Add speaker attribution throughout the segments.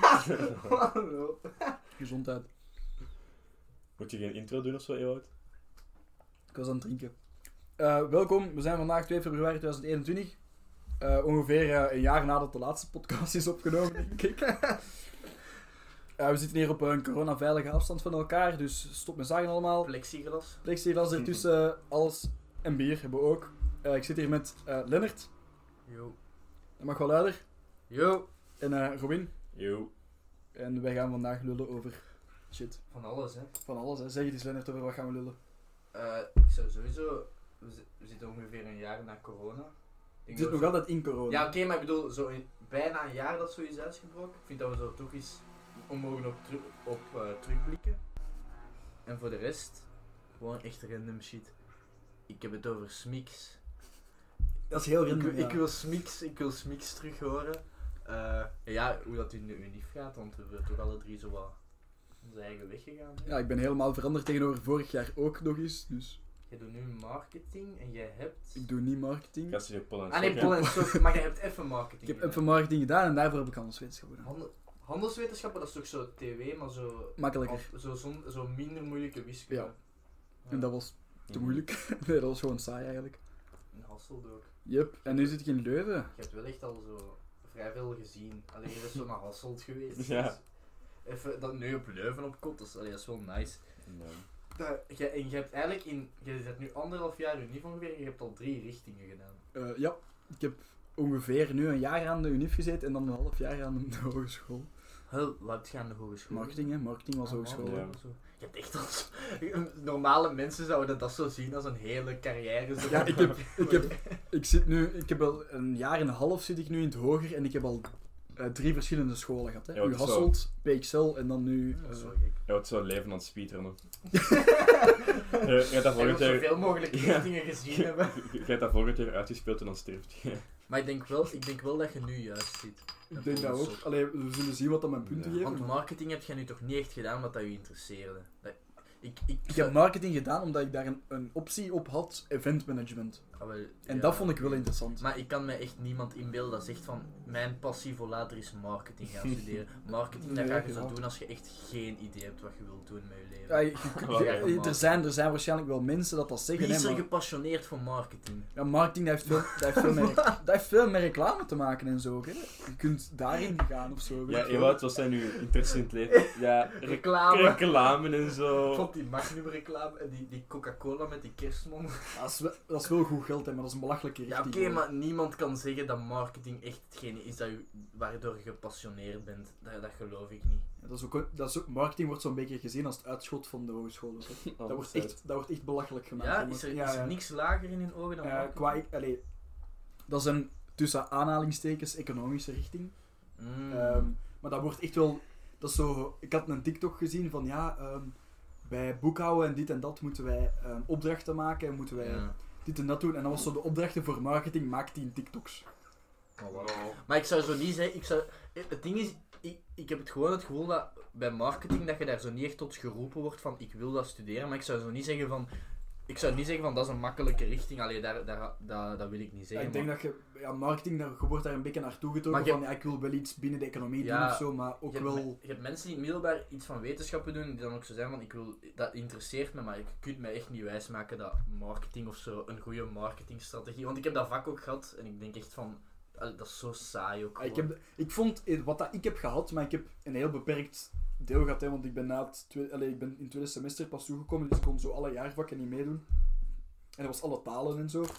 Speaker 1: Man, joh.
Speaker 2: Eh. Gezondheid.
Speaker 3: Moet je geen intro doen of zo, Ewout?
Speaker 2: Ik was aan het drinken. Eh, welkom, we zijn vandaag 2 februari 2021. Eh, ongeveer eh, een jaar nadat de laatste podcast is opgenomen, denk ik. Eh, we zitten hier op een coronaveilige afstand van elkaar, dus stop met zagen allemaal.
Speaker 1: Plexiglas.
Speaker 2: Plexiglas ertussen, alles en bier hebben we ook. Eh, ik zit hier met eh, Lennart,
Speaker 1: Yo.
Speaker 2: dat mag wel luider,
Speaker 1: Yo.
Speaker 2: en eh, Robin.
Speaker 3: Yo.
Speaker 2: En wij gaan vandaag lullen over shit.
Speaker 1: Van alles, hè.
Speaker 2: Van alles, hè. zeg het eens Lennart, over wat gaan we lullen?
Speaker 1: Eh, zo, sowieso, we, zi- we zitten ongeveer een jaar na corona.
Speaker 2: Ik
Speaker 1: Ik
Speaker 2: zit
Speaker 1: denk dat
Speaker 2: nog
Speaker 1: we-
Speaker 2: altijd in corona.
Speaker 1: Ja, oké, maar ik bedoel, zo in- bijna een jaar dat zoiets is uitgebroken. Ik vind dat we zo toch eens onmogelijk op, teru- op eh, terugblikken. En voor de rest, gewoon echt random shit. Ik heb het over Smiks.
Speaker 2: Dat is heel
Speaker 1: Ik,
Speaker 2: random,
Speaker 1: wil-
Speaker 2: ja.
Speaker 1: ik wil Smiks, ik wil Smiks terug horen. Eh, ja, hoe dat in de Unif gaat, want we zijn toch alle drie zo wat onze eigen weg gegaan. hè?
Speaker 2: Ja, ik ben helemaal veranderd tegenover vorig jaar ook nog eens. Dus
Speaker 1: Jij doet nu marketing en jij hebt...
Speaker 2: ik doe niet marketing.
Speaker 3: Gast je Paul en
Speaker 1: Ah nee,
Speaker 3: Sok,
Speaker 1: Paul
Speaker 3: hè?
Speaker 1: en Sok, maar jij hebt even marketing.
Speaker 2: ik heb
Speaker 1: gedaan.
Speaker 2: even marketing gedaan en daarvoor heb ik handelswetenschappen gedaan.
Speaker 1: Handel- Handelswetenschappen, dat is toch zo TV, maar zo,
Speaker 2: Makkelijker.
Speaker 1: al- zo, zon- zo minder moeilijke wiskunde.
Speaker 2: Ja. En dat was
Speaker 3: Mhm.
Speaker 1: Mhm.
Speaker 2: te moeilijk. nee, dat was gewoon saai eigenlijk.
Speaker 1: In Hasselt ook.
Speaker 2: Yep. En nu zit ik in Leuven.
Speaker 1: Je hebt wel echt al zo vrij veel gezien. Alleen je bent zo naar Hasselt geweest.
Speaker 3: Ja.
Speaker 1: Dus even dat nu op Leuven op komt, dat is, allee, dat is wel nice.
Speaker 3: Nee.
Speaker 1: Dat- jij- en je hebt eigenlijk in, je zit nu anderhalf jaar unief ongeveer, en je hebt al drie richtingen gedaan.
Speaker 2: Eh, ja, ik heb ongeveer nu een jaar aan de UNIF gezeten en dan een half jaar aan de hogeschool.
Speaker 1: Heel, wat gaan de hogeschool?
Speaker 2: Marketing, hè? Marketing was
Speaker 1: Ah,
Speaker 2: hogeschool.
Speaker 3: ja.
Speaker 2: hè.
Speaker 1: zo. Je hebt echt al zo- Normale mensen zouden dat zo zien als een hele carrière. Zo.
Speaker 2: Ja, ik heb- ik heb- Ik zit nu, ik heb al een jaar en een half zit ik nu in het hoger en ik heb al eh, drie verschillende scholen gehad. Hè?
Speaker 3: Ja, dat
Speaker 2: nu
Speaker 3: is wel-
Speaker 2: Hasselt, PXL en dan nu.
Speaker 1: Dat is
Speaker 2: eh,
Speaker 1: wel gek.
Speaker 3: Ja, het is zo'n leven aan het speedrunnen. Eh, Jij hebt dat
Speaker 1: Hij wil
Speaker 3: volgend jaar-
Speaker 1: zoveel mogelijk
Speaker 3: Ja.
Speaker 1: richtingen gezien hebben.
Speaker 3: jij hebt dat volgend jaar uitgespeeld en dan sterft je.
Speaker 1: Maar ik denk, wel, ik denk wel dat je nu juist zit.
Speaker 2: Ik denk dat ook. Allee, we zullen zien wat dat mijn punten
Speaker 3: Ja.
Speaker 2: geven.
Speaker 1: Want
Speaker 2: maar-
Speaker 1: marketing heb jij nu toch niet echt gedaan wat dat je interesseerde. Dat- ik, ik,
Speaker 2: Ik heb marketing gedaan omdat ik daar een, een optie op had, event management.
Speaker 1: Ah, wel,
Speaker 2: En
Speaker 1: ja.
Speaker 2: dat vond ik wel interessant.
Speaker 1: Maar ik kan me echt niemand inbeelden dat zegt van mijn passie voor later is marketing gaan studeren. Marketing, dat
Speaker 2: Nee,
Speaker 1: ga je zo
Speaker 2: ja.
Speaker 1: doen als je echt geen idee hebt wat je wilt doen met je leven.
Speaker 2: Ja, je- je-
Speaker 3: Wel,
Speaker 2: je-
Speaker 3: ja,
Speaker 2: er, zijn, er zijn waarschijnlijk wel mensen dat dat
Speaker 1: Wie
Speaker 2: zeggen.
Speaker 1: is
Speaker 2: Hè,
Speaker 1: er
Speaker 2: maar,
Speaker 1: gepassioneerd voor marketing?
Speaker 2: ja, marketing dat heeft, veel, dat heeft, veel met, dat heeft veel met reclame te maken en zo. Hè. Je kunt daarin gaan of zo. weet
Speaker 3: Ja,
Speaker 2: ik veel.
Speaker 3: Ewout, wat zijn uw interesses in het leven? Ja, rec-
Speaker 1: Reclame.
Speaker 3: reclame en zo.
Speaker 1: Ik vond die Magnum reclame en die, die Coca-Cola met die kerstmond.
Speaker 2: dat, is wel, dat is wel goed geld, hè, maar dat is een belachelijke
Speaker 1: Ja,
Speaker 2: richting.
Speaker 1: oké,
Speaker 2: hoor.
Speaker 1: maar niemand kan zeggen dat marketing echt hetgene is dat u, waardoor je gepassioneerd bent. Dat, dat geloof ik niet.
Speaker 2: Ja, dat is ook, dat is ook, marketing wordt zo'n beetje gezien als het uitschot van de hogeschool. of zo.
Speaker 3: Oh,
Speaker 2: Dat, wordt
Speaker 3: zet.
Speaker 2: echt, dat wordt echt belachelijk gemaakt.
Speaker 1: ja,
Speaker 2: hè,
Speaker 1: is er,
Speaker 2: maar-
Speaker 1: is er niks lager in hun ogen dan
Speaker 2: Ja,
Speaker 1: marketing?
Speaker 2: qua, e- allee, dat is een tussen aanhalingstekens economische richting.
Speaker 1: Mm.
Speaker 2: Ehm, maar dat wordt echt wel. Dat is zo, ik had een TikTok gezien van ja, ehm, bij boekhouden en dit en dat moeten wij ehm, opdrachten maken en moeten wij
Speaker 1: Ja.
Speaker 2: dit en dat doen. En dan was zo de opdrachten voor marketing, maak 10 TikToks.
Speaker 1: Oh, wow. Maar ik zou zo niet zeggen, ik zou, het ding is, ik, ik heb het gewoon het gevoel dat bij marketing dat je daar zo niet echt tot geroepen wordt van ik wil dat studeren, maar ik zou zo niet zeggen van, ik zou niet zeggen van dat is een makkelijke richting, alleen daar, daar, dat, dat wil ik niet
Speaker 2: Ja,
Speaker 1: zeggen.
Speaker 2: ik denk
Speaker 1: maar-
Speaker 2: dat je, ja, marketing, daar, je wordt daar een beetje naartoe getogen
Speaker 1: Maar je-
Speaker 2: van ja, ik wil wel iets binnen de economie doen
Speaker 1: Ja,
Speaker 2: of zo, maar ook
Speaker 1: je, hebt, me-
Speaker 2: wel.
Speaker 1: je hebt mensen die middelbaar iets van wetenschappen doen, die dan ook zo zijn van, ik wil, dat interesseert me, maar je kunt mij echt niet wijsmaken dat marketing of zo een goede marketingstrategie, want ik heb dat vak ook gehad en ik denk echt van, allee, dat is zo saai ook
Speaker 2: Ja, ik,
Speaker 1: gewoon.
Speaker 2: heb, ik vond eh, wat dat ik heb gehad, maar ik heb een heel beperkt deel gehad, hè, want ik ben, na het tweede, allee, ik ben in het tweede semester pas toegekomen, dus ik kon zo alle jaarvakken niet meedoen. En dat was alle talen en zo.
Speaker 3: Mhm.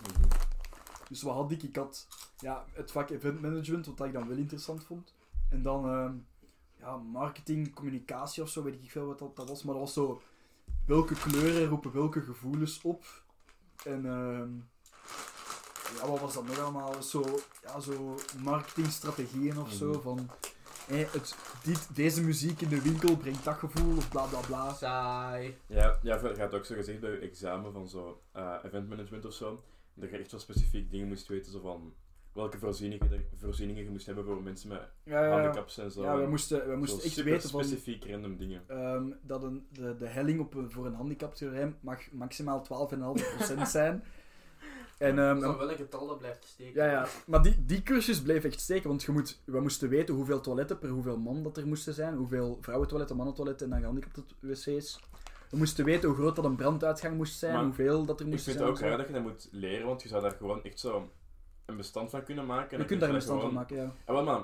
Speaker 2: Dus wat had ik? Ik had ja, het vak event management, wat ik dan wel interessant vond. En dan ehm, ja, marketing, communicatie of zo, weet ik veel wat dat, dat was. Maar dat was zo, welke kleuren roepen welke gevoelens op. En ehm, ja, wat was dat nog allemaal? Zo, ja, zo marketingstrategieën of zo.
Speaker 3: Mhm.
Speaker 2: Van, hé, het, dit, deze muziek in de winkel brengt dat gevoel, of bla bla bla.
Speaker 1: Saai.
Speaker 3: Ja, ja, dat gaat ook zo gezegd bij je examen van zo eh eventmanagement of zo. Dat je echt wel specifiek dingen moest weten, zo van welke voorzieningen, voorzieningen je moest hebben voor mensen met
Speaker 2: Ja, ja, ja.
Speaker 3: handicaps en zo.
Speaker 2: ja we
Speaker 3: En
Speaker 2: moesten, we moesten
Speaker 3: zo
Speaker 2: echt
Speaker 3: super
Speaker 2: weten van...
Speaker 3: specifiek random dingen.
Speaker 2: ehm, dat een, de, de helling op een, voor een handicapterrein mag maximaal 12,5% zijn. En, ehm,
Speaker 1: Van welk getal dat blijft steken.
Speaker 2: ja, ja. Maar die, die cursus bleef echt steken, want je moet, we moesten weten hoeveel toiletten per hoeveel man dat er moesten zijn, hoeveel vrouwentoiletten, mannentoiletten en dan gehandicapte wc's. We moesten weten hoe groot dat een branduitgang moest zijn,
Speaker 3: Maar
Speaker 2: hoeveel dat er
Speaker 3: Ik
Speaker 2: moest
Speaker 3: vind
Speaker 2: zijn.
Speaker 3: het ook
Speaker 2: en zo.
Speaker 3: raar dat je dat moet leren, want je zou daar gewoon echt zo een bestand van kunnen maken. en
Speaker 2: Je
Speaker 3: dan
Speaker 2: kunt
Speaker 3: kun
Speaker 2: daar een bestand
Speaker 3: gewoon-
Speaker 2: van maken, ja.
Speaker 3: Ah, wel, maar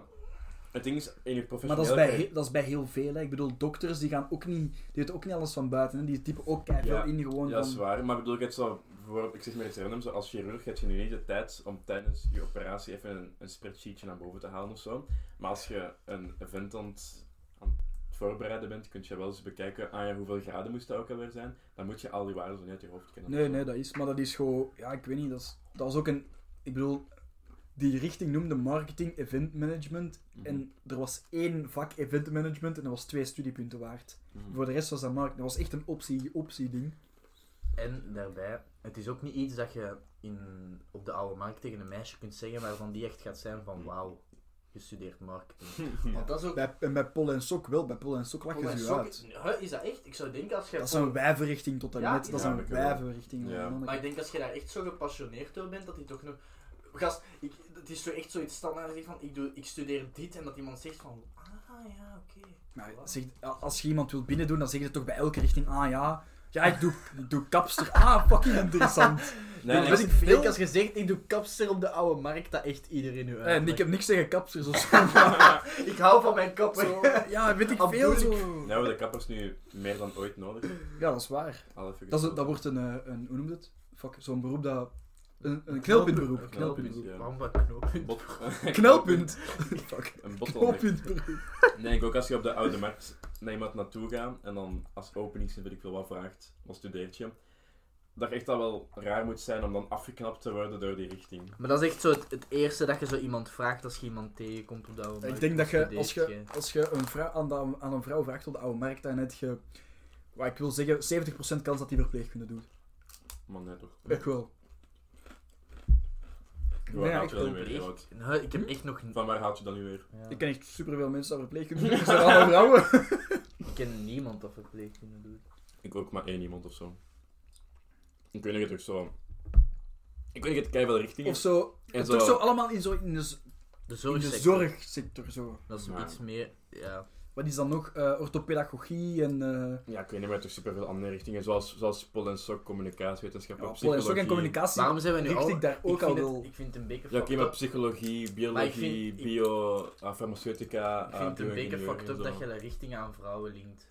Speaker 3: het ding is, in je
Speaker 2: Maar
Speaker 3: professionele
Speaker 2: dat is, bij,
Speaker 3: carrière-
Speaker 2: he- dat is bij heel veel. Hè. Ik bedoel, dokters die gaan ook niet, die weten ook niet alles van buiten. Hè. Die typen ook keihard
Speaker 3: Ja.
Speaker 2: in gewoon
Speaker 3: Ja, dat
Speaker 2: van...
Speaker 3: is waar. Maar ik bedoel, ik, het zo, bijvoorbeeld, ik zeg maar iets random, zo, als chirurg heb je nu niet de tijd om tijdens je operatie even een, een spreadsheetje naar boven te halen of zo. Maar als je een event aan het, aan het voorbereiden bent, kun je wel eens bekijken ah ja, hoeveel graden moest dat ook alweer zijn. Dan moet je al die waarden zo niet uit je hoofd kennen.
Speaker 2: Nee, nee, dat is. Maar dat is gewoon, ja, ik weet niet. Dat is, dat is ook een. Ik bedoel, die richting noemde marketing, event management.
Speaker 3: Mhm.
Speaker 2: En er was één vak event management en dat was twee studiepunten waard.
Speaker 3: Mhm.
Speaker 2: Voor de rest was dat marketing. Dat was echt een optie, optie-ding.
Speaker 1: En daarbij, het is ook niet iets dat je in, op de oude markt tegen een meisje kunt zeggen waarvan die echt gaat zijn van wauw, gestudeerd marketing. Want dat is ook...
Speaker 2: Bij, en bij Pol en Sok wel. Bij Pol en Sok lachen
Speaker 1: Pol en
Speaker 2: ze je
Speaker 1: Sok-
Speaker 2: uit.
Speaker 1: Huh, Is dat echt? Ik zou denken als je...
Speaker 2: Dat is
Speaker 1: Pol-
Speaker 2: een wijverrichting tot en
Speaker 1: Ja,
Speaker 2: met. Dat is een
Speaker 3: inderdaad, ik wel.
Speaker 2: wijverrichting.
Speaker 3: Ja.
Speaker 1: Maar ik denk als je daar echt zo gepassioneerd door bent, dat die toch nog... Gast, ik, het is zo echt zoiets standaard zeg van ik, doe, ik studeer dit en dat iemand zegt van ah ja, oké.
Speaker 2: Maar zeg, als je iemand wilt binnendoen, dan zeg je toch bij elke richting, ah ja, ja, ik doe, ik doe kapster, ah, fucking interessant.
Speaker 3: Nee,
Speaker 2: Dat
Speaker 3: nee,
Speaker 2: is
Speaker 3: ik-
Speaker 2: ik veel.
Speaker 1: als je zegt ik doe kapster op de oude markt, dat echt iedereen nu
Speaker 2: Eh, En ik heb niks tegen kapsters of zo.
Speaker 1: Ik hou van mijn kapper.
Speaker 2: zo ja, weet ik
Speaker 1: Af-
Speaker 2: veel.
Speaker 1: doe
Speaker 2: Zo.
Speaker 3: Nou, we hebben de kappers nu meer dan ooit nodig.
Speaker 2: Ja, dat is waar.
Speaker 3: Al even
Speaker 2: Dat, is,
Speaker 3: gesproken.
Speaker 2: dat wordt een, eh, een, hoe noemt het? Fuck, zo'n beroep dat, een, een knelpuntberoep.
Speaker 1: Een
Speaker 3: knelpunt,
Speaker 2: Knelpuntberoep.
Speaker 3: ja.
Speaker 1: Waarom dat knooppunt?
Speaker 3: Bot-
Speaker 2: Knelpunt! Fuck,
Speaker 3: Een bottleneck.
Speaker 2: knelpuntberoep.
Speaker 3: Nee, ik ook als je op de oude markt naar iemand naartoe gaat en dan als openings en weet ik veel wat vraagt, wat studeert je, dat echt dat wel raar moet zijn om dan afgeknapt te worden door die richting.
Speaker 1: Maar dat is echt zo het, het eerste dat je zo iemand vraagt als je iemand tegenkomt op de oude markt.
Speaker 2: Ik denk dat je,
Speaker 1: Studeert
Speaker 2: als je, als je een vrouw, aan, de- aan een vrouw vraagt op de oude markt, dan heb je, wat ik wil zeggen, 70% kans dat die verpleegkunde doet.
Speaker 3: Maar nee, toch.
Speaker 2: Echt wel.
Speaker 3: Waar
Speaker 2: Nee,
Speaker 3: haalt
Speaker 2: ik
Speaker 3: je dat nu
Speaker 1: wil
Speaker 3: weer?
Speaker 1: echt-
Speaker 3: Wout?
Speaker 1: Nou, ik heb echt nog...
Speaker 3: Van waar haalt je dat nu weer?
Speaker 1: Ja.
Speaker 2: Hm? Ik
Speaker 1: Ik,
Speaker 2: ken echt superveel mensen dat verpleegkundigen doen. Ze zijn allemaal vrouwen.
Speaker 1: ken niemand dat verpleegkunde doet.
Speaker 3: Ik ook maar één iemand of zo. Ik weet niet, toch zo. Ik weet niet, het keiveel richtingen.
Speaker 2: Of zo.
Speaker 3: En
Speaker 2: Toch
Speaker 3: zo-
Speaker 2: zo allemaal in, zo, in, de, z-
Speaker 1: De
Speaker 2: in
Speaker 1: zorgsector.
Speaker 2: de zorgsector. Zo.
Speaker 1: Dat is
Speaker 3: Maar-
Speaker 1: iets meer... Ja.
Speaker 2: Wat is dan nog? Eh, orthopedagogie en... eh
Speaker 3: Ja, ik weet niet, maar toch superveel andere richtingen, zoals, zoals Pol en Sok, communicatiewetenschap,
Speaker 2: ja,
Speaker 3: psychologie.
Speaker 2: zorg en communicatie.
Speaker 1: Waarom zijn we nu
Speaker 2: richt
Speaker 1: al...
Speaker 2: ik daar ook
Speaker 1: vind
Speaker 2: al
Speaker 1: het-
Speaker 2: wel-
Speaker 1: Ik vind het een beetje
Speaker 3: Ja, oké,
Speaker 1: fucked
Speaker 3: maar
Speaker 1: up.
Speaker 3: psychologie,
Speaker 1: Maar ik
Speaker 3: biologie,
Speaker 1: vind- ik-
Speaker 3: bio, ah, farmaceutica,
Speaker 1: Ik
Speaker 3: ah,
Speaker 1: vind het een beetje
Speaker 3: bio-ingenieur
Speaker 1: fucked
Speaker 3: en
Speaker 1: up
Speaker 3: zo.
Speaker 1: dat je de richting aan vrouwen linkt.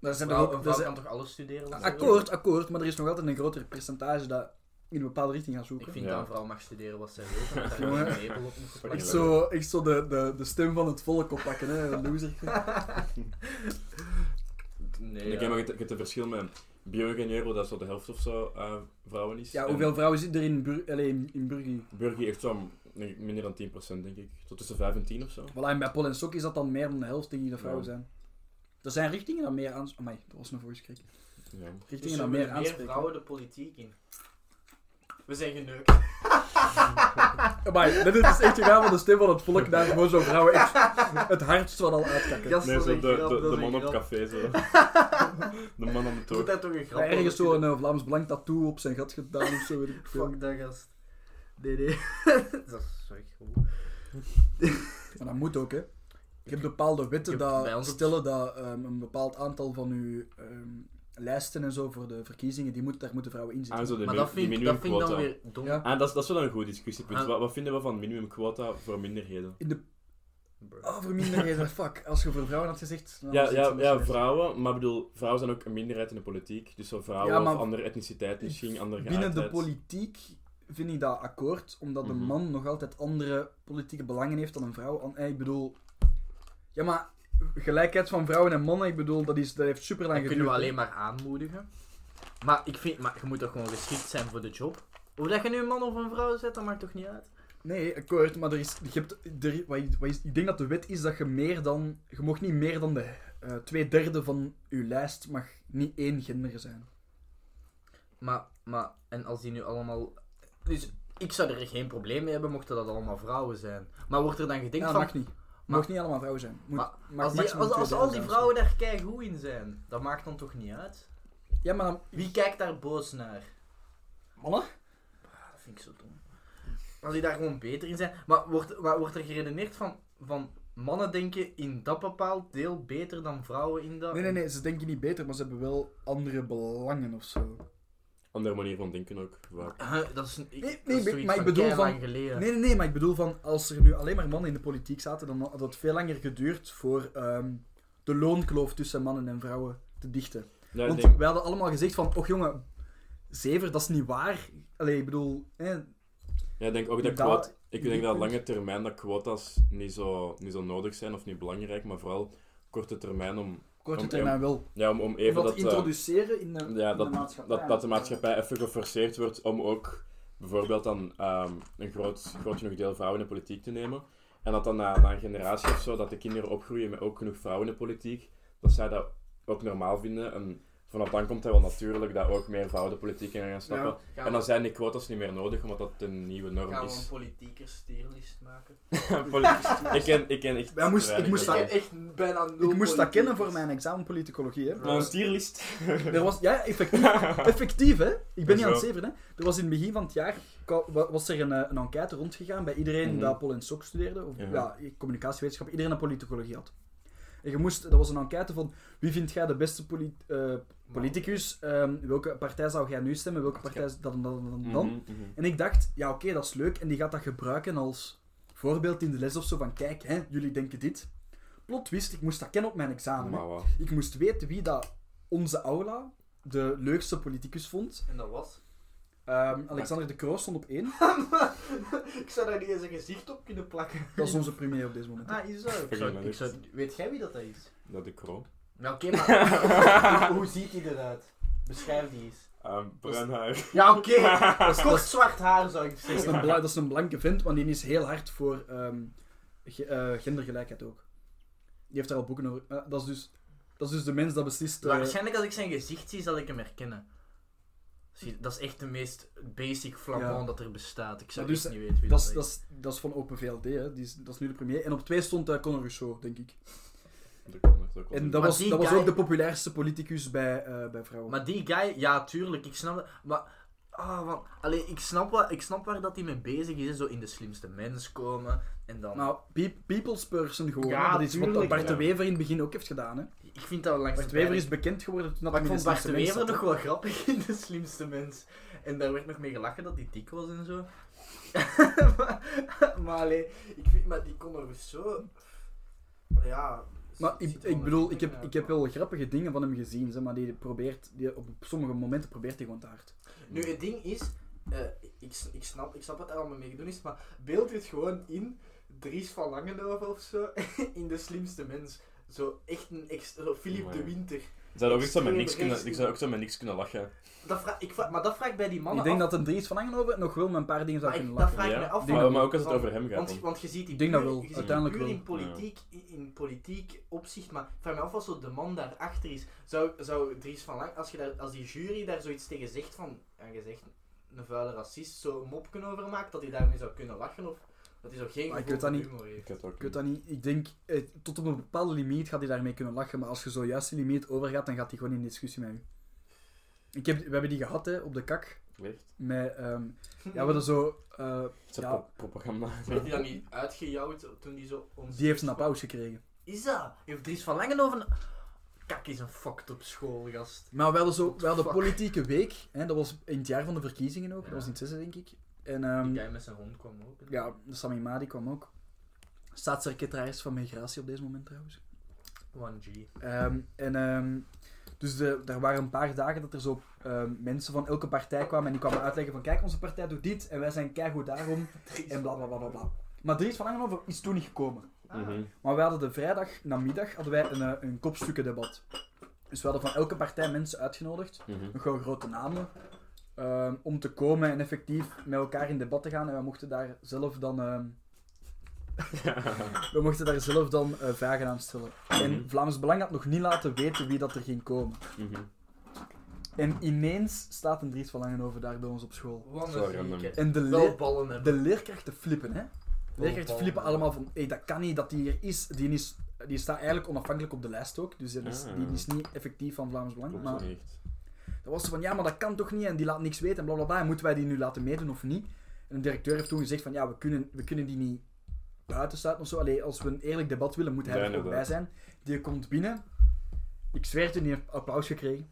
Speaker 2: Daar zijn er
Speaker 1: Vrouw,
Speaker 2: ook...
Speaker 1: een
Speaker 2: daar
Speaker 1: vrouw
Speaker 2: zijn-
Speaker 1: kan toch alles studeren? als
Speaker 2: akkoord, akkoord. Maar er is nog altijd een groter percentage dat in een bepaalde richting gaat
Speaker 1: ze wil? Ik
Speaker 2: zoeken.
Speaker 1: vind
Speaker 3: Ja.
Speaker 1: dat een vrouw mag studeren wat zij wil. maar
Speaker 2: Jongen.
Speaker 1: daar is een label op moeten
Speaker 3: Fucking
Speaker 2: Echt
Speaker 1: plakken.
Speaker 2: zo, echt zo de, de, de stem van het volk oppakken, hè. Loser.
Speaker 1: Nee,
Speaker 3: En ik
Speaker 1: ja.
Speaker 3: heb maar je hebt- je hebt het verschil met bio-ingenieur, waar dat zo de helft of zo eh, vrouwen is.
Speaker 2: Ja,
Speaker 3: En
Speaker 2: hoeveel vrouwen zit er in, Bur allee, in, in Burgie?
Speaker 3: Burgie heeft zo'n nee, minder dan 10%, denk ik. Tot tussen 5 en 10 of zo.
Speaker 2: Voilà, en bij Pol en Sok is dat dan meer dan de helft die de vrouwen
Speaker 3: Ja.
Speaker 2: zijn. Er zijn richtingen dat meer aan... Amai, dat was een voice crack.
Speaker 3: Ja.
Speaker 1: Dus
Speaker 2: Richtingen
Speaker 1: er
Speaker 2: dat
Speaker 1: willen
Speaker 2: meer
Speaker 1: meer
Speaker 2: aanspreken.
Speaker 1: vrouwen de politiek in. We zijn geneukt.
Speaker 2: Maar dit is echt gegaan van de stem van het volk naar gewoon zo'n vrouwen echt het hardst van al uitkakken.
Speaker 1: Gast,
Speaker 3: Nee,
Speaker 1: dat
Speaker 3: zo
Speaker 1: is
Speaker 3: de,
Speaker 1: een grap,
Speaker 3: de,
Speaker 1: dat
Speaker 3: de
Speaker 1: is een
Speaker 3: man op
Speaker 1: grap.
Speaker 3: café, zo. De man aan de
Speaker 1: Moet
Speaker 3: toog.
Speaker 1: daar toch een grap
Speaker 2: Ja, ergens
Speaker 1: over
Speaker 2: zo'n eh, Vlaams blank tattoo op zijn gat gedaan of zo, weet ik
Speaker 1: kunnen?
Speaker 2: veel.
Speaker 1: Fuck dat gast. Nee, nee. dat is zo echt goed.
Speaker 2: Maar dat moet ook, hè. Je hebt bepaalde wetten
Speaker 1: Ik heb bij
Speaker 2: dat
Speaker 1: ons op-
Speaker 2: stellen dat ehm, een bepaald aantal van uw ehm, lijsten en zo voor de verkiezingen, die moet, daar moeten vrouwen in
Speaker 3: Ah,
Speaker 2: zitten.
Speaker 3: zo de
Speaker 1: Maar
Speaker 3: min-
Speaker 1: dat vind,
Speaker 3: die
Speaker 1: ik- dat vind ik dan
Speaker 3: minimumquota.
Speaker 1: weer dom.
Speaker 2: Ja.
Speaker 3: Ah, dat, is, dat is wel een goed discussiepunt.
Speaker 1: Ah.
Speaker 3: Wat, wat vinden we van minimumquota voor minderheden?
Speaker 2: In de...
Speaker 1: Bro.
Speaker 2: Ah, voor minderheden, fuck. Als je voor vrouwen had gezegd... dan was
Speaker 3: Ja,
Speaker 2: het
Speaker 3: ja,
Speaker 2: anders
Speaker 3: ja,
Speaker 2: geweest.
Speaker 3: vrouwen, maar ik bedoel, vrouwen zijn ook een minderheid in de politiek. Dus zo vrouwen
Speaker 2: Ja, maar
Speaker 3: of andere etniciteit misschien, andere
Speaker 2: Binnen de
Speaker 3: geaardheid.
Speaker 2: politiek vind ik dat akkoord, omdat
Speaker 3: Mhm.
Speaker 2: een man nog altijd andere politieke belangen heeft dan een vrouw. An- eh, Ik bedoel, ja, maar gelijkheid van vrouwen en mannen, ik bedoel, dat, is, dat heeft super lang
Speaker 1: Dat
Speaker 2: geduurd.
Speaker 1: kunnen we
Speaker 2: hè.
Speaker 1: alleen maar aanmoedigen. Maar ik vind, maar je moet toch gewoon geschikt zijn voor de job? Hoe dat je nu een man of een vrouw zet, dat maakt toch niet uit?
Speaker 2: Nee, akkoord, maar er is, je hebt, er, wat, is- wat is, ik denk dat de wet is dat je meer dan, je mag niet meer dan de eh, twee derde van je lijst mag niet één gender zijn.
Speaker 1: Maar, maar, en als die nu allemaal... Dus ik zou er geen probleem mee hebben mochten dat allemaal vrouwen zijn. Maar wordt er dan gedenkt
Speaker 2: ja, dat
Speaker 1: van...
Speaker 2: mag niet.
Speaker 1: Maar-
Speaker 2: mag niet allemaal vrouwen zijn. Moet,
Speaker 1: Maar
Speaker 2: mag
Speaker 1: als, die,
Speaker 2: maximum
Speaker 1: als,
Speaker 2: twee
Speaker 1: als
Speaker 2: derde
Speaker 1: al die
Speaker 2: zijn.
Speaker 1: vrouwen daar keigoed in zijn, dat maakt dan toch niet uit?
Speaker 2: Ja, maar dan-
Speaker 1: Wie kijkt daar boos naar?
Speaker 2: mannen?
Speaker 1: vind ik zo dom. Als die daar gewoon beter in zijn. Maar wordt, maar wordt er geredeneerd van, van mannen denken in dat bepaald deel beter dan vrouwen in dat?
Speaker 2: Nee, nee, nee, ze denken niet beter, maar ze hebben wel andere belangen of zo.
Speaker 3: Andere manier van denken ook. Waar.
Speaker 1: Eh, dat is, ik,
Speaker 2: nee,
Speaker 1: dat is
Speaker 2: maar
Speaker 1: zoiets
Speaker 2: ik
Speaker 1: van
Speaker 2: bedoel
Speaker 1: keilang
Speaker 2: van-
Speaker 1: geleden.
Speaker 2: Nee, nee, nee, maar ik bedoel van als er nu alleen maar mannen in de politiek zaten, dan had het veel langer geduurd voor ehm, de loonkloof tussen mannen en vrouwen te dichten.
Speaker 3: Ja, ik
Speaker 2: Want
Speaker 3: denk,
Speaker 2: wij hadden allemaal gezegd van, och jongen, zever, dat is niet waar. Allee, ik bedoel, eh,
Speaker 3: ja, ik denk ook dat
Speaker 2: daar-
Speaker 3: quota, ik
Speaker 2: die
Speaker 3: denk dat
Speaker 2: punt-
Speaker 3: lange termijn dat quotas niet zo, niet zo nodig zijn of niet belangrijk, maar vooral korte termijn om,
Speaker 2: korte
Speaker 3: Om-
Speaker 2: termijn wel.
Speaker 3: ja, om, om
Speaker 2: Om
Speaker 3: even
Speaker 2: dat
Speaker 3: dat,
Speaker 2: te
Speaker 3: eh,
Speaker 2: introduceren in de,
Speaker 3: ja,
Speaker 2: in
Speaker 3: dat,
Speaker 2: de maatschappij.
Speaker 3: dat, dat de maatschappij even geforceerd wordt om ook bijvoorbeeld dan ehm, een groot, groot genoeg deel vrouwen in de politiek te nemen. En dat dan na, na een generatie of zo, dat de kinderen opgroeien met ook genoeg vrouwen in de politiek, dat zij dat ook normaal vinden. En vanaf dan komt dat wel natuurlijk dat ook meer vrouwen de politiek in gaan stappen.
Speaker 2: Ja.
Speaker 1: Gaan
Speaker 3: En dan
Speaker 1: we-
Speaker 3: zijn die quotas niet meer nodig, omdat dat de nieuwe norm
Speaker 1: gaan we een
Speaker 3: is.
Speaker 1: politieker steerlist maken?
Speaker 3: Politiek- ik, ken, ik ken echt
Speaker 2: Ja, moest-
Speaker 3: te
Speaker 2: ik
Speaker 3: weinig
Speaker 2: moest
Speaker 1: Ik
Speaker 3: daarvan.
Speaker 1: ken echt bijna nul
Speaker 2: Ik moest dat kennen voor
Speaker 1: politiekers.
Speaker 2: mijn examen politicologie, hè.
Speaker 3: Maar een tierlist.
Speaker 2: Er was, ja, effectief, effectief, hè. Ik ben niet aan het
Speaker 3: Zo.
Speaker 2: zeven, hè. Er was in het begin van het jaar ka- wa- was er een, eh, een enquête rondgegaan bij iedereen
Speaker 3: Mhm.
Speaker 2: die Apple en SOC studeerde, of ja.
Speaker 3: Ja.
Speaker 2: communicatiewetenschap, iedereen dat politicologie had. En je moest, dat was een enquête van wie vindt jij de beste poli- eh, politicus, ehm, welke partij zou jij nu stemmen, welke partij is dan, dan, dan, dan.
Speaker 3: Mhm, mhm.
Speaker 2: En ik dacht, ja oké, dat is leuk, en die gaat dat gebruiken als voorbeeld in de les of zo, van kijk, hè, jullie denken dit. Plot twist, ik moest dat kennen op mijn examen. hè.
Speaker 3: Maar wat.
Speaker 2: Ik moest weten wie dat onze aula de leukste politicus vond.
Speaker 1: En dat was?
Speaker 2: Ehm, Alexander de Croo stond op één.
Speaker 1: Ik zou daar niet eens een gezicht op kunnen plakken.
Speaker 2: Dat is onze premier op dit moment.
Speaker 1: Ah, is dat? Ik zou, ik zou, weet jij wie dat is?
Speaker 3: Dat de kro.
Speaker 1: Nou, oké, maar hoe, hoe ziet hij eruit? Beschrijf die eens.
Speaker 3: Ehm bruin haar.
Speaker 1: Ja, oké. Kort zwart haar zou ik
Speaker 2: Dat is,
Speaker 1: zeggen.
Speaker 2: een bla- dat is een blanke vent, want die is heel hard voor ehm, ge- eh, gendergelijkheid ook. Die heeft daar al boeken over. Eh, dat, is dus, dat is dus de mens dat beslist. eh,
Speaker 1: Waarschijnlijk als ik zijn gezicht zie, zal ik hem herkennen. Zie, Dat is echt de meest basic flambant
Speaker 2: Ja.
Speaker 1: dat er bestaat. Ik zou
Speaker 2: Maar dus,
Speaker 1: echt niet weten wie
Speaker 2: dat, is,
Speaker 1: dat, is.
Speaker 2: dat, is, dat is van Open VLD, hè. Die is, dat is nu de premier. En op twee stond eh, Conor Rousseau, denk ik.
Speaker 3: De kro heeft ook wel
Speaker 2: En
Speaker 3: een-
Speaker 2: dat
Speaker 1: Maar
Speaker 2: was,
Speaker 1: die
Speaker 2: dat was
Speaker 1: guy-
Speaker 2: ook de populairste politicus bij, eh, bij vrouwen.
Speaker 1: Maar die guy, ja, tuurlijk, ik snap dat. Maar, ah, man. Allee, ik snap, wat, ik snap waar dat hij mee bezig is. hè. Zo in de slimste mens komen. En dan...
Speaker 2: Nou, pe- people's person geworden.
Speaker 1: Ja,
Speaker 2: dat is wat
Speaker 1: tuurlijk,
Speaker 2: Bart de
Speaker 3: ja.
Speaker 2: Wever in het begin ook heeft gedaan. Hè.
Speaker 1: ik vind dat langs
Speaker 2: Bart de
Speaker 1: de
Speaker 2: Wever
Speaker 1: lijn-
Speaker 2: is bekend geworden toen dat
Speaker 1: Maar ik
Speaker 2: hij
Speaker 1: vond
Speaker 2: in de
Speaker 1: Bart de
Speaker 2: slimste
Speaker 1: Wever
Speaker 2: mens
Speaker 1: nog
Speaker 2: zat,
Speaker 1: wel grappig in De Slimste Mens. En daar werd nog mee gelachen dat hij dik was en zo. maar maar allee, ik vind, maar die Conor Rousseau... Ja...
Speaker 2: hè. Maar
Speaker 1: ziet
Speaker 2: ik,
Speaker 1: er wel
Speaker 2: ik bedoel,
Speaker 1: een
Speaker 2: ik heb,
Speaker 1: ding
Speaker 2: ik
Speaker 1: uit,
Speaker 2: heb wel grappige dingen van hem gezien, zeg, maar die probeert, die op sommige momenten probeert hij gewoon te hard.
Speaker 1: Nu, het ding is, eh, ik, s- ik, snap, ik snap wat er allemaal mee gedaan is, maar beeld het gewoon in Dries van Langenhoven of zo, in de slimste mens. Zo echt een extra, zo Philip
Speaker 3: Maar-
Speaker 1: de Winter.
Speaker 3: Ik zou ook zo met
Speaker 1: Extreem
Speaker 3: niks kunnen, ik
Speaker 1: rechts.
Speaker 3: zou ook zo met niks kunnen lachen.
Speaker 1: Dat vraag, ik vraag, maar dat vraag ik bij die mannen
Speaker 2: ik denk
Speaker 1: af.
Speaker 2: dat een Dries van Engeloven nog wel met een paar dingen zou
Speaker 1: Maar ik-
Speaker 2: kunnen
Speaker 1: dat
Speaker 2: lachen.
Speaker 1: vraag ik
Speaker 3: Ja?
Speaker 1: me af.
Speaker 3: Maar,
Speaker 2: van-
Speaker 3: maar ook als het
Speaker 1: van-
Speaker 3: over hem gaat.
Speaker 1: Want,
Speaker 3: dan.
Speaker 1: want je ziet die
Speaker 2: Ik denk dat
Speaker 1: puur-
Speaker 2: wel,
Speaker 1: je ziet
Speaker 2: uiteindelijk
Speaker 1: die puur
Speaker 2: wel.
Speaker 1: in politiek, in, in politiek opzicht, maar ik vraag me af als zo de man daarachter is. Zou, zou Dries van Lang, als, je daar, als die jury daar zoiets tegen zegt van, ja, gezegd een vuile racist, zo'n mop kunnen overmaakt, dat hij daarmee zou kunnen lachen of dat hij zo geen
Speaker 2: Maar ik
Speaker 1: gevoel
Speaker 2: weet dat
Speaker 1: voor
Speaker 2: niet.
Speaker 1: humor heeft.
Speaker 3: Ik had ook
Speaker 2: Ik weet dat niet, ik denk, eh, tot op een bepaalde limiet gaat hij daarmee kunnen lachen, maar als je zojuist die limiet overgaat, dan gaat hij gewoon in discussie met u. Ik heb, we hebben die gehad, hè, op de kak,
Speaker 3: Echt?
Speaker 2: met, ehm, ja, we hadden zo, eh,
Speaker 3: Het is
Speaker 2: Ja.
Speaker 3: pro- propaganda. Mhm,
Speaker 1: Heeft hij dat niet uitgejouwd toen die zo ons...
Speaker 2: die heeft een applaus gekregen.
Speaker 1: Is dat? Heeft Dries van Langenhoven... Kak is een fucked op school, gast.
Speaker 2: Maar we hadden, zo, we hadden
Speaker 1: Fuck.
Speaker 2: politieke week, hè, dat was in het jaar van de verkiezingen ook, dat was in het zesde denk ik. En ehm,
Speaker 1: Die guy met zijn hond kwam ook.
Speaker 2: ja, Sami Madi kwam ook. Staatssecretaris van Migratie op deze moment trouwens.
Speaker 1: 1G.
Speaker 2: Ehm, en ehm, dus de, er waren een paar dagen dat er zo ehm, mensen van elke partij kwamen en die kwamen uitleggen van kijk, onze partij doet dit en wij zijn keigoed daarom en bla bla bla bla. bla. Maar Dries van Langenhoven is toen niet gekomen.
Speaker 3: Mhm.
Speaker 2: Maar wij hadden de vrijdag namiddag hadden wij een, eh, een kopstukkendebat. Dus we hadden van elke partij mensen uitgenodigd
Speaker 3: Mhm.
Speaker 2: nogal grote namen. ehm, om te komen en effectief met elkaar in debat te gaan. En we mochten daar zelf dan, ehm, we mochten daar zelf dan eh, vragen aan stellen. En
Speaker 3: Mhm.
Speaker 2: Vlaams Belang had nog niet laten weten wie dat er ging komen.
Speaker 3: Mhm.
Speaker 2: En ineens staat een Dries van Langenhoven daar bij ons op school.
Speaker 1: Wat
Speaker 3: Zo
Speaker 1: een
Speaker 3: random.
Speaker 1: zieke.
Speaker 2: En de,
Speaker 1: Ah, Wel
Speaker 2: leer-
Speaker 1: ballen hebben.
Speaker 2: de leerkrachten flippen, hè. De leerkrachten
Speaker 1: ballen
Speaker 2: flippen
Speaker 1: hebben.
Speaker 2: allemaal van, hey, dat kan niet dat die hier is. Die, is. die staat eigenlijk onafhankelijk op de lijst ook. Dus die is,
Speaker 3: Ah.
Speaker 2: die is niet effectief van Vlaams Belang.
Speaker 3: Klopt
Speaker 2: Maar
Speaker 3: niet echt.
Speaker 2: Dat was zo van, ja, maar dat kan toch niet en die laat niks weten en blablabla. En moeten wij die nu laten meedoen of niet? En de directeur heeft toen gezegd van ja, we kunnen, we kunnen die niet buiten sluiten of zo. Allee, als we een eerlijk debat willen, moet hij
Speaker 3: Ja,
Speaker 2: er ook bij
Speaker 3: inderdaad.
Speaker 2: zijn. Die komt binnen. Ik zweer het u, die heeft applaus gekregen.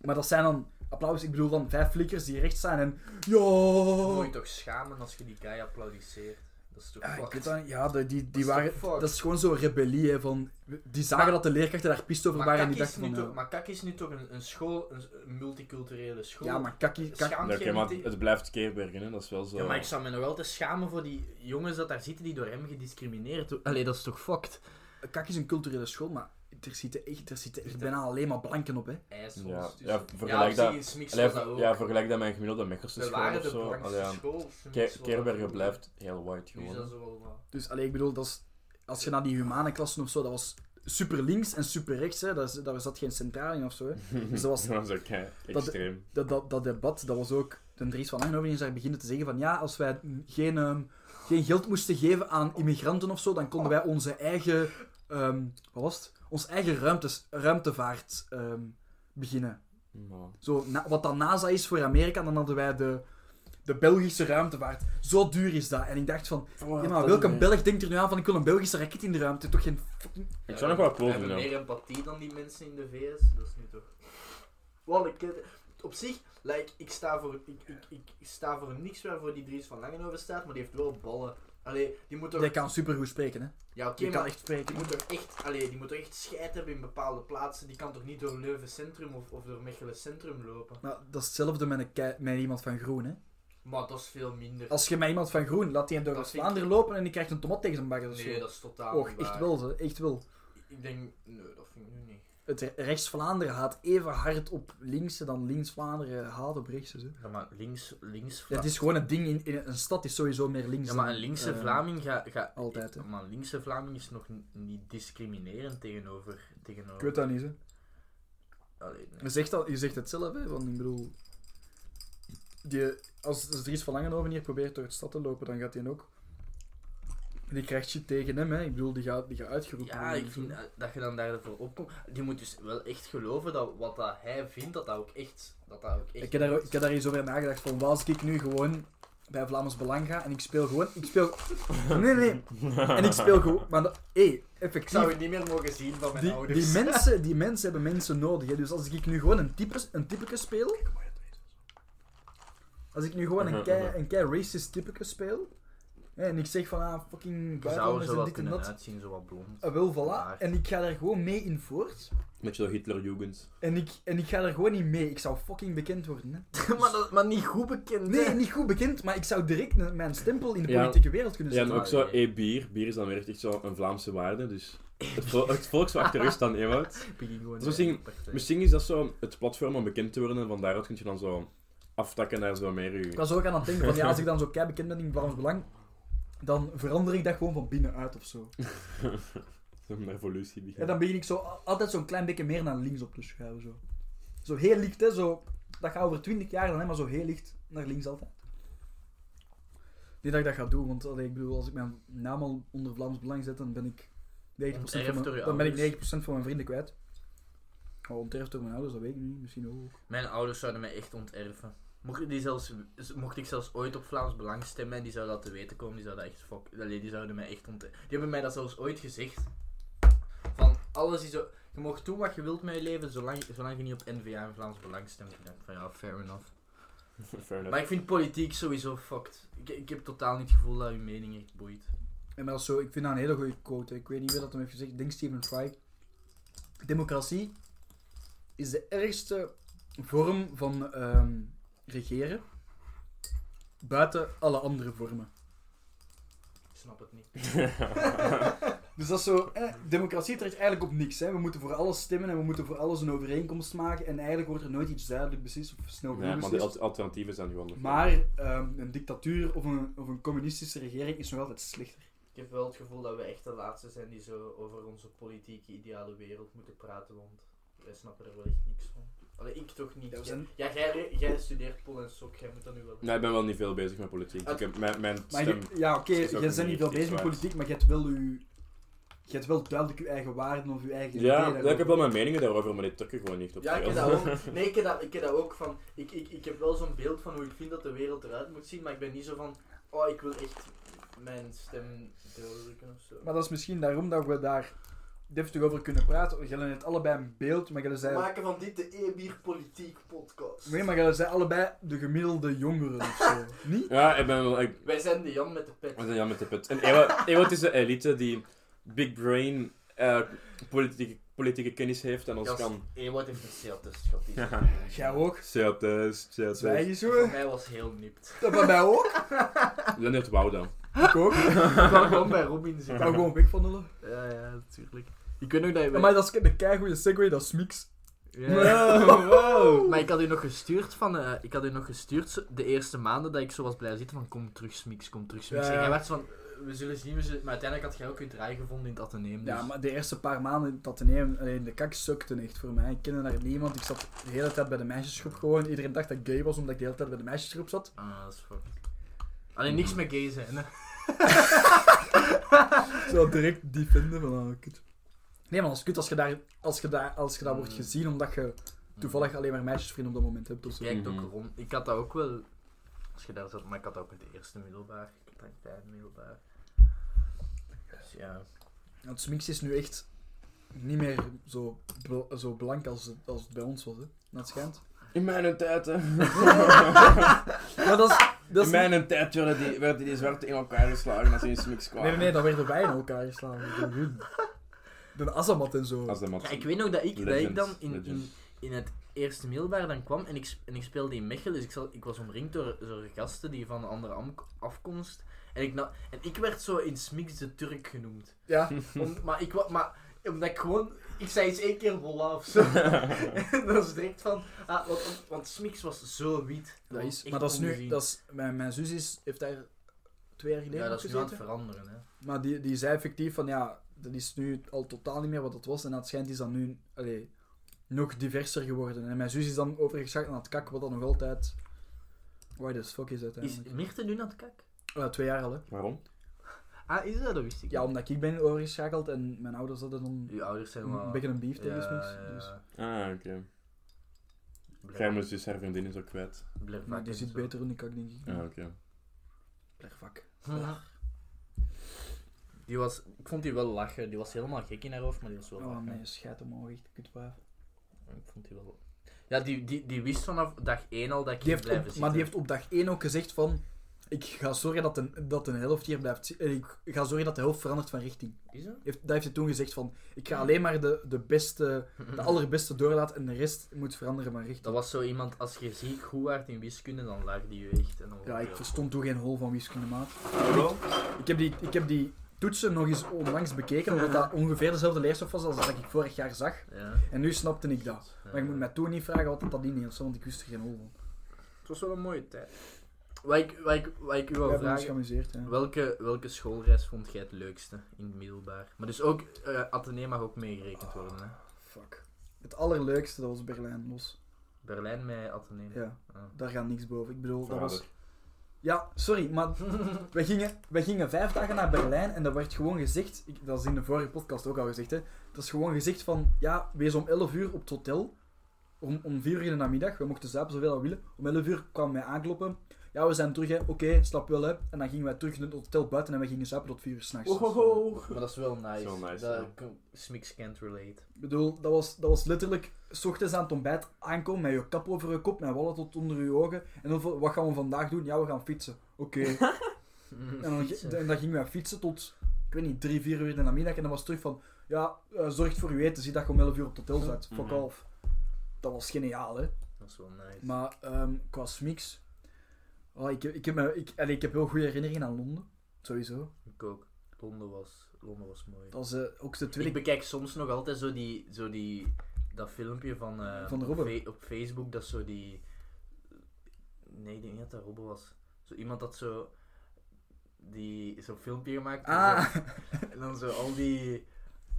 Speaker 2: Maar dat zijn dan applaus, ik bedoel dan vijf flikkers die recht staan en ja.
Speaker 1: Dan moet je toch schamen als je die guy applaudisseert. Dat is toch
Speaker 2: Oh. Ja, ik
Speaker 1: fucked?
Speaker 2: weet dat niet. Ja, die, die, die
Speaker 1: Dat is
Speaker 2: waren...
Speaker 1: toch fucked?
Speaker 2: Dat is gewoon zo'n rebellie, hè, van... Die zagen
Speaker 1: Maar-
Speaker 2: dat de leerkrachten daar pist over
Speaker 1: Maar
Speaker 2: waren en
Speaker 1: Kak
Speaker 2: die
Speaker 1: is
Speaker 2: dachten
Speaker 1: nu
Speaker 2: van...
Speaker 1: toch-
Speaker 2: ja,
Speaker 1: Maar Kak is nu toch een, een school, een, een multiculturele school.
Speaker 2: ja, maar kakkie... kak-
Speaker 1: Schaam
Speaker 3: Ja,
Speaker 1: je
Speaker 3: oké, maar
Speaker 1: niet-
Speaker 3: het blijft Keerbergen, hè. Dat is wel zo...
Speaker 1: Ja, maar ik zou me nog altijd schamen voor die jongens dat daar zitten die door hem gediscrimineerd worden. Allee, dat is toch fucked?
Speaker 2: Kak is een culturele school, maar er zitten echt, er zitten echt bijna alleen maar blanken op, hè.
Speaker 1: IJssels
Speaker 3: Ja,
Speaker 1: tussen.
Speaker 3: ja,
Speaker 1: dus- ja, op
Speaker 3: vergelijk
Speaker 1: zich
Speaker 3: dat...
Speaker 1: in Smiks
Speaker 3: Allee,
Speaker 1: was dat ook.
Speaker 3: ja, vergelijk dat met een gemiddelde Mechelse
Speaker 1: we
Speaker 3: school
Speaker 1: waren
Speaker 3: of
Speaker 1: de
Speaker 3: zo. Allee,
Speaker 1: blankste
Speaker 3: ja.
Speaker 1: school.
Speaker 3: Ke-
Speaker 1: Smiks was dat
Speaker 3: Keerbergen
Speaker 1: ook.
Speaker 3: blijft heel white
Speaker 1: Nu is
Speaker 3: gewoon.
Speaker 1: dat
Speaker 3: hè.
Speaker 1: zo wel wat.
Speaker 2: Dus, alleen ik bedoel, dat is... Als je naar die humane klassen of zo, dat was super links en super rechts, hè. Daar, z- daar zat geen centraal in of zo, hè. Dus dat was-
Speaker 3: dat is ook hè, extreem.
Speaker 2: Dat, dat, dat debat, dat was ook... De Dries van Langenhoven is daar beginnen te zeggen van... Ja, als wij geen, ehm, geen geld moesten geven aan immigranten of zo, dan konden wij onze eigen... ehm, wat was het? Ons eigen ruimtes, ruimtevaart ehm, beginnen.
Speaker 3: Maar-
Speaker 2: Zo, na- wat dan NASA is voor Amerika, dan hadden wij de, de Belgische ruimtevaart. Zo duur is dat. En ik dacht van... Ja, maar welke Belg denkt er nu aan van... Ik wil een Belgische raket in de ruimte. Toch geen... fucking-
Speaker 3: Ik zou nog wel
Speaker 1: We
Speaker 3: cool
Speaker 1: hebben
Speaker 3: vinden.
Speaker 1: meer empathie dan die mensen in de VS. Dat is nu toch. Wel, ik, op zich, like, ik, sta voor, ik, ik, ik, ik sta voor niks waarvoor die Dries van Langenhoven staat, maar die heeft wel ballen. Allee, die moet toch.
Speaker 2: Jij kan supergoed spreken, hè.
Speaker 1: Ja, oké,
Speaker 2: Je kan
Speaker 1: maar
Speaker 2: echt spreken.
Speaker 1: die moet toch echt, allee, die moet toch echt scheid hebben in bepaalde plaatsen. Die kan toch niet door Leuven Centrum of, of door Mechelen Centrum lopen.
Speaker 2: Maar dat is hetzelfde met, een kei- met iemand van Groen, hè.
Speaker 1: Maar dat is veel minder.
Speaker 2: Als je met iemand van groen laat die hem door
Speaker 1: Dat
Speaker 2: het
Speaker 1: vind
Speaker 2: Vlaanderen lopen en die krijgt een tomat tegen zijn bakken. of
Speaker 1: Nee,
Speaker 2: zo.
Speaker 1: dat is totaal.
Speaker 2: Och,
Speaker 1: niet
Speaker 2: echt
Speaker 1: waar.
Speaker 2: wel, ze, echt wel.
Speaker 1: Ik denk, nee, dat vind ik nu niet.
Speaker 2: Het re- rechts-Vlaanderen haat even hard op linkse dan links-Vlaanderen haat op rechtse. Zo.
Speaker 1: Ja, maar links, links
Speaker 2: Dat is gewoon een ding in, in een stad, is sowieso meer links.
Speaker 1: Ja, maar
Speaker 2: dan,
Speaker 1: een linkse
Speaker 2: eh,
Speaker 1: Vlaming gaat... Ga,
Speaker 2: altijd, hè.
Speaker 1: Maar een linkse Vlaming is nog n- niet discriminerend tegenover... tegenover
Speaker 2: Ik weet dat niet, hè.
Speaker 1: Allee, nee.
Speaker 2: Je zegt, dat, je zegt het zelf, hè, want ik bedoel... Die, als, als Dries van Langenhoven hier probeert door de stad te lopen, dan gaat hij ook... Die krijgt shit tegen hem, hè. Ik bedoel, die gaat, die gaat uitgeroepen
Speaker 1: Ja,
Speaker 2: worden
Speaker 1: ik
Speaker 2: en zo.
Speaker 1: vind eh, dat je dan daarvoor opkomt. Die moet dus wel echt geloven dat wat dat hij vindt, dat dat ook echt... Dat dat ook echt
Speaker 2: Ik heb, daar,
Speaker 1: klopt.
Speaker 2: ik heb daar eens over nagedacht van, wat als ik nu gewoon bij Vlaams Belang ga en ik speel gewoon, ik speel, nee nee, en ik speel gewoon, maar dat- hé,
Speaker 1: Ik zou
Speaker 2: effectief,
Speaker 1: het niet meer mogen zien van mijn
Speaker 2: die, die,
Speaker 1: ouders.
Speaker 2: mensen, die mensen hebben mensen nodig, hè. dus als ik nu gewoon een types, een typeke speel, als ik nu
Speaker 3: Mhm,
Speaker 2: gewoon een kei, een kei racist typeke speel, hè, en ik zeg van, ah, fucking
Speaker 1: zou
Speaker 2: buitenlanders
Speaker 1: zo
Speaker 2: en
Speaker 1: wel
Speaker 2: dit en
Speaker 1: kunnen
Speaker 2: dat,
Speaker 1: uitzien, zo wat blond.
Speaker 2: ah, wel,
Speaker 1: Maar-
Speaker 2: voilà, en ik ga daar gewoon mee in voort,
Speaker 3: Beetje door Hitlerjugend.
Speaker 2: en ik, en ik ga daar gewoon niet mee, ik zou fucking bekend worden, hè.
Speaker 1: maar, dat, maar niet goed bekend,
Speaker 2: Nee,
Speaker 1: hè.
Speaker 2: niet goed bekend, maar ik zou direct een- mijn stempel in de
Speaker 3: Ja.
Speaker 2: politieke wereld
Speaker 1: Dus
Speaker 2: kunnen
Speaker 3: Ja,
Speaker 2: zetten.
Speaker 3: maar ook zo, hé, bier. Bier is dan weer echt zo een Vlaamse waarde, dus... Het, vo het volk zou achteruit staan, Ewout.
Speaker 1: Ik begin gewoon...
Speaker 3: Zo zien- Misschien is dat zo het platform om bekend te worden, en van daaruit kun je dan zo aftakken naar zo meer
Speaker 2: Ik
Speaker 3: je...
Speaker 2: was ook aan het denken van, ja, als ik dan zo kei bekend ben in Vlaams Belang, dan verander ik dat gewoon van binnenuit of zo.
Speaker 3: Een revolutie
Speaker 2: En
Speaker 3: beginnen.
Speaker 2: dan begin ik zo a- altijd zo'n klein beetje meer naar links op te schuiven. Zo, zo heel licht, hè. Zo, dat gaat over 20 jaar dan, hè, maar zo heel licht naar links altijd. Niet dat ik dat ga doen, want allee, ik bedoel, als ik mijn naam al onder Vlaams Belang zet, dan ben ik 90%, van
Speaker 1: Onterfd
Speaker 2: mijn,
Speaker 1: door je
Speaker 2: dan ben ik
Speaker 1: ouders.
Speaker 2: 90 van mijn vrienden kwijt. Oh, onterfd door mijn ouders, dat weet ik niet. Misschien ook.
Speaker 1: Mijn ouders zouden mij echt onterven. Mocht, die zelfs, mocht ik zelfs ooit op Vlaams Belang stemmen en die zouden dat te weten komen, die zouden echt fuck. Allee, die zouden mij echt onterven. Die hebben mij dat zelfs ooit gezegd. Van alles is zo. Je mag doen wat je wilt met je leven, zolang, zolang je niet op NVA en Vlaams Belang stemt. Ik denk van ja, fair enough.
Speaker 3: Fair enough.
Speaker 1: Maar ik vind politiek sowieso fucked. Ik, ik heb totaal niet het gevoel dat uw mening echt boeit.
Speaker 2: En maar dat is zo, ik vind dat een hele goede quote. hè. Ik weet niet wie dat hem heeft gezegd. Ik denk Stephen Fry. Democratie is de ergste vorm van ehm, regeren. Buiten alle andere vormen.
Speaker 1: Ik snap het niet.
Speaker 2: Dus dat is zo. Eh, democratie trekt eigenlijk op niks. Hè. We moeten voor alles stemmen en we moeten voor alles een overeenkomst maken. En eigenlijk wordt er nooit iets duidelijk beslist of snel genoeg
Speaker 3: Ja, maar de
Speaker 1: dus-
Speaker 2: beslist.
Speaker 3: al- alternatieven zijn gewoon nog...
Speaker 2: Maar ehm, een dictatuur of een, of een communistische regering is nog altijd slechter.
Speaker 1: Ik heb wel het gevoel dat we echt de laatste zijn die zo over onze politieke ideale wereld moeten praten, want wij snappen er wel echt niks van. Allee, ik toch niet.
Speaker 2: Ja,
Speaker 1: Ja,
Speaker 2: we zijn-
Speaker 1: jij, jij studeert Pool en Sok, jij moet dat nu wel...
Speaker 3: Nee, ik ben wel niet veel bezig met politiek. dus Ik heb mijn, mijn
Speaker 2: Maar
Speaker 3: stem...
Speaker 2: je- ja, oké,
Speaker 3: is ook
Speaker 2: jij bent
Speaker 3: niet
Speaker 2: niet veel
Speaker 3: echt
Speaker 2: bezig met
Speaker 3: waar.
Speaker 2: politiek, maar je hebt wel uw je hebt wel duidelijk je eigen waarden of je eigen
Speaker 3: Ja,
Speaker 2: ideeën
Speaker 3: ja, ik heb wel
Speaker 2: daarover.
Speaker 3: mijn meningen daarover, maar die tukken gewoon niet op
Speaker 1: Ja, ik
Speaker 3: veel.
Speaker 1: heb dat ook. Nee, ik heb dat, ik heb dat ook van. Ik, ik, ik heb wel zo'n beeld van hoe ik vind dat de wereld eruit moet zien, maar ik ben niet zo van. Oh, ik wil echt mijn stem drukken of zo.
Speaker 2: Maar dat is misschien daarom dat we daar deftig over kunnen praten. Jullie hebben allebei een beeld, maar jullie
Speaker 1: We
Speaker 2: zijn...
Speaker 1: maken van dit de Ebier Politiek Podcast.
Speaker 2: Nee, maar jullie zijn allebei de gemiddelde jongeren of zo. Niet?
Speaker 3: Ja, ik ben wel... Ik,
Speaker 1: Wij zijn de Jan met de pet.
Speaker 3: we zijn jammer met de put. En Ewa, Ewa is de elite die big brain eh, politieke, politieke kennis heeft en ons kan...
Speaker 1: Ewart heeft een CL-test gehad. die is-
Speaker 3: Ja.
Speaker 2: Jij ook.
Speaker 3: Zeeltest,
Speaker 2: Wij
Speaker 3: zeeltest.
Speaker 2: is
Speaker 1: Voor
Speaker 2: hoor.
Speaker 1: mij was heel nipt.
Speaker 2: Dat bij mij ook.
Speaker 3: Dan heeft Wauw dan.
Speaker 2: Ik ook.
Speaker 1: Ik kwam gewoon bij Robin
Speaker 2: Ik wou
Speaker 1: zitten.
Speaker 2: gewoon weg van hulle.
Speaker 1: Ja, ja, natuurlijk. Ik weet nog dat je... bij-
Speaker 2: Maar dat is een keigoede segue, dat is mix.
Speaker 1: Ja.
Speaker 2: Wow, Oh, wow.
Speaker 1: Maar ik had u nog gestuurd van, eh, ik had u nog gestuurd zo- de eerste maanden dat ik zo was blijven zitten van kom terug Smix, kom terug Smix.
Speaker 2: Ja,
Speaker 1: En
Speaker 2: ja.
Speaker 1: jij werd zo van, eh, we zullen zien, we zullen... maar uiteindelijk had jij ook je draai gevonden in het ateneum. Dus.
Speaker 2: Ja, maar de eerste paar maanden dat te nemen, alleen de kak sukte echt voor mij. Ik kende daar niemand. Ik zat de hele tijd bij de meisjesgroep gewoon. Iedereen dacht dat ik gay was omdat ik de hele tijd bij de meisjesgroep zat.
Speaker 1: Ah, dat is fucked. Alleen niks
Speaker 2: Mhm.
Speaker 1: met gay zijn, hè.
Speaker 2: Zo direct die vinden van ah, kut. Mm. Nee, maar als kut als je daar, als je daar, als je daar wordt gezien omdat je toevallig alleen maar meisjesvrienden op dat moment hebt of zo.
Speaker 1: Je kijkt
Speaker 3: Mhm.
Speaker 1: ook rond. Ik had dat ook wel, als je daar zat, maar ik had dat ook in de eerste middelbaar. Ik had dat in het derde middelbaar. Dus ja.
Speaker 2: Want Smix is nu echt niet meer zo, bl- zo blank als het, als het bij ons was, hè. Dat schijnt.
Speaker 3: In mijn tijd, hè.
Speaker 2: Maar dat is... Dat
Speaker 3: In
Speaker 2: is
Speaker 3: mijn tijd werden die, werden die zwarte in elkaar geslagen als ze in Smix kwamen.
Speaker 2: Nee, nee, nee, dan werden wij in elkaar geslagen. door hun. De Azamat en zo.
Speaker 3: Als de mat-
Speaker 1: Ja, ik weet nog dat ik, dat ik
Speaker 3: Legend,
Speaker 1: dan in, in,
Speaker 3: legend.
Speaker 1: in het eerste middelbaar dan kwam en ik, sp- en ik speelde in Mechelen, dus ik, zat, ik was omringd door, door gasten die van een andere amk- afkomst. En ik, na, en ik werd zo in Smiks de Turk genoemd.
Speaker 2: Ja,
Speaker 1: Om, maar ik wa- maar omdat ik gewoon, ik zei eens één keer bolla of zo. en dat is direct van, ah, want, want- want Smiks was zo wit.
Speaker 2: dat is.
Speaker 1: echt
Speaker 2: Maar dat is nu.
Speaker 1: ongezien.
Speaker 2: Dat is, mijn, mijn zus is, heeft daar twee jaar geleden
Speaker 1: ja, dat
Speaker 2: op
Speaker 1: is nu aan het
Speaker 2: gezeten.
Speaker 1: veranderen. Hè.
Speaker 2: Maar die, die zei effectief van ja, dat is nu al totaal niet meer wat het was. En dat schijnt is dan nu allee, nog diverser geworden. En mijn zus is dan overgeschakeld naar het kak, wat dan nog altijd. Why the fuck is
Speaker 1: Is
Speaker 2: uiteindelijk?
Speaker 1: Mirte nu aan het kak?
Speaker 2: Eh, twee jaar al hè.
Speaker 3: Waarom?
Speaker 1: Ah, is dat? Dat wist ik
Speaker 2: Ja,
Speaker 1: niet.
Speaker 2: omdat ik ben overgeschakeld en mijn ouders hadden dan
Speaker 1: Uw ouders zijn wel...
Speaker 2: een beetje een beef tegen
Speaker 1: Ja,
Speaker 2: Smix.
Speaker 1: ja,
Speaker 2: Dus.
Speaker 1: ja.
Speaker 3: Ah, oké. Gij moest dus haar vriendin is ook kwijt.
Speaker 1: Blijf
Speaker 2: Maar die
Speaker 1: vaak
Speaker 2: zit
Speaker 1: even zo.
Speaker 2: beter in de kak, denk ik.
Speaker 3: Ah, oké.
Speaker 2: Plervak.
Speaker 1: Die was, ik vond die wel lachen. Die was helemaal gek in haar hoofd, maar die was wel
Speaker 2: Oh
Speaker 1: lachen.
Speaker 2: nee, scheid omhoog, echt kutwijf.
Speaker 1: Ik vond die wel... Ja, die, die, die wist vanaf dag 1 al dat ik
Speaker 2: Die
Speaker 1: hier
Speaker 2: heeft
Speaker 1: blijven
Speaker 2: op,
Speaker 1: zitten.
Speaker 2: maar die heeft op dag 1 ook gezegd van... Ik ga zorgen dat een, dat een helft hier blijft zi- eh, Ik ga zorgen dat de helft verandert van richting.
Speaker 1: Is dat?
Speaker 2: Heeft, dat heeft hij toen gezegd van... Ik ga alleen maar de, de beste... De allerbeste doorlaten en de rest moet veranderen van richting.
Speaker 1: Dat was zo iemand, als je ziek goed waard in wiskunde, dan lag die je echt. En dan
Speaker 2: Ja, ik verstond toen geen hol van wiskunde, maat.
Speaker 3: Waarom?
Speaker 2: Ik heb die, ik heb die toetsen nog eens onlangs bekeken, omdat dat ongeveer dezelfde leerstof was als dat ik vorig jaar zag.
Speaker 1: Ja.
Speaker 2: En nu snapte ik dat. Maar ik moet
Speaker 1: met
Speaker 2: mij toen niet vragen wat dat inhield, want ik wist er geen hol van.
Speaker 1: Het was wel een mooie tijd. Wat ik, wat ik, wat ik u
Speaker 2: We
Speaker 1: wou
Speaker 2: hebben ons
Speaker 1: vragen...
Speaker 2: geamuseerd, hè.
Speaker 1: Welke, welke schoolreis vond jij het leukste in het middelbaar? Maar dus ook, eh Atheneum mag ook meegerekend worden, hè?
Speaker 2: Fuck. Het allerleukste, dat was Berlijn, los.
Speaker 1: Berlijn met Atheneum.
Speaker 2: Ja,
Speaker 1: Ah.
Speaker 2: daar gaat niks boven. Ik bedoel, dat was...
Speaker 3: Vader.
Speaker 2: Ja, sorry, maar we gingen, we gingen vijf dagen naar Berlijn en dat werd gewoon gezegd... Ik, dat is in de vorige podcast ook al gezegd, hè. Dat is gewoon gezegd van, ja, wees om 11 uur op het hotel. Om, om 4 uur in de namiddag, we mochten zuipen zoveel we willen. Om 11 uur kwamen wij aankloppen. Ja, we zijn terug, hè. Oké, slaap wel, hè. En dan gingen wij terug naar het hotel buiten en we gingen zuipen tot 4 uur s'nachts. Dus, eh,
Speaker 3: Oh, oh, oh.
Speaker 1: Maar dat is wel nice.
Speaker 3: Dat is wel nice,
Speaker 1: Dat-
Speaker 3: ja.
Speaker 1: kan- Smiks can't relate.
Speaker 2: Ik bedoel, dat was, dat was letterlijk... S ochtends aan het ontbijt aankomen met je kap over je kop, met wallen tot onder je ogen. En dan van, wat gaan we vandaag doen? Ja, we gaan fietsen. Oké. En dan,
Speaker 1: Fietsen.
Speaker 2: en dan gingen wij fietsen tot, ik weet niet, drie, vier uur in de namiddag. En dan was het terug van, ja, eh, zorg voor je eten. Zie dat je om 11 uur op het hotel zit. Fuck
Speaker 3: Mhm.
Speaker 2: off. Dat was geniaal, hè.
Speaker 1: Dat is wel nice.
Speaker 2: Maar ehm, qua smix... Oh, ik, heb- ik, heb, me- ik, allee, ik heb heel goede herinneringen aan Londen. Sowieso.
Speaker 1: Ik ook. Londen was, Londen was mooi.
Speaker 2: Dat is eh, ook de
Speaker 1: Ik
Speaker 2: tweede...
Speaker 1: bekijk soms nog altijd zo die, zo die dat filmpje van, eh,
Speaker 2: Van de
Speaker 1: op
Speaker 2: Robbe.
Speaker 1: fe- op Facebook, dat zo die... Nee, ik denk niet dat dat Robbe was. Zo iemand dat zo... Die zo'n filmpje gemaakt. en
Speaker 2: Ah,
Speaker 1: zo- En dan zo al die...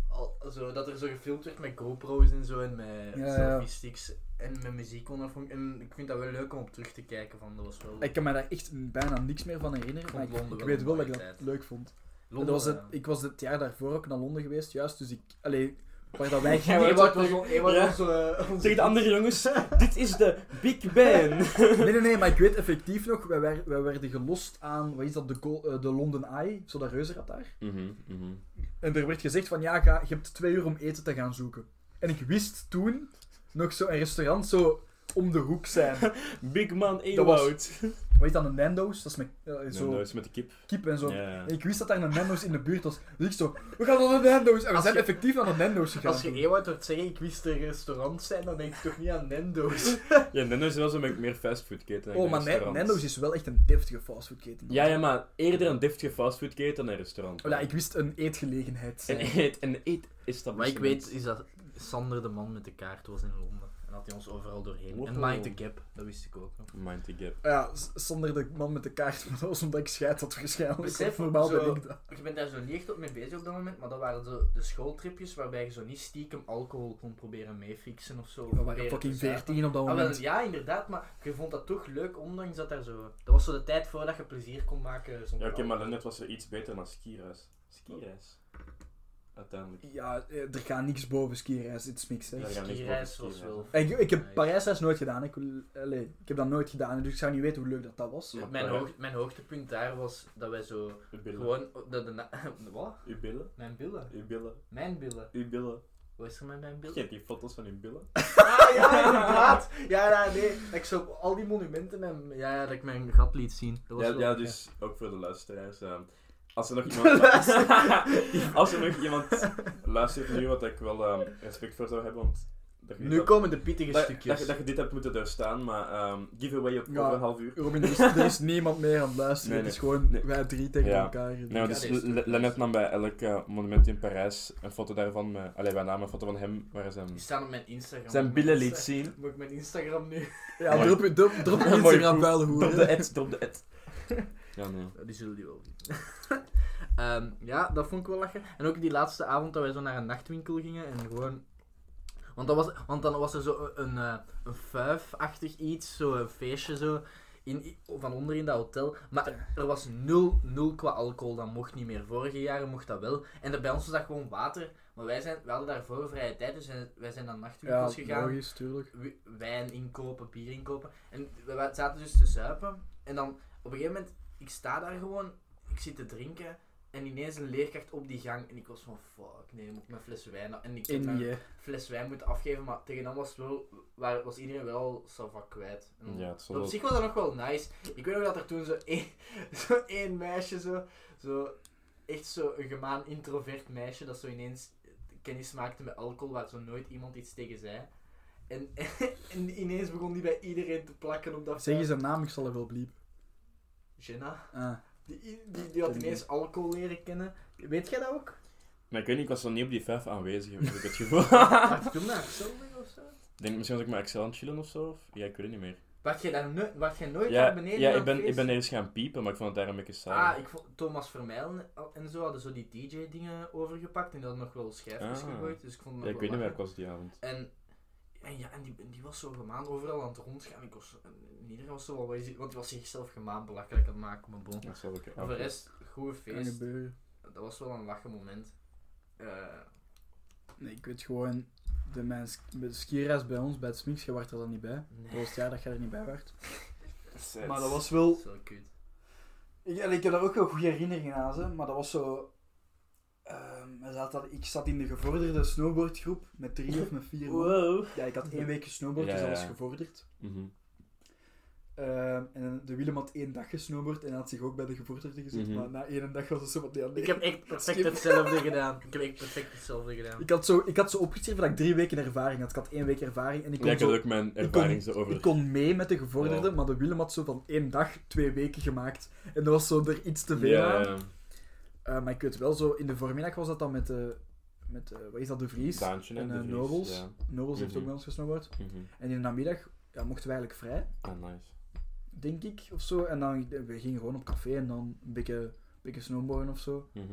Speaker 1: Al, zo, dat er zo gefilmd werd met GoPro's en zo en met
Speaker 2: Ja, ja.
Speaker 1: selfie sticks en met muziek onder. vond ik- En ik vind dat wel leuk om op terug te kijken van, dat was wel...
Speaker 2: ik kan me daar echt bijna niks meer van herinneren.
Speaker 1: Ik
Speaker 2: Maar
Speaker 1: vond
Speaker 2: ik,
Speaker 1: Londen
Speaker 2: ik
Speaker 1: wel
Speaker 2: weet
Speaker 1: een
Speaker 2: wel dat ik
Speaker 1: mooie
Speaker 2: dat
Speaker 1: tijd.
Speaker 2: leuk vond. En
Speaker 1: Londen,
Speaker 2: dat was het,
Speaker 1: ja.
Speaker 2: ik was het jaar daarvoor ook naar Londen geweest, juist. Dus ik... Allee, waar dat wij
Speaker 1: Ja,
Speaker 2: gingen...
Speaker 1: maar
Speaker 4: wou
Speaker 1: Ewout was, on- Ewout
Speaker 4: Ja.
Speaker 1: was, eh, onze-
Speaker 4: Zeg de andere jongens, dit is de Big Ben.
Speaker 2: Nee, nee, nee, maar ik weet effectief nog, wij, wer- wij werden gelost aan, wat is dat, de, Go- eh, de London Eye, zo dat reuzenrad daar.
Speaker 3: Mhm, mhm.
Speaker 2: En er werd gezegd van, ja, ga, je hebt twee uur om eten te gaan zoeken. En ik wist toen nog zo'n restaurant zo om de hoek zijn.
Speaker 4: Big Man
Speaker 2: Dat was-
Speaker 4: Ewout.
Speaker 2: Wat is dat, een Nando's? Dat is met eh,
Speaker 3: En
Speaker 2: zo
Speaker 3: dan is met de kip.
Speaker 2: kip en zo.
Speaker 3: Ja.
Speaker 2: En ik wist dat daar een Nando's in de buurt was. Dus ik zo, we gaan naar de Nando's. En we
Speaker 1: Als
Speaker 2: zijn
Speaker 1: je-
Speaker 2: effectief naar de Nando's gegaan.
Speaker 1: Als je
Speaker 2: toen.
Speaker 1: Ewout hoort zeggen, ik wist er restaurants zijn, dan denk je toch niet aan Nando's.
Speaker 3: Ja, Nando's is wel zo met meer fastfoodketen. dan
Speaker 2: Oh, maar
Speaker 3: een
Speaker 2: Na-
Speaker 3: restaurant.
Speaker 2: Nando's is wel echt een deftige fastfoodketen.
Speaker 3: eh, Ja, ja, maar eerder een deftige fastfoodketen dan een restaurant.
Speaker 2: Voilà, ik wist een eetgelegenheid. eh.
Speaker 3: En eet, en eet is dat
Speaker 1: Wat ik weet is dat Sander de man met de kaart was in Londen. En had hij ons overal doorheen. En
Speaker 3: Wow.
Speaker 1: Mind the Gap, dat wist ik ook nog.
Speaker 3: Mind the gap.
Speaker 2: Ja, s- zonder de man met de kaart, maar dat was omdat ik scheid had waarschijnlijk.
Speaker 1: Besef,
Speaker 2: Want normaal
Speaker 1: zo-
Speaker 2: ben ik dat.
Speaker 1: Je bent daar zo niet echt op mee bezig op dat moment, maar dat waren zo de schooltripjes waarbij je zo niet stiekem alcohol kon proberen meefixen of zo.
Speaker 2: We waren
Speaker 1: Proberen
Speaker 2: fucking
Speaker 1: te zuipen.
Speaker 2: 14 op dat
Speaker 1: Ah, wel,
Speaker 2: moment.
Speaker 1: ja, inderdaad, maar je vond dat toch leuk, ondanks dat daar zo... Dat was zo de tijd voordat je plezier kon maken
Speaker 3: Ja,
Speaker 1: zonder
Speaker 3: oké, maar
Speaker 1: alcohol.
Speaker 3: Lennart was er iets beter dan skireis. Skireis? Uiteindelijk.
Speaker 1: dus-
Speaker 2: Ja, eh, er gaat niks boven skireis, het is niks. Hè.
Speaker 1: Die
Speaker 3: Ja, ja. niks
Speaker 1: skireis
Speaker 3: boven
Speaker 1: was
Speaker 3: skiën,
Speaker 2: Ik,
Speaker 1: wel...
Speaker 2: ik heb
Speaker 1: nice.
Speaker 2: Parijsreis nooit gedaan. Ik, wil- allee, ik heb dat nooit gedaan, dus ik zou niet weten hoe leuk dat, dat was.
Speaker 3: Maar-
Speaker 1: Mijn,
Speaker 3: Ja.
Speaker 1: hoog- mijn hoogtepunt daar was dat wij zo
Speaker 3: Uw billen.
Speaker 1: gewoon... Dat de na- wat?
Speaker 3: Uw billen.
Speaker 1: Mijn billen.
Speaker 3: Uw billen.
Speaker 1: Mijn billen.
Speaker 3: Uw billen.
Speaker 1: Wat is er met mijn
Speaker 3: Je
Speaker 1: billen?
Speaker 3: hebt die foto's van uw billen.
Speaker 1: Ah, ja, inderdaad. Ja, ja, nee. Dat ik zo op al die monumenten en... Ja, ja, dat ik mijn gat liet zien. Dat was
Speaker 3: Ja,
Speaker 1: wel-
Speaker 3: ja, dus ook voor de luisteraars. ehm, als er nog iemand... als er nog iemand luistert nu, wat ik wel ehm, respect voor zou hebben, want... dat je
Speaker 1: Nu
Speaker 3: dat-
Speaker 1: komen de pittige
Speaker 3: dat, dat,
Speaker 1: stukjes.
Speaker 3: je- dat je dit hebt moeten doorstaan, maar ehm, giveaway op
Speaker 2: Ja.
Speaker 3: over een half uur.
Speaker 2: Robin, er is, er is niemand meer aan het luisteren.
Speaker 3: Nee,
Speaker 2: Het is
Speaker 3: nee.
Speaker 2: gewoon
Speaker 3: Nee.
Speaker 2: wij drie tegen
Speaker 3: Ja.
Speaker 2: elkaar.
Speaker 3: Nee, maar
Speaker 1: Ja,
Speaker 3: dus
Speaker 1: dat is
Speaker 3: Le- Le- Lennart nam bij elk eh, monument in Parijs een foto daarvan. Met, allee, wij namen een foto van hem waar hij zijn,
Speaker 1: Die staan op mijn Instagram.
Speaker 3: zijn billen liet zien.
Speaker 1: Moet ik mijn Instagram nu...
Speaker 2: Ja,
Speaker 3: Mooi.
Speaker 2: drop, je- drop, drop je
Speaker 3: Mooi
Speaker 2: Instagram
Speaker 3: proef.
Speaker 2: vuile
Speaker 3: Drop de
Speaker 2: hoeren.
Speaker 3: ad, drop de ad. Ja, nee.
Speaker 1: Ja, Die zullen die wel zien. Ehm, ja, dat vond ik wel lachen. En ook die laatste avond dat wij zo naar een nachtwinkel gingen en gewoon... Want, dat was, want dan was er zo een, eh, een fuifachtig iets, zo een feestje zo, in, van onder in dat hotel. Maar er was nul, nul qua alcohol, dat mocht niet meer. Vorige jaren mocht dat wel. En er- bij ons was dat gewoon water. Maar wij, zijn, wij hadden daarvoor vrije tijd, dus wij- wij zijn naar
Speaker 2: Ja,
Speaker 1: nachtwinkels gegaan
Speaker 2: logisch, tuurlijk.
Speaker 1: wi- wijn inkopen, bier inkopen. En we wa- zaten dus te zuipen. En dan op een gegeven moment, ik sta daar gewoon, ik zit te drinken. En ineens een leerkracht op die gang. En ik was van fuck, nee, moet ik mijn fles wijn. En ik heb
Speaker 2: In
Speaker 1: mijn
Speaker 2: je.
Speaker 1: fles wijn moeten afgeven. Maar tegen dan was, het wel, waar- was iedereen wel savak kwijt. En
Speaker 3: Ja, het zal
Speaker 1: op
Speaker 3: wel-
Speaker 1: zich was dat nog wel nice. Ik weet nog dat er toen zo één, zo één meisje, zo, zo, echt zo een gemaan introvert meisje, dat zo ineens kennis maakte met alcohol, waar zo nooit iemand iets tegen zei. En, en ineens begon die bij iedereen te plakken op dat
Speaker 2: Zeg eens
Speaker 1: vuil.
Speaker 2: een naam, ik zal er wel bliepen.
Speaker 1: Jenna.
Speaker 2: Ah.
Speaker 1: Die, die, die had ineens alcohol leren kennen. Weet jij dat ook?
Speaker 3: Maar ik weet niet, ik was nog niet op die vijf aanwezig, heb ik het gevoel.
Speaker 1: Wacht, toen naar Xelder of zo?
Speaker 3: Ik denk misschien was ik met Excel aan het chillen of zo. Of? Ja, ik weet het niet meer.
Speaker 1: Wat jij, daar no wat jij nooit naar
Speaker 3: Ja,
Speaker 1: beneden
Speaker 3: ja
Speaker 1: aan
Speaker 3: ik,
Speaker 1: het
Speaker 3: ben, ik
Speaker 1: feest-
Speaker 3: ben eerst gaan piepen, maar ik vond het daar een beetje saai.
Speaker 1: Ah, ik vond Thomas Vermeijlen en zo hadden zo die DJ-dingen overgepakt en die hadden nog wel schijfjes
Speaker 3: Ah.
Speaker 1: gegooid. Dus ik vond het
Speaker 3: ja,
Speaker 1: nog
Speaker 3: ik weet
Speaker 1: wel
Speaker 3: niet
Speaker 1: lachen.
Speaker 3: meer, ik was die avond.
Speaker 1: En, en ja, en die, en die was zo gemaan overal aan het rondgaan. Ik was, en iedereen was zo wel wat is dit? want die was zichzelf gemaan belachelijk aan het maken, maar bon.
Speaker 3: Dat zal ik
Speaker 1: Maar voor de rest, goede
Speaker 2: Kan
Speaker 1: feest.
Speaker 2: gebeuren.
Speaker 1: Dat was wel een lachen moment. Eh,
Speaker 2: Nee, ik weet gewoon, de, mijn, sk- de skireis bij ons, bij het Smix, je werd er dan niet bij. Dat
Speaker 1: nee,
Speaker 2: was het jaar dat jij er niet bij werd. Maar dat was
Speaker 1: dat
Speaker 2: wel...
Speaker 1: is wel kut.
Speaker 2: Ik, en ik heb daar ook wel goede herinneringen aan, hè, maar dat was zo... ehm, we zaten, ik zat in de gevorderde snowboardgroep met drie of met vier man.
Speaker 4: Wow.
Speaker 2: Ja, ik had één week gesnowboard,
Speaker 3: Ja,
Speaker 2: dus dat
Speaker 3: ja.
Speaker 2: was gevorderd.
Speaker 3: Mhm.
Speaker 2: Ehm, en de Willem had één dag gesnowboard en had zich ook bij de gevorderde gezet,
Speaker 3: Mhm.
Speaker 2: maar na één dag was het zo wat die andere.
Speaker 1: Ik heb echt perfect hetzelfde gedaan. Ik heb echt perfect hetzelfde gedaan.
Speaker 2: Ik had zo, ik had zo opgeschreven dat ik drie weken ervaring had. Ik had één week ervaring en ik kon
Speaker 3: Ja, ik
Speaker 2: zo
Speaker 3: had ook mijn
Speaker 2: kon-
Speaker 3: ervaring zo
Speaker 2: Ik
Speaker 3: over. Oh.
Speaker 2: kon mee met de gevorderde,
Speaker 3: Wow.
Speaker 2: maar de Willem had zo van één dag twee weken gemaakt. En dat was zo er iets te veel
Speaker 3: Ja,
Speaker 2: aan.
Speaker 3: ja.
Speaker 2: Eh, maar ik weet wel zo, in de voormiddag was dat dan met, de met eh, wat is dat, de Vries?
Speaker 3: Daantje en
Speaker 2: en,
Speaker 3: de
Speaker 2: eh,
Speaker 3: Vries,
Speaker 2: Nobels.
Speaker 3: Ja.
Speaker 2: Nobels heeft
Speaker 3: Mhm.
Speaker 2: ook bij ons gesnowboard.
Speaker 3: Mhm.
Speaker 2: En in de namiddag ja, mochten we eigenlijk vrij,
Speaker 3: Ah, nice.
Speaker 2: denk ik, of zo. En dan eh, we gingen gewoon op café en dan een beetje, een beetje snowboarden of zo.
Speaker 3: Mhm.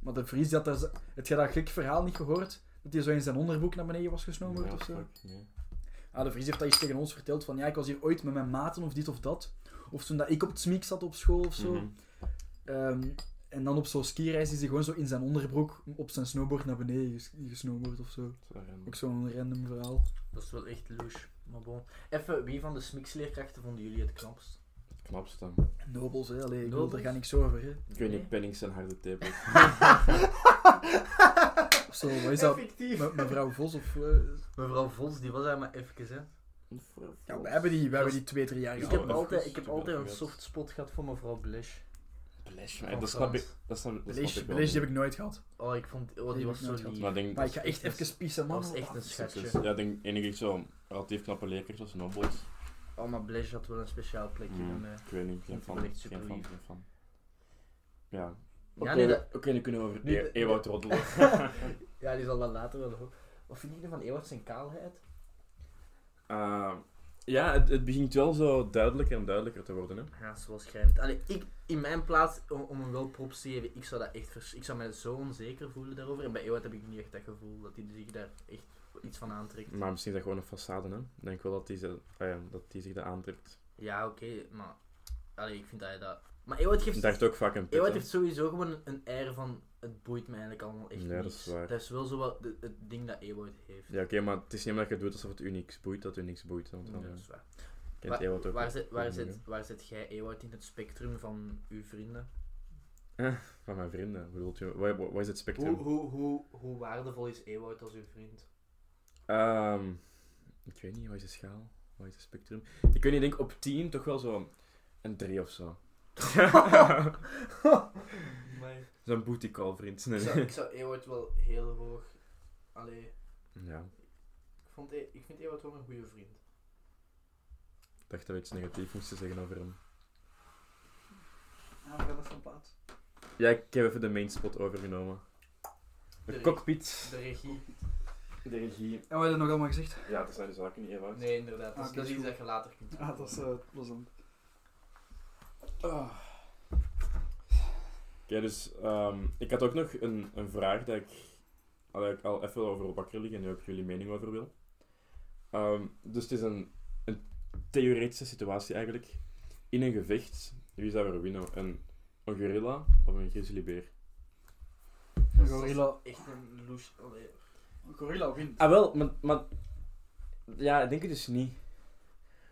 Speaker 2: Maar de Vries, die had daar, z- heb je dat gek verhaal niet gehoord? Dat hij zo in zijn onderbroek naar beneden was gesnowboard
Speaker 3: Ja,
Speaker 2: of zo?
Speaker 3: fuck, nee.
Speaker 2: Ah, de Vries heeft dat eens tegen ons verteld van ja, ik was hier ooit met mijn maten of dit of dat. Of toen dat ik op het smiek zat op school of zo.
Speaker 3: Mhm.
Speaker 2: Ehm, En dan op zo'n skireis is hij gewoon zo in zijn onderbroek op zijn snowboard naar beneden ges gesnowboard of zo.
Speaker 3: Zo random.
Speaker 2: Ook zo'n random verhaal.
Speaker 1: Dat is wel echt louche. Maar bon. Even, wie van de smiksleerkrachten vonden jullie het knapst?
Speaker 3: Knapst dan.
Speaker 2: Nobels, hè? Allee, ik bedoel,
Speaker 1: Nobels?
Speaker 2: daar ga niks over, hè?
Speaker 3: Ik weet
Speaker 1: Nee.
Speaker 3: niet, Pennings en harde tepels.
Speaker 2: Of zo, wat is dat?
Speaker 1: Effectief.
Speaker 2: Me- mevrouw Vos of. eh,
Speaker 1: Mevrouw Vos, die was daar maar even, hè.
Speaker 2: Ja, we hebben die, we hebben die twee, drie jaar
Speaker 1: Ik
Speaker 2: gehad.
Speaker 1: heb
Speaker 3: dat
Speaker 1: altijd,
Speaker 3: is-
Speaker 1: ik heb
Speaker 3: dat is
Speaker 1: altijd een
Speaker 3: goed.
Speaker 1: soft spot gehad voor mevrouw Blish.
Speaker 3: Blesje,
Speaker 2: Oh,
Speaker 1: Van
Speaker 3: dat snap
Speaker 1: Frans.
Speaker 3: ik. Dat snap, dat
Speaker 2: Belees
Speaker 3: snap ik
Speaker 2: belees die
Speaker 3: wel.
Speaker 2: heb ik nooit gehad.
Speaker 1: Oh, ik vond... Oh, die
Speaker 2: Die
Speaker 1: was
Speaker 2: heb
Speaker 1: zo
Speaker 2: ik nooit
Speaker 1: lief.
Speaker 3: Maar ik denk
Speaker 2: Maar
Speaker 3: dat
Speaker 2: ik ga echt even pissen, man.
Speaker 1: Dat was echt een schatje.
Speaker 3: Ja, ik denk enige echt zo relatief knappe leerkracht als Snowboard.
Speaker 1: Oh, maar Blish had wel een speciaal plekje bij
Speaker 3: Mm,
Speaker 1: mij.
Speaker 3: ik weet niet, geen
Speaker 1: Vond ik
Speaker 3: fan.
Speaker 1: wel echt
Speaker 3: Geen
Speaker 1: superlief.
Speaker 3: fan, geen fan. Ja. Oké,
Speaker 1: Ja, nee, dat-
Speaker 3: we- oké, dan kunnen we over
Speaker 1: Nee,
Speaker 3: e-
Speaker 1: dat-
Speaker 3: Ewout roddelen.
Speaker 1: Ja, die zal dat later wel horen. Wat vind je nu van Ewart zijn kaalheid?
Speaker 3: Ehm, ja, het, het begint wel zo duidelijker en duidelijker te worden. Hè.
Speaker 1: Ja, zoals schrijnend. Allee, ik, in mijn plaats, om, om hem wel props te geven, ik zou dat echt... vers- Ik zou mij zo onzeker voelen daarover. En bij Ewart heb ik niet echt dat gevoel dat hij zich daar echt iets van aantrekt.
Speaker 3: Maar misschien is dat gewoon een façade. Hè. Ik denk wel dat hij ze- ah ja, dat hij zich dat aantrekt.
Speaker 1: Ja, oké, maar... Allee, ik vind dat hij dat... Maar Ewart geeft...
Speaker 3: Ik dacht ook vaak een pit.
Speaker 1: Ewart
Speaker 3: hè.
Speaker 1: heeft sowieso gewoon een air van... Het boeit me eigenlijk allemaal echt
Speaker 3: Ja, dat
Speaker 1: niks.
Speaker 3: is waar.
Speaker 1: Dat is wel zo wat de- het ding dat Ewart heeft.
Speaker 3: Ja, oké, maar het is niet omdat je doet alsof het u niks boeit, dat u niks boeit. hè, Want dan
Speaker 1: Ja,
Speaker 3: eh,
Speaker 1: dat is waar.
Speaker 3: kent Ewout ook
Speaker 1: waar,
Speaker 3: wel.
Speaker 1: zit, waar,
Speaker 3: Goed
Speaker 1: zit,
Speaker 3: genoeg,
Speaker 1: waar zit jij, Ewout, in het spectrum van uw vrienden?
Speaker 3: hè. Van mijn vrienden, hoe bedoelt u? Waar, waar is het spectrum?
Speaker 1: Hoe, hoe, hoe, hoe waardevol is Ewout als uw vriend?
Speaker 3: Ehm, ik weet niet, wat is de schaal? Wat is het spectrum? Ik weet niet, ik denk op 10 toch wel zo een 3 of zo. Zo'n booty call, vriend.
Speaker 1: ik,
Speaker 3: Nee,
Speaker 1: zou,
Speaker 3: nee.
Speaker 1: ik zou Ewout wel heel hoog... Allee,
Speaker 3: Ja,
Speaker 1: ik, vond E- ik vind Ewout wel een goede vriend.
Speaker 3: ik dacht dat we iets negatiefs moesten zeggen over hem.
Speaker 2: Ja, we hebben van plaats.
Speaker 3: Ja, ik heb even de main spot overgenomen. De
Speaker 1: Direct.
Speaker 3: cockpit.
Speaker 1: De regie?
Speaker 3: De regie.
Speaker 2: En we hebben nog allemaal gezegd.
Speaker 3: Ja, dat zijn de zaken niet, Ewout.
Speaker 1: Nee, inderdaad. Dat is,
Speaker 2: Ah, oké,
Speaker 1: dat is
Speaker 2: is
Speaker 1: iets
Speaker 2: goed.
Speaker 1: dat je later kunt
Speaker 2: Ja, dat is eh, plezant. Ah.
Speaker 3: Oké, dus ehm, ik had ook nog een, een vraag dat ik, al- dat ik al even over wakker lig en nu ook jullie mening over wil. Ehm, dus het is een, een theoretische situatie eigenlijk. In een gevecht, wie zou er winnen? Een, een gorilla of een grizzlybeer?
Speaker 1: Dat is-
Speaker 2: eh, gorilla.
Speaker 1: dat is Echt een louche... Allee.
Speaker 2: Gorilla wint.
Speaker 3: Ah wel, maar, maar ja, ik denk het dus niet.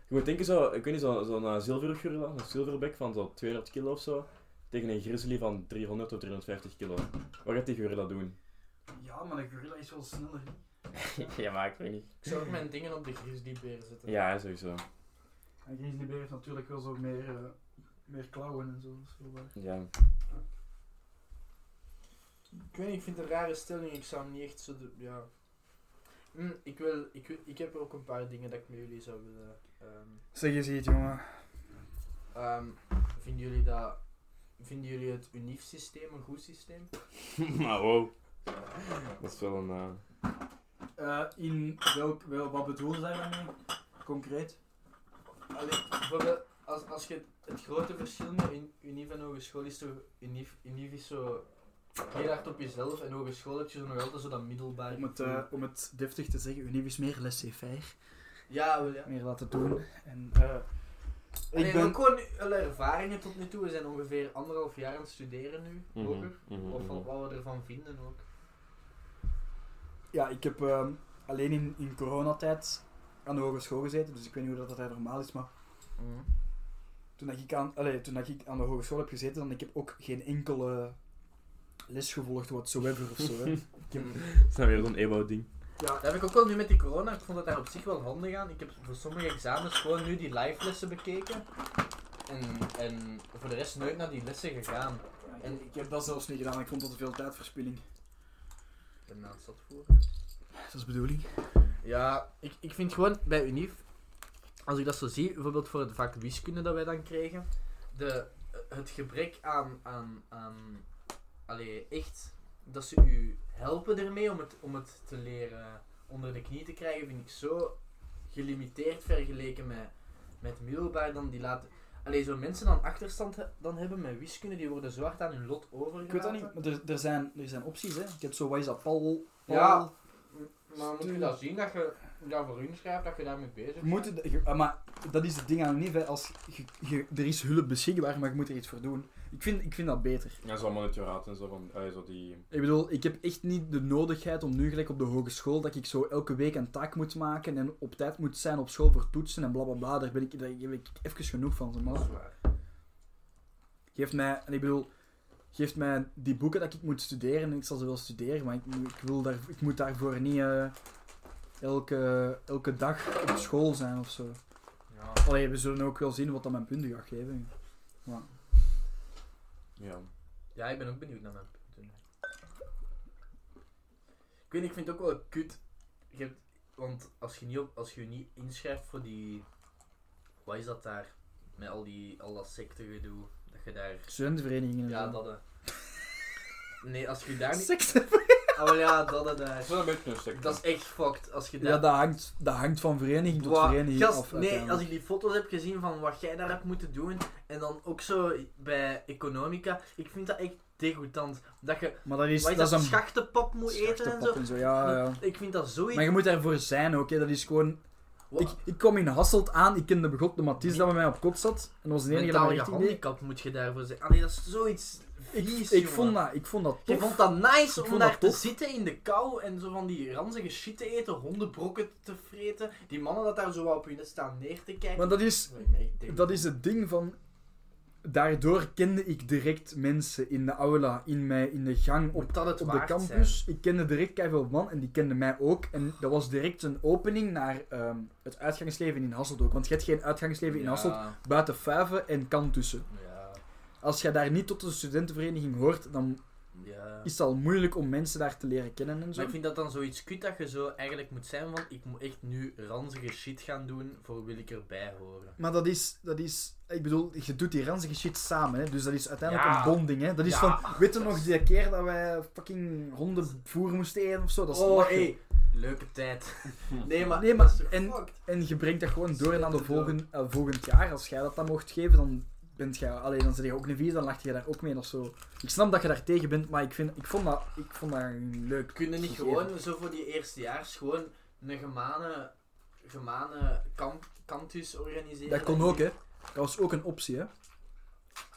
Speaker 3: Je moet denken zo, ik weet niet, zo'n zo zilvergorilla, een silverback van zo'n 200 kilo of zo, tegen een grizzly van 300 of 350 kilo. Wat gaat die gorilla doen?
Speaker 2: Ja, maar een gorilla is wel sneller.
Speaker 3: ja, maar ik weet niet.
Speaker 1: Ik zou ook mijn dingen op de grizzlybeer zetten.
Speaker 3: Ja, sowieso.
Speaker 2: En grizzlybeer heeft natuurlijk wel zo meer, eh, meer klauwen en zo. dat is wel waar.
Speaker 3: Ja.
Speaker 1: Ik weet niet, ik vind het een rare stelling. Ik zou hem niet echt zo... de- ja. Hm, ik, wil, ik, wil- ik heb ook een paar dingen dat ik met jullie zou willen... ehm,
Speaker 2: Zeg eens iets, jongen.
Speaker 1: ehm, vinden jullie dat... Vinden jullie het UNIF systeem een goed systeem?
Speaker 3: maar wow. Dat is wel een... eh,
Speaker 2: Eh, in welk, wel, wat bedoel je daarmee? Concreet?
Speaker 1: Allee, bijvoorbeeld, als, als je het, het grote verschil met un- UNIF en hogeschool is toch... UNIF, UNIF is zo heel hard op jezelf en hogeschool heb je zo nog altijd zo dat middelbaar...
Speaker 2: Om het, eh, om het deftig te zeggen, Univ is meer laissez-faire.
Speaker 1: Ja, wel ja.
Speaker 2: Meer laten doen. En, eh,
Speaker 1: Allee,
Speaker 2: ik ben...
Speaker 1: ook gewoon alle ervaringen tot nu toe. We zijn ongeveer anderhalf jaar aan het studeren nu,
Speaker 3: Mhm,
Speaker 1: hoger.
Speaker 3: mhm,
Speaker 1: Of
Speaker 3: mhm.
Speaker 1: van wat we ervan vinden ook.
Speaker 2: Ja, ik heb ehm, alleen in, in coronatijd aan de hogeschool gezeten, dus ik weet niet hoe dat, dat daar normaal is, maar Mhm. toen, dat ik, aan, allee, toen dat ik aan de hogeschool heb gezeten, dan ik heb ook geen enkele les gevolgd whatsoever of zo. Hè. Ik heb-
Speaker 3: Dat is nou weer zo'n Ewout-ding.
Speaker 1: Ja, dat heb ik ook wel nu met die corona. Ik vond dat daar op zich wel handig aan. Ik heb voor sommige examens gewoon nu die live lessen bekeken. En, en voor de rest nooit naar die lessen gegaan.
Speaker 2: en ik heb dat zelfs niet gedaan, ik vond dat veel tijdverspilling.
Speaker 1: Ik ben naast dat voor.
Speaker 2: Dat is de bedoeling.
Speaker 1: Ja, ik, ik vind gewoon bij Unif, als ik dat zo zie, bijvoorbeeld voor het vak wiskunde dat wij dan kregen, de, het gebrek aan, aan, aan allee, echt, dat ze u helpen ermee om het, om het te leren onder de knie te krijgen, vind ik zo gelimiteerd vergeleken met, met middelbaar. Dan die laten, allee, zo mensen dan achterstand he- dan hebben met wiskunde, die worden zo hard aan hun lot overgelaten.
Speaker 2: Ik weet dat niet, maar er, er, zijn, er zijn opties. Hè. Ik heb zo, wat is dat, Paul? Paul
Speaker 1: Ja. Maar moet je dat zien, dat je dat voor hun schrijft, dat je daarmee bezig
Speaker 2: Je moet het- je- ah, maar dat is het ding aan een Als je, je- er is hulp beschikbaar, maar je moet er iets voor doen. Ik vind, ik vind dat beter.
Speaker 3: Ja, zo monitoraat en zo van, ah, zo die...
Speaker 2: Ik bedoel, ik heb echt niet de nodigheid om nu gelijk op de hogeschool dat ik zo elke week een taak moet maken en op tijd moet zijn op school voor toetsen en blablabla. Bla, bla. Daar ben ik, daar heb ik even genoeg van. zeg Maar geef mij, en ik bedoel, geef mij die boeken dat ik moet studeren en ik zal ze wel studeren, maar ik, moet- ik, wil daar, ik moet daarvoor niet eh, elke, elke dag op school zijn of zo.
Speaker 1: Ja.
Speaker 2: Allee, we zullen ook wel zien wat dat mijn punten gaat geven. Maar,
Speaker 3: Ja.
Speaker 1: Ja, ik ben ook benieuwd naar mijn punten. Ik weet niet, ik vind het ook wel kut. Je hebt, want als je, niet op, als je je niet inschrijft voor die... Wat is dat daar? Met al, die, al dat sectegedoe. Dat je daar...
Speaker 2: studentenverenigingen en
Speaker 1: Ja,
Speaker 2: zo.
Speaker 1: dat... eh. Nee, als je daar niet...
Speaker 2: Sekte-
Speaker 1: Oh ja, dat eh,
Speaker 3: Het
Speaker 1: daar.
Speaker 3: is wel een beetje een secte.
Speaker 1: Dat is echt fucked. Als je daar...
Speaker 2: Ja, dat hangt, dat hangt van vereniging tot
Speaker 1: Wa-
Speaker 2: vereniging
Speaker 1: gast,
Speaker 2: af.
Speaker 1: nee,
Speaker 2: uiteindelijk.
Speaker 1: als ik die foto's heb gezien van wat jij daar hebt moeten doen, en dan ook zo bij Economica, ik vind dat echt degoutant. Dat je
Speaker 2: Maar dat is,
Speaker 1: wat is
Speaker 2: dat is een
Speaker 1: schachtenpap moet eten en
Speaker 2: schachtenpap
Speaker 1: zo.
Speaker 2: en zo. Ja, ja.
Speaker 1: Ik vind dat zoiets...
Speaker 2: Maar je moet daarvoor zijn ook, hè. dat is gewoon...
Speaker 1: Wat?
Speaker 2: Ik, ik kwam in Hasselt aan, ik kende begot de Mathis dat bij mij op kot zat. En dat was de enige dat
Speaker 1: Mentaal
Speaker 2: mij richting deed.
Speaker 1: gehandicapt moet je daarvoor zijn. Allee, dat is zoiets
Speaker 2: Ik,
Speaker 1: vies,
Speaker 2: ik,
Speaker 1: jongen.
Speaker 2: vond dat, ik vond dat
Speaker 1: Je
Speaker 2: tof.
Speaker 1: vond dat nice
Speaker 2: Ik
Speaker 1: om
Speaker 2: vond
Speaker 1: daar
Speaker 2: dat
Speaker 1: te
Speaker 2: tof.
Speaker 1: zitten in de kou en zo van die ranzige shit te eten, hondenbrokken te vreten, die mannen dat daar zo wat op hun net staan neer te kijken.
Speaker 2: Maar dat is,
Speaker 1: Dat lijkt me echt degoutant.
Speaker 2: dat is het ding van... Daardoor kende ik direct mensen in de aula, in, mij, in de gang, op,
Speaker 1: Moet dat het
Speaker 2: op de
Speaker 1: waard
Speaker 2: campus. Ik kende direct keiveel man en die kenden mij ook. En dat was direct een opening naar ehm, het uitgangsleven in Hasselt ook. Want je hebt geen uitgangsleven in
Speaker 1: Ja,
Speaker 2: Hasselt buiten Vijven en kan tussen.
Speaker 1: Ja,
Speaker 2: Als je daar niet tot de studentenvereniging hoort, dan
Speaker 1: ja.
Speaker 2: is het al moeilijk om mensen daar te leren kennen en zo.
Speaker 1: Maar ik vind dat dan zoiets kut dat je zo eigenlijk moet zijn van ik moet echt nu ranzige shit gaan doen voor wil ik erbij horen.
Speaker 2: Maar dat is, dat is, ik bedoel, je doet die ranzige shit samen, hè? dus dat is uiteindelijk
Speaker 1: Ja.
Speaker 2: een bonding. Hè? Dat is
Speaker 1: Ja.
Speaker 2: van, weet je nog die keer dat wij fucking hondenvoer moesten eten of zo? Dat is
Speaker 1: oh,
Speaker 2: lachen.
Speaker 1: hé, leuke tijd. Nee, maar,
Speaker 2: Nee, maar-
Speaker 1: dat is toch
Speaker 2: en-
Speaker 1: fucked?
Speaker 2: En je brengt dat gewoon door
Speaker 1: Zet
Speaker 2: naar de
Speaker 1: het
Speaker 2: volgende, eh, volgend jaar. Als jij dat dan mocht geven, dan bent jij, alleen dan zit je ook een vier, dan lacht je daar ook mee of zo. Ik snap dat je daar tegen bent, maar ik, vind, ik, vond, dat, ik vond dat een leuk.
Speaker 1: Kunnen niet
Speaker 2: gegeven.
Speaker 1: gewoon zo voor die eerstejaars gewoon een gemane, gemane kamp, kantus organiseren?
Speaker 2: Dat kon ook, hè? Dat was ook een optie, hè?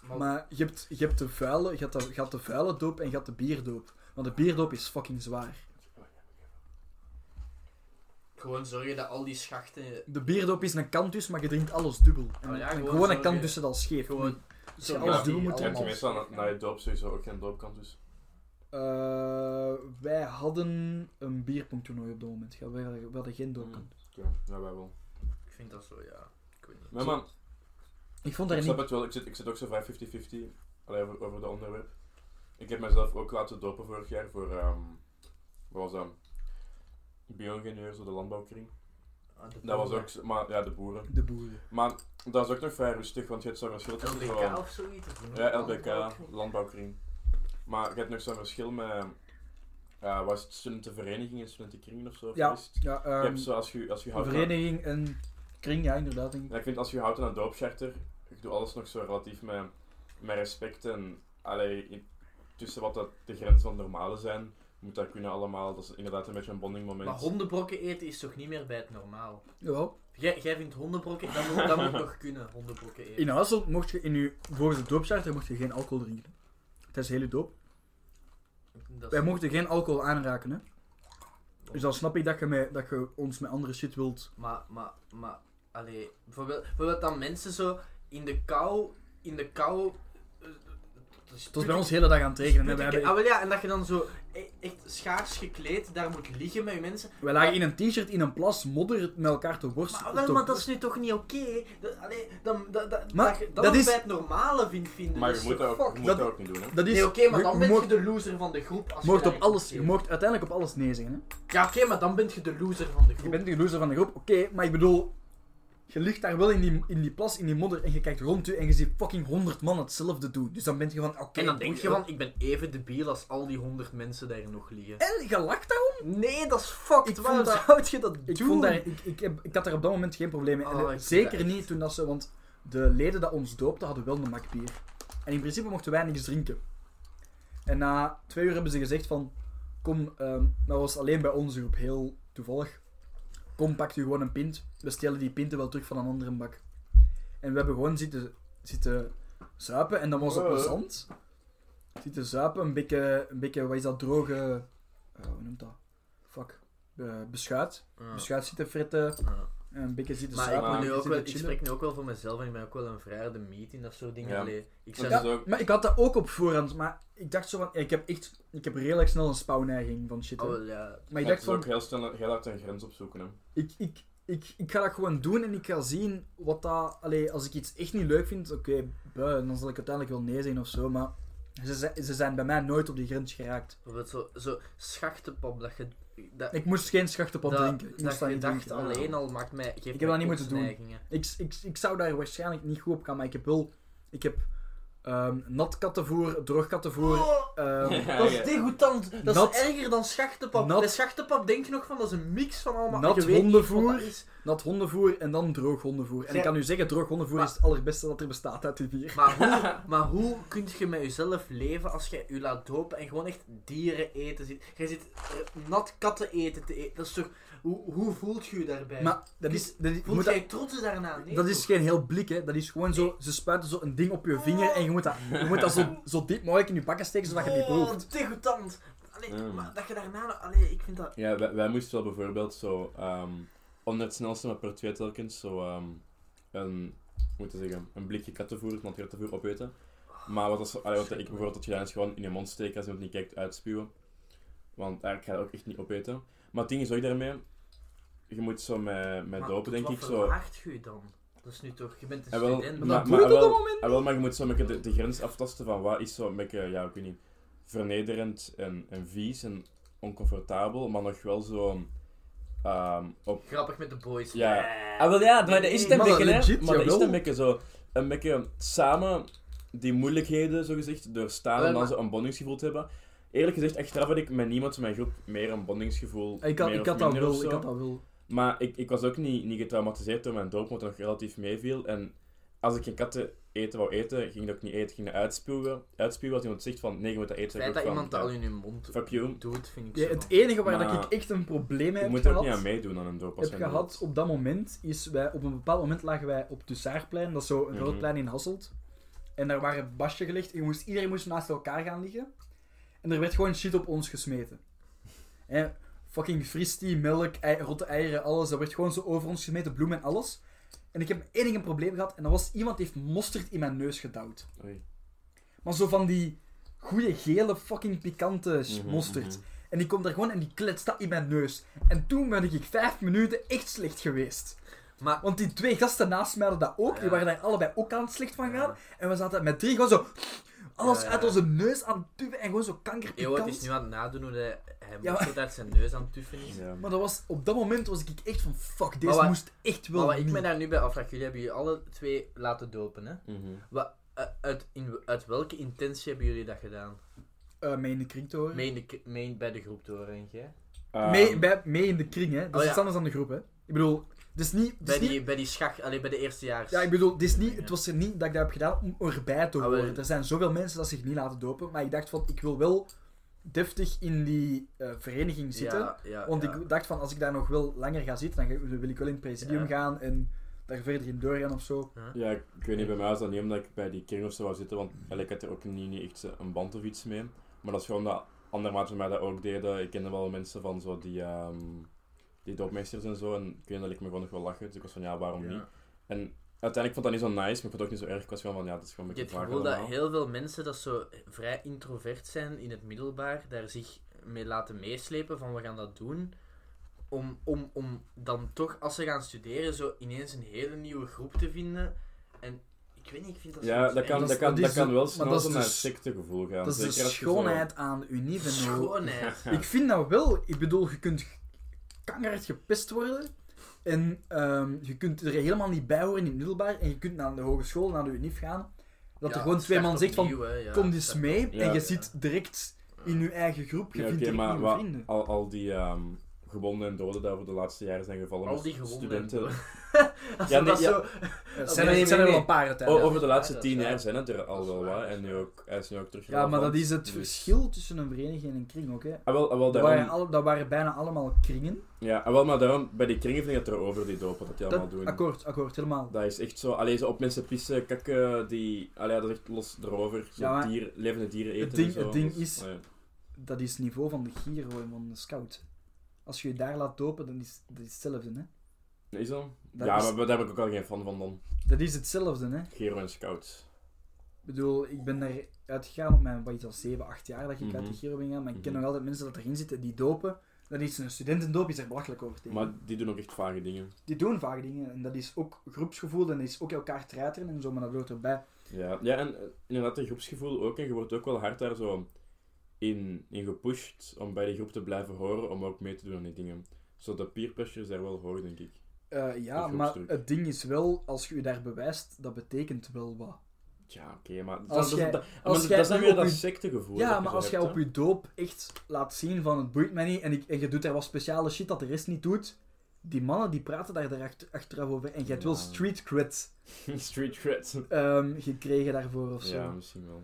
Speaker 1: Maar,
Speaker 2: Maar je hebt, je hebt de vuile, je hebt de, je had de vuile doop en je had de bierdoop. Want de bierdoop is fucking zwaar.
Speaker 1: gewoon zorgen dat al die schachten
Speaker 2: De bierdoop is een kantus, maar je drinkt alles dubbel. En,
Speaker 1: Oh ja,
Speaker 2: en
Speaker 1: gewoon
Speaker 2: gewoon,
Speaker 1: zo,
Speaker 2: een
Speaker 1: ja.
Speaker 2: kantus dat al scheef.
Speaker 1: gewoon...
Speaker 2: Dus
Speaker 1: zorgen
Speaker 2: alles
Speaker 1: dat
Speaker 2: doen
Speaker 1: Hm. die
Speaker 2: moet
Speaker 3: Je hebt
Speaker 1: allemaal-
Speaker 3: meestal na, na je doop sowieso ook geen doopkant, dus...
Speaker 2: Eh, wij hadden een bierpongtoernooi op dat moment. Ja, We hadden, we hadden geen doopkantus.
Speaker 3: Ja, ja, wij wel.
Speaker 1: Ik vind dat zo, ja. Ik weet niet.
Speaker 3: Maar man,
Speaker 2: Ik vond daar
Speaker 3: ik snap
Speaker 2: niet...
Speaker 3: het wel. Ik zit, ik zit ook zo vrij 50-50 allee, over, over de onderwerp. Ik heb mezelf ook laten dopen vorig jaar voor... ehm, wat was dat? Bio-ingenieur, zo de landbouwkring.
Speaker 1: Ah, de
Speaker 3: Dat was
Speaker 1: boeren.
Speaker 3: ook... zo- Maar, ja, de boeren.
Speaker 2: De boeren.
Speaker 3: Maar dat is ook nog vrij rustig, want je hebt zo'n verschil tussen...
Speaker 1: LBK
Speaker 3: zo-
Speaker 1: of zoiets? of-
Speaker 3: Ja, LBK, landbouwkring. Maar je hebt nog zo'n verschil met... eh was het studentenvereniging en studentenkringen of zo? of
Speaker 2: Ja,
Speaker 3: wat is het?
Speaker 2: Ja,
Speaker 3: Je
Speaker 2: ehm,
Speaker 3: hebt zo, als je, als je
Speaker 2: een
Speaker 3: houdt aan-
Speaker 2: vereniging, een kring, ja, inderdaad. denk ik.
Speaker 3: Ja, ik vind als je houdt aan een doopcharter, ik doe alles nog zo relatief met, met respect en allee, in- tussen wat dat de grenzen van het normale zijn, moet dat kunnen allemaal. Dat is inderdaad een beetje een bonding moment.
Speaker 1: Maar hondenbrokken eten is toch niet meer bij het normaal?
Speaker 2: Jawel.
Speaker 1: Jij, jij vindt hondenbrokken, dat moet, dat moet nog kunnen, hondenbrokken eten.
Speaker 2: In Hasselt mocht je in je... Volgens de doopcharter mocht je geen alcohol drinken. Het is de hele doop.
Speaker 1: Dat is-
Speaker 2: Wij mochten geen alcohol aanraken, hè. Dus dan snap ik dat je, mij, dat je ons met andere shit wilt.
Speaker 1: Maar, maar, maar, allee, bijvoorbeeld, bijvoorbeeld dan mensen zo in de kou, in de kou... eh,
Speaker 2: Het was bij ons de hele dag aan het regenen. hè. Wij,
Speaker 1: Sputteke-
Speaker 2: hebben-
Speaker 1: Ah, wel ja, en dat je dan zo e- echt schaars gekleed daar moet liggen met je mensen.
Speaker 2: wij lagen in een t-shirt, in een plas, modder met elkaar te worstelen.
Speaker 1: Maar, wel,
Speaker 2: te-
Speaker 1: maar dat is nu toch niet oké? Dat- Allee, dan, dat, dat,
Speaker 2: Maar
Speaker 1: dat, je- dat,
Speaker 2: dat
Speaker 1: is
Speaker 2: is-
Speaker 1: bij het normale vindt vinden.
Speaker 3: Maar
Speaker 1: dat
Speaker 3: je
Speaker 1: is
Speaker 3: moet
Speaker 1: toch
Speaker 3: dat ook, je
Speaker 1: fucked?
Speaker 3: moet
Speaker 2: Dat-
Speaker 3: dat ook niet doen. Hè.
Speaker 2: dat is-
Speaker 1: Nee, oké, maar dan
Speaker 2: je
Speaker 1: ben je
Speaker 2: mocht-
Speaker 1: de loser van de groep. Als je
Speaker 2: mocht
Speaker 1: daar
Speaker 2: op alles, je
Speaker 1: tegen-
Speaker 2: mocht uiteindelijk op alles nee zeggen. Hè?
Speaker 1: Ja, oké, maar dan ben je de loser van de groep.
Speaker 2: Je bent de loser van de groep, oké, maar ik bedoel... Je ligt daar wel in die, in die plas, in die modder, en je kijkt rond je en je ziet fucking 100 man hetzelfde doen. Dus dan ben je van, oké...
Speaker 1: En dan denk je
Speaker 2: boeien.
Speaker 1: van, ik ben even debiel als al die honderd mensen daar nog liggen.
Speaker 2: En je lacht daarom?
Speaker 1: Nee, dat is fucked.
Speaker 2: Ik vond
Speaker 1: Waarom
Speaker 2: dat-
Speaker 1: zou je dat
Speaker 2: Ik,
Speaker 1: doen?
Speaker 2: vond daar, ik, ik, heb, ik had daar op dat moment geen probleem mee. En,
Speaker 1: Oh,
Speaker 2: eh,
Speaker 1: ik vind
Speaker 2: zeker
Speaker 1: dat
Speaker 2: niet toen dat ze... Want de leden dat ons doopten, hadden wel een makbier. En in principe mochten wij niks drinken. En na twee uur hebben ze gezegd van... Kom, ehm dat was alleen bij onze groep, heel toevallig. Kom, pak u gewoon een pint. We stelen die pinten wel terug van een andere bak. En we hebben gewoon zitten, zitten zuipen en dat was dat
Speaker 3: Oh.
Speaker 2: plezant. Zit te zuipen, een beetje, een beetje, wat is dat, droge, eh, hoe noemt dat? Fuck. Eh, beschuit.
Speaker 1: Ja.
Speaker 2: Beschuit Dus zitten fritten,
Speaker 1: Ja.
Speaker 2: en een beetje zitten
Speaker 1: Maar Dus ik,
Speaker 2: zuipen.
Speaker 1: ben
Speaker 3: maar
Speaker 1: nu
Speaker 2: een
Speaker 1: ook
Speaker 2: beetje
Speaker 1: wel,
Speaker 2: zitten
Speaker 1: ik
Speaker 2: chillen.
Speaker 1: spreek nu ook wel voor mezelf en ik ben ook wel een vrij de meet in dat soort dingen.
Speaker 3: Ja.
Speaker 1: Allee, ik
Speaker 3: Dat
Speaker 1: zou
Speaker 3: is
Speaker 1: zo-
Speaker 2: Ja,
Speaker 3: ook-
Speaker 2: maar ik had dat ook op voorhand, maar ik dacht zo van, ik heb echt, ik heb redelijk snel een spouwneiging van shit. hè.
Speaker 1: Oh, wel, ja.
Speaker 2: maar ik
Speaker 3: het
Speaker 2: dacht
Speaker 3: is
Speaker 2: van,
Speaker 3: ook heel, snel, heel hard een grens opzoeken. Hè.
Speaker 2: ik, ik, ik, ik ga dat gewoon doen en ik ga zien wat dat... Allee, als ik iets echt niet leuk vind, oké, bui, dan zal ik uiteindelijk wel nee zeggen of zo, maar ze, zijn- ze zijn bij mij nooit op die grens geraakt.
Speaker 1: Bijvoorbeeld zo, zo schachtenpap dat je... Dat,
Speaker 2: Ik moest geen schacht op aan
Speaker 1: dat,
Speaker 2: drinken. Ik
Speaker 1: dat
Speaker 2: moest dat niet
Speaker 1: gedacht
Speaker 2: drinken.
Speaker 1: alleen al maakt mij... Geeft
Speaker 2: heb
Speaker 1: mij
Speaker 2: dat niet moeten doen.
Speaker 1: kotsneigingen.
Speaker 2: Ik, ik, ik zou daar waarschijnlijk niet goed op gaan, maar ik heb wel... Ik heb ehm nat kattenvoer, droog kattenvoer,
Speaker 1: Oh,
Speaker 2: ehm,
Speaker 3: Ja,
Speaker 1: dat is
Speaker 3: ja.
Speaker 1: degoutant. Dat
Speaker 2: Nat-
Speaker 1: is erger dan schachtenpap.
Speaker 2: nat-
Speaker 1: Bij schachtenpap denk je nog van dat is een mix van allemaal...
Speaker 2: Nat
Speaker 1: je weet niet wat dat
Speaker 2: hondenvoer.
Speaker 1: is.
Speaker 2: nat hondenvoer en dan droog hondenvoer. En ik
Speaker 1: Zij-
Speaker 2: kan u zeggen, droog hondenvoer
Speaker 1: Maar-
Speaker 2: is het allerbeste dat er bestaat uit dit bier.
Speaker 1: Maar hoe, maar hoe kun je met jezelf leven als je je laat dopen en gewoon echt dieren eten zit? Je zit eh, nat katten eten te eten. Dat is toch... Hoe, hoe voelt je je daarbij?
Speaker 2: Maar dat is... Dat, is- je
Speaker 1: Voelt
Speaker 2: moet dat-
Speaker 1: jij trots daarna? Nee,
Speaker 2: Dat is geen heel blik, hè. Dat is gewoon zo... Ze spuiten zo een ding op je vinger en je moet dat, je moet dat zo, zo diep mogelijk in je bakken steken, zodat je die proeft.
Speaker 1: Oh, degoutant. Allee,
Speaker 3: Mm.
Speaker 1: maar dat je daarna... Allee, ik vind dat...
Speaker 3: Ja, wij, wij moesten wel bijvoorbeeld zo, ehm onder het snelste, maar per twee telkens, zo ehm, een, hoe moet ik zeggen, een blikje kattenvoer, want kattenvoer opeten. Maar wat, als, allee, wat ik bijvoorbeeld had gedaan, is gewoon in je mond steken als iemand niet kijkt, uitspuwen. Want eigenlijk ga je dat ook echt niet opeten. Maar het ding is ook daarmee, je moet zo met, met
Speaker 1: Maar
Speaker 3: dopen,
Speaker 1: tot
Speaker 3: denk ik,
Speaker 1: wat
Speaker 3: zo...
Speaker 1: verlaagt je dan? Dat is nu toch... Je bent een
Speaker 3: Ah, wel,
Speaker 1: student.
Speaker 3: maar-
Speaker 2: Maar dat
Speaker 3: maar
Speaker 2: boeit op dat
Speaker 3: wel-
Speaker 2: moment.
Speaker 3: Ah, wel, maar je moet zo een beetje de, de grens aftasten van wat is zo een beetje, ja, ik weet niet, vernederend en, en vies en oncomfortabel, maar nog wel zo ehm, op...
Speaker 1: Grappig met de boys.
Speaker 3: Ja.
Speaker 1: Nee.
Speaker 3: Ah, wel, ja, maar dat is het een
Speaker 2: Maar dat
Speaker 3: beetje,
Speaker 2: legit,
Speaker 3: hè. Maar dat is
Speaker 2: jawel.
Speaker 3: het een beetje zo, een beetje samen die moeilijkheden, zogezegd, doorstaan
Speaker 1: Wel,
Speaker 3: en dan
Speaker 1: maar-
Speaker 3: zo een bondingsgevoel te hebben. Eerlijk gezegd, achteraf had ik met niemand in mijn groep meer een bondingsgevoel,
Speaker 2: Ik had,
Speaker 3: meer
Speaker 2: ik
Speaker 3: of
Speaker 2: had dat
Speaker 3: minder of
Speaker 2: wel, ik
Speaker 3: zo.
Speaker 2: had dat wel.
Speaker 3: Maar ik, ik was ook niet, niet getraumatiseerd door mijn doop, want het nog relatief meeviel. En als ik een katten eten wou eten, ging dat ook niet eten. Ik ging dat uitspuwen. Uitspuwen als iemand zegt van, nee, je moet dat eten.
Speaker 1: Het feit
Speaker 3: Ik
Speaker 1: dat
Speaker 3: ook van,
Speaker 1: iemand dat al
Speaker 3: ja,
Speaker 1: in je mond
Speaker 3: Fuck you.
Speaker 1: doet, vind ik
Speaker 2: Ja,
Speaker 1: zo
Speaker 2: het
Speaker 1: van-
Speaker 2: enige waar
Speaker 3: Maar-
Speaker 2: dat ik echt een probleem mee
Speaker 3: Je
Speaker 2: heb
Speaker 3: moet er ook
Speaker 2: gehad,
Speaker 3: niet aan meedoen aan een doop. als
Speaker 2: heb
Speaker 3: je
Speaker 2: gehad
Speaker 3: doet.
Speaker 2: op dat moment, is wij, op een bepaald moment lagen wij op Dussaarplein, dat is zo een groot
Speaker 3: Mhm.
Speaker 2: plein in Hasselt. En daar waren basje gelegd, en je moest, iedereen moest naast elkaar gaan liggen. En er werd gewoon shit op ons gesmeten. En fucking fristie, melk, ei- rotte eieren, alles, dat werd gewoon zo over ons gesmeten, bloemen en alles. En ik heb één ding een probleem gehad, en dat was iemand heeft mosterd in mijn neus gedouwd.
Speaker 3: Oei.
Speaker 2: Maar zo van die goede gele fucking pikante s-
Speaker 3: Mhm,
Speaker 2: mosterd.
Speaker 3: mhm.
Speaker 2: En die komt daar gewoon en die kletst dat in mijn neus. En toen ben ik vijf minuten echt slecht geweest.
Speaker 1: Maar-
Speaker 2: Want die twee gasten naast mij hadden dat ook.
Speaker 1: Ja.
Speaker 2: Die waren daar allebei ook aan het slecht van gaan.
Speaker 1: Ja.
Speaker 2: En we zaten met drie gewoon zo... Alles
Speaker 1: Ja, ja.
Speaker 2: uit onze neus aan het tuffen en gewoon zo
Speaker 1: Eeuw, het
Speaker 2: kankerpikant.
Speaker 1: is nu aan het nadoen hoe hij, hij
Speaker 2: Ja,
Speaker 1: mosterd uit zijn neus aan het tuffen is.
Speaker 3: Ja.
Speaker 2: Maar dat was, op dat moment was ik echt van... Fuck, deze
Speaker 1: Maar wat-
Speaker 2: moest echt wel
Speaker 1: Maar wat ik
Speaker 2: niet.
Speaker 1: me daar nu bij afvraag, jullie hebben jullie alle twee laten dopen, hè?
Speaker 3: Mhm.
Speaker 1: Wat, eh, uit, in, uit welke intentie hebben jullie dat gedaan?
Speaker 2: Eh, mee in de kring te horen.
Speaker 1: Mee, in de, k- mee in- bij de groep door, denk je?
Speaker 3: Ehm,
Speaker 2: Mee, bij- mee in de kring, hè. Dat is
Speaker 1: Oh, ja.
Speaker 2: iets anders dan de groep, hè. Ik bedoel, het is niet... Het
Speaker 1: Bij
Speaker 2: is niet
Speaker 1: die, bij die schach, alleen bij de eerstejaars.
Speaker 2: Ja, ik bedoel, het, is niet, het was er niet dat ik dat heb gedaan om erbij te
Speaker 1: Ah, wel.
Speaker 2: horen. er zijn zoveel mensen dat zich niet laten dopen, maar ik dacht van, ik wil wel deftig in die eh, vereniging zitten.
Speaker 1: Ja, ja,
Speaker 2: want
Speaker 1: ja.
Speaker 2: ik dacht van, als ik daar nog wel langer ga zitten, dan ga- wil ik wel in het presidium
Speaker 1: Ja.
Speaker 2: gaan en daar verder in doorgaan of zo.
Speaker 3: Ja, ik ik weet niet, bij mij was dat niet omdat ik bij die kring of zo wou zitten, want eigenlijk ik had er ook niet, niet echt eh, een band of iets mee. Maar dat is gewoon dat andere maatjes mij dat ook deden. Ik kende wel mensen van zo die, ehm, die doopmeesters en zo, en ik weet dat ik me gewoon nog wel lachen. Dus ik was van, ja, waarom niet?
Speaker 1: Ja.
Speaker 3: En uiteindelijk vond ik dat niet zo nice, maar ik vond het ook niet zo erg. Ik was gewoon van, ja, dat is gewoon een
Speaker 1: Ik heb
Speaker 3: beetje
Speaker 1: het
Speaker 3: vaag
Speaker 1: gevoel dat heel
Speaker 3: allemaal.
Speaker 1: veel mensen dat zo vrij introvert zijn in het middelbaar, daar zich mee laten meeslepen van we gaan dat doen. Om, om, om dan toch, als ze gaan studeren, zo ineens een hele nieuwe groep te vinden. En ik weet niet, ik vind dat
Speaker 3: Ja,
Speaker 1: soms
Speaker 3: dat kan,
Speaker 2: dat
Speaker 1: echt-
Speaker 3: dat
Speaker 2: is-
Speaker 3: kan,
Speaker 2: dat
Speaker 3: dat
Speaker 2: is
Speaker 3: kan
Speaker 2: de-
Speaker 3: wel
Speaker 2: maar dat
Speaker 3: snel
Speaker 2: is
Speaker 3: zo naar het
Speaker 2: dus-
Speaker 3: sectegevoel gaan.
Speaker 2: dat is de
Speaker 3: zeker als je zo-
Speaker 2: schoonheid aan Unive.
Speaker 1: schoonheid.
Speaker 2: Ik vind dat wel, ik bedoel, je kunt kankerhard gepest worden. En ehm, je kunt er helemaal niet bij horen in het middelbaar. En je kunt naar de hogeschool, naar de UNIF gaan. Dat
Speaker 1: Ja,
Speaker 2: er gewoon
Speaker 1: het
Speaker 2: twee man
Speaker 1: start
Speaker 2: zegt van,
Speaker 1: opnieuw, hè, ja,
Speaker 2: kom
Speaker 1: het
Speaker 2: eens
Speaker 1: start
Speaker 2: mee.
Speaker 1: opnieuw.
Speaker 2: en je
Speaker 1: Ja.
Speaker 2: zit direct in je eigen groep, je
Speaker 3: Ja,
Speaker 2: vindt
Speaker 3: oké,
Speaker 2: direct
Speaker 3: maar
Speaker 2: nieuwe
Speaker 3: wat,
Speaker 2: vrienden.
Speaker 3: al, al die ehm, gewonden en doden die over de laatste jaren zijn gevallen.
Speaker 1: Al
Speaker 3: met
Speaker 1: die gewonden.
Speaker 3: studenten.
Speaker 1: Als
Speaker 3: Ja,
Speaker 1: we
Speaker 3: nee,
Speaker 1: dat
Speaker 3: ja.
Speaker 1: zo...
Speaker 5: Er
Speaker 1: nee,
Speaker 5: zijn, er-
Speaker 1: nee,
Speaker 5: er zijn er
Speaker 1: nee.
Speaker 5: wel een paar uiteindelijk.
Speaker 3: O- over de laatste
Speaker 1: dat
Speaker 3: tien
Speaker 1: is waar.
Speaker 3: jaar zijn het er al
Speaker 1: Dat is
Speaker 3: wel
Speaker 1: waar,
Speaker 3: wat.
Speaker 1: dat is
Speaker 3: En nu
Speaker 1: waar.
Speaker 3: ook, hij is nu ook terug.
Speaker 2: Ja, maar dat is het
Speaker 3: Dus-
Speaker 2: verschil tussen een vereniging en een kring ook, hè.
Speaker 3: Ah, wel, ah, wel,
Speaker 2: Dat
Speaker 3: daarom,
Speaker 2: waren, al, dat waren bijna allemaal kringen.
Speaker 3: ja, ah, wel, maar daarom, bij die kringen vind ik het erover, die dopen, dat die allemaal
Speaker 2: Dat,
Speaker 3: doen.
Speaker 2: akkoord, akkoord, helemaal.
Speaker 3: Dat is echt zo, alleen zo op mensen pissen, kakken, die, allee, dat is echt los erover. Zo
Speaker 2: Ja, maar-
Speaker 3: dier, levende dieren eten
Speaker 2: ding-
Speaker 3: en zo.
Speaker 2: het ding
Speaker 3: Dus,
Speaker 2: is-
Speaker 3: ah, ja.
Speaker 2: Dat is het niveau van de giro en van de scout. Als je je daar laat dopen, dan is dat is hetzelfde, hè.
Speaker 3: Is dat?
Speaker 2: Dat
Speaker 3: ja,
Speaker 2: is-
Speaker 3: maar daar heb ik ook al geen fan van dan.
Speaker 2: Dat is hetzelfde, hè.
Speaker 3: Gero en Scout.
Speaker 2: Ik bedoel, ik ben daar uitgegaan op mijn, wat is dat, 7, 8 jaar dat ik uit
Speaker 3: Mhm.
Speaker 2: de Giro ben gegaan. Maar ik ken
Speaker 3: Mhm.
Speaker 2: nog altijd mensen dat erin zitten die dopen. Dat is een studentendoop, is er belachelijk over tegen.
Speaker 3: Maar die doen ook echt vage dingen.
Speaker 2: Die doen vaak dingen en dat is ook groepsgevoel en dat is ook elkaar treiteren en zo, maar dat hoort erbij.
Speaker 3: Ja, ja en eh, inderdaad, een groepsgevoel ook. En je wordt ook wel hard daar zo in, in gepusht om bij die groep te blijven horen, om ook mee te doen aan die dingen. Zo dat peer pressure is daar wel hoog, denk ik.
Speaker 2: Eh, ja,
Speaker 3: Dat is
Speaker 2: maar
Speaker 3: groepsdruk.
Speaker 2: het ding is wel, als je je daar bewijst, dat betekent wel wat.
Speaker 3: Ja, oké, maar... dat-
Speaker 2: Als
Speaker 3: dat,
Speaker 2: jij-
Speaker 3: dat, maar
Speaker 2: als
Speaker 3: dat-
Speaker 2: jij
Speaker 3: dat is dan
Speaker 2: nu
Speaker 3: weer
Speaker 2: op
Speaker 3: dat
Speaker 2: je-
Speaker 3: sectegevoel dat
Speaker 2: ja,
Speaker 3: je
Speaker 2: maar
Speaker 3: zo
Speaker 2: als jij
Speaker 3: hebt,
Speaker 2: op
Speaker 3: hè.
Speaker 2: je doop echt laat zien van het boeit mij niet en, ik, en je doet daar wat speciale shit dat de rest niet doet, die mannen die praten daar erachter- achteraf over en je hebt wel
Speaker 3: Ja.
Speaker 2: street cred
Speaker 3: Street cred.
Speaker 2: ehm, gekregen daarvoor of zo.
Speaker 3: Ja, misschien wel.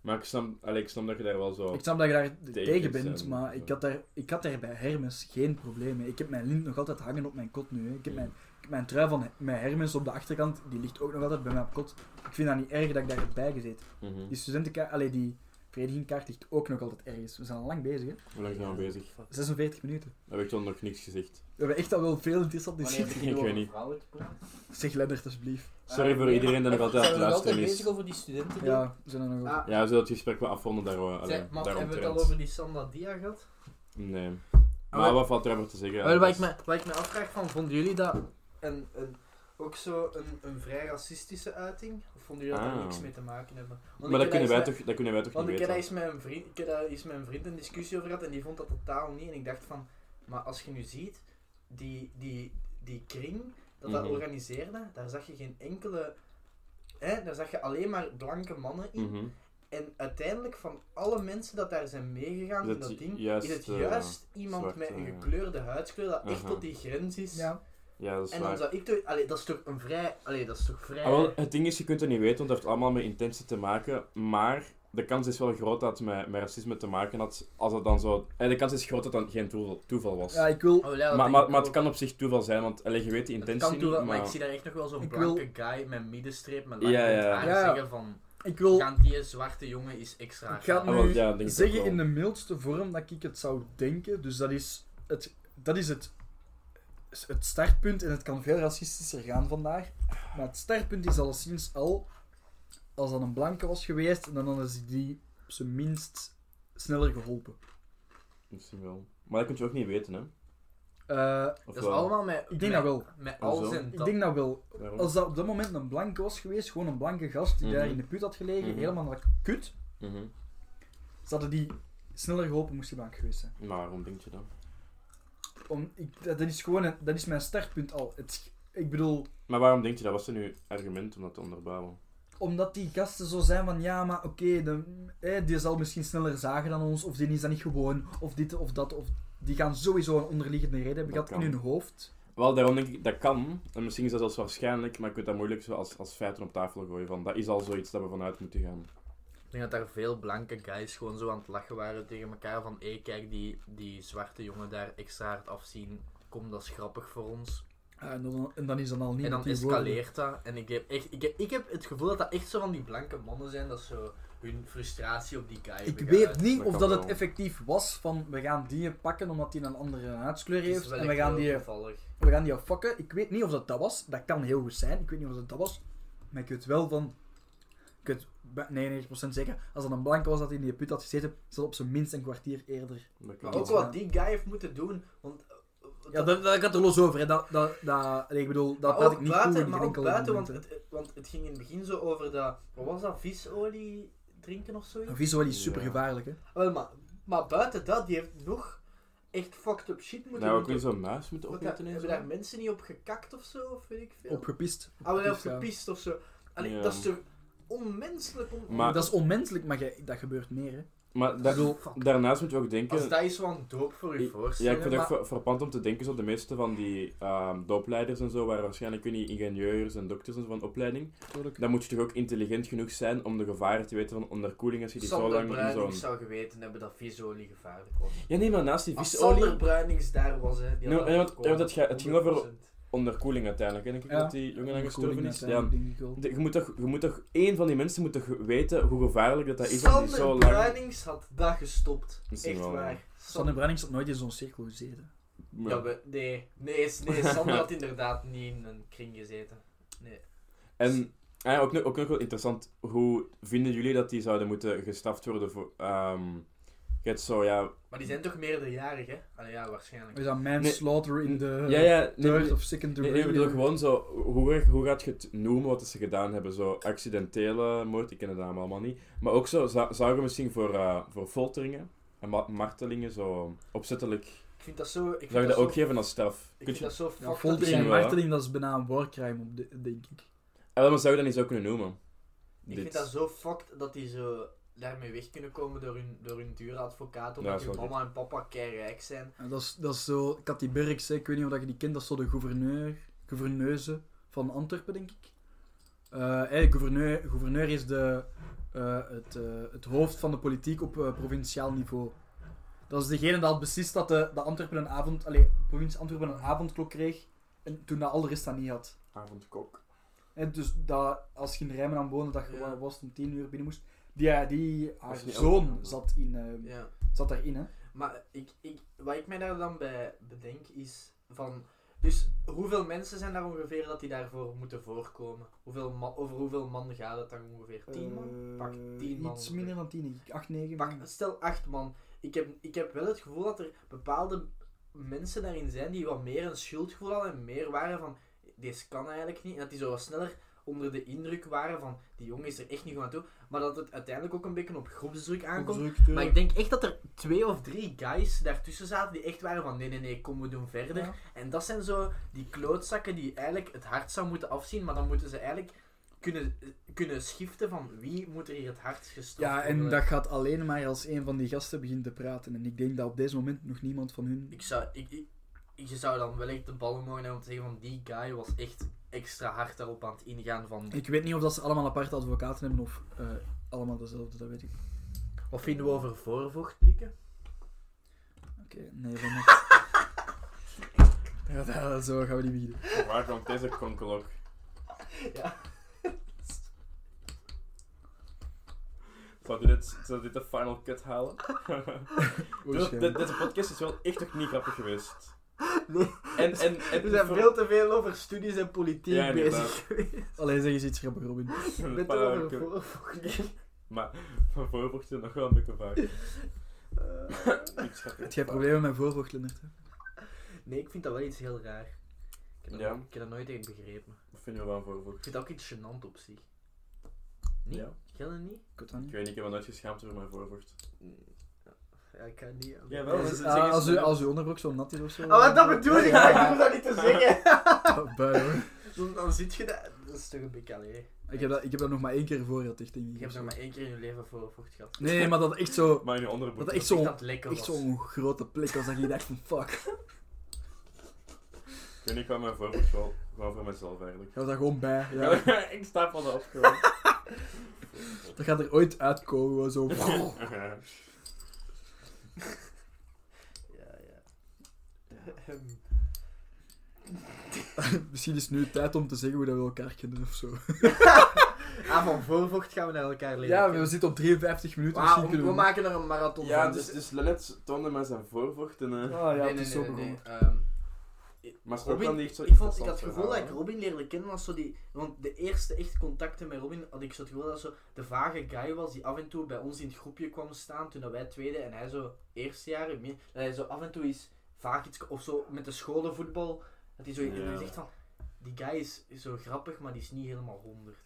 Speaker 3: Maar ik snap, allee, ik snap dat je daar wel zo...
Speaker 2: Ik snap dat je daar
Speaker 3: Tegen
Speaker 2: tegen
Speaker 3: zijn,
Speaker 2: bent,
Speaker 3: ja.
Speaker 2: maar ik had, daar, ik had daar bij Hermes geen probleem mee. Ik heb mijn lint nog altijd hangen op mijn kot nu. Hè. Ik, heb
Speaker 3: Ja.
Speaker 2: mijn, ik heb mijn trui van mijn Hermes op de achterkant, die ligt ook nog altijd bij mij op kot. Ik vind dat niet erg dat ik daar heb bijgezeten.
Speaker 3: Mhm.
Speaker 2: Die studentenkaart, allee, die verenigingkaart ligt ook nog altijd ergens. We zijn al lang bezig, hè.
Speaker 3: Hoe lang zijn we bezig?
Speaker 2: 46 minuten.
Speaker 3: Heb ik dan nog niks gezegd.
Speaker 2: We hebben echt al wel veel interessante
Speaker 5: Wanneer
Speaker 2: shit.
Speaker 5: heb
Speaker 3: Ik
Speaker 5: je
Speaker 3: weet
Speaker 5: over
Speaker 3: niet.
Speaker 5: vrouwen gepraat?
Speaker 2: Zeg Lennart, alsjeblieft.
Speaker 3: Sorry
Speaker 5: Ah,
Speaker 3: voor
Speaker 5: nee.
Speaker 3: iedereen die nog altijd aan
Speaker 5: Zijn we
Speaker 3: het
Speaker 5: nog altijd
Speaker 3: luisteren is.
Speaker 5: bezig over die studenten?
Speaker 2: Ja, we zijn er nog over.
Speaker 5: Ah,
Speaker 3: Ja, we zullen het gesprek wel afronden daar, hoor. Allee,
Speaker 1: Zeg, maar hebben we het
Speaker 3: daaromtrent.
Speaker 1: al over die Sanda Dia gehad?
Speaker 3: Nee.
Speaker 1: Ah,
Speaker 3: Maar
Speaker 1: wel-
Speaker 3: wat valt er over te zeggen?
Speaker 1: Wel, wat,
Speaker 3: Dat
Speaker 1: ik
Speaker 3: is-
Speaker 1: me, wat ik me afvraag van, vonden jullie dat een, een, ook zo een, een vrij racistische uiting? Of vonden jullie dat daar
Speaker 3: Ah.
Speaker 1: niks mee te maken hebben? Want
Speaker 3: Maar
Speaker 1: ik
Speaker 3: dat
Speaker 1: heb
Speaker 3: kunnen,
Speaker 1: eens
Speaker 3: wij
Speaker 1: met-
Speaker 3: toch, dat kunnen wij toch
Speaker 1: Want
Speaker 3: niet
Speaker 1: ik heb
Speaker 3: weten?
Speaker 1: daar eens met een vriend, ik heb daar eens met een vriend een discussie over gehad en die vond dat totaal niet. En ik dacht van, maar als je nu ziet, die, die, die kring dat dat
Speaker 3: Mhm.
Speaker 1: organiseerde, daar zag je geen enkele... Hè, daar zag je alleen maar blanke mannen in.
Speaker 3: Mhm.
Speaker 1: En uiteindelijk van alle mensen dat daar zijn meegegaan
Speaker 3: Is
Speaker 1: in
Speaker 3: het
Speaker 1: dat ding,
Speaker 3: juist,
Speaker 1: is het
Speaker 3: eh,
Speaker 1: juist iemand
Speaker 3: zwarte,
Speaker 1: met een
Speaker 3: ja.
Speaker 1: gekleurde huidskleur dat echt
Speaker 3: Aha.
Speaker 1: tot die grens is.
Speaker 2: Ja.
Speaker 3: Ja, dat is
Speaker 1: En
Speaker 3: waar.
Speaker 1: dan zou ik toch... Allee, dat is toch een vrij... Allee, dat is toch vrij...
Speaker 3: Ah, wel, het ding is, je kunt het niet weten, want het heeft allemaal met intentie te maken. Maar de kans is wel groot dat het met, met racisme te maken had. Als het dan zo... eh, de kans is groot dat het dan geen toeval, toeval was.
Speaker 2: Ja, ik wil...
Speaker 1: Oh, ja, dat
Speaker 3: maar,
Speaker 1: denk
Speaker 3: maar,
Speaker 1: ik
Speaker 3: maar
Speaker 1: ook.
Speaker 3: het kan op zich toeval zijn, want allee, je weet de
Speaker 1: Het
Speaker 3: intentie
Speaker 1: kan toe,
Speaker 3: niet,
Speaker 1: maar...
Speaker 3: maar...
Speaker 1: ik zie daar echt nog wel zo'n
Speaker 2: Ik wil-
Speaker 1: blanke guy met middenstreep, met lang
Speaker 3: Ja, ja.
Speaker 1: haar
Speaker 2: Ja.
Speaker 1: zeggen van...
Speaker 2: Ik wil...
Speaker 1: "Gaan die zwarte jongen is extra
Speaker 2: Ik ga
Speaker 1: gaaf."
Speaker 3: Ah, wel,
Speaker 2: nu
Speaker 3: ja, denk ik ook
Speaker 2: zeggen
Speaker 3: wel.
Speaker 2: in de mildste vorm dat ik het zou denken. Dus dat is het, dat is het, het startpunt. En het kan veel racistischer gaan vandaag. Maar het startpunt is alleszins al... Als dat een blanke was geweest, dan hadden ze die op zijn minst sneller geholpen.
Speaker 3: Misschien wel. Maar dat kun je ook niet weten, hè.
Speaker 2: Eh,
Speaker 3: Of
Speaker 1: Dat is
Speaker 3: wel?
Speaker 1: allemaal met...
Speaker 2: denk
Speaker 1: met-
Speaker 2: dat wel.
Speaker 1: Met
Speaker 3: Ah,
Speaker 1: al
Speaker 3: zo.
Speaker 1: zijn
Speaker 2: ik
Speaker 1: dat.
Speaker 2: denk dat wel.
Speaker 3: Daarom?
Speaker 2: Als dat op dat moment een blanke was geweest, gewoon een blanke gast die daar
Speaker 3: Mhm.
Speaker 2: in de put had gelegen,
Speaker 3: Mhm.
Speaker 2: helemaal naar kut,
Speaker 3: Mhm.
Speaker 2: ze hadden die sneller geholpen moest die blank geweest zijn.
Speaker 3: Maar waarom denk je dat?
Speaker 2: Om, ik, dat dat is gewoon een- dat is mijn startpunt al. Het, ik bedoel,
Speaker 3: Maar waarom denk je dat? Was er nu argument om dat te onderbouwen?
Speaker 2: omdat die gasten zo zijn van ja, maar oké, de- eh, die zal misschien sneller zagen dan ons, of die is dat niet gewoon, of dit of dat, of die gaan sowieso een onderliggende reden hebben
Speaker 3: Dat
Speaker 2: gehad in
Speaker 3: kan.
Speaker 2: hun hoofd.
Speaker 3: Wel, daarom denk ik, dat kan. En misschien is dat zelfs waarschijnlijk, maar ik weet dat moeilijk zo als, als feiten op tafel gooien. Van, dat is al zoiets dat we vanuit moeten gaan.
Speaker 1: Ik denk dat daar veel blanke guys gewoon zo aan het lachen waren tegen elkaar. Van, hé, kijk, die, die zwarte jongen daar extra hard afzien. Kom, dat is grappig voor ons.
Speaker 2: Ah, en, dan, en dan is dat al niet
Speaker 1: en dan
Speaker 2: met die woorden.
Speaker 1: escaleert dat. En ik heb, echt, ik, heb, ik heb het gevoel dat dat echt zo van die blanke mannen zijn. Dat zo hun frustratie op die guy
Speaker 2: Ik
Speaker 1: hebben
Speaker 2: weet
Speaker 1: geuit.
Speaker 2: niet
Speaker 3: Dat
Speaker 2: of
Speaker 3: kan
Speaker 2: dat het
Speaker 3: wel.
Speaker 2: effectief was van we gaan die pakken omdat die een andere huidskleur
Speaker 1: Het is
Speaker 2: heeft
Speaker 1: wel
Speaker 2: en we
Speaker 1: echt
Speaker 2: gaan,
Speaker 1: heel
Speaker 2: die,
Speaker 1: toevallig.
Speaker 2: we gaan die al fucken. Ik weet niet of dat dat was, dat kan heel goed zijn, ik weet niet of dat dat was, maar ik weet wel van, ik weet bij 99% zeker, als dat een blanke was dat in die put had gezeten, is dat op zijn minst een kwartier eerder.
Speaker 3: Dat kan.
Speaker 1: Maar ook
Speaker 2: wel.
Speaker 1: wat die guy heeft moeten doen. Want, eh,
Speaker 2: Ja, dat, dat gaat er los over, hè. Dat, dat, dat, nee, ik bedoel, dat
Speaker 1: Maar
Speaker 2: praat
Speaker 1: ook
Speaker 2: ik niet
Speaker 1: buiten,
Speaker 2: goed in
Speaker 1: maar
Speaker 2: geen
Speaker 1: ook
Speaker 2: enkel
Speaker 1: buiten, want
Speaker 2: moment, hè.
Speaker 1: het, het- want het ging in het begin zo over dat, wat was dat, visolie drinken of zoiets?
Speaker 2: Een visueel is super gevaarlijk, hè.
Speaker 1: Wel, maar, maar buiten dat, die heeft nog echt fucked up shit moeten
Speaker 3: Nou, ook
Speaker 1: doen.
Speaker 3: weer zo'n muis moeten
Speaker 1: Want daar-
Speaker 3: opletten en
Speaker 1: hebben
Speaker 3: zo.
Speaker 1: daar mensen niet op gekakt of zo, of weet ik veel?
Speaker 2: Opgepist.
Speaker 1: Ah, wel, of
Speaker 2: Opgepist, ja.
Speaker 1: gepist of zo. Allee,
Speaker 3: Ja.
Speaker 1: dat is toch onmenselijk om...
Speaker 3: Maar-
Speaker 2: Dat is onmenselijk, maar jij- dat gebeurt meer, hè.
Speaker 3: Maar
Speaker 1: Ik
Speaker 3: daar,
Speaker 1: bedoel,
Speaker 3: daarnaast moet je ook
Speaker 1: als
Speaker 3: denken...
Speaker 1: dat is van doop voor je
Speaker 3: Ik-
Speaker 1: voorstellen.
Speaker 3: Ja, ik vind het
Speaker 1: maar-
Speaker 3: ook ver- verpand om te denken, zo de meeste van die ehm, doopleiders en zo waren waarschijnlijk ik weet niet, ingenieurs en dokters en zo van opleiding. Dan moet je toch ook intelligent genoeg zijn om de gevaren te weten van onderkoeling als je die zo
Speaker 1: Sander
Speaker 3: lang in zo'n...
Speaker 1: Bruinings zou geweten hebben dat visolie gevaarlijk was.
Speaker 3: Ja, nee, maar naast die
Speaker 1: Als
Speaker 3: visolie...
Speaker 1: Sander Bruinings daar was, hè. die
Speaker 3: Nee,
Speaker 1: had
Speaker 3: ja, want-
Speaker 1: gekomen,
Speaker 3: ja, want het ga- het ging over-
Speaker 1: 100%.
Speaker 3: Onderkoeling uiteindelijk, hè, denk ik
Speaker 2: Ja.
Speaker 3: dat die jongen aan gestorven is. Ja. De-
Speaker 2: De,
Speaker 3: Je moet, toch, je moet toch... één van die mensen moet toch weten hoe gevaarlijk dat, dat is om die
Speaker 1: Sander
Speaker 3: zo lang...
Speaker 1: Bruinings had dat gestopt.
Speaker 3: Misschien
Speaker 1: Echt
Speaker 3: wel, ja.
Speaker 1: waar.
Speaker 2: Sanne
Speaker 1: Sander...
Speaker 2: Brennings had nooit in zo'n cirkel gezeten.
Speaker 1: Ja, we- nee. Nee, s- nee, Sander had inderdaad niet in een kring gezeten.
Speaker 3: En ah ja, ook, nog, ook nog wel interessant, hoe vinden jullie dat die zouden moeten gestraft worden voor... ehm, je hebt zo, ja...
Speaker 1: Maar die zijn toch meerderjarig, hè? Allee, ja, waarschijnlijk.
Speaker 2: Is dat manslaughter in de
Speaker 3: ja, ja, nee,
Speaker 2: third
Speaker 3: nee,
Speaker 2: of second
Speaker 3: nee,
Speaker 2: degree?
Speaker 3: nee, ik bedoel gewoon zo, hoe, erg- hoe gaat je het noemen wat ze gedaan hebben? Zo accidentele moord, ik ken de naam allemaal niet. Maar ook zo, zou, zou je misschien voor, eh, voor folteringen en ma- martelingen zo opzettelijk...
Speaker 1: Ik vind dat zo... Ik vind
Speaker 3: Zou je dat
Speaker 1: zo-
Speaker 3: ook geven als straf?
Speaker 1: Ik
Speaker 3: Kun
Speaker 1: vind
Speaker 3: je,
Speaker 1: dat zo
Speaker 2: ja,
Speaker 1: fucked up.
Speaker 2: foltering
Speaker 3: misschien
Speaker 2: en
Speaker 3: wel, hè.
Speaker 2: marteling, dat is bijna een war crime, op de, denk ik.
Speaker 3: Ah, wel, maar zou je dat niet zo kunnen noemen?
Speaker 1: Ik
Speaker 3: Dit.
Speaker 1: vind dat zo fucked dat die zo daarmee weg kunnen komen door hun, door hun dure advocaat.
Speaker 3: Ja,
Speaker 1: Omdat
Speaker 3: is
Speaker 1: hun
Speaker 3: wel
Speaker 1: mama en papa keirijk zijn.
Speaker 2: En dat, is, dat is zo... Cathy Berks, hè, ik weet niet of dat je die kent, dat is zo de gouverneur, gouverneuse van Antwerpen, denk ik. Eh, hè, gouverneur, gouverneur is de, eh, het, eh, het hoofd van de politiek op eh, provinciaal niveau. Dat is degene dat beslist dat de, de Antwerpen een avond... Allee, de provincie Antwerpen een avondklok kreeg, en toen dat al de rest dat niet had.
Speaker 3: Avondkok.
Speaker 2: Hè, dus dat, als je in Rijmen aan woonde, dat je
Speaker 1: Ja.
Speaker 2: wel was om tien uur binnen moest. Die, eh, die haar
Speaker 3: is niet
Speaker 2: zoon
Speaker 3: elke-
Speaker 2: zat, in, eh,
Speaker 1: Ja.
Speaker 2: zat daarin, hè.
Speaker 1: Maar ik, ik, wat ik mij daar dan bij bedenk is van. Dus hoeveel mensen zijn daar ongeveer dat die daarvoor moeten voorkomen? Hoeveel ma- over hoeveel man gaat het dan ongeveer? 10 man? Pak
Speaker 2: Eh,
Speaker 1: tien man.
Speaker 2: Iets minder dan tien, denk ik. Acht, negen.
Speaker 1: Pak, stel 8 man. Ik heb, ik heb wel het gevoel dat er bepaalde mensen daarin zijn die wat meer een schuldgevoel hadden en meer waren van deze kan eigenlijk niet. En dat die zo wat sneller onder de indruk waren van die jongen is er echt niet goed aan toe. Maar dat het uiteindelijk ook een beetje op groepsdruk aankomt. Maar
Speaker 2: eh,
Speaker 1: ik denk echt dat er twee of drie guys daartussen zaten die echt waren van nee, nee, nee, kom, we doen verder.
Speaker 2: Ja.
Speaker 1: En dat zijn zo die klootzakken die eigenlijk het hart zou moeten afzien, maar dan moeten ze eigenlijk kunnen, kunnen schiften van wie moet er hier het hart gestopt
Speaker 2: Ja, en
Speaker 1: worden.
Speaker 2: dat gaat alleen maar als een van die gasten begint te praten. En ik denk dat op deze moment nog niemand van hun...
Speaker 1: Ik zou, ik, ik, ik- je zou dan wel echt de ballen mogen hebben om te zeggen van die guy was echt extra hard daarop aan het ingaan van...
Speaker 2: Ik weet niet of dat ze allemaal aparte advocaten hebben of eh, allemaal dezelfde, dat weet ik.
Speaker 1: Wat vinden we over voorvocht likken?
Speaker 2: Oké, nee, van niet. Ja, dat- zo gaan we niet beginnen.
Speaker 3: Waar komt deze konkelok?
Speaker 1: Ja.
Speaker 3: Zou dit, zou dit de final cut halen? Dit- dit-
Speaker 2: Waarschijnlijk.
Speaker 3: Deze podcast is wel echt toch niet grappig geweest. En, en, en
Speaker 1: We zijn
Speaker 3: voor-
Speaker 1: veel te veel over studies en politiek
Speaker 3: Ja, inderdaad.
Speaker 1: bezig geweest.
Speaker 2: Alleen zeg eens iets grappigs, Robin.
Speaker 1: Ik
Speaker 3: een
Speaker 1: ben
Speaker 3: paar
Speaker 1: toch over
Speaker 3: keer-
Speaker 1: voorvocht likken.
Speaker 3: Maar van voorvocht is nog wel een beetje vaak. Iets grappig.
Speaker 2: Heb jij problemen met voorvocht, Lennart? hè?
Speaker 1: Nee, ik vind dat wel iets heel raar. Ik heb dat,
Speaker 3: Ja.
Speaker 1: ik heb dat nooit echt begrepen.
Speaker 3: Wat vind je wel aan voorvocht?
Speaker 1: Ik vind dat ook iets gênant op zich. Nee?
Speaker 3: Ja.
Speaker 1: Ken je niet?
Speaker 2: Ik weet dat
Speaker 3: Ik
Speaker 2: niet.
Speaker 3: weet niet, ik heb me nooit geschaamd over mijn voorvocht.
Speaker 1: Ja, ik kan niet.
Speaker 3: Jawel,
Speaker 1: Ah,
Speaker 3: dat is-
Speaker 2: Ah,
Speaker 3: zeg eens-
Speaker 2: als, u, als uw onderbroek zo nat is of zo.
Speaker 1: wat dat bedoel ik?
Speaker 2: Ja.
Speaker 1: Ik hoef dat niet te zeggen.
Speaker 2: Ah, bui, hoor.
Speaker 1: Dan, dan zit je dat. Dat is toch een beetje alleen.
Speaker 2: Ik heb, dat, ik heb dat nog maar één keer voor gehad, echt, denk ik.
Speaker 1: Je hebt nog maar één keer in je leven voorvocht gehad.
Speaker 2: Nee, nee, maar dat echt zo...
Speaker 3: Maar in je onderbroek.
Speaker 2: Dat echt
Speaker 1: Ik dacht
Speaker 2: zo'n
Speaker 1: dat het lekker
Speaker 2: echt
Speaker 1: was.
Speaker 2: zo'n grote plek was dat je dacht van fuck.
Speaker 3: Ik weet niet, ik wou mijn voorvocht wel gewoon voor mezelf eigenlijk.
Speaker 2: Ik was daar gewoon bij. Ja.
Speaker 3: ik sta van de af gewoon.
Speaker 2: Dat gaat er ooit uitkomen, gewoon zo.
Speaker 1: Ja, ja.
Speaker 2: Misschien is het nu tijd om te zeggen hoe dat we elkaar kennen of zo.
Speaker 1: ah, van voorvocht gaan we naar elkaar leren.
Speaker 2: Ja,
Speaker 1: kennen.
Speaker 2: we zitten op 53 minuten,
Speaker 1: Ah,
Speaker 2: misschien
Speaker 1: we,
Speaker 2: kunnen
Speaker 1: we
Speaker 2: we...
Speaker 1: maken er een marathon
Speaker 3: ja,
Speaker 1: van.
Speaker 3: dus, dus Lennet toonde mij zijn voorvocht en... eh,
Speaker 2: Ah ja,
Speaker 1: Nee,
Speaker 2: het is
Speaker 1: nee,
Speaker 2: zo
Speaker 1: nee, nee,
Speaker 2: begonnen.
Speaker 1: nee. Ehm,
Speaker 3: maar ze ook
Speaker 1: Robin,
Speaker 3: wel niet echt zo
Speaker 1: ik, vond, ik had
Speaker 3: interessant
Speaker 1: het gevoel dat ik
Speaker 3: verhaal, hè.
Speaker 1: Robin leerde kennen als zo die... Want de eerste echte contacten met Robin had ik zo het gevoel dat zo de vage guy was die af en toe bij ons in het groepje kwam staan toen dat wij tweede en hij zo eerste jaar... ik meen- Dat hij zo af en toe iets vaag iets... Of zo met de scholenvoetbal, dat hij zo
Speaker 3: Ja.
Speaker 1: zegt van... Die guy is zo grappig, maar die is niet helemaal 100.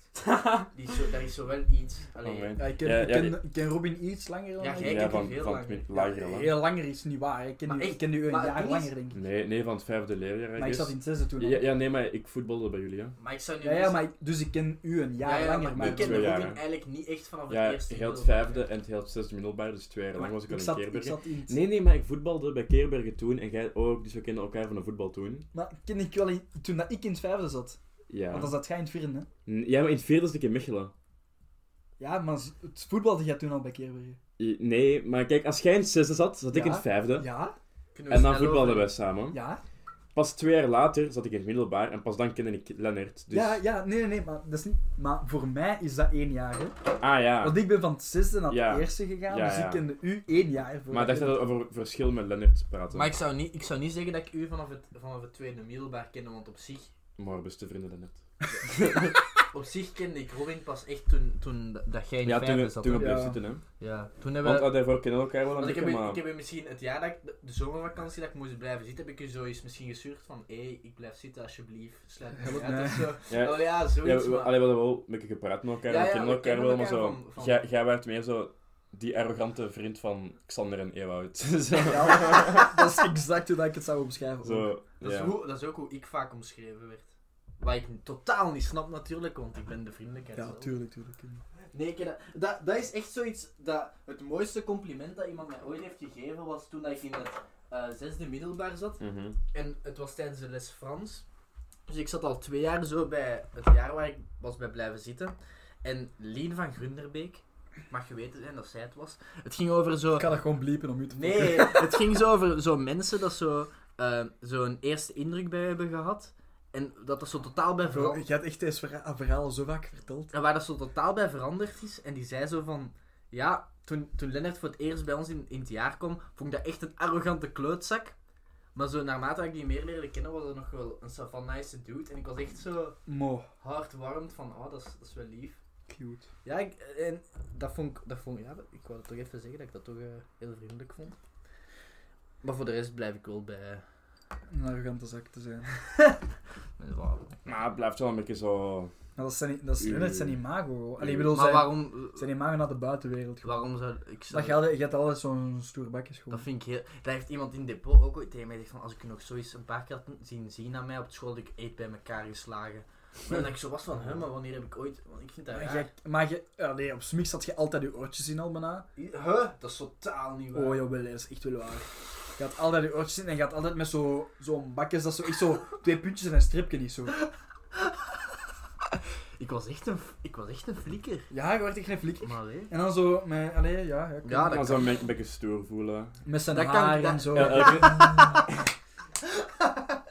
Speaker 1: Die is zo, daar is zo wel iets. Allee,
Speaker 3: Moment.
Speaker 2: Ja, ik, ken,
Speaker 3: Ja,
Speaker 2: ik,
Speaker 3: ja,
Speaker 2: ken,
Speaker 3: die-
Speaker 2: ik ken Robin iets langer dan
Speaker 1: Ja,
Speaker 2: hij.
Speaker 1: jij
Speaker 3: ja,
Speaker 1: kent
Speaker 3: van,
Speaker 1: die veel
Speaker 3: van het
Speaker 1: langer.
Speaker 3: mid- lagere
Speaker 2: Ja,
Speaker 3: land.
Speaker 2: heel langer is niet waar. Ik ken,
Speaker 1: Maar
Speaker 2: die-
Speaker 1: echt,
Speaker 2: ik ken die een
Speaker 1: maar het
Speaker 2: jaar
Speaker 1: ding is-
Speaker 2: langer, denk ik.
Speaker 3: Nee, nee, van het vijfde leerjaar. I
Speaker 2: Maar ik
Speaker 3: guess.
Speaker 2: zat in het zesde toen. al.
Speaker 3: ja, ja, nee, maar ik voetbalde bij jullie, hè.
Speaker 1: Maar ik zou nu
Speaker 2: Ja, ja,
Speaker 1: niet-
Speaker 2: maar ik- dus ik ken u een jaar
Speaker 1: Ja, ja,
Speaker 2: langer. Maar
Speaker 1: ik ken
Speaker 3: Twee
Speaker 1: Robin
Speaker 3: jaar, hè.
Speaker 1: eigenlijk niet echt vanaf
Speaker 3: Ja,
Speaker 1: het eerste
Speaker 3: heel het
Speaker 1: deel.
Speaker 3: vijfde en heel het zesde middelbaar, dus twee jaar
Speaker 1: Ja,
Speaker 3: lang was ik al
Speaker 2: ik
Speaker 3: in
Speaker 2: zat, ik
Speaker 3: Keerbergen.
Speaker 2: zat in het-
Speaker 3: Nee, nee, maar ik voetbalde bij Keerbergen toen en jij ook, dus we kenden elkaar van de voetbal toen.
Speaker 2: Maar ken ik wel in, toen dat ik in het vijfde zat.
Speaker 3: Ja.
Speaker 2: Want dan zat jij in het vierde, hè?
Speaker 3: N- Ja, maar in het vierde zat ik in Mechelen.
Speaker 2: Ja, maar z- het voetbalde jij toen al bij Keerbergen.
Speaker 3: I- Nee, maar kijk, als jij in het zesde zat, zat ik
Speaker 2: Ja.
Speaker 3: in het vijfde.
Speaker 2: Ja,
Speaker 1: Kunnen we
Speaker 3: En
Speaker 1: snel
Speaker 3: dan voetbalden
Speaker 1: over-
Speaker 3: wij samen.
Speaker 2: ja.
Speaker 3: Pas twee jaar later zat ik in het middelbaar en pas dan kende ik Lennart. Dus...
Speaker 2: Ja, ja, nee, nee, nee, maar dat is niet... Maar voor mij is dat één jaar, hè?
Speaker 3: Ah ja,
Speaker 2: Want ik ben van het zesde naar
Speaker 3: Ja.
Speaker 2: het eerste gegaan,
Speaker 3: Ja,
Speaker 2: dus
Speaker 3: ja.
Speaker 2: ik kende u één jaar. Voor
Speaker 3: maar ik dacht dat we over verschil met Lennart praten.
Speaker 1: Maar ik zou, niet, ik zou niet zeggen dat ik u vanaf het, vanaf het tweede middelbaar kende, want op zich,
Speaker 3: Maar beste vrienden, Lennart.
Speaker 1: op zich kende ik Robin pas echt toen, toen da- dat jij in
Speaker 3: Ja,
Speaker 1: het
Speaker 3: toen
Speaker 1: vijfde
Speaker 3: we,
Speaker 1: zat.
Speaker 3: toen we
Speaker 1: hè.
Speaker 2: Ja.
Speaker 3: bleven zitten, hè.
Speaker 1: Ja, toen hebben
Speaker 3: Want
Speaker 1: we...
Speaker 3: ah, daarvoor kennen we elkaar wel een
Speaker 1: Want ik,
Speaker 3: beetje,
Speaker 1: heb, u-
Speaker 3: maar...
Speaker 1: ik heb u misschien het jaar dat ik, de, de zomervakantie dat ik moest blijven zitten, heb ik u zoiets misschien gestuurd van hé, hey, ik blijf zitten alsjeblieft, sluit me niet
Speaker 2: Help
Speaker 1: uit
Speaker 2: mij.
Speaker 1: of zo.
Speaker 3: Ja,
Speaker 1: Oh ja,
Speaker 3: ja,
Speaker 1: zoiets,
Speaker 3: we,
Speaker 1: maar...
Speaker 3: allee, we hadden wel een beetje gepraat met elkaar,
Speaker 1: Ja,
Speaker 3: we
Speaker 1: ja,
Speaker 3: kennen
Speaker 1: we
Speaker 3: elkaar
Speaker 1: kennen
Speaker 3: wel, maar
Speaker 1: elkaar
Speaker 3: zo...
Speaker 1: van- van-
Speaker 3: Jij, jij werd meer zo die arrogante vriend van Xander en Ewout. zo,
Speaker 2: Ja, dat is exact hoe dat ik het zou omschrijven. ook.
Speaker 3: zo,
Speaker 1: Dat,
Speaker 3: ja.
Speaker 1: is hoe, dat is ook hoe ik vaak omschreven werd. Wat ik totaal niet snap natuurlijk, want ik ben de vriendelijkheid
Speaker 2: Ja,
Speaker 1: zelf.
Speaker 2: tuurlijk, tuurlijk.
Speaker 1: Nee, ik, dat, dat, dat is echt zoiets. Dat, het mooiste compliment dat iemand mij ooit heeft gegeven was toen dat ik in het eh, zesde middelbaar zat.
Speaker 3: Mhm.
Speaker 1: En het was tijdens de les Frans. Dus ik zat al twee jaar zo bij het jaar waar ik was bij blijven zitten. En Lien van Grunderbeek, mag geweten zijn dat zij het was. Het ging over zo.
Speaker 2: Ik kan dat gewoon bliepen om u te
Speaker 1: Nee, het ging zo over zo mensen dat zo, eh, zo'n eerste indruk bij hebben gehad. En dat dat zo totaal bij
Speaker 2: Bro,
Speaker 1: veranderd
Speaker 2: je hebt echt deze verha- verhalen zo vaak verteld.
Speaker 1: En waar dat zo totaal bij veranderd is. En die zei zo van... Ja, toen, toen Lennart voor het eerst bij ons in, in het jaar kwam, vond ik dat echt een arrogante kleutzak. Maar zo naarmate ik die meer leerde kennen, was dat nog wel een soort van nice dude. En ik was echt zo
Speaker 2: Mo,
Speaker 1: hardwarmd van, oh, dat is, dat is wel lief.
Speaker 2: cute.
Speaker 1: Ja, ik, en dat vond ik... Dat vond, ik- ja, dat- ik wou dat toch even zeggen, dat ik dat toch eh, heel vriendelijk vond. Maar voor de rest blijf ik wel bij...
Speaker 2: Een arrogante zak Nou, te zijn.
Speaker 1: mijn vader.
Speaker 3: Maar het blijft wel een beetje
Speaker 1: Ah,
Speaker 3: zo...
Speaker 2: Maar dat is zijn, dat is,
Speaker 3: Uw-
Speaker 2: nee, dat is zijn imago. hoor. Allee, ik
Speaker 3: uw-
Speaker 2: bedoel,
Speaker 1: Maar
Speaker 2: zijn,
Speaker 1: waarom...
Speaker 2: zijn imago naar de buitenwereld.
Speaker 1: Waarom zou... Ik zou
Speaker 2: Dat je, altijd, je hebt altijd zo'n stoer bakjes gewoon.
Speaker 1: Dat vind ik heel... Daar heeft iemand in het depot ook ooit tegen mij gezegd van... Als ik u nog zoiets een paar keer had zien zien aan mij op school, dat ik eet bij elkaar geslagen. Maar dan dat ik zo was van, hè, maar wanneer heb ik ooit... Want ik vind dat
Speaker 2: Maar
Speaker 1: raar.
Speaker 2: jij- maar je, allee, op Smix had je altijd je oortjes in al bijna.
Speaker 1: Huh? Dat is totaal niet waar.
Speaker 2: Oh jawel, dat is echt wel waar. Je had altijd je oortjes in en je had altijd met zo- zo'n bakjes dat zo echt zo twee puntjes en een stripje is zo.
Speaker 1: Ik was echt een... f- Ik was echt een flikker.
Speaker 2: Ja, je wordt echt geen flik.
Speaker 1: Maar nee.
Speaker 2: En dan zo met, allee, ja, ja,
Speaker 1: Ja, dat
Speaker 3: maar zo
Speaker 1: kan.
Speaker 3: een beetje, een beetje stoer voelen.
Speaker 2: met zijn
Speaker 1: Dat kan-
Speaker 2: haar
Speaker 1: dat-
Speaker 2: en zo.
Speaker 3: Ja,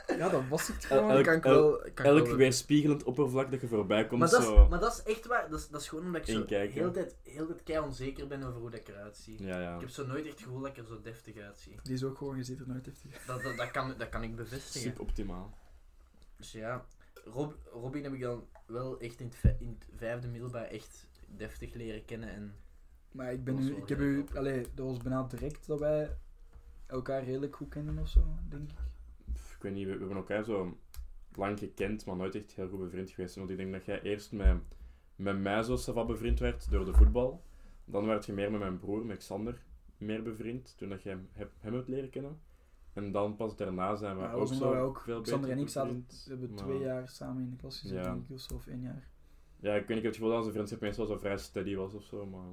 Speaker 2: Ja, dat
Speaker 3: elke
Speaker 2: was
Speaker 1: Eh,
Speaker 2: het
Speaker 3: el-
Speaker 2: gewoon.
Speaker 3: elk-
Speaker 1: kan ik
Speaker 3: el-
Speaker 1: wel... kan ik
Speaker 3: elk
Speaker 1: wel-
Speaker 3: weerspiegelend oppervlak dat je voorbij komt,
Speaker 1: Maar dat,
Speaker 3: zo...
Speaker 1: is, maar dat is echt waar. Dat is, dat is gewoon omdat ik zo
Speaker 3: Inkijken.
Speaker 1: heel de tijd, heel de tijd kei onzeker ben over hoe dat ik eruit zie.
Speaker 3: Ja, ja.
Speaker 1: Ik heb zo nooit echt het gevoel dat ik er zo deftig uitzie.
Speaker 2: Die is ook gewoon gezeten, nooit heeft hij.
Speaker 1: Dat, dat, dat, kan, dat kan ik bevestigen.
Speaker 3: Suboptimaal.
Speaker 1: Dus ja, Rob, Robin heb ik dan wel echt in het, vij- in het vijfde middelbaar echt deftig leren kennen. En
Speaker 2: Maar ik ben
Speaker 1: Dat was
Speaker 2: nu,
Speaker 1: wel
Speaker 2: ik heb
Speaker 1: heel
Speaker 2: u,
Speaker 1: grappig.
Speaker 2: allee, dat was bijna direct dat wij elkaar redelijk goed kennen of zo, denk ik.
Speaker 3: Pff, Ik weet niet, we, we hebben elkaar zo lang gekend, maar nooit echt heel goed bevriend geweest. Want ik denk dat jij eerst met, met mij zo savant bevriend werd door de voetbal. Dan werd je meer met mijn broer, met Xander, meer bevriend. Toen dat jij hem, heb- hem hebt leren kennen. En dan pas daarna zijn we
Speaker 2: Maar dat
Speaker 3: ook
Speaker 2: was omdat
Speaker 3: zo
Speaker 2: wij ook,
Speaker 3: veel
Speaker 2: Xander
Speaker 3: beter
Speaker 2: en ik zaten,
Speaker 3: bevriend,
Speaker 2: we hebben
Speaker 3: maar-
Speaker 2: twee jaar samen in de klas gezeten,
Speaker 3: Ja.
Speaker 2: denk ik, of zo, of één jaar.
Speaker 3: Ja, ik weet niet, ik heb het gevoel dat onze vriendschap meestal zo vrij steady was of zo, maar...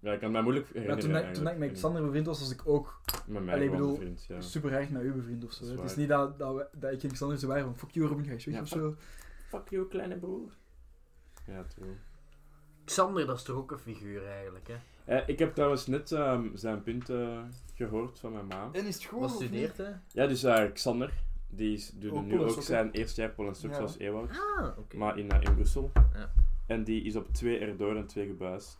Speaker 3: Ja, ik kan het mij moeilijk
Speaker 2: Maar toen,
Speaker 3: herinneren
Speaker 2: dat- toen dat ik
Speaker 3: eigenlijk.
Speaker 2: met Xander bevriend was, was ik ook
Speaker 3: Met mij
Speaker 2: Allee, ik
Speaker 3: gewoon
Speaker 2: bedoel,
Speaker 3: bevriend, ja.
Speaker 2: super erg met u bevriend of zo.
Speaker 3: Dat is
Speaker 2: Het is
Speaker 3: waar.
Speaker 2: niet dat, dat, we- dat ik en Xander zo waren van fuck you Robin, ga eens weg
Speaker 3: Ja,
Speaker 2: of zo.
Speaker 3: Fuck you, kleine broer. Ja, true.
Speaker 1: Xander, dat is toch ook een figuur eigenlijk, hè?
Speaker 3: Eh, ik heb trouwens net ehm, zijn punt eh, gehoord van mijn ma.
Speaker 2: En is het goed?
Speaker 1: Wat studeert hij?
Speaker 3: Ja, dus eh, Xander, die is, doet
Speaker 2: Oh,
Speaker 3: nu
Speaker 2: Polen
Speaker 3: ook
Speaker 2: Sokken.
Speaker 3: zijn eerste jaar Polen Sokken
Speaker 2: Ja.
Speaker 3: zoals Ewout,
Speaker 1: Ah, oké.
Speaker 3: maar in, eh, in Brussel.
Speaker 1: Ja.
Speaker 3: En die is op twee erdoor en twee gebuist.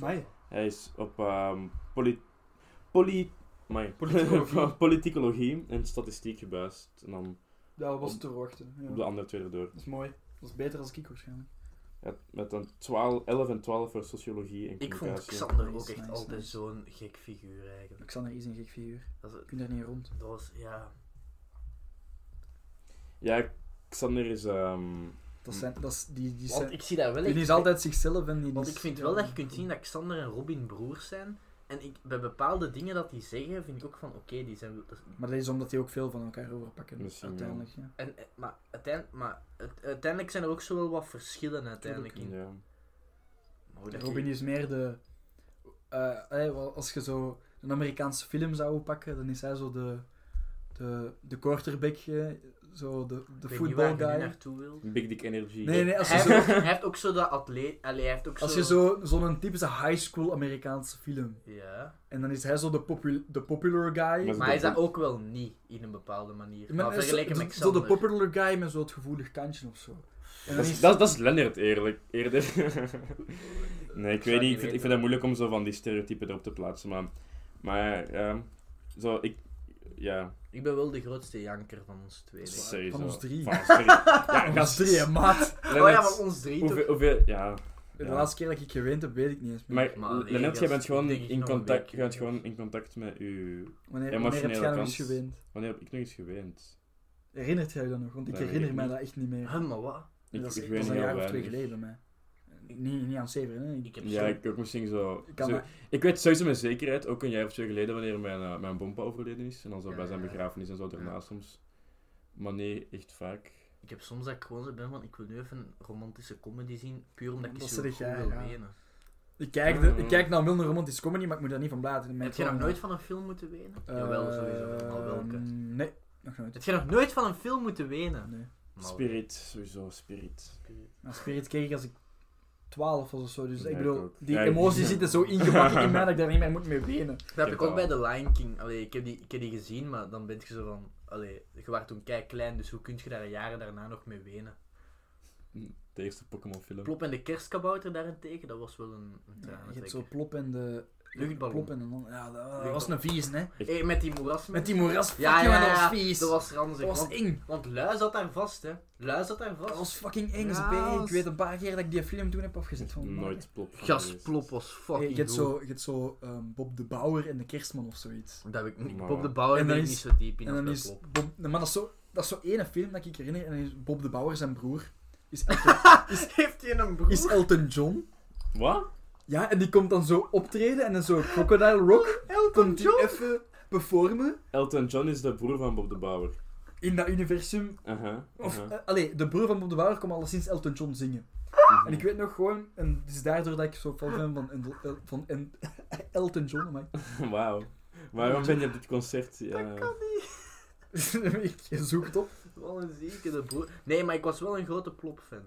Speaker 2: Nee.
Speaker 3: Hij is op ehm polit... Polit... amai.
Speaker 2: Politicologie.
Speaker 3: Politicologie en statistiek gebuist. En dan
Speaker 2: Dat was
Speaker 3: Op-
Speaker 2: te verwachten. ja.
Speaker 3: op de andere twee erdoor.
Speaker 2: Dat is mooi. Dat is beter als ik waarschijnlijk.
Speaker 3: Ja, met een 12, 11 en 12 voor sociologie en
Speaker 1: Ik
Speaker 3: communicatie.
Speaker 1: vond Xander ook
Speaker 2: Nice,
Speaker 1: echt
Speaker 2: nice,
Speaker 1: altijd
Speaker 2: nice.
Speaker 1: zo'n gek figuur eigenlijk.
Speaker 2: Xander is een gek figuur.
Speaker 1: Dat, is-
Speaker 2: Je kunt daar niet rond.
Speaker 1: dat was, ja...
Speaker 3: Ja, ik Xander is... ehm,
Speaker 2: Dat zijn, dat is, die, die
Speaker 1: Want
Speaker 2: zijn,
Speaker 1: ik zie dat wel.
Speaker 2: die
Speaker 1: echt-
Speaker 2: is altijd zichzelf en die
Speaker 1: Want
Speaker 2: is-
Speaker 1: ik vind wel dat je kunt zien dat Xander en Robin broers zijn. En ik, bij bepaalde dingen dat die zeggen, vind ik ook van oké, die zijn. dat is-
Speaker 2: Maar dat is omdat die ook veel van elkaar overpakken.
Speaker 3: Misschien wel.
Speaker 2: uiteindelijk, ja.
Speaker 1: En, eh, maar uiteindelijk, maar het- uiteindelijk zijn er ook zo wel wat verschillen uiteindelijk in.
Speaker 3: ja.
Speaker 1: Maar hoe dat
Speaker 2: Robin
Speaker 1: je-
Speaker 2: is meer de. eh, hey, wel, als je zo een Amerikaanse film zou pakken, dan is hij zo de. de, de quarterback, eh, zo de, de
Speaker 1: ik weet niet waar
Speaker 2: football
Speaker 1: je nu
Speaker 2: guy.
Speaker 1: naartoe wil.
Speaker 3: Big Dick Energy.
Speaker 2: Nee, nee, als je
Speaker 1: Hij,
Speaker 2: zo.
Speaker 1: heeft, ook- hij heeft ook zo dat atleet. Allee, hij heeft ook
Speaker 2: Als
Speaker 1: zo...
Speaker 2: je zo, zo'n typische high school Amerikaanse film.
Speaker 1: Ja.
Speaker 2: En dan is hij zo de, popul- de popular guy.
Speaker 3: Maar
Speaker 1: Maar hij is dat ook wel niet, in een bepaalde manier. Maar
Speaker 2: hij is zo-
Speaker 1: vergeleken met
Speaker 2: de- zo de
Speaker 1: Xander.
Speaker 2: popular guy met zo'n gevoelig kantje of zo. En dan
Speaker 3: Dat
Speaker 2: is,
Speaker 3: is, dat, dat is Lennart eerlijk, eerder. nee,
Speaker 1: zou
Speaker 3: ik
Speaker 1: het
Speaker 3: weet
Speaker 1: niet
Speaker 3: niet. Ik vind, ik
Speaker 1: weten.
Speaker 3: vind het moeilijk om zo van die stereotypen erop te plaatsen. Maar, maar ja, zo, ik. Ja,
Speaker 1: Ik ben wel de grootste janker van ons twee. denk ik.
Speaker 3: sowieso.
Speaker 2: ons drie.
Speaker 3: Van ons drie. Ja,
Speaker 2: Van
Speaker 3: gast.
Speaker 2: ons drieën, maat.
Speaker 1: Oh ja,
Speaker 3: Lennart,
Speaker 1: maar ons drie toch?
Speaker 3: hoeveel, hoeveel- ja.
Speaker 2: De
Speaker 3: ja.
Speaker 2: laatste keer dat ik geweend heb, weet ik niet eens meer.
Speaker 3: Maar,
Speaker 1: Maar nee,
Speaker 3: Lennart, jij
Speaker 1: gast,
Speaker 3: bent gewoon
Speaker 1: ik denk ik
Speaker 3: in
Speaker 1: nog een
Speaker 3: contact,
Speaker 1: week.
Speaker 3: je bent gewoon in contact met u.
Speaker 2: Wanneer, wanneer heb
Speaker 3: emotionele
Speaker 2: jij nou eens
Speaker 3: kant.
Speaker 2: geweend?
Speaker 3: Wanneer heb ik nog eens geweend?
Speaker 2: Herinnert jij je dat nog? Want ik
Speaker 3: Dat weet
Speaker 2: herinner
Speaker 3: ik
Speaker 2: mij
Speaker 3: niet.
Speaker 2: dat echt niet meer.
Speaker 1: Huh, maar wat?
Speaker 3: Ik,
Speaker 2: dat is,
Speaker 3: ik
Speaker 2: dat
Speaker 3: weet
Speaker 2: is
Speaker 3: niet
Speaker 2: een
Speaker 3: heel
Speaker 2: jaar of twee
Speaker 3: weinig.
Speaker 2: geleden, mij. Niet, niet aan het zeveren, hè?
Speaker 1: Ik heb
Speaker 3: Ja,
Speaker 1: zo...
Speaker 3: ik ook misschien zo.
Speaker 2: Ik kan
Speaker 3: zo-
Speaker 2: maar-
Speaker 3: Ik weet sowieso met zekerheid, ook een jaar of twee geleden, wanneer mijn, eh, mijn bompa overleden is. En dan zo
Speaker 1: Ja,
Speaker 3: bij zijn
Speaker 1: ja, ja.
Speaker 3: begrafenis en zo daarna
Speaker 1: Ja.
Speaker 3: soms. Maar nee, echt vaak.
Speaker 1: Ik heb soms dat ik gewoon zo ben van, ik wil nu even een romantische comedy zien, puur omdat ik
Speaker 2: Dat
Speaker 1: iets
Speaker 2: zeg
Speaker 1: zo goed
Speaker 2: jij,
Speaker 1: wil
Speaker 2: ja.
Speaker 1: wenen.
Speaker 2: ik, kijk de,
Speaker 3: Mm.
Speaker 2: ik kijk naar Milner Romantische Comedy, maar ik moet daar niet van bladen. Mijn
Speaker 1: Heb je nog
Speaker 2: tong-
Speaker 1: nooit van een film moeten wenen?
Speaker 2: Eh, mm,
Speaker 1: Jawel, sowieso. Maar welke?
Speaker 2: Nee, nog nooit.
Speaker 1: Heb je nog nooit van een film moeten wenen?
Speaker 2: Nee.
Speaker 1: Maar
Speaker 3: Spirit, sowieso, Spirit.
Speaker 2: Maar Spirit keek ik als ik 12 was of zo, dus
Speaker 3: Ja,
Speaker 2: ik
Speaker 3: ik
Speaker 2: bedoel,
Speaker 3: ook.
Speaker 2: die
Speaker 3: Ja, ik-
Speaker 2: emoties zitten zo ingebakken in mij dat ik daar niet meer moet mee wenen.
Speaker 1: Dat
Speaker 3: Ik
Speaker 1: heb ik
Speaker 3: heb
Speaker 1: ook bij
Speaker 3: dat
Speaker 1: The Lion King. Allee, ik, heb die, ik heb die gezien, maar dan ben je zo van... Allee, je was toen kei klein, dus hoe kun je daar jaren daarna nog mee wenen?
Speaker 3: De eerste Pokémon film.
Speaker 1: Plop en de kerstkabouter daarentegen, dat was wel een, een
Speaker 2: Ja, je
Speaker 1: tranentrekker.
Speaker 2: hebt zo plop en de...
Speaker 1: Luchtballon.
Speaker 2: Plop en de non- Ja, dat- dat,
Speaker 1: Luchtballon.
Speaker 2: was een vies, hè?
Speaker 1: Hey, met die moeras.
Speaker 2: Met die moeras, fuck
Speaker 1: Ja, ja,
Speaker 2: jongen,
Speaker 1: ja,
Speaker 2: dat
Speaker 1: ja,
Speaker 2: was vies.
Speaker 1: Dat was ranzig.
Speaker 2: Dat was
Speaker 1: want,
Speaker 2: eng.
Speaker 1: want Lui zat daar vast, hè. Lui zat daar
Speaker 2: Dat
Speaker 1: vast.
Speaker 2: was fucking eng.
Speaker 1: Ja,
Speaker 2: z'n-
Speaker 1: dat
Speaker 2: Ik
Speaker 1: was-
Speaker 2: weet een paar keer dat ik die film toen heb afgezet. Van,
Speaker 3: Nooit plop. van geweest.
Speaker 1: Gasplop was
Speaker 2: Hey,
Speaker 1: fucking
Speaker 2: je hebt
Speaker 1: goed.
Speaker 2: zo, je hebt zo ehm, Bob de Bouwer en de Kerstman of zoiets.
Speaker 1: Dat heb ik niet.
Speaker 3: Maar-
Speaker 1: Bob de Bauer
Speaker 2: En
Speaker 1: ben
Speaker 2: dan
Speaker 1: ik
Speaker 2: is-
Speaker 1: niet zo diep in
Speaker 2: en dan
Speaker 1: als
Speaker 2: is
Speaker 1: bij Bob.
Speaker 2: Bob, nee, maar dat is, zo, dat is zo ene film dat ik herinner. En dan is Bob de Bouwer zijn broer. Is Elton,
Speaker 1: Heeft hij een broer?
Speaker 2: is Elton John.
Speaker 3: Wat?
Speaker 2: Ja, en die komt dan zo optreden en dan zo Crocodile Rock.
Speaker 1: Elton
Speaker 2: Komt die
Speaker 1: John?
Speaker 2: even performen
Speaker 3: Elton John is de broer van Bob de Bauer.
Speaker 2: in dat universum.
Speaker 3: Aha. Mhm.
Speaker 2: Of,
Speaker 3: aha,
Speaker 2: eh, allee, de broer van Bob de Bouwer komt alleszins Elton John zingen.
Speaker 3: mhm.
Speaker 2: En ik weet nog gewoon, en het is daardoor dat ik zo fan ben van, Endel- El- van En- Elton John. Amai.
Speaker 3: Wauw. Waarom ben je op dit concert? Ja.
Speaker 2: ik zoek het op.
Speaker 1: Wat een zieke de broer. Nee, maar ik was wel een grote Plop-fan.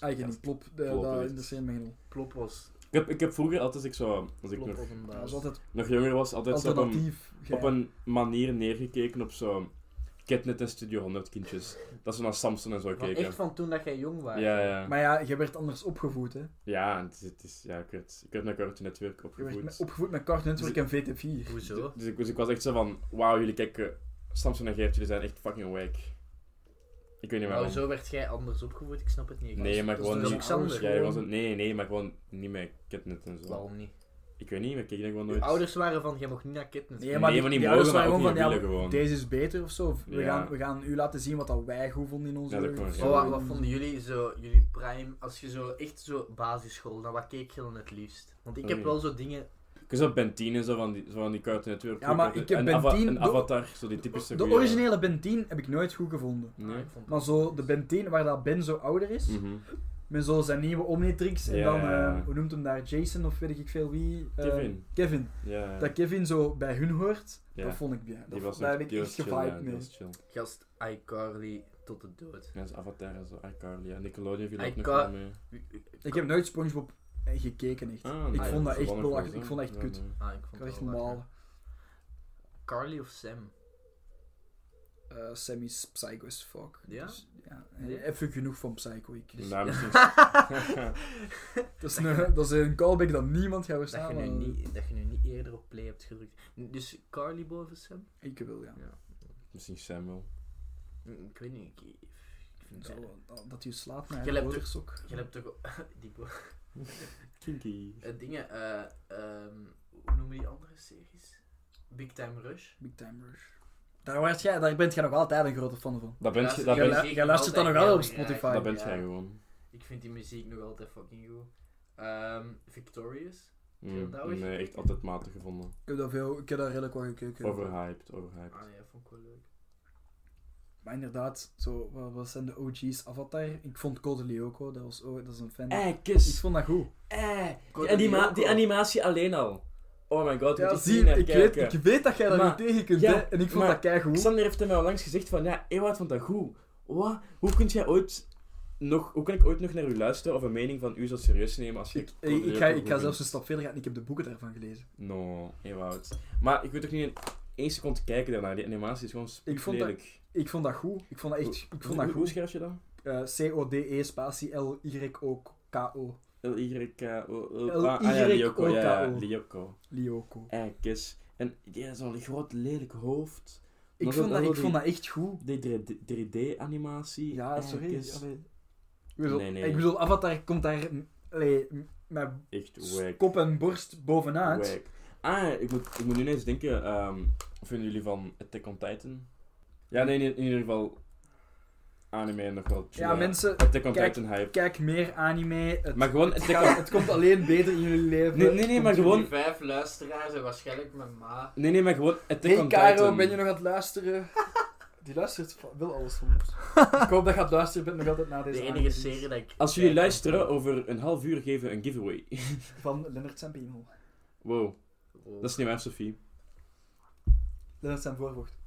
Speaker 2: Eigenlijk
Speaker 3: Ja,
Speaker 2: niet, plop. Ah, De,
Speaker 3: plop,
Speaker 2: dat
Speaker 3: weet.
Speaker 2: interesseert me helemaal.
Speaker 1: Plop was...
Speaker 3: Ik, heb, ik heb vroeger altijd, als ik, zo, als ik
Speaker 1: Plop
Speaker 3: nog,
Speaker 1: was een
Speaker 2: Dat is
Speaker 1: baas.
Speaker 2: altijd
Speaker 3: nog jonger was, altijd zo op een,
Speaker 2: alternatief. gij.
Speaker 3: op een manier neergekeken op zo Ketnet en Studio 100 kindjes. Dat ze naar Samson en zo
Speaker 1: Van
Speaker 3: keken.
Speaker 1: echt van toen dat jij jong was.
Speaker 3: Ja, ja.
Speaker 2: Maar ja, je werd anders opgevoed, hè.
Speaker 3: Ja, en het is, het is, ja ik werd, ik werd naar Cartoon Network
Speaker 2: Je werd
Speaker 3: opgevoed.
Speaker 2: met, opgevoed met Cartoon Network en VT4.
Speaker 1: Hoezo?
Speaker 3: Dus ik, dus ik was echt zo van, wauw, jullie kijken, Samson en Geert, jullie zijn echt fucking wack. Ik weet niet
Speaker 1: Nou,
Speaker 3: waarom.
Speaker 1: zo werd jij anders opgevoed, ik snap het niet.
Speaker 3: nee, maar
Speaker 2: dat is
Speaker 3: gewoon
Speaker 2: dus
Speaker 1: niet.
Speaker 3: niet.
Speaker 1: Alexander.
Speaker 3: Ja, gewoon zo, nee, nee, maar gewoon niet met Ketnet en zo.
Speaker 1: Waarom niet?
Speaker 3: Ik weet niet, maar ik keek dat gewoon
Speaker 1: Uw
Speaker 3: nooit.
Speaker 1: ouders waren van, jij mocht niet naar Kidnet.
Speaker 2: Nee, maar
Speaker 3: maar
Speaker 2: die-
Speaker 3: nee, maar niet
Speaker 2: die ouders
Speaker 3: mogen, maar
Speaker 2: waren
Speaker 3: ook
Speaker 2: gewoon
Speaker 3: niet
Speaker 2: van, ja,
Speaker 3: willen gewoon.
Speaker 2: Deze is beter of zo. of We,
Speaker 3: Ja.
Speaker 2: gaan, we gaan u laten zien wat dat wij goed vonden in onze...
Speaker 3: Ja, dat kan, ja.
Speaker 1: Oh, wat, wat vonden jullie zo, jullie prime, als je zo echt zo basisschool, dan wat keek je dan het liefst? Want ik heb
Speaker 3: Oei.
Speaker 1: wel zo dingen,
Speaker 3: Ik zo Ben 10 en zo van die, zo van die Cartoon Network.
Speaker 2: Ja, maar ik heb
Speaker 3: een
Speaker 2: Ben 10
Speaker 3: Een
Speaker 2: de-
Speaker 3: avatar, zo die typische
Speaker 2: De
Speaker 3: goeie-
Speaker 2: originele Ben 10 heb ik nooit goed gevonden.
Speaker 1: Ah,
Speaker 3: Nee?
Speaker 1: ik vond
Speaker 2: Maar zo de Ben 10, waar dat Ben zo ouder is,
Speaker 3: Mhm.
Speaker 2: met zo zijn nieuwe Omnitrix, en
Speaker 3: Ja.
Speaker 2: dan, eh, hoe noemt hem daar, Jason of weet ik veel wie? eh,
Speaker 3: Kevin.
Speaker 2: Kevin.
Speaker 3: Ja,
Speaker 2: Dat Kevin zo bij hun hoort,
Speaker 3: ja.
Speaker 2: dat vond ik bij.
Speaker 3: Die
Speaker 2: Dat,
Speaker 3: was
Speaker 2: daar
Speaker 3: echt-
Speaker 2: heb ik
Speaker 3: die
Speaker 2: echt
Speaker 3: was chill, ja,
Speaker 2: gevibed
Speaker 3: die
Speaker 2: mee.
Speaker 3: was chill.
Speaker 1: gast iCarly tot de dood.
Speaker 3: Ja, dat is Avatar en zo, iCarly. Ja, Nickelodeon viel ook nog
Speaker 1: iCar-
Speaker 3: wel mee. Ah,
Speaker 1: Wie- ik-
Speaker 2: Ik heb nooit SpongeBob eh, gekeken, echt. ik,
Speaker 1: Ah, nee,
Speaker 2: vond dat
Speaker 1: dat is
Speaker 2: echt belachelijk, ik vond dat echt kut.
Speaker 1: Ah, ik
Speaker 2: Ik
Speaker 1: vond
Speaker 2: was
Speaker 1: het
Speaker 2: echt
Speaker 1: wel lachen.
Speaker 2: normaal.
Speaker 1: Carly of Sam?
Speaker 2: Eh Sammy is psycho as fuck.
Speaker 1: Ja?
Speaker 2: Dus, ja.
Speaker 1: Ja.
Speaker 2: Even genoeg van Psycho. Ik.
Speaker 1: Dus-
Speaker 3: Nou, misschien-
Speaker 2: Dat, is een, dat is een callback dat niemand gaat
Speaker 1: Dat je,
Speaker 2: verstaan.
Speaker 1: nu
Speaker 2: maar-
Speaker 1: niet, dat je nu niet eerder op play hebt gedrukt. Dus Carly boven Sam?
Speaker 2: Ik wil, ja.
Speaker 3: Misschien Sam wel.
Speaker 1: Hm, Ik weet niet, ik, ik vind
Speaker 2: Zo,
Speaker 1: het...
Speaker 2: dat- dat hij slaapt
Speaker 1: Je
Speaker 2: naar
Speaker 1: hebt
Speaker 2: de
Speaker 1: ook-
Speaker 2: botersok.
Speaker 1: Je hebt toch... Die bo-
Speaker 3: Kinky.
Speaker 1: eh, dingen, eh, ehm, hoe noemen die andere series? Big Time Rush?
Speaker 2: Big Time Rush. Daar, was jij, daar bent jij nog altijd een grote fan van.
Speaker 3: Dat bent je,
Speaker 1: Luister-
Speaker 3: dat
Speaker 2: Jij,
Speaker 1: ben-
Speaker 3: bent,
Speaker 2: lu- jij luistert dan nog wel op Spotify.
Speaker 3: dat bent
Speaker 1: Ja.
Speaker 3: jij gewoon.
Speaker 1: Ik vind die muziek nog altijd fucking goed. Ehm, Victorious.
Speaker 3: Mm,
Speaker 1: dat is-
Speaker 3: nee, echt altijd matig gevonden.
Speaker 2: Ik heb daar, veel, ik heb daar redelijk wat gekeken.
Speaker 3: Overhyped, overhyped.
Speaker 1: Ah nee, dat vond ik wel leuk.
Speaker 2: Maar inderdaad, zo, wat, wat zijn de OG's? Avatar. Ik vond Code Lyoko, dat, was, ook- dat is een fan.
Speaker 4: Eh,
Speaker 2: Ik
Speaker 4: kus.
Speaker 2: vond dat goed.
Speaker 4: Eh.
Speaker 1: Code
Speaker 4: Die, anima-
Speaker 1: Lyoko.
Speaker 4: die animatie alleen al. Oh my god, moet
Speaker 2: Ja,
Speaker 4: ik
Speaker 2: zie,
Speaker 4: hier naar
Speaker 2: ik weet,
Speaker 4: kijken.
Speaker 2: ik weet dat jij daar
Speaker 4: Maar-
Speaker 2: niet tegen kunt,
Speaker 4: ja,
Speaker 2: hè. En ik vond
Speaker 4: maar-
Speaker 2: dat kei goed.
Speaker 4: Xander heeft er mij onlangs gezegd van, ja, Ewout vond dat goed. Wat? Hoe kun jij ooit nog, hoe kan ik ooit nog naar u luisteren of een mening van u zo serieus nemen als je...
Speaker 2: Ik, ik, ik ga, ik ga zelfs een stap verder gaan. Ik heb de boeken daarvan gelezen.
Speaker 3: No, Ewout. Maar ik wil toch niet in één seconde kijken daarna. Die animatie is gewoon
Speaker 2: Ik vond dat-
Speaker 3: lelijk.
Speaker 2: Ik vond dat goed. Ik vond dat echt... Ik vond dat
Speaker 3: Hoe
Speaker 2: goed.
Speaker 3: schrijf je dat?
Speaker 2: Eh, C-O-D-E spatie L-Y-O-K-O.
Speaker 3: L-Y-K-O...
Speaker 2: L-
Speaker 3: Ah, ah, ja,
Speaker 2: Y-
Speaker 3: Lyoko, ja, ja,
Speaker 2: O-K-O.
Speaker 3: Lyoko.
Speaker 2: Lyoko.
Speaker 3: Eikes. En die heeft zo'n groot lelijk hoofd.
Speaker 2: Ik
Speaker 3: Maar
Speaker 2: vond
Speaker 3: dat-
Speaker 2: dat,
Speaker 3: dat
Speaker 2: ik
Speaker 3: wil
Speaker 2: vond
Speaker 3: die-
Speaker 2: dat echt goed.
Speaker 3: Die 3D-animatie.
Speaker 2: Ja, sorry. allee. Ik bedoel,
Speaker 3: Nee, nee.
Speaker 2: ik bedoel, Avatar komt daar allee, m- met
Speaker 3: Echt
Speaker 2: s-
Speaker 3: wack.
Speaker 2: kop en borst bovenuit.
Speaker 3: Wack. Ah, ik moet, ik moet nu ineens denken. ehm, vinden jullie van Attack on Titan? Ja, nee, in, in ieder geval. Anime nog wel.
Speaker 2: Ja,
Speaker 3: chillen.
Speaker 2: mensen,
Speaker 3: Attack on
Speaker 2: kijk-
Speaker 3: Titan hype.
Speaker 2: kijk meer anime. Het,
Speaker 3: Maar gewoon
Speaker 2: het,
Speaker 3: Attack
Speaker 2: gaat-
Speaker 3: on...
Speaker 2: het komt alleen beter in jullie leven.
Speaker 3: Nee, nee, nee, maar gewoon...
Speaker 1: Die vijf luisteraars en waarschijnlijk mijn ma.
Speaker 3: Nee, nee, maar gewoon Attack
Speaker 2: Hey
Speaker 3: on
Speaker 2: Caro,
Speaker 3: Titan.
Speaker 2: ben je nog aan het luisteren? Die luistert van- wel alles van ons. Ik hoop dat je aan het luisteren bent nog altijd na deze
Speaker 1: De enige
Speaker 2: aankondiging.
Speaker 1: serie dat ik...
Speaker 3: Als jullie
Speaker 1: kijk,
Speaker 3: luisteren, over een half uur geven we een giveaway.
Speaker 2: Van Lennart zijn piemel.
Speaker 3: Wow,
Speaker 1: wow.
Speaker 3: dat is niet waar, Sophie.
Speaker 2: Lennart zijn voorvocht.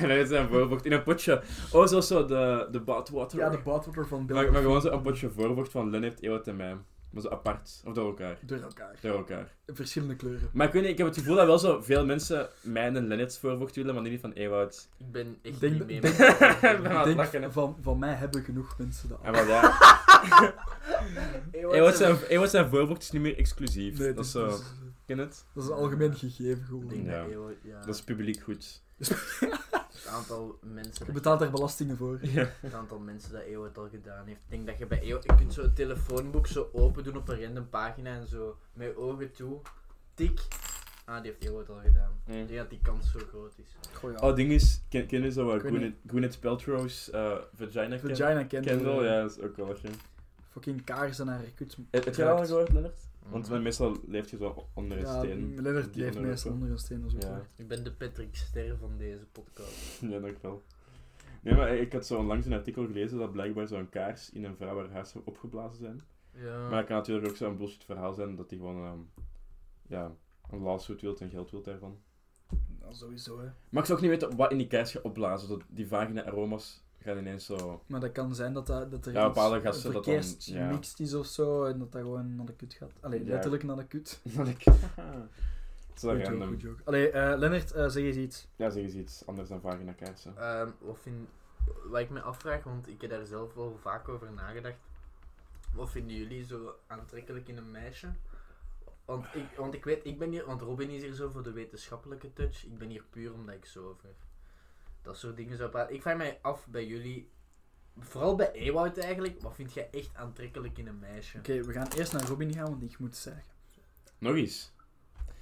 Speaker 3: dat is een voorvocht in een potje. Oh, zoals zo de, de badwater.
Speaker 2: Ja, de badwater van Bill.
Speaker 3: maar, maar gewoon zo een potje voorvocht van Lennart, Ewout en mij. Maar zo apart, of door elkaar.
Speaker 2: Door elkaar.
Speaker 3: Door elkaar.
Speaker 2: Verschillende kleuren.
Speaker 3: Maar ik weet niet, ik heb het gevoel dat wel zo veel mensen mijn en Lennart's voorvocht willen, maar niet van Ewout.
Speaker 1: Ik ben echt
Speaker 2: Denk-
Speaker 1: niet mee
Speaker 2: denk-
Speaker 1: met-
Speaker 3: Ben aan het
Speaker 2: Ik
Speaker 3: lachen, hè.
Speaker 2: denk, van, van mij hebben genoeg mensen dat.
Speaker 3: En wel ja, Ewout
Speaker 1: Ewout
Speaker 3: zijn, Ewout zijn voorvocht is niet meer exclusief.
Speaker 2: Nee,
Speaker 3: dat is eh,
Speaker 2: dat
Speaker 3: zo,
Speaker 2: is-
Speaker 3: ken het?
Speaker 2: dat is een algemeen gegeven
Speaker 1: Ik
Speaker 2: gewoon.
Speaker 1: denk
Speaker 3: Ja.
Speaker 1: dat Ewout, ja.
Speaker 3: Dat is publiek goed.
Speaker 1: Het aantal mensen
Speaker 2: Je
Speaker 1: dat,
Speaker 2: betaalt daar belastingen voor.
Speaker 3: Ja.
Speaker 1: het aantal mensen dat Ewout al gedaan heeft. Ik denk dat je bij Ewout... Je kunt zo het telefoonboek zo open doen op een random pagina en zo. Met je ogen toe. Tik. Ah, die heeft Ewout al gedaan.
Speaker 3: Mm.
Speaker 1: Ik denk dat die kans zo groot is.
Speaker 2: Goh, ja.
Speaker 3: Oh, ding is, ken, ken je zo uh,
Speaker 2: Ik weet
Speaker 3: Gwyneth, Gwyneth Paltrow's eh, vagina ken-
Speaker 2: Vagina Kendall.
Speaker 3: Kendall, ja, dat is ook wel lachen.
Speaker 2: Fucking kaarsen naar haar kut.
Speaker 3: Heb heb jij dat al gehoord, Lennart?
Speaker 1: Mm.
Speaker 3: Want meestal leeft je zo onder een
Speaker 2: Ja,
Speaker 3: steen.
Speaker 2: Lennart
Speaker 3: Die
Speaker 2: leeft
Speaker 3: onder
Speaker 2: meestal
Speaker 3: elkaar.
Speaker 2: onder een steen, dat is ook
Speaker 3: Ja.
Speaker 2: waar.
Speaker 1: Ik ben de Patrick Ster van deze podcast.
Speaker 3: Ja, dat ook wel. Nee, maar ik had zo onlangs een artikel gelezen dat blijkbaar zo'n kaars in een vrouw haar huis zou opgeblazen zijn.
Speaker 1: Ja.
Speaker 3: Maar het kan natuurlijk ook zo'n bullshit verhaal zijn dat hij gewoon ehm, ja, een lawsuit wilt en geld wilt daarvan.
Speaker 2: Nou, sowieso, hè.
Speaker 3: Maar ik zou ook niet weten wat in die kaars gaat opblazen. Dat die vagina aroma's gaan ineens zo...
Speaker 2: Maar dat kan zijn dat, dat, dat er
Speaker 3: Ja, bepaalde
Speaker 2: iets
Speaker 3: gasten dat dan-
Speaker 2: verkeerst
Speaker 3: ja.
Speaker 2: gemixt is of zo, en dat dat gewoon naar de kut gaat. Allee,
Speaker 3: Ja.
Speaker 2: letterlijk naar de kut.
Speaker 3: Dat ik... Het is wel
Speaker 2: Goed joke,
Speaker 3: random.
Speaker 2: goed joke. Allee, eh, Lennart, eh, zeg eens iets.
Speaker 3: Ja, zeg eens iets anders dan vagina kaarsen.
Speaker 1: Ehm, of in, wat ik me afvraag, want ik heb daar zelf wel vaak over nagedacht. Wat vinden jullie zo aantrekkelijk in een meisje? Want ik, want ik weet, ik ben hier, want Robin is hier zo voor de wetenschappelijke touch. Ik ben hier puur omdat ik zo over dat soort dingen zou praten. Ik vraag mij af bij jullie, vooral bij Ewout eigenlijk, wat vind jij echt aantrekkelijk in een meisje?
Speaker 2: Oké, we gaan eerst naar Robin gaan, want ik moet zeggen.
Speaker 3: Nog eens.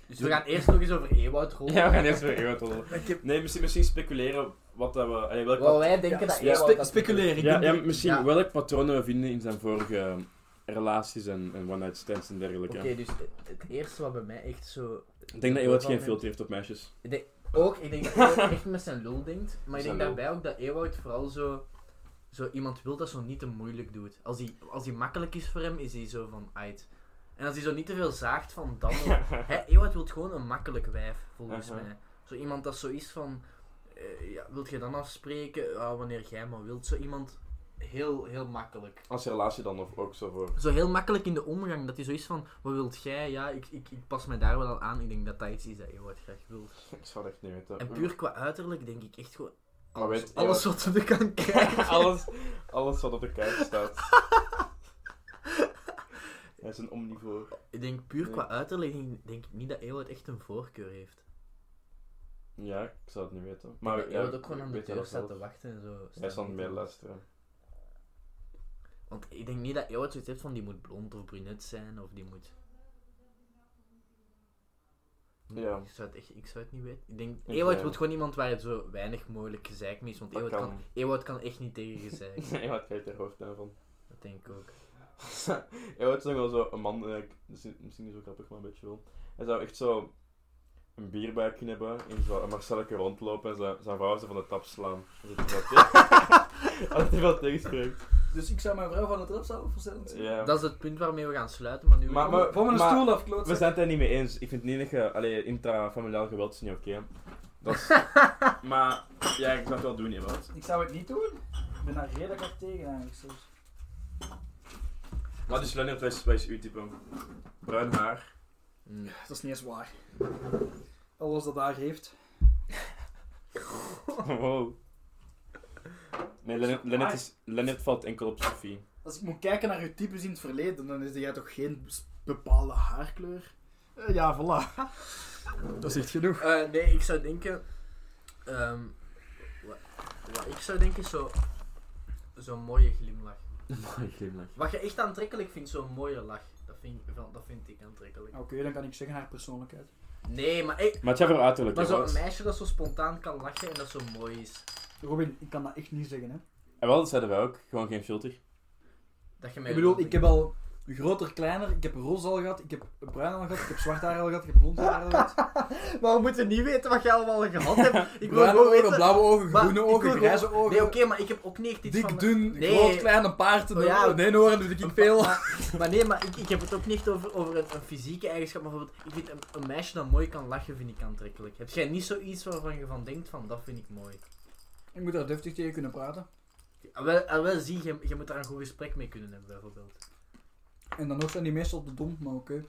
Speaker 1: Dus we gaan eerst nog eens over Ewout rollen.
Speaker 3: Ja, we gaan eerst weer Ewout rollen.
Speaker 2: Ik heb...
Speaker 3: Nee, misschien, misschien speculeren wat dat we... allee, welk
Speaker 1: Wat wij denken
Speaker 2: Ja,
Speaker 1: dat
Speaker 2: spe-
Speaker 1: Ewout...
Speaker 2: spe-
Speaker 1: dat-
Speaker 2: speculeren. Ik
Speaker 3: Ja,
Speaker 2: ben-
Speaker 3: ja, misschien
Speaker 1: ja.
Speaker 3: welk patronen we vinden in zijn vorige ehm, relaties en, en one-night stands en dergelijke.
Speaker 1: Oké, dus het, het eerste wat bij mij echt zo...
Speaker 3: Ik denk dat Ewout geen filter heeft op meisjes.
Speaker 1: Ook, ik denk dat Ewout echt met zijn lul denkt. Maar ik
Speaker 3: Zijn
Speaker 1: denk
Speaker 3: lul.
Speaker 1: daarbij ook dat Ewout vooral zo, zo iemand wil dat zo niet te moeilijk doet. Als hij, als hij makkelijk is voor hem, is hij zo van uit. En als hij zo niet te veel zaagt van dan. Hè, Ewout wil gewoon een makkelijk wijf, volgens
Speaker 3: Aha.
Speaker 1: mij. Zo iemand dat zo is van. eh, ja, wilt je dan afspreken? Ja, wanneer jij maar wilt. Zo iemand heel, heel makkelijk.
Speaker 3: Als relatie dan of ook zo voor.
Speaker 1: Zo heel makkelijk in de omgang, dat hij zo is van, wat wilt jij? Ja, ik, ik, ik pas mij daar wel al aan. Ik denk dat dat iets is dat Ewout graag wil.
Speaker 3: Ik zou dat echt niet weten.
Speaker 1: En puur qua uiterlijk denk ik echt gewoon
Speaker 3: Maar
Speaker 1: alles,
Speaker 3: weet-
Speaker 1: alles wat we kan krijgen.
Speaker 3: alles, alles wat op de kaart staat. Hij is een omnivoor.
Speaker 1: Ik denk puur
Speaker 3: Ja.
Speaker 1: qua uiterlijk denk, denk ik niet dat Ewout echt een voorkeur heeft.
Speaker 3: Ja, ik zou het niet weten.
Speaker 1: Maar
Speaker 3: Maar
Speaker 1: dat
Speaker 3: Ah, ja,
Speaker 1: Ewout ook gewoon aan de
Speaker 3: weet
Speaker 1: deur
Speaker 3: dat
Speaker 1: staat
Speaker 3: zelf.
Speaker 1: te wachten en zo.
Speaker 3: Hij staat
Speaker 1: niet
Speaker 3: meer
Speaker 1: te-
Speaker 3: luisteren.
Speaker 1: Want ik denk niet dat Ewout zoiets heeft van die moet blond of brunet zijn of die moet...
Speaker 3: Ja.
Speaker 1: Ik zou, het echt, ik zou het niet weten. Ik denk,
Speaker 3: Ik,
Speaker 1: Ewout
Speaker 3: eh,
Speaker 1: wil gewoon iemand waar het zo weinig mogelijk gezeik mee is, want
Speaker 3: Dat
Speaker 1: Ewout
Speaker 3: kan.
Speaker 1: kan, Ewout kan echt niet tegen gezeik.
Speaker 3: Ja, wat krijg je er hoofd aan van?
Speaker 1: dat denk ik ook.
Speaker 3: Hij wordt toch wel zo een man, eh, ik- dat is misschien niet zo grappig, maar een beetje wel. Hij zou echt zo een bierbuik kunnen hebben, in zo'n Marcelleke rondlopen en zijn, zijn vrouw ze van de tap slaan. Als hij wel tegen- als hij wel tegenspreekt.
Speaker 2: Dus ik zou mijn vrouw van de trap zouden voorstellen.
Speaker 3: Ja.
Speaker 1: Dat is het punt waarmee we gaan sluiten, maar nu...
Speaker 3: Maar- maar-
Speaker 2: Van mijn
Speaker 3: Eh, maar-
Speaker 2: stoel af,
Speaker 4: We
Speaker 2: klootzak.
Speaker 4: zijn het er niet mee eens. Ik vind niet dat je... Allee, intrafamiliaal geweld is niet oké.
Speaker 3: Dat is... maar ja, ik zou het wel doen, Ewout.
Speaker 2: Ik zou het niet doen. Ik ben daar redelijk hard tegen eigenlijk. zelfs.
Speaker 3: Maar dus Leonard, wat is, wat is uw type? Bruin haar.
Speaker 1: Mm.
Speaker 2: Dat is niet eens waar. Alles dat daar heeft.
Speaker 4: Wow.
Speaker 3: Nee, Leonard, Leonard, is, Leonard valt enkel op Sophie.
Speaker 2: Als ik moet kijken naar je types in het verleden, dan is jij toch geen bes- bepaalde haarkleur? Eh, ja, voilà. dat is echt genoeg.
Speaker 1: Eh, nee, ik zou denken... ehm, wat, wat ik zou denken is zo... Zo'n mooie glimlach.
Speaker 4: Mooi glimlach.
Speaker 1: Wat je echt aantrekkelijk vindt, zo'n mooie lach. Dat vind, van- dat vind ik aantrekkelijk.
Speaker 2: Oké, dan kan ik zeggen haar persoonlijkheid.
Speaker 1: Nee, maar, eh,
Speaker 4: Maar het gaat voor uiterlijk,
Speaker 1: maar
Speaker 4: hè,
Speaker 1: zo'n
Speaker 4: Bas?
Speaker 1: meisje dat zo spontaan kan lachen en dat zo mooi is.
Speaker 2: Robin, ik kan dat echt niet zeggen, hè.
Speaker 4: En wel, dat zeiden wij ook. Gewoon geen filter.
Speaker 1: Dat je mij
Speaker 2: Ik bedoel,
Speaker 1: wilt
Speaker 2: ik heb al groter, kleiner, ik heb roze al gehad, ik heb bruin al gehad, ik heb zwart haar al gehad, ik heb blond haar al gehad.
Speaker 1: Maar we moeten niet weten wat je allemaal gehad hebt. Ik wil
Speaker 2: Bruine
Speaker 1: gewoon
Speaker 2: ogen,
Speaker 1: weten...
Speaker 2: blauwe ogen,
Speaker 1: Maar
Speaker 2: groene
Speaker 1: ik
Speaker 2: ogen,
Speaker 1: wil
Speaker 2: grijze ogen.
Speaker 1: Nee, oké, maar ik heb ook niet echt iets van...
Speaker 2: Dik, dun,
Speaker 1: Nee.
Speaker 2: groot, klein, een paard, een,
Speaker 1: Oh ja.
Speaker 2: een eenhoorn, weet ik veel.
Speaker 1: Maar, maar nee, maar ik, ik heb het ook niet echt over, over een, een fysieke eigenschap. Maar bijvoorbeeld, ik vind een, een meisje dat mooi kan lachen, vind ik aantrekkelijk. Heb jij niet zoiets waarvan je van denkt van, dat vind ik mooi?
Speaker 2: Ik moet daar deftig tegen kunnen praten.
Speaker 1: Ah, Wel, ah, wel zie, je, je moet daar een goed gesprek mee kunnen hebben, bijvoorbeeld.
Speaker 2: En dan nog zijn die meestal te dom, maar oké.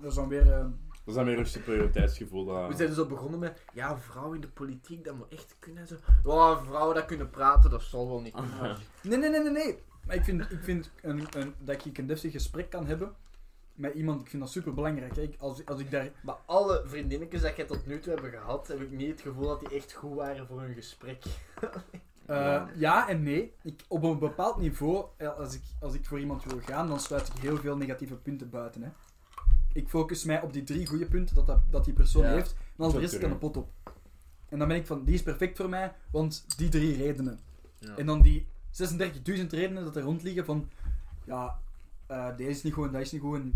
Speaker 2: Dat is dan weer... eh,
Speaker 4: Dat is dan weer een superioriteitsgevoel. Dat...
Speaker 3: Ah.
Speaker 1: We zijn dus al begonnen met, ja, vrouwen in de politiek, dat moet echt kunnen. en Zo. Oh, vrouwen dat kunnen praten, dat zal wel niet.
Speaker 2: Nee, nee, nee, nee, nee. Maar ik vind, ik vind een, een, dat ik een deftig gesprek kan hebben met iemand, ik vind dat super belangrijk. Als, als ik daar...
Speaker 1: Maar alle vriendinnetjes dat jij tot nu toe hebben gehad, heb ik niet het gevoel dat die echt goed waren voor hun gesprek.
Speaker 2: eh, ja en nee. Ik, op een bepaald niveau, eh, als ik, als ik voor iemand wil gaan, dan sluit ik heel veel negatieve punten buiten. Hè. Ik focus mij op die drie goede punten dat, dat, dat die persoon
Speaker 1: Ja.
Speaker 2: heeft, en als de
Speaker 4: Zo
Speaker 2: rest
Speaker 4: kun
Speaker 2: kan de
Speaker 4: je.
Speaker 2: pot op. En dan ben ik van, die is perfect voor mij, want die drie redenen.
Speaker 1: Ja.
Speaker 2: En dan die 36.000 redenen dat er rondliggen van... Ja, eh, deze is niet goed en dat is niet goed en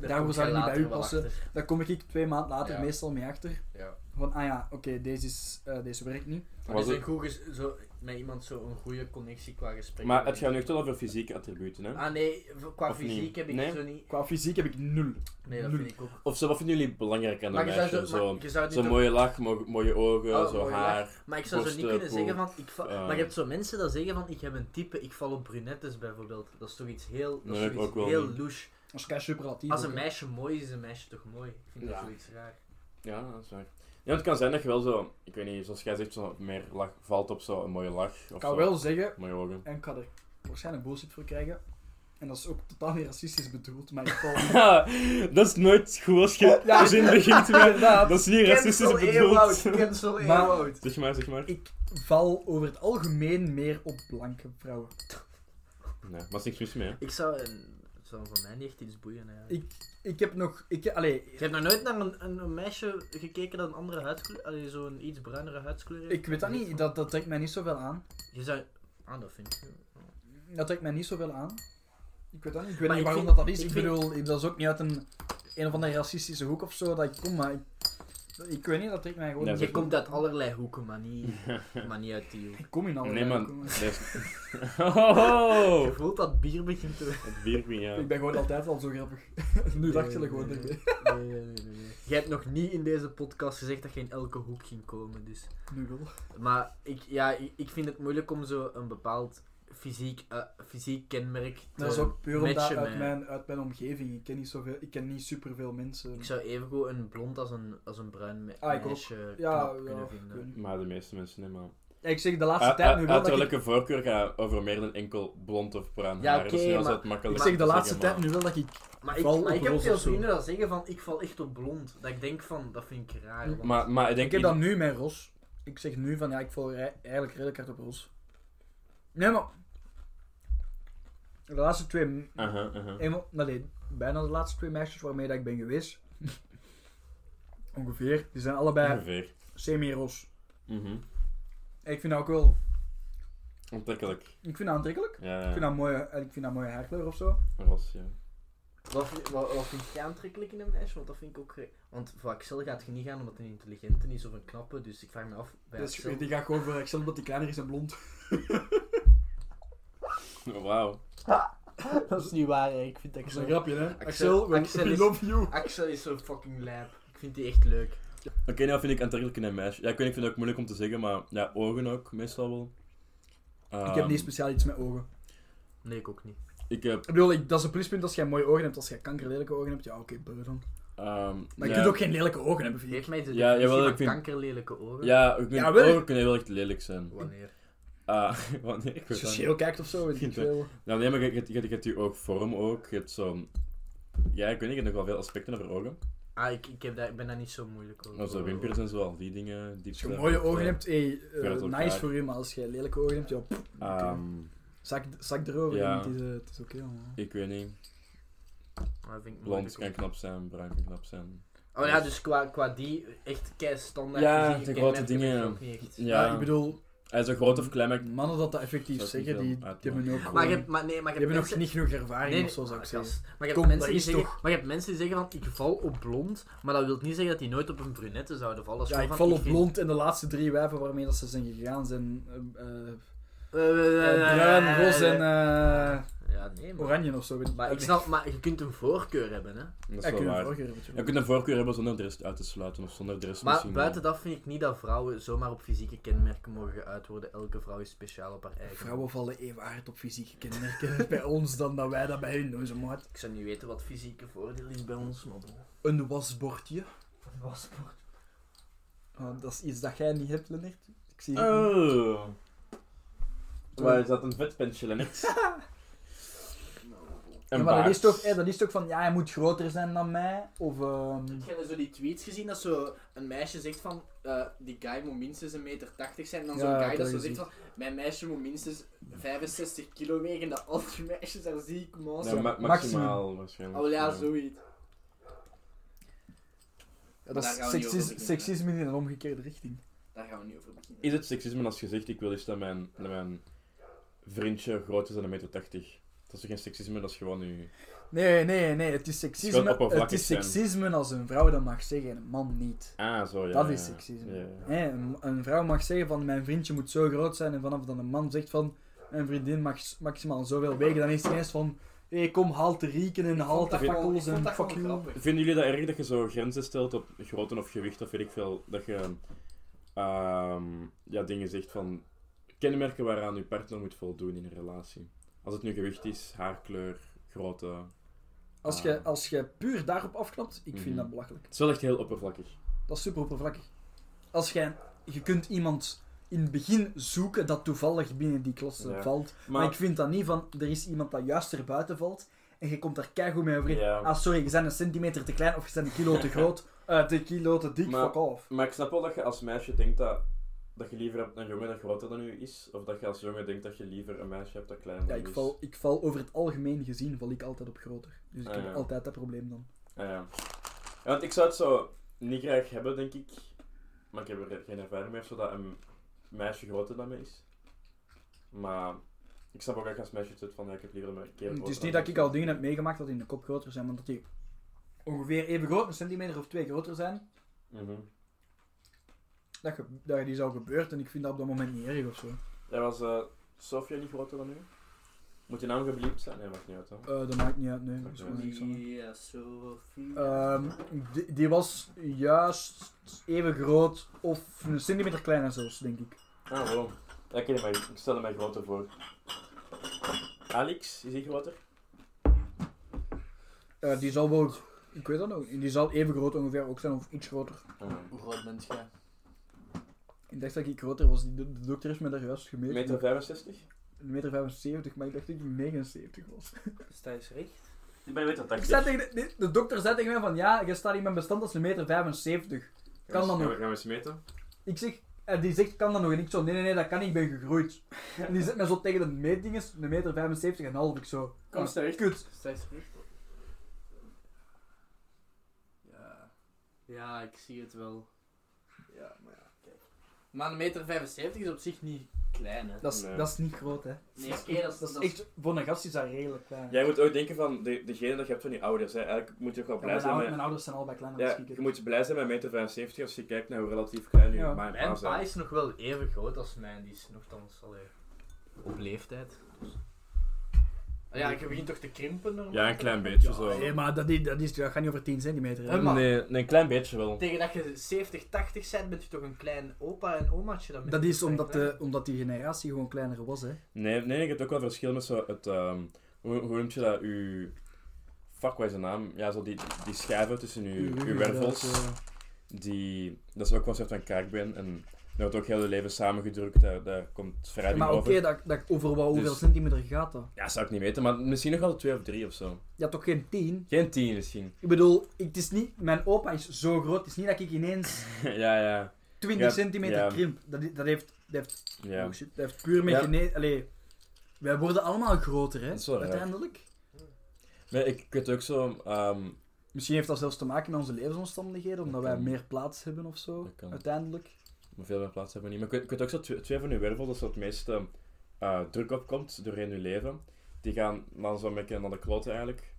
Speaker 2: daarvoor zou ik niet bij u passen. Daar kom ik twee maanden later
Speaker 1: Ja.
Speaker 2: meestal mee achter.
Speaker 1: Ja.
Speaker 2: Van, ah ja, oké, deze, is, eh, deze werkt niet.
Speaker 1: Maar
Speaker 4: Was
Speaker 1: is een
Speaker 4: het-
Speaker 1: goed ges- zo, met iemand zo een goede connectie qua gesprek.
Speaker 4: Maar het gaat nu echt wel over fysieke attributen, hè?
Speaker 1: Ah nee, v- qua
Speaker 4: Of
Speaker 1: fysiek
Speaker 4: niet?
Speaker 1: heb ik
Speaker 4: Nee?
Speaker 1: zo niet.
Speaker 2: Qua fysiek heb ik nul.
Speaker 1: Nee, dat
Speaker 2: Nul.
Speaker 1: vind ik ook.
Speaker 4: Of zo, wat vinden jullie belangrijk aan een
Speaker 1: Maar je zou
Speaker 4: meisje?
Speaker 1: zo,
Speaker 4: Zo,
Speaker 1: maar je zou niet
Speaker 4: zo'n
Speaker 1: ook-
Speaker 4: mooie lach, mo- mooie ogen,
Speaker 1: Oh,
Speaker 4: zo
Speaker 1: mooie
Speaker 4: haar.
Speaker 1: maar ik zou zo niet
Speaker 4: borsten,
Speaker 1: kunnen zeggen
Speaker 4: poel,
Speaker 1: van. Ik val-
Speaker 4: eh.
Speaker 1: maar je hebt zo mensen dat zeggen van ik heb een type, ik val op brunettes bijvoorbeeld. Dat is toch iets heel, dat is
Speaker 4: Nee, ik
Speaker 1: toch iets
Speaker 4: ook wel
Speaker 1: heel
Speaker 4: niet.
Speaker 1: louche.
Speaker 2: Als kei superlatief.
Speaker 1: Als een
Speaker 2: ook,
Speaker 1: meisje mooi is, is een meisje toch mooi. Ik vind dat
Speaker 4: Ja.
Speaker 1: zoiets raar.
Speaker 4: Ja, dat is waar. Ja, want het kan zijn dat je wel zo, ik weet niet, zoals jij zegt, zo meer lach, valt op zo'n mooie lach.
Speaker 2: hè.
Speaker 4: Of
Speaker 2: Ik kan
Speaker 4: zo.
Speaker 2: wel zeggen,
Speaker 4: Mooie ogen.
Speaker 2: en ik ga er waarschijnlijk bullshit voor krijgen. En dat is ook totaal niet racistisch bedoeld, maar ik val...
Speaker 4: dat is nooit goed als je
Speaker 2: Ja.
Speaker 4: zin begint met.
Speaker 2: Inderdaad.
Speaker 4: Dat is niet racistisch
Speaker 1: Cancel
Speaker 4: bedoeld.
Speaker 1: Ewout, cancel
Speaker 2: Maar-
Speaker 1: Ewout.
Speaker 4: Zeg maar, zeg maar.
Speaker 2: Ik val over het algemeen meer op blanke vrouwen.
Speaker 4: Nee, maar er is niks mis mee, hè.
Speaker 1: Ik zou, een- het zou voor mij niet echt iets boeien eigenlijk.
Speaker 2: Ik heb nog... Ik, allee,
Speaker 1: Je hebt nog nooit naar een, een, een meisje gekeken dat een andere huidskleur, allee, zo'n iets bruinere huidskleur heeft?
Speaker 2: ik weet dat niet, dat, dat trekt mij niet zoveel aan.
Speaker 1: Je zou... Ah, dat vind ik...
Speaker 2: Dat trekt mij niet zoveel aan. Ik weet dat niet. Ik weet
Speaker 1: Maar
Speaker 2: niet
Speaker 1: ik
Speaker 2: waarom
Speaker 1: vind-
Speaker 2: dat, dat is.
Speaker 1: ik
Speaker 2: Ik,
Speaker 1: vind-
Speaker 2: bedoel, ik- dat is ook niet uit een, een of andere racistische hoek of zo dat ik kom, maar ik, ik weet niet, dat trekt mij gewoon
Speaker 4: Nee,
Speaker 2: niet.
Speaker 1: Je
Speaker 4: zeg-
Speaker 1: komt uit allerlei hoeken, maar niet, maar niet uit die hoek.
Speaker 2: Ik Nou, kom in alle
Speaker 4: Nee, man.
Speaker 2: hoeken,
Speaker 4: Dat is- Oh,
Speaker 1: Je voelt dat bier begint te...
Speaker 4: het bier ging, ja.
Speaker 2: Ik ben gewoon altijd al zo grappig. nu dacht je er gewoon niet mee.
Speaker 1: Nee, nee, nee, nee, nee. Jij hebt nog niet in deze podcast gezegd dat je in elke hoek ging komen, dus...
Speaker 2: Nu wel.
Speaker 1: Maar ik, ja, ik, ik vind het moeilijk om zo een bepaald fysiek, eh, fysiek kenmerk te...
Speaker 2: Dat is ook puur omdat
Speaker 1: matchen
Speaker 2: uit
Speaker 1: mij.
Speaker 2: mijn, uit mijn omgeving. Ik ken niet, zoveel, ik ken niet superveel mensen.
Speaker 1: Ik zou evengoed een blond als een, als een bruin me-
Speaker 2: Ah, ik ook.
Speaker 1: meisje
Speaker 2: Ja,
Speaker 1: knap
Speaker 2: ja,
Speaker 1: kunnen
Speaker 2: ik
Speaker 1: vinden.
Speaker 2: weet niet.
Speaker 4: Maar de meeste mensen niet, man.
Speaker 2: Ja, ik zeg de laatste tijd nu wel dat ik,
Speaker 4: Uiterlijke voorkeur gaat over meer dan enkel blond of bruin
Speaker 1: Ja,
Speaker 4: haar.
Speaker 3: Dus
Speaker 4: dat is
Speaker 1: oké,
Speaker 4: niet
Speaker 1: maar-
Speaker 4: altijd makkelijk.
Speaker 2: ik
Speaker 4: te
Speaker 2: zeg de
Speaker 4: zeggen,
Speaker 2: laatste
Speaker 4: maar-
Speaker 2: tijd nu wel dat ik...
Speaker 1: Maar ik,
Speaker 2: Val
Speaker 1: maar
Speaker 2: op
Speaker 1: ik heb
Speaker 2: roze
Speaker 1: veel
Speaker 2: of zo.
Speaker 1: vrienden dat zeggen van ik val echt op blond. Dat ik denk van dat vind ik raar. want-
Speaker 4: Maar, maar ik denk
Speaker 2: Ik heb
Speaker 4: ieder-
Speaker 2: dat nu mijn Ros. Ik zeg nu van ja, ik val rij- eigenlijk redelijk hard op Ros. Nee, maar. De laatste twee.
Speaker 4: Aha, aha.
Speaker 2: eenmaal- nee, bijna de laatste twee meisjes waarmee dat ik ben geweest. ongeveer. Die zijn
Speaker 4: Oh.
Speaker 2: allebei
Speaker 3: Ongeveer.
Speaker 2: semi-roos.
Speaker 3: Mhm.
Speaker 2: Ik vind dat ook wel...
Speaker 3: Aantrekkelijk.
Speaker 2: Ik vind dat aantrekkelijk.
Speaker 3: Ja,
Speaker 2: Ik vind
Speaker 3: ja.
Speaker 2: dat een mooie, eh, ik vind dat een mooie haarkleur of zo.
Speaker 3: Ros, ja.
Speaker 1: Wat, vind- wat, wat vind jij aantrekkelijk in een meisje? Want dat vind ik ook... ge- Want voor Axel gaat je niet gaan omdat hij een intelligente is of een knappe, dus ik vraag me af... Bij
Speaker 2: Dus
Speaker 1: Axel...
Speaker 2: die gaat gewoon voor Excel omdat die kleiner is en blond.
Speaker 3: Oh, Wauw.
Speaker 1: Dat is niet waar, hè. ik vind
Speaker 2: Dat is een grapje, hè? Excel,
Speaker 1: Axel-
Speaker 2: we
Speaker 1: Axel
Speaker 2: we
Speaker 1: is-
Speaker 2: love you.
Speaker 1: Axel is zo fucking lijp. Ik vind die echt leuk.
Speaker 3: Oké, nou vind ik aantrekkelijk in een meisje. Ja, ik weet ik vind het ook moeilijk om te zeggen, maar ja, ogen ook, meestal wel.
Speaker 2: Ik heb
Speaker 3: Ehm,
Speaker 2: niet speciaal iets met ogen.
Speaker 1: Nee, ik ook niet.
Speaker 3: Ik heb...
Speaker 2: Ik bedoel, ik- dat is een pluspunt als jij mooie ogen hebt. Als jij kankerlelijke ogen hebt, ja, oké, beu dan.
Speaker 3: ehm,
Speaker 2: Maar je
Speaker 3: ja,
Speaker 2: kunt ook geen lelijke ogen hebben, vind ik.
Speaker 1: Geef mij de
Speaker 3: Ja,
Speaker 1: definitie
Speaker 3: jawel,
Speaker 1: van
Speaker 3: ik vind-
Speaker 1: kankerlelijke ogen.
Speaker 3: Ja, ik vind,
Speaker 2: Ja, wel.
Speaker 3: ogen kunnen heel erg lelijk zijn.
Speaker 1: Wanneer?
Speaker 3: Ah, wanneer? Ik
Speaker 2: Als
Speaker 3: weet
Speaker 2: je
Speaker 3: dat
Speaker 2: scheel kijkt of zo, weet ik niet
Speaker 3: Vind
Speaker 2: veel.
Speaker 3: Nou, nee, maar je, je, je, je hebt je oogvorm ook. Je hebt zo'n... Ja, ik weet niet, je hebt nog wel veel aspecten over ogen.
Speaker 1: Ah, ik, ik, heb daar, ik ben daar niet zo moeilijk over.
Speaker 3: Als de wimpers en zo, al die dingen. Die
Speaker 2: Als je mooie ogen hebt, hey, eh,
Speaker 3: Ja, dat is ook
Speaker 2: nice
Speaker 3: waar.
Speaker 2: voor je, maar als je lelijke ogen hebt, ja, pff,
Speaker 3: Ehm,
Speaker 2: zak, zak erover.
Speaker 3: Ja.
Speaker 2: en Het is, eh, het is oké, allemaal.
Speaker 3: ik weet niet.
Speaker 1: Ah, dat vind ik
Speaker 3: Blond
Speaker 1: moeilijk.
Speaker 3: kan knap zijn, bruin kan knap zijn.
Speaker 1: Oh ja, dus qua, qua die echt kei standaard.
Speaker 3: Ja,
Speaker 1: gezien,
Speaker 3: de
Speaker 1: ik ken
Speaker 3: grote
Speaker 1: mensen
Speaker 3: dingen.
Speaker 1: ook niet echt.
Speaker 3: Ja,
Speaker 2: Ah, ik bedoel,
Speaker 3: hij is zo groot of klein, maar ik-
Speaker 2: mannen dat dat effectief
Speaker 3: Zou ik
Speaker 2: zeggen,
Speaker 3: niet
Speaker 2: die,
Speaker 3: veel
Speaker 2: die
Speaker 3: uitmaken.
Speaker 2: hebben ook
Speaker 1: Maar je
Speaker 2: gewoon-
Speaker 1: hebt, maar, nee, maar je
Speaker 2: die hebben
Speaker 1: hebt
Speaker 2: nog
Speaker 1: mensen...
Speaker 2: niet genoeg ervaring
Speaker 1: Nee,
Speaker 2: of zo, zou ik
Speaker 1: ah,
Speaker 2: zeggen.
Speaker 1: gast. Maar je,
Speaker 2: Kom,
Speaker 1: hebt mensen
Speaker 2: dat
Speaker 1: die
Speaker 2: is
Speaker 1: zeggen,
Speaker 2: toch-
Speaker 1: maar je hebt mensen die zeggen van ik val op blond, maar dat wil niet zeggen dat die nooit op een brunette zouden vallen. Dat is
Speaker 2: Ja, ik
Speaker 1: gewoon
Speaker 2: val
Speaker 1: van,
Speaker 2: op
Speaker 1: vind-
Speaker 2: blond en de laatste drie wijven waarmee dat ze zijn gegaan zijn eh, eh,
Speaker 1: Eh, eh, eh,
Speaker 2: eh, bruin, roze en eh,
Speaker 1: Ja, nee, maar...
Speaker 2: oranje of zo. weet
Speaker 1: Maar ik
Speaker 2: Ah,
Speaker 1: snap, maar je kunt een voorkeur hebben, hè.
Speaker 3: dat
Speaker 2: Ja,
Speaker 3: is
Speaker 2: ik
Speaker 3: wel
Speaker 2: heb
Speaker 3: waar.
Speaker 2: een vorige keer
Speaker 3: Je kunt een voorkeur hebben zonder de rest uit te sluiten of zonder de rest
Speaker 1: Maar
Speaker 3: misschien.
Speaker 1: buiten dat vind ik niet dat vrouwen zomaar op fysieke kenmerken mogen geuit worden. Elke vrouw is speciaal op haar eigen.
Speaker 2: Vrouwen vallen even hard op fysieke kenmerken bij ons dan dat wij dat bij hun doen. Zo, maat.
Speaker 1: Ik zou niet weten wat fysieke voordeel is bij ons, maar bon.
Speaker 2: Een wasbordje. Oh, dat is iets dat jij niet hebt, Lennart. Ik
Speaker 1: Eh,
Speaker 2: zie het niet.
Speaker 3: Oh.
Speaker 1: Oh.
Speaker 3: Waar is dat een vetpensje, Lennart?
Speaker 2: Ja,
Speaker 3: Een
Speaker 2: maar dat
Speaker 3: baard.
Speaker 2: is, toch, eh, dat is toch van, ja, hij moet groter zijn dan mij, of... ehm,
Speaker 1: Heb jij nou zo die tweets gezien dat zo een meisje zegt van eh, die guy moet minstens 1,80 meter zijn en dan
Speaker 2: Ja,
Speaker 1: zo'n
Speaker 2: ik
Speaker 1: guy
Speaker 2: heb
Speaker 1: dat
Speaker 2: dat
Speaker 1: zo zegt
Speaker 2: gezien.
Speaker 1: van mijn meisje moet minstens 65 kilo wegen en dat al die meisjes daar zie ik
Speaker 3: Ja,
Speaker 1: monster.
Speaker 3: ma-
Speaker 2: Maximum.
Speaker 3: maximaal waarschijnlijk.
Speaker 1: oh ja, zoiets.
Speaker 2: ja, dat
Speaker 1: Daar gaan
Speaker 2: is
Speaker 1: we niet over
Speaker 2: seksisme,
Speaker 1: beginnen.
Speaker 2: seksisme in een omgekeerde richting.
Speaker 1: Daar gaan we niet over beginnen.
Speaker 3: Is het seksisme als je zegt, ik wil eens dat mijn, dat mijn vriendje groter is dan 1,80 meter? Dat is toch geen seksisme, dat is gewoon nu...
Speaker 2: Nee, nee, nee, het is
Speaker 3: Het is
Speaker 2: seksisme,
Speaker 3: gewoon
Speaker 2: het
Speaker 3: oppervlakkig
Speaker 2: is
Speaker 3: zijn.
Speaker 2: seksisme als een vrouw dat mag zeggen en een man niet.
Speaker 3: Ah, zo, ja.
Speaker 2: dat
Speaker 3: ja,
Speaker 2: is
Speaker 3: ja.
Speaker 2: seksisme.
Speaker 3: Ja, ja.
Speaker 2: Hè, een, een vrouw mag zeggen van, mijn vriendje moet zo groot zijn, en vanaf dat een man zegt van, mijn vriendin mag s- maximaal zoveel wegen, dan is het ineens van, hé, kom, haal te rieken en haal te fakkels en fuck you.
Speaker 3: Vinden jullie dat erg dat je zo grenzen stelt op grootte of gewicht of weet ik veel? Dat je ehm, ja, dingen zegt van kenmerken waaraan je partner moet voldoen in een relatie. Als het nu gewicht is, haarkleur, grootte.
Speaker 2: Als
Speaker 3: Ah.
Speaker 2: je, als je puur daarop afknapt, ik vind
Speaker 3: Mhm.
Speaker 2: dat belachelijk.
Speaker 3: Het is wel echt heel oppervlakkig.
Speaker 2: Dat is super oppervlakkig. Als jij, je kunt iemand in het begin zoeken dat toevallig binnen die klasse
Speaker 3: Ja.
Speaker 2: valt. Maar, ik vind dat niet van, er is iemand dat juist erbuiten valt en je komt daar keigoed mee over.
Speaker 3: Ja.
Speaker 2: Ah, sorry, je bent een centimeter te klein of je bent een kilo te groot. Eh te kilo te dik,
Speaker 3: Maar-
Speaker 2: fuck off.
Speaker 3: Maar ik snap wel dat je als meisje denkt dat, dat je liever hebt een jongen dat groter dan u is. Of dat je als jongen denkt dat je liever een meisje hebt dat kleiner
Speaker 2: Ja,
Speaker 3: dan u
Speaker 2: ik
Speaker 3: is.
Speaker 2: val, ik val over het algemeen gezien val ik altijd op groter. Dus ik
Speaker 3: Ah,
Speaker 2: heb
Speaker 3: ja.
Speaker 2: altijd dat probleem dan.
Speaker 3: Ja, Ah, ja. Ja, want ik zou het zo niet graag hebben, denk ik. Maar ik heb er geen ervaring meer, zodat een meisje groter dan mij is. Maar ik snap ook dat je als meisje zit van, ja, ik heb liever een keer
Speaker 2: Mm, Het is
Speaker 3: groter
Speaker 2: niet
Speaker 3: dan
Speaker 2: dat
Speaker 3: mij.
Speaker 2: ik al dingen heb meegemaakt dat in de kop groter zijn, maar dat die ongeveer even groot, een centimeter of twee groter zijn.
Speaker 3: Mhm.
Speaker 2: dat, ge- dat die zou gebeurd en ik vind dat op dat moment niet erg of zo.
Speaker 3: Ja, was eh, Sofia niet groter dan u? Moet je naam gebliept zijn? Nee, maakt niet uit, hè.
Speaker 2: Eh, dat maakt niet uit, nee. Dat is
Speaker 3: Oké.
Speaker 2: gewoon niks aan.
Speaker 1: Ja, Sophie.
Speaker 2: Ehm, die, die was juist even groot of een centimeter kleiner zelfs, denk ik.
Speaker 3: Ah, waarom? Ja, ik, ken hem, ik stel hem mij groter voor. Alex, is hij groter?
Speaker 2: Eh, die zal wel, ik weet dat nog, die zal even groot ongeveer ook zijn of iets groter.
Speaker 3: Ah.
Speaker 1: Hoe groot bent jij?
Speaker 2: Ik dacht dat ik groter was, de, de dokter heeft me daar juist gemeten.
Speaker 3: Meter 65?
Speaker 2: Een meter 75, maar ik dacht dat ik 79 was.
Speaker 1: Sta eens recht.
Speaker 3: Ik ben meter
Speaker 2: Ik zei tegen de, de- de dokter zei tegen mij van ja, je staat in mijn bestand als een meter 75. Kan dan nog.
Speaker 3: Gaan Dus we eens meten?
Speaker 2: Ik zeg, en die zegt, kan dat nog? En ik zo, nee, nee, nee, dat kan niet, ik ben gegroeid. En die zet mij zo tegen de meetdinges, een meter 75 en half, ik zo. Ah,
Speaker 1: Kom,
Speaker 2: sterk. Kut.
Speaker 1: Sta eens recht. Ja. Ja, ik zie het wel.
Speaker 2: Ja, maar ja, kijk.
Speaker 1: Maar een meter 75 is op zich niet klein, hè?
Speaker 2: Dat is,
Speaker 3: Nee.
Speaker 2: dat is niet groot, hè.
Speaker 1: Nee, oké, dat is-
Speaker 2: dat is
Speaker 1: dat is-
Speaker 2: echt... Voor een gast is dat redelijk klein.
Speaker 3: Jij moet ook denken van de, degene dat je hebt van je ouders. Hè. Eigenlijk moet je ook wel
Speaker 2: Ja,
Speaker 3: blij
Speaker 2: mijn,
Speaker 3: zijn
Speaker 2: ouders,
Speaker 3: met...
Speaker 2: mijn ouders zijn allebei kleiner
Speaker 3: Ja,
Speaker 2: dan ik.
Speaker 3: je moet blij zijn met meter 75 als je kijkt naar hoe relatief klein je
Speaker 2: Ja.
Speaker 3: ma en pa
Speaker 1: Mijn pa
Speaker 3: zijn.
Speaker 1: is nog wel even groot als mijn, die is nogthans allee, op leeftijd. Dus- Ah Ja, je begint toch te krimpen normaal?
Speaker 6: Ja, een klein beetje
Speaker 1: Ja,
Speaker 6: zo.
Speaker 2: Nee, maar dat, is- dat, is, dat gaat niet over 10 centimeter. hè.
Speaker 1: Hè, maar-
Speaker 3: Nee, nee, een klein beetje wel.
Speaker 1: Tegen dat je 70, 80 bent, bent je toch een klein opa en omaatje dan
Speaker 2: Dat is omdat,
Speaker 1: de
Speaker 2: de, omdat die generatie gewoon kleiner was, hè.
Speaker 3: Nee, nee, je hebt ook wel verschil met zo het... ehm, hoe, hoe noem je dat? Uw... Fuck, wat is de naam? Ja, zo die, die schijven tussen uw, uw wervels.
Speaker 2: eh.
Speaker 3: die, dat is ook wel een soort van kaakbeen. En dat wordt ook heel je leven samengedrukt. Daar, daar komt vrij
Speaker 2: maar
Speaker 3: over.
Speaker 2: oké, dat, dat, over wat, hoeveel
Speaker 3: Dus-
Speaker 2: centimeter gaat dat?
Speaker 3: Ja, zou ik niet weten, maar misschien nog wel twee of drie of zo.
Speaker 2: Ja, toch geen 10?
Speaker 3: Geen tien misschien.
Speaker 2: Ik bedoel, ik- het is niet, mijn opa is zo groot, het is niet dat ik ineens
Speaker 3: ja, ja,
Speaker 2: 20
Speaker 3: Ja,
Speaker 2: centimeter
Speaker 3: ja.
Speaker 2: krimp. Dat, i- dat, heeft, dat, heeft,
Speaker 3: ja.
Speaker 2: oh shit, dat heeft puur met
Speaker 3: Ja.
Speaker 2: gene- Allee, wij worden allemaal groter, hè,
Speaker 3: Dat is wel raar.
Speaker 2: uiteindelijk.
Speaker 3: Nee, ik, ik weet ook zo... ehm,
Speaker 2: Misschien heeft dat zelfs te maken met onze levensomstandigheden, omdat
Speaker 3: Dat
Speaker 2: wij
Speaker 3: kan.
Speaker 2: meer plaats hebben of zo,
Speaker 3: Dat kan.
Speaker 2: uiteindelijk.
Speaker 3: maar veel meer plaats hebben we niet. Maar ik weet, ik weet ook zo twee, twee van uw wervels, dat zo het meeste eh, druk opkomt doorheen uw leven. Die gaan dan zo'n beetje naar de kloten eigenlijk.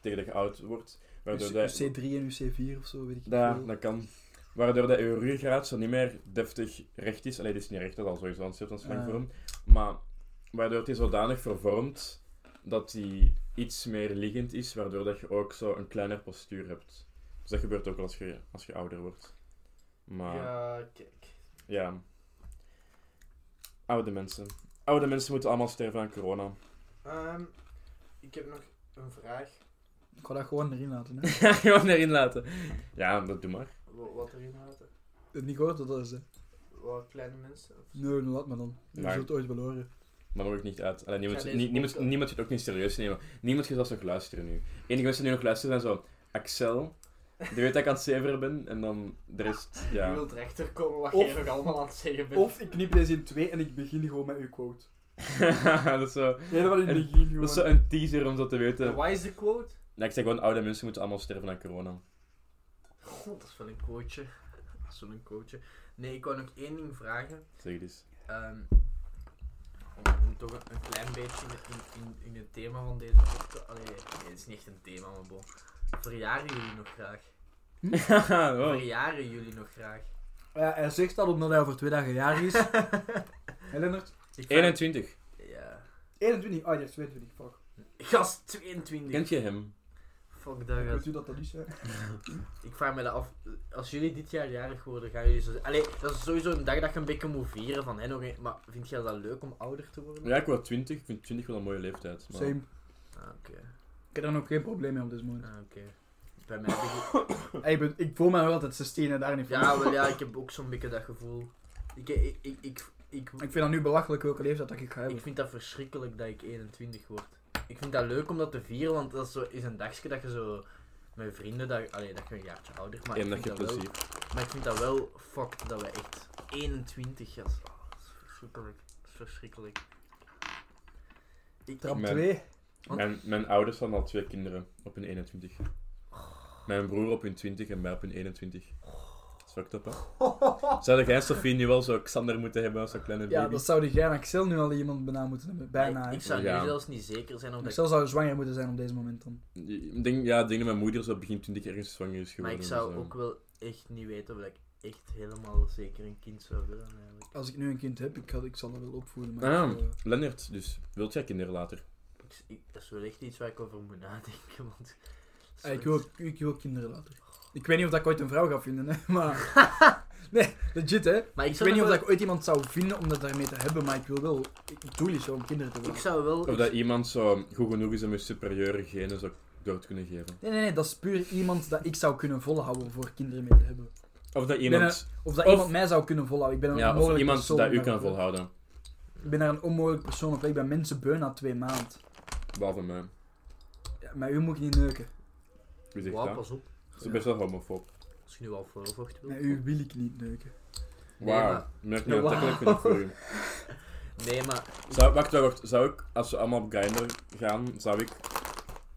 Speaker 3: Tegen dat je oud wordt.
Speaker 2: Dus
Speaker 3: Waardoor dat-
Speaker 2: UC3 en UC4 of zo, weet ik
Speaker 3: Ja,
Speaker 2: veel.
Speaker 3: dat kan. Waardoor dat uw ruggraat zo niet meer deftig recht is. Allee, het is niet recht, dat is al sowieso een soort van slangvorm. Maar waardoor het is zodanig vervormd dat die iets meer liggend is, waardoor dat je ook zo een kleiner postuur hebt. Dus dat gebeurt ook wel als je, als je ouder wordt. Maar ja.
Speaker 1: Ja, kijk.
Speaker 3: Oude mensen. Oude mensen moeten allemaal sterven aan corona.
Speaker 1: Ehm, ik heb nog een vraag.
Speaker 2: Ik ga dat gewoon erin laten, hè.
Speaker 3: Gewoon erin laten. Ja, dat doe maar.
Speaker 1: Wa- Wat erin hadden?
Speaker 2: Het niet gehoord dat dat is, hè.
Speaker 1: Wat kleine mensen? Of-
Speaker 2: Nee, laat maar dan. Je
Speaker 3: Maar-
Speaker 2: zult het ooit wel horen.
Speaker 3: Maar mag ik niet uit. Allee, niemand,
Speaker 1: Ja,
Speaker 3: nie-
Speaker 1: deze
Speaker 3: niemand,
Speaker 1: podcast.
Speaker 3: niemand gaat het ook niet serieus nemen. Niemand gaat zelfs nog luisteren nu. Enige mensen die nog luisteren zijn zo... Axel, die weet dat ik aan het zeveren ben. En dan de rest...
Speaker 1: Je
Speaker 3: Ja.
Speaker 1: wilt rechter komen wat
Speaker 2: Of-
Speaker 1: jij nog allemaal aan het zeggen bent.
Speaker 2: Of ik knip deze in twee en ik begin gewoon met uw quote.
Speaker 3: dat, is zo,
Speaker 2: Helemaal in het
Speaker 3: En-
Speaker 2: begin
Speaker 3: dat
Speaker 2: gewoon.
Speaker 3: is zo een teaser om zo te weten.
Speaker 1: En wat is de quote?
Speaker 3: Ja, ik zeg gewoon, oude mensen moeten allemaal sterven aan corona.
Speaker 1: God, dat is wel een quoteje. Dat is wel een quoteje. Nee, ik wou nog één ding vragen.
Speaker 3: Zeg het eens.
Speaker 1: Ehm, om, om toch een, een klein beetje in, in, in, in het thema van deze podcast. Allee, nee, het is niet echt een thema, maar bon. Verjaren jullie nog graag?
Speaker 3: Wow.
Speaker 1: Verjaren jullie nog graag?
Speaker 2: Ja, hij zegt dat omdat hij over twee dagen jarig is. Hé Lennart?
Speaker 1: Ik vraag-
Speaker 3: 21.
Speaker 1: Ja.
Speaker 2: 21. Ah, oh, ja, 22. Fuck.
Speaker 1: Gast 22.
Speaker 3: Kent je hem?
Speaker 1: Fuck dat
Speaker 2: Ik
Speaker 1: gast.
Speaker 2: weet u dat dat is, hè.
Speaker 1: Ik vraag me dat af. Als jullie dit jaar jarig worden, gaan jullie zo... Allee, dat is sowieso een dag dat je een beetje moet vieren van hè nog een... Maar vind jij dat leuk om ouder te worden?
Speaker 3: Ja, ik word 20. Ik vind 20 wel een mooie leeftijd. Maar...
Speaker 2: Same.
Speaker 1: Ah, oké.
Speaker 2: Ik heb daar ook geen probleem mee op dit moment.
Speaker 1: Ah, oké. Bij mij begint...
Speaker 2: Hey, ik ben- ik voel mij nog altijd 16 en daar niet van.
Speaker 1: Ja, wel ja, ik heb ook zo'n beetje dat gevoel. Ik, ik, ik, ik, ik,
Speaker 2: Ik vind dat nu belachelijk welke leeftijd dat ik ga
Speaker 1: ik
Speaker 2: hebben.
Speaker 1: vind dat verschrikkelijk dat ik 21 word. Ik vind dat leuk om dat te vieren, want dat is, zo, is een dagje dat je zo met vrienden, dat, allee, dat je een jaartje ouder, maar,
Speaker 3: En
Speaker 1: ik
Speaker 3: dat je
Speaker 1: vind dat wel,
Speaker 3: plezier.
Speaker 1: maar ik vind dat wel fucked dat we echt 21 jas. Oh, dat is verschrikkelijk. Dat is verschrikkelijk. Ik,
Speaker 2: Trap
Speaker 3: Mijn-
Speaker 2: 2.
Speaker 1: Want-
Speaker 3: Mijn, mijn ouders hadden al twee kinderen op hun 21. Mijn broer op hun 20 en mij op hun 21. Dat is fucked up, hè? Zou jij Sofie nu wel zo Xander moeten hebben als zo'n kleine baby?
Speaker 2: Ja, dat zou jij en Axel nu al iemand bijna moeten hebben. Bijna,
Speaker 1: ik,
Speaker 2: hè.
Speaker 1: ik zou nu
Speaker 3: Ja.
Speaker 1: zelfs niet zeker zijn omdat ik,
Speaker 2: Axel zou zwanger moeten zijn op deze moment dan.
Speaker 3: Ik denk, ja, ik denk dat mijn moeder zo begin 20 ergens zwanger is
Speaker 1: maar
Speaker 3: geworden.
Speaker 1: ik zou
Speaker 3: dus, eh,
Speaker 1: ook wel echt niet weten of ik echt helemaal zeker een kind zou willen eigenlijk.
Speaker 2: Als ik nu een kind heb, ik, had, ik zal dat wel opvoeden. Maar
Speaker 3: Ah.
Speaker 2: ik, eh,
Speaker 3: Lennart, dus wilt jij kinderen later?
Speaker 1: Ik- ik- dat is wel echt iets waar ik over moet nadenken, want...
Speaker 2: Ja, eh, ik, wil, ik wil kinderen later. Ik weet niet of dat ik ooit een vrouw ga vinden, hè, maar... nee, legit, hè.
Speaker 1: Maar ik,
Speaker 2: Ik
Speaker 1: zou
Speaker 2: weet niet of
Speaker 1: nog
Speaker 2: dat ik ooit iemand zou vinden om dat daarmee te hebben, maar ik wil wel... Ik ik doel is zo om kinderen te
Speaker 1: wel- Oh, Ik
Speaker 2: worden.
Speaker 1: zou wel...
Speaker 3: Of dat iemand zo goed genoeg is om je superieure genen zo door te kunnen geven?
Speaker 2: Nee, nee, nee, dat is puur iemand dat ik zou kunnen volhouden voor kinderen mee te hebben.
Speaker 3: Of dat
Speaker 2: ben
Speaker 3: iemand,
Speaker 2: Of dat
Speaker 3: Of-
Speaker 2: iemand mij zou kunnen volhouden. Ik ben een
Speaker 3: ja, of
Speaker 2: onmogelijk
Speaker 3: iemand
Speaker 2: persoon
Speaker 3: dat u
Speaker 2: om
Speaker 3: kan
Speaker 2: te-
Speaker 3: volhouden,
Speaker 2: Ik ben daar een onmogelijk persoon op. Ik ben mensen beu na twee maanden.
Speaker 3: behalve mij.
Speaker 2: Ja, maar u moet ik niet neuken.
Speaker 3: Wie zegt
Speaker 1: Wauw,
Speaker 3: dat?
Speaker 1: pas op.
Speaker 3: Dat is best wel homofoob.
Speaker 1: Als je nu al voorvocht wil.
Speaker 2: Met u wil ik niet neuken.
Speaker 1: Nee,
Speaker 3: Wauw,
Speaker 1: maar-
Speaker 3: merk nu
Speaker 2: Ja,
Speaker 3: dat ik vind ik voor u.
Speaker 1: Nee, maar...
Speaker 3: Zou, wacht, wacht, wacht. Zou ik, als we allemaal op Grindr gaan, zou ik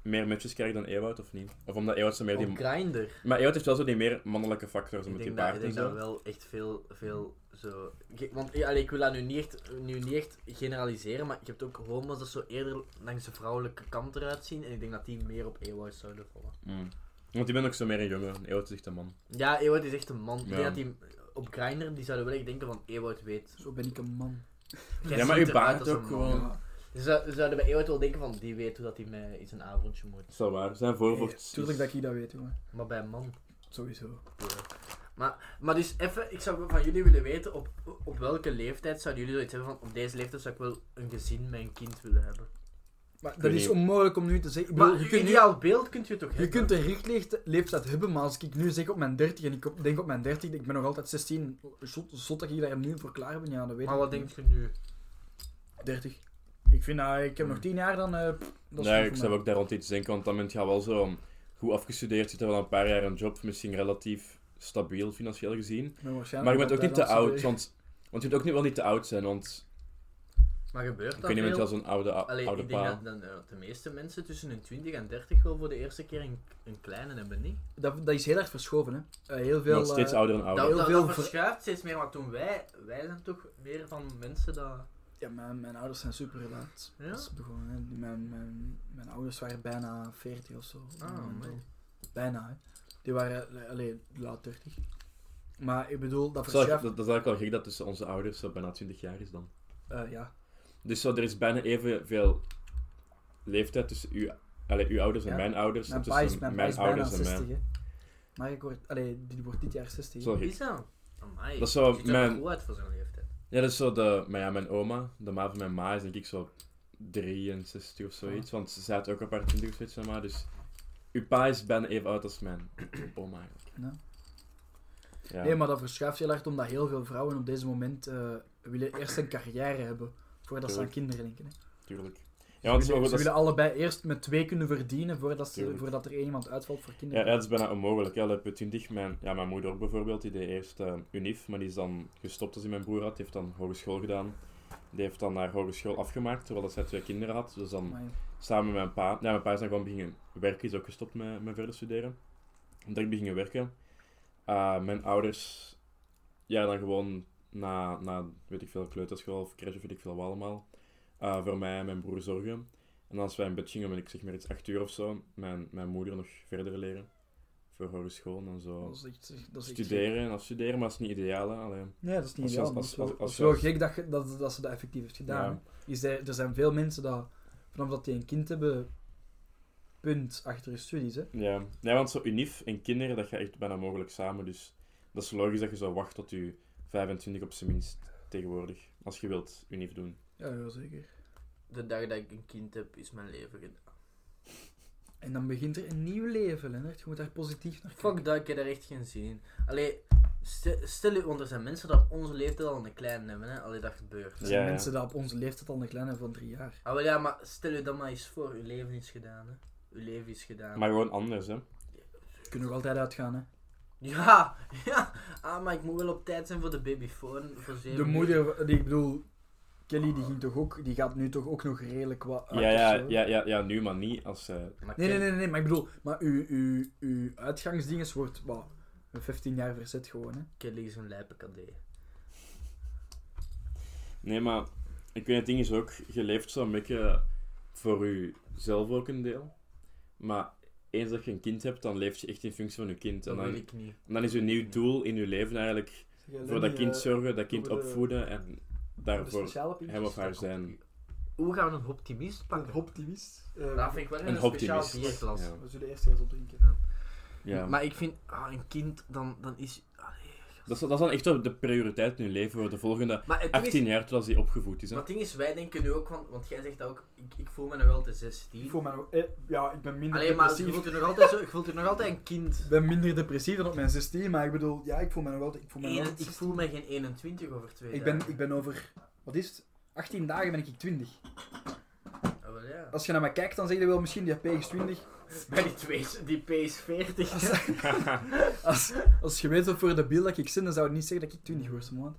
Speaker 3: meer matches krijgt dan Ewout of niet? Of omdat Ewout zo meer die...
Speaker 2: eh.
Speaker 1: Op Grindr.
Speaker 3: Maar Ewout heeft wel zo die meer mannelijke factor, zo
Speaker 1: Ik
Speaker 3: met die
Speaker 1: denk, dat, ik
Speaker 3: baard en
Speaker 1: denk dat
Speaker 3: zo.
Speaker 1: wel echt veel, veel zo. Ik- Want ja, allee, ik wil dat nu niet, echt, nu niet echt generaliseren, maar je hebt ook homo's dat zo eerder langs de vrouwelijke kant eruit zien. En ik denk dat die meer op Ewout zouden vallen.
Speaker 3: Mm. Want die bent ook zo meer een jongen. Ewout is echt een man.
Speaker 1: Ja, Ewout is echt een man. Ik
Speaker 3: Ja.
Speaker 1: denk dat die op Grindr, die zouden wel echt denken van Ewout weet.
Speaker 2: Zo ben ik een man.
Speaker 1: Jij
Speaker 3: Ja, maar
Speaker 1: ziet eruit
Speaker 3: uw baard
Speaker 1: als een
Speaker 3: ook
Speaker 1: man.
Speaker 3: gewoon.
Speaker 2: Ja.
Speaker 1: Ze zou- ze zouden bij Ewout wel denken van die weet hoe dat hij met iets een avondje moet.
Speaker 3: Dat is wel waar. Zijn voorvocht
Speaker 2: Eh, Tuurlijk dat ik dat weet, jongen.
Speaker 1: Maar bij een man.
Speaker 2: Sowieso.
Speaker 1: Maar, maar dus even, ik zou van jullie willen weten, op, op welke leeftijd zouden jullie zoiets hebben van op deze leeftijd zou ik wel een gezin met een kind willen hebben?
Speaker 2: Maar dat
Speaker 3: weet
Speaker 2: is
Speaker 3: niet.
Speaker 2: onmogelijk om nu te zeggen. Ik bedoel,
Speaker 1: Maar
Speaker 2: je
Speaker 1: je
Speaker 2: kunt nu-
Speaker 1: ideaal beeld kunt je toch
Speaker 2: Je
Speaker 1: hebben?
Speaker 2: kunt een richtleeftijd leeftijd hebben, maar als ik nu zeg op mijn 30 en ik op- denk op mijn 30, ik ben nog altijd 16, zot, zot dat ik daar nu voor klaar ben, ja, dat weet
Speaker 1: Maar
Speaker 2: ik
Speaker 1: wat
Speaker 2: niet.
Speaker 1: denk je nu?
Speaker 2: 30. Ik vind, nou, ik heb nog 10 jaar, dan... eh, pff, dat is
Speaker 3: Hmm. Nee,
Speaker 2: goed
Speaker 3: ik
Speaker 2: voor
Speaker 3: zou
Speaker 2: mij.
Speaker 3: ook daar rond iets denken, want dan ben je wel zo goed afgestudeerd, zit er wel een paar jaar een job, misschien relatief stabiel financieel gezien.
Speaker 2: Ik ben waarschijnlijk
Speaker 3: maar je bent ook niet te
Speaker 2: altijd aan
Speaker 3: oud,
Speaker 2: het
Speaker 3: want, want je moet ook niet wel niet te oud zijn, want
Speaker 1: Maar gebeurt
Speaker 3: ik
Speaker 1: dat
Speaker 3: weet niet, je bent wel
Speaker 1: veel?
Speaker 3: zo'n oude,
Speaker 1: Allee,
Speaker 3: oude
Speaker 1: ik denk
Speaker 3: pa.
Speaker 1: dat, dan, eh, de meeste mensen tussen hun 20 en 30 wel voor de eerste keer een, een kleine hebben, niet?
Speaker 2: studeren. Dat, dat is heel erg verschoven, hè. Eh, heel veel...
Speaker 3: Maar steeds
Speaker 2: eh,
Speaker 3: ouder en ouder.
Speaker 1: dat,
Speaker 2: heel
Speaker 1: dat,
Speaker 2: veel
Speaker 1: dat
Speaker 2: ver-
Speaker 1: verschuift steeds meer, want toen wij, wij zijn toch meer van mensen dat...
Speaker 2: Ja, mijn, mijn ouders zijn super relaat.
Speaker 1: Ja?
Speaker 2: Dat is begonnen, hè. Die- Mijn, mijn, mijn ouders waren bijna 40 of zo. op dat
Speaker 1: Ah,
Speaker 2: moment
Speaker 1: amai.
Speaker 2: al. Bijna, hè. Die waren, eh, alleen laat 30. Maar ik bedoel, dat
Speaker 3: Dat is wel-
Speaker 2: verschuift...
Speaker 3: dat dat is eigenlijk wel gek dat tussen onze ouders zo bijna 20 jaar is dan.
Speaker 2: eh, ja.
Speaker 3: Dus zo, er is bijna evenveel leeftijd tussen u, allee, uw ouders en
Speaker 2: Ja.
Speaker 3: mijn ouders,
Speaker 2: Mijn
Speaker 3: en
Speaker 2: pa
Speaker 3: Dus tussen
Speaker 2: is, mijn pa is bijna
Speaker 3: ouders en
Speaker 2: 60,
Speaker 3: mij.
Speaker 2: hè. Maar ik word... Allee, die wordt dit jaar 60.
Speaker 3: Dat is
Speaker 2: hè.
Speaker 3: wel
Speaker 1: Wie
Speaker 3: gek.
Speaker 1: is dat? Amai,
Speaker 3: Dat is zo
Speaker 1: ziet er
Speaker 3: mijn-
Speaker 1: goed uit voor zijn leeftijd.
Speaker 3: Ja, dat is zo de... Maar ja, mijn oma, de ma van mijn ma, is denk ik zo 63 of zoiets. Want ze zaten ook een paar 20 of zoiets van ma, dus... Uw pa is bijna even oud als mijn oma eigenlijk.
Speaker 2: Ja.
Speaker 3: Ja.
Speaker 2: Nee, maar dat verschuift heel hard omdat heel veel vrouwen op deze moment eh, willen eerst een carrière hebben voordat ze aan
Speaker 3: Tuurlijk.
Speaker 2: kinderen denken. Hè.
Speaker 3: Tuurlijk. Ja, want
Speaker 2: ze
Speaker 3: zo,
Speaker 2: willen,
Speaker 3: dat
Speaker 2: ze
Speaker 3: is,
Speaker 2: willen allebei eerst met twee kunnen verdienen voordat, ze,
Speaker 3: Tuurlijk.
Speaker 2: voordat er één iemand uitvalt voor
Speaker 3: ja,
Speaker 2: kinderen.
Speaker 3: dat is bijna onmogelijk. Ja, dat heb 20. Mijn, ja, mijn moeder ook bijvoorbeeld, die deed eerst eh, UNIF, maar die is dan gestopt als hij mijn broer had. Die heeft dan hogeschool gedaan. Die heeft dan haar hogeschool afgemaakt, terwijl dat zij twee kinderen had. Dus dan...
Speaker 2: Maar,
Speaker 3: samen met mijn pa. Ja, mijn pa is dan gewoon beginnen werken, is ook gestopt met, met verder studeren. Omdat ik begin werken. Eh, mijn ouders, ja, dan gewoon na, na weet ik veel, kleuterschool of crash of weet ik veel wat allemaal, eh, voor mij en mijn broer zorgen. En als wij in bed gingen, ben ik zeg maar iets acht uur of zo, mijn, mijn moeder nog verder leren. Voor hogeschool en dan zo.
Speaker 2: dat is echt, dat is echt gek.
Speaker 3: Studeren en afstuderen, maar dat is niet ideaal. hè. Allee.
Speaker 2: Nee, dat is niet
Speaker 3: Als je
Speaker 2: ideaal.
Speaker 3: als-
Speaker 2: maar het
Speaker 3: als-
Speaker 2: is wel-
Speaker 3: als- als
Speaker 2: het is wel
Speaker 3: je-
Speaker 2: gek dat, je- dat, dat ze dat effectief heeft gedaan.
Speaker 3: Ja.
Speaker 2: hè. Is dat- er zijn veel mensen dat, vanaf dat die een kind hebben, punt achter hun studies. Hè.
Speaker 3: Ja. ja, want zo unief en kinderen, dat gaat echt bijna mogelijk samen. Dus dat is logisch dat je zou wachten tot je 25 op zijn minst tegenwoordig. Als je wilt unief doen.
Speaker 2: Ja, wel zeker.
Speaker 1: De dag dat ik een kind heb, is mijn leven gedaan.
Speaker 2: En dan begint er een nieuw leven, Lennart. Je moet daar positief naar kijken.
Speaker 1: Fuck dat, ik heb daar echt geen zin in. Allee, ste- stel je, want er zijn mensen dat op onze leeftijd al een kleine hebben, hè. Allee, dat gebeurt.
Speaker 2: Er zijn
Speaker 3: Ja, ja.
Speaker 2: mensen die op onze leeftijd al een kleine van drie jaar.
Speaker 1: Ah, wel ja, maar stel je dan maar eens voor, uw leven is gedaan, hè. Uw leven is gedaan.
Speaker 3: Maar gewoon anders,
Speaker 2: Ah,
Speaker 3: hè.
Speaker 2: Kunnen nog altijd uitgaan, hè.
Speaker 1: Ja, ja. Ah, maar ik moet wel op tijd zijn voor de babyfoon. Voor zeven
Speaker 2: De
Speaker 1: uur.
Speaker 2: moeder, die, ik bedoel, Kelly, die, ging toch ook, die gaat nu toch ook nog redelijk wat uit
Speaker 3: Ja,
Speaker 2: of
Speaker 3: ja,
Speaker 2: zo?
Speaker 3: ja, ja, ja, nu maar niet. Als, eh,
Speaker 1: Maar
Speaker 2: Nee, nee,
Speaker 1: ken-
Speaker 2: nee, nee, maar ik bedoel, maar uw, uw, uw uitgangsdinges wordt, wat, met 15 jaar verzet gewoon, hè.
Speaker 1: Kelly is een lijpe cadet.
Speaker 3: Nee, maar ik weet, het ding is ook, je leeft zo'n beetje voor jezelf ook een deel. Maar eens dat je een kind hebt, dan leef je echt in functie van je kind. En
Speaker 1: Dat wil
Speaker 2: Mhm.
Speaker 3: dan,
Speaker 1: ik niet.
Speaker 3: dan is je nieuw doel in je leven eigenlijk voor dat kind zorgen, dat kind
Speaker 2: voor eh, de-
Speaker 3: opvoeden en daarvoor hem of haar zijn.
Speaker 1: Hoe gaan we een optimist pakken?
Speaker 2: optimist.
Speaker 1: Dat vind ik wel een,
Speaker 3: Een
Speaker 1: speciaal
Speaker 3: optimist.
Speaker 1: bierglas.
Speaker 3: Ja.
Speaker 2: eh, we zullen eerst eens opdrinken.
Speaker 3: Ja.
Speaker 1: Maar ik vind, ah, een kind, dan, dan is... Allee.
Speaker 3: Dat is, dat is dan echt wel de prioriteit in je leven voor de volgende
Speaker 1: Maar het ding is,
Speaker 3: 18 jaar, totdat hij opgevoed is. Hè?
Speaker 1: Maar het ding is, wij denken nu ook van, want jij zegt dat ook, ik, ik voel me nog wel te 16.
Speaker 2: Ik voel me nog, eh, ja, ik ben minder
Speaker 1: Alleen maar, je
Speaker 2: depressief.
Speaker 1: voelt je nog altijd, zo, je voelt je nog altijd een kind.
Speaker 2: Ik ben minder depressief dan op mijn 16, maar ik bedoel, ja, ik voel me nog wel, ik voel me nog
Speaker 1: Eén-
Speaker 2: wel
Speaker 1: ik voel me geen 21 over twee
Speaker 2: Ik ben,
Speaker 1: dagen.
Speaker 2: ik ben over, wat is het? 18 dagen ben ik 20.
Speaker 1: Ah, wel ja.
Speaker 2: Als je naar mij kijkt, dan zeg je wel misschien die P is 20.
Speaker 1: Maar die, twee, die PS40.
Speaker 2: Als, als je weet wat voor de beeld dat ik zin, dan zou je niet zeggen dat ik 20 word, man.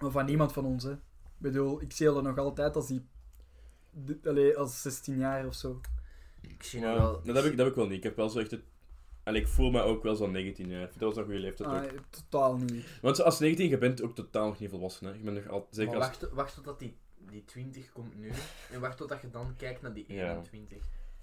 Speaker 2: Maar van niemand van ons, hè. Ik bedoel, ik zie dat nog altijd als die d- allee, als 16 jaar of zo.
Speaker 1: Ik zie nog
Speaker 4: Maar,
Speaker 1: wel...
Speaker 4: nee, dat, heb ik, dat heb ik wel niet. Ik heb wel zo echt het... En ik voel me ook wel zo'n 19 jaar. Dat was een goede leeftijd ook.
Speaker 2: Ah, totaal niet.
Speaker 4: Want als 19, je bent ook totaal nog niet volwassen. Hè. Je bent nog al, zeker
Speaker 1: Maar
Speaker 4: als...
Speaker 1: wacht, wacht totdat die, die 20 komt nu. En wacht totdat je dan kijkt naar die
Speaker 4: Ja.
Speaker 1: 21.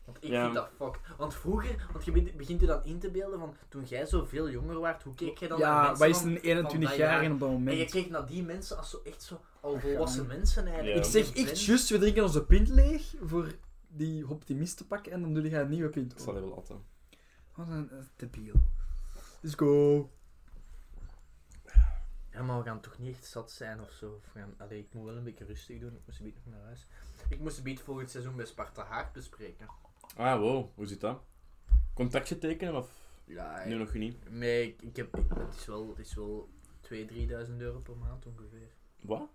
Speaker 1: Want ik
Speaker 4: Ja.
Speaker 1: vind dat fuck. Want vroeger, want je begint, begint je dan in te beelden van toen jij zo veel jonger werd, hoe keek jij dan naar
Speaker 2: Ja,
Speaker 1: mensen?
Speaker 2: wij is
Speaker 1: van-
Speaker 2: een 21
Speaker 1: van dat
Speaker 2: jaar
Speaker 1: jaar.
Speaker 2: op dat
Speaker 1: en je
Speaker 2: moment.
Speaker 1: keek naar die mensen als zo echt zo al
Speaker 2: Ach,
Speaker 1: volwassen
Speaker 2: ja.
Speaker 1: mensen eigenlijk.
Speaker 4: Ja.
Speaker 2: Ik zeg echt, juist, we drinken onze pint leeg voor die optimist te pakken en dan doe je een nieuwe pint.
Speaker 4: Dat zal hij wel atten.
Speaker 2: Wat een eh, debiel. Let's go.
Speaker 1: Ja, maar we gaan toch niet echt zat zijn of zo. Of we gaan... Allee, ik moet wel een beetje rustig doen. Ik moest een beetje nog naar huis. Ik moest een beetje volgend seizoen bij Sparta Haag bespreken.
Speaker 4: Ah, wow. Hoe zit dat? Contractje tekenen of...
Speaker 1: Ah, Ja,
Speaker 4: Nu nog niet.
Speaker 1: Nee, ik, ik heb, ik- het is wel, het is wel 2.000, 3.000 euro per maand ongeveer.
Speaker 4: Wat?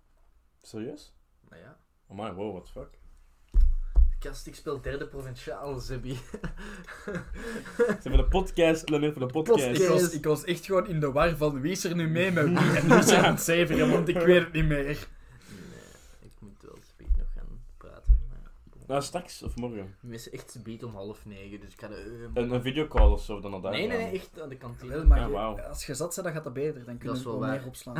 Speaker 4: Serieus?
Speaker 1: Maar ja.
Speaker 4: Oh my, wow, what the fuck.
Speaker 1: Kast, ik speel derde provinciaal, Zebby.
Speaker 4: Ze hebben de podcast, Lemmer, voor de podcast.
Speaker 2: Ik was, ik was echt gewoon in de war van wie is er nu mee met wie en wie is er aan het cijferen, want ik weet het niet meer.
Speaker 1: Nee, ik moet wel speed nog gaan praten. Maar...
Speaker 4: Nou, straks of morgen.
Speaker 1: We missen echt speed om half negen, dus ik ga de...
Speaker 4: Een, een videocall of zo, dan al daar.
Speaker 1: nee, nee, nee,
Speaker 4: ik...
Speaker 1: echt aan de kantine.
Speaker 2: Wel, maar
Speaker 4: Ja,
Speaker 2: je-
Speaker 4: wauw.
Speaker 2: als je zat bent, dan gaat dat beter. Dan kun
Speaker 1: Dat
Speaker 2: je
Speaker 1: is wel
Speaker 2: wel meer
Speaker 1: waar.
Speaker 2: opslaan.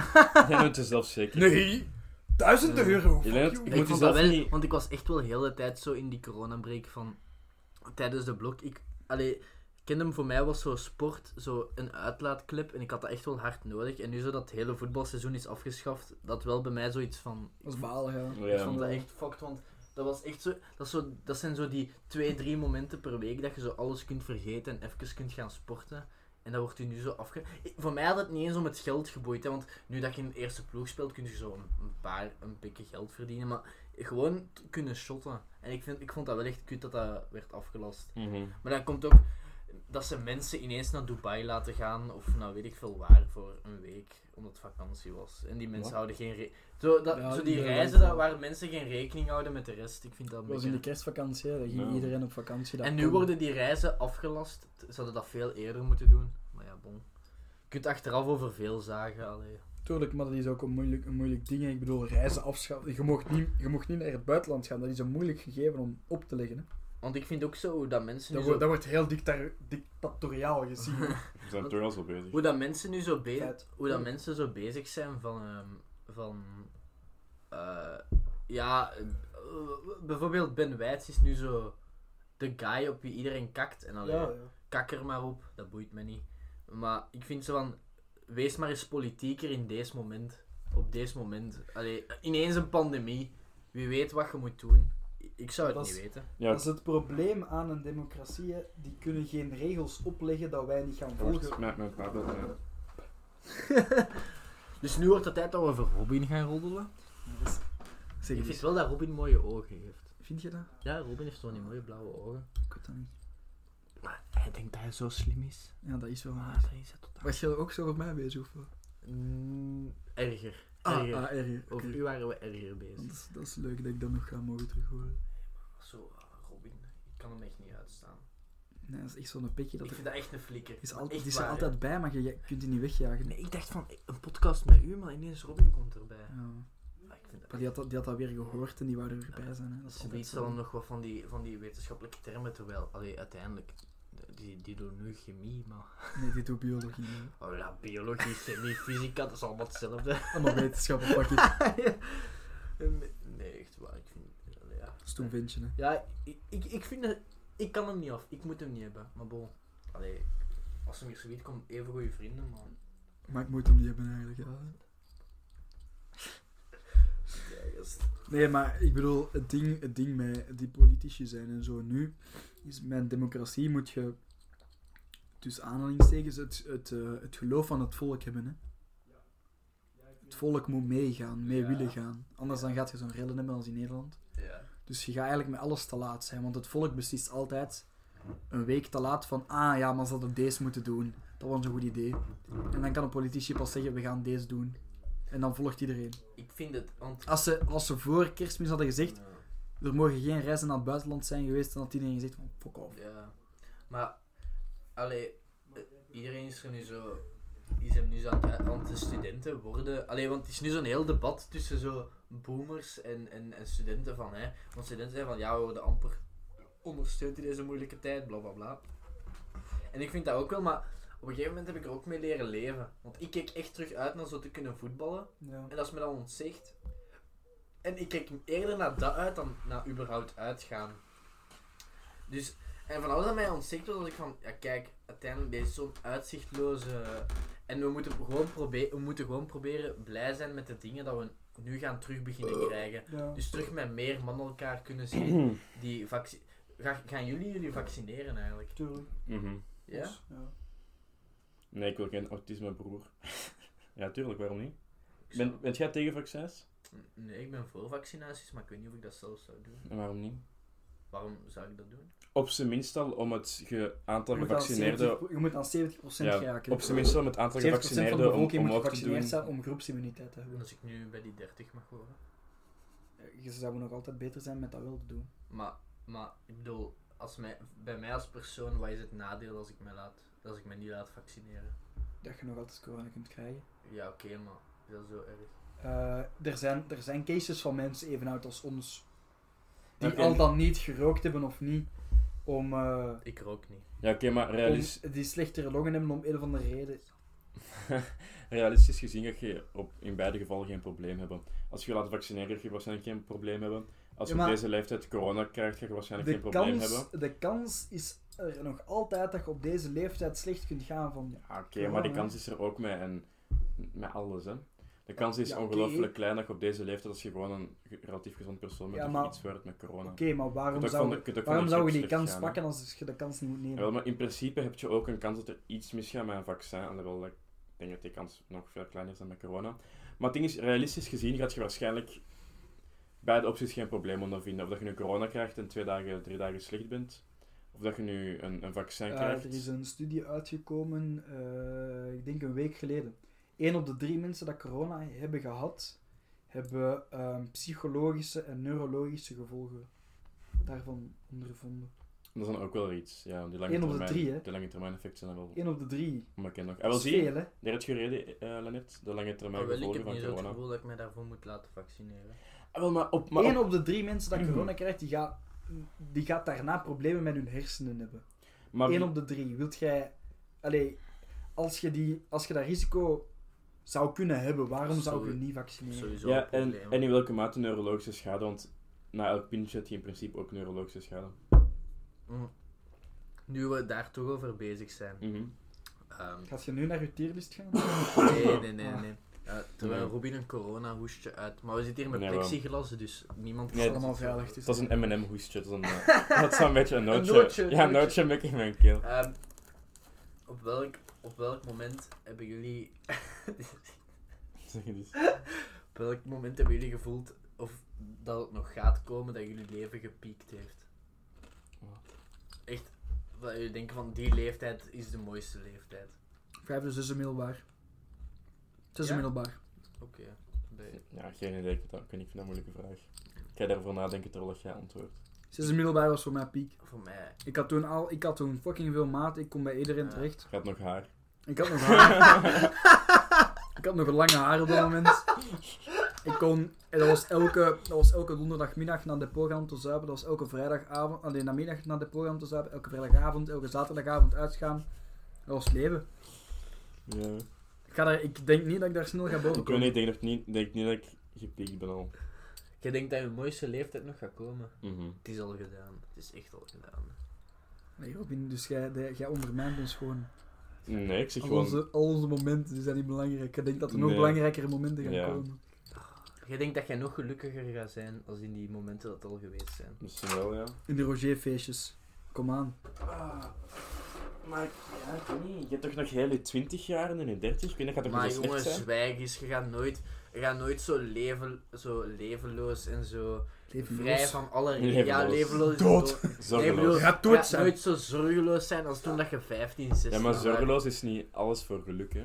Speaker 4: Jij bent er zelf zeker.
Speaker 2: Nee, 1000
Speaker 1: Nee.
Speaker 2: euro. fuck
Speaker 4: Jelena,
Speaker 2: you.
Speaker 4: ik moet
Speaker 1: Ik, vond
Speaker 4: jezelf
Speaker 1: dat wel,
Speaker 4: niet-
Speaker 1: want ik was echt wel heel de hele tijd zo in die coronabreak van... Tijdens de blok, ik... Allee, Kingdom voor mij was zo sport, zo een uitlaatclip, en ik had dat echt wel hard nodig. En nu zo dat het hele voetbalseizoen is afgeschaft, dat wel bij mij zoiets van...
Speaker 2: Dat is balen, ja.
Speaker 4: Ja.
Speaker 1: Ik vond dat echt fucked, want dat was echt zo... Dat, is zo, dat zijn zo die twee, drie momenten per week dat je zo alles kunt vergeten en even kunt gaan sporten. En dat wordt u nu zo afge... Ik- Voor mij had het niet eens om het geld geboeid, hè, want nu dat je in de eerste ploeg speelt, kun je zo een, een paar, een pikke geld verdienen, maar gewoon t- kunnen shotten. En ik, vind, ik vond dat wel echt kut dat dat werd afgelast.
Speaker 4: Mhm.
Speaker 1: Maar dan komt ook dat ze mensen ineens naar Dubai laten gaan, of nou weet ik veel waar, voor een week, omdat het vakantie was. En die mensen
Speaker 4: Wat?
Speaker 1: houden geen... re- Zo, dat,
Speaker 2: Ja,
Speaker 1: zo die
Speaker 2: die-
Speaker 1: reizen dat, waar mensen geen rekening houden met de rest, ik vind dat een
Speaker 2: Dat was in de
Speaker 1: beetje...
Speaker 2: kerstvakantie, hè. daar ging
Speaker 4: Ja.
Speaker 2: iedereen op vakantie. dat
Speaker 1: En nu
Speaker 2: kon.
Speaker 1: worden die reizen afgelast. T- Ze hadden dat veel eerder moeten doen. Maar ja, bon. Je kunt achteraf over veel zagen, allee.
Speaker 2: Tuurlijk, maar dat is ook een moeilijk, een moeilijk ding. hè. Ik bedoel, reizen afschaffen. Je mocht, niet, je mocht niet naar het buitenland gaan. Dat is een moeilijk gegeven om op te leggen. Hè.
Speaker 1: Want ik vind ook zo dat mensen nu
Speaker 2: Dat,
Speaker 1: zo...
Speaker 2: wordt, dat wordt heel dicta- dictatoriaal gezien.
Speaker 4: We zijn toch al zo bezig.
Speaker 1: Hoe dat mensen nu zo bezig,
Speaker 2: Feit.
Speaker 1: hoe dat mensen zo bezig zijn van, ehm, van eh, ja, eh, bijvoorbeeld Ben Wijts is nu zo de guy op wie iedereen kakt en alleen
Speaker 2: ja, ja.
Speaker 1: kak er maar op, dat boeit me niet. Maar ik vind zo van, wees maar eens politieker in deze moment, op deze moment. Allee, ineens een pandemie, wie weet wat je moet doen. I- Ik zou het
Speaker 2: Dat
Speaker 1: niet
Speaker 2: is-
Speaker 1: weten.
Speaker 4: Ja,
Speaker 2: Dat is het probleem aan een democratie. hè. Die kunnen geen regels opleggen dat wij niet gaan volgen.
Speaker 4: wacht, mijn, mijn paard belt mij.
Speaker 1: Dus nu wordt het tijd dat we voor Robin gaan roddelen.
Speaker 2: Dat is- Zeg
Speaker 1: Ik
Speaker 2: eens,
Speaker 1: vind wel dat Robin mooie ogen heeft.
Speaker 2: vind je dat?
Speaker 1: Ja, Robin heeft zo'n mooie blauwe ogen.
Speaker 2: Ik weet dat niet.
Speaker 1: Maar hij denkt dat hij zo slim is.
Speaker 2: Ja, Ah, dat is wel waar.
Speaker 1: Maar dat is hij totaal.
Speaker 2: Was je ook zo voor mij bezig? Of? wat?
Speaker 1: Mm, erger.
Speaker 2: Ah,
Speaker 1: erger.
Speaker 2: ah erger. Oké.
Speaker 1: Over u waren we erger
Speaker 2: Want
Speaker 1: bezig.
Speaker 2: Dat, is, dat is leuk dat ik dat nog ga mogen terughoren.
Speaker 1: Zo, ah, Robin. Ik kan hem echt niet uitstaan.
Speaker 2: Nee, dat is echt zo'n pikje. Dat
Speaker 1: Ik
Speaker 2: er,
Speaker 1: vind dat echt een flikker.
Speaker 2: is
Speaker 1: Maar
Speaker 2: altijd,
Speaker 1: echt
Speaker 2: die is er
Speaker 1: waar, hè.
Speaker 2: altijd bij, maar je, je kunt die niet wegjagen.
Speaker 1: Nee, ik dacht van een podcast met u, maar ineens Robin komt erbij.
Speaker 2: Ja.
Speaker 1: Maar ik vind dat
Speaker 2: Maar die had, dat- die had dat weer gehoord en die wou er weer bij zijn. Hè. Dat is altijd
Speaker 1: Zoiets
Speaker 2: zo.
Speaker 1: dan nog wat van die, van die wetenschappelijke termen, terwijl allee, uiteindelijk, die, die doen nu chemie, maar...
Speaker 2: Nee, dit doet biologie. hè.
Speaker 1: Oh ja, biologie, chemie, fysica, dat is allemaal hetzelfde.
Speaker 2: Allemaal wetenschappen, pak ik.
Speaker 1: Nee, nee, echt waar, ik vind... allee, ja,
Speaker 2: Dat is toen vindje, hè.
Speaker 1: ja ik, ik, ik vind dat... Ik kan hem niet af, ik moet hem niet hebben, maar bon. Allee, als hem hier zo weet, komen even goede vrienden, maar...
Speaker 2: Maar ik moet hem niet hebben eigenlijk, ja.
Speaker 1: Ja, gast.
Speaker 2: Nee, maar ik bedoel, het ding, het ding met die politici zijn en zo nu, is met democratie moet je, tussen aanhalingstekens, het, het, eh, het geloof van het volk hebben, hè. Het volk moet meegaan, mee
Speaker 1: Ja.
Speaker 2: willen gaan. Anders dan gaat je zo'n rellen hebben als in Nederland.
Speaker 1: Ja.
Speaker 2: Dus je gaat eigenlijk met alles te laat zijn, want het volk beslist altijd een week te laat van, ah ja, maar ze hadden deze moeten doen. Dat was een goed idee. En dan kan een politici pas zeggen, we gaan deze doen. En dan volgt iedereen.
Speaker 1: Ik vind het... Want...
Speaker 2: Als ze, als ze voor kerstmis hadden gezegd, er mogen geen reizen naar het buitenland zijn geweest, dan had iedereen gezegd, van, fuck off.
Speaker 1: Ja, maar allee, eh, iedereen is er nu zo is hem nu zo aan het, want de studenten worden... Allee, want het is nu zo'n heel debat tussen zo boomers en, en, en studenten van, hè. Want studenten zijn van, ja, we worden amper ondersteund in deze moeilijke tijd, bla bla bla. En ik vind dat ook wel, maar op een gegeven moment heb ik er ook mee leren leven. Want ik keek echt terug uit naar zo te kunnen voetballen.
Speaker 2: Ja.
Speaker 1: En dat is me dan ontzicht. En ik kijk eerder naar dat uit dan naar überhaupt uitgaan. Dus, en van alles dat mij ontzicht was, was ik van, ja kijk, uiteindelijk deze is zo'n uitzichtloze... En we moeten, gewoon probe- we moeten gewoon proberen blij zijn met de dingen dat we nu gaan terug
Speaker 3: Eh.
Speaker 1: beginnen krijgen.
Speaker 2: Ja.
Speaker 1: Dus terug met meer mannen elkaar kunnen zien. Die vacci- Ga- gaan jullie jullie vaccineren eigenlijk?
Speaker 2: Tuurlijk.
Speaker 3: Mhm.
Speaker 1: Ja?
Speaker 2: Ons, ja.
Speaker 3: Nee, ik wil geen autisme, broer. ja, tuurlijk, waarom niet? Ben, bent jij tegen vaccins?
Speaker 1: Nee, ik ben voor vaccinaties, maar ik weet niet of ik dat zelf zou doen.
Speaker 3: En waarom niet?
Speaker 1: Waarom zou ik dat doen?
Speaker 3: Op zijn minst al om het ge- aantal
Speaker 2: Je moet aan
Speaker 3: gevaccineerden...
Speaker 2: 70 je moet aan 70%
Speaker 3: Ja,
Speaker 2: geraken.
Speaker 3: Op zijn minst al om het aantal
Speaker 2: 70% van de
Speaker 3: gevaccineerden om,
Speaker 2: bevolking moet
Speaker 3: omhoog te
Speaker 2: gevaccineerd
Speaker 3: doen.
Speaker 2: zijn om groepsimmuniteit te hebben.
Speaker 1: Als ik nu bij die 30 mag horen.
Speaker 2: Je zou nog altijd beter zijn met dat wel te doen.
Speaker 1: Maar, maar ik bedoel, als mij, bij mij als persoon, wat is het nadeel als ik mij, laat, als ik mij niet laat vaccineren?
Speaker 2: Dat je nog altijd corona kunt krijgen.
Speaker 1: Ja, oké, maar is dat zo erg?
Speaker 2: Eh, er, zijn, er zijn cases van mensen even oud als ons die
Speaker 3: Oké.
Speaker 2: al dan niet gerookt hebben of niet, om, eh,
Speaker 1: Ik rook niet.
Speaker 3: Ja, oké, maar
Speaker 2: om-
Speaker 3: realis-
Speaker 2: die slechtere longen hebben om een of andere reden.
Speaker 3: realistisch gezien ga je op, in beide gevallen geen probleem hebben. Als je je laat vaccineren, ga je waarschijnlijk geen probleem hebben. Als je
Speaker 2: Ja, maar-
Speaker 3: op deze leeftijd corona krijgt, ga je waarschijnlijk
Speaker 2: De
Speaker 3: geen probleem
Speaker 2: kans,
Speaker 3: hebben.
Speaker 2: de kans is er nog altijd dat je op deze leeftijd slecht kunt gaan van
Speaker 3: Ja, oké, maar die
Speaker 2: Corona.
Speaker 3: kans is er ook met, en, met alles, hè. De kans is
Speaker 2: Ja, oké.
Speaker 3: ongelooflijk klein dat je op deze leeftijd, als je gewoon een ge- relatief gezond persoon
Speaker 2: Ja,
Speaker 3: bent, dat je
Speaker 2: maar-
Speaker 3: iets wordt met corona.
Speaker 2: oké, maar waarom
Speaker 3: Je kunt ook van
Speaker 2: zou,
Speaker 3: de- je kunt ook van
Speaker 2: waarom
Speaker 3: de
Speaker 2: zou je
Speaker 3: griep
Speaker 2: die
Speaker 3: slecht
Speaker 2: kans
Speaker 3: gaan, hè.
Speaker 2: pakken als je de kans niet moet nemen?
Speaker 3: Wel, maar in principe heb je ook een kans dat er iets misgaat met een vaccin. Alhoewel, dat- ik denk dat die kans nog veel kleiner is dan met corona. Maar het ding is, realistisch gezien gaat je waarschijnlijk beide opties geen probleem ondervinden. Of dat je nu corona krijgt en twee dagen, drie dagen slecht bent. Of dat je nu een, een vaccin
Speaker 2: Eh,
Speaker 3: krijgt.
Speaker 2: er is een studie uitgekomen, eh, ik denk een week geleden. Eén op de drie mensen dat corona hebben gehad, hebben ehm, psychologische en neurologische gevolgen daarvan ondervonden.
Speaker 3: Dat is dan ook wel iets. Ja, die lange
Speaker 2: Eén op de
Speaker 3: termijn,
Speaker 2: drie, hè?
Speaker 3: De lange termijn effecten zijn dan wel
Speaker 2: Eén op de drie.
Speaker 3: onbekend nog. En
Speaker 2: Dat
Speaker 3: wel
Speaker 2: is
Speaker 3: zie je,
Speaker 2: veel, hè?
Speaker 3: daar heb je gereden, eh Lennart. De lange termijn
Speaker 1: Maar Ah, wel, ik
Speaker 3: gevolgen
Speaker 1: heb
Speaker 3: van
Speaker 1: niet zo het
Speaker 3: corona.
Speaker 1: gevoel dat ik mij daarvoor moet laten vaccineren.
Speaker 3: Ah, wel, maar op, maar op-
Speaker 2: Eén op de drie mensen dat
Speaker 3: Mhm.
Speaker 2: corona krijgt, die gaat, die gaat daarna problemen met hun hersenen hebben.
Speaker 3: maar
Speaker 2: Eén
Speaker 3: wie-
Speaker 2: op de drie. Wilt jij... Allee, als je, die, als je dat risico zou kunnen hebben, waarom zou je
Speaker 1: Sorry.
Speaker 2: niet vaccineren?
Speaker 1: Sowieso een
Speaker 3: Ja, en,
Speaker 1: probleem.
Speaker 3: en in welke mate neurologische schade? Want na elk pintje heb je in principe ook neurologische schade.
Speaker 1: Mm. Nu we daar toch over bezig zijn.
Speaker 3: Mhm.
Speaker 1: Ehm,
Speaker 2: Gaat je nu naar je tierlist gaan?
Speaker 1: nee, nee, nee, nee. Eh, terwijl
Speaker 3: Nee.
Speaker 1: Robin een corona-hoestje uit. Maar we zitten hier met
Speaker 3: Nee, wel.
Speaker 1: plexiglas, dus niemand
Speaker 3: Nee,
Speaker 2: allemaal veilig. Het is
Speaker 3: Dat is een M&M hoestje. Dat is een, eh, dat is een beetje een nootje.
Speaker 2: nootje,
Speaker 3: ja,
Speaker 2: nootje.
Speaker 3: een nootje met in mijn keel.
Speaker 1: Ehm, op, welk, op welk moment hebben jullie.
Speaker 3: Zeg je dus.
Speaker 1: op welk moment hebben jullie gevoeld of dat het nog gaat komen dat jullie leven gepiekt heeft?
Speaker 3: Wat?
Speaker 1: Echt, dat jullie denken van die leeftijd is de mooiste leeftijd.
Speaker 2: Vijfde, zesde middelbaar. Zesde
Speaker 1: Ja?
Speaker 2: middelbaar.
Speaker 1: Oké. bij-
Speaker 3: eh, Ja, geen idee. Ik vind dat, ik vind dat een moeilijke vraag. Ik ga daarover nadenken terwijl jij antwoordt.
Speaker 2: Zesde middelbaar was voor mij piek.
Speaker 1: Voor mij.
Speaker 2: Ik had toen al, ik had toen fucking veel maat. Ik kon bij iedereen
Speaker 1: Ja.
Speaker 2: terecht.
Speaker 3: Gaat nog haar.
Speaker 2: Ik had nog haar. ik had nog lange haar op dat moment. Ik kon, en dat was elke, dat was elke donderdagmiddag naar de programma te zuipen. Dat was elke vrijdagavond, alleen namiddag naar de programma te zuipen. Elke vrijdagavond, elke zaterdagavond uitgaan. Dat was leven.
Speaker 3: Ja.
Speaker 2: Ik, ga daar, ik denk niet dat ik daar snel ga boven
Speaker 3: Ik weet niet,
Speaker 2: komen.
Speaker 3: ik denk, dat niet, ik denk niet dat ik gepiekt ben al.
Speaker 1: Jij denkt dat je mooiste leeftijd nog gaat komen?
Speaker 3: Mhm.
Speaker 1: Het is al gedaan. Het is echt al gedaan.
Speaker 2: Nee, Robin, dus jij, de- jij ondermijnt ons gewoon.
Speaker 3: Nee, ik zeg
Speaker 2: Al
Speaker 3: gewoon...
Speaker 2: onze, al onze momenten die zijn niet belangrijk. Ik denk dat er nog
Speaker 3: Nee.
Speaker 2: belangrijkere momenten gaan
Speaker 3: Ja.
Speaker 2: komen.
Speaker 1: Jij denkt dat jij nog gelukkiger gaat zijn als in die momenten dat al geweest zijn.
Speaker 3: Misschien wel, ja.
Speaker 2: In de Rogerfeestjes. Kom aan.
Speaker 3: Ah, maar ja, ik weet niet. Je hebt toch nog heel je 20 jaar en je 30? Ik dus weet niet, dat gaat toch
Speaker 1: Maar
Speaker 3: niet zo slecht
Speaker 1: jongens,
Speaker 3: zijn?
Speaker 1: zwijg eens. Je gaat nooit, je gaat nooit zo, leven, zo levenloos en zo
Speaker 2: Leven
Speaker 1: vrij
Speaker 2: los.
Speaker 1: van alle...
Speaker 3: Levenloos.
Speaker 1: Ja, levenloos. is
Speaker 2: Dood.
Speaker 1: dood. Nee, ik bedoel,
Speaker 3: Zorgeloos.
Speaker 2: Je gaat dood
Speaker 1: je
Speaker 2: zijn.
Speaker 1: nooit zo zorgeloos zijn als toen dat je 15, 16
Speaker 3: Ja, maar
Speaker 1: was.
Speaker 3: zorgeloos is niet alles voor geluk, hè.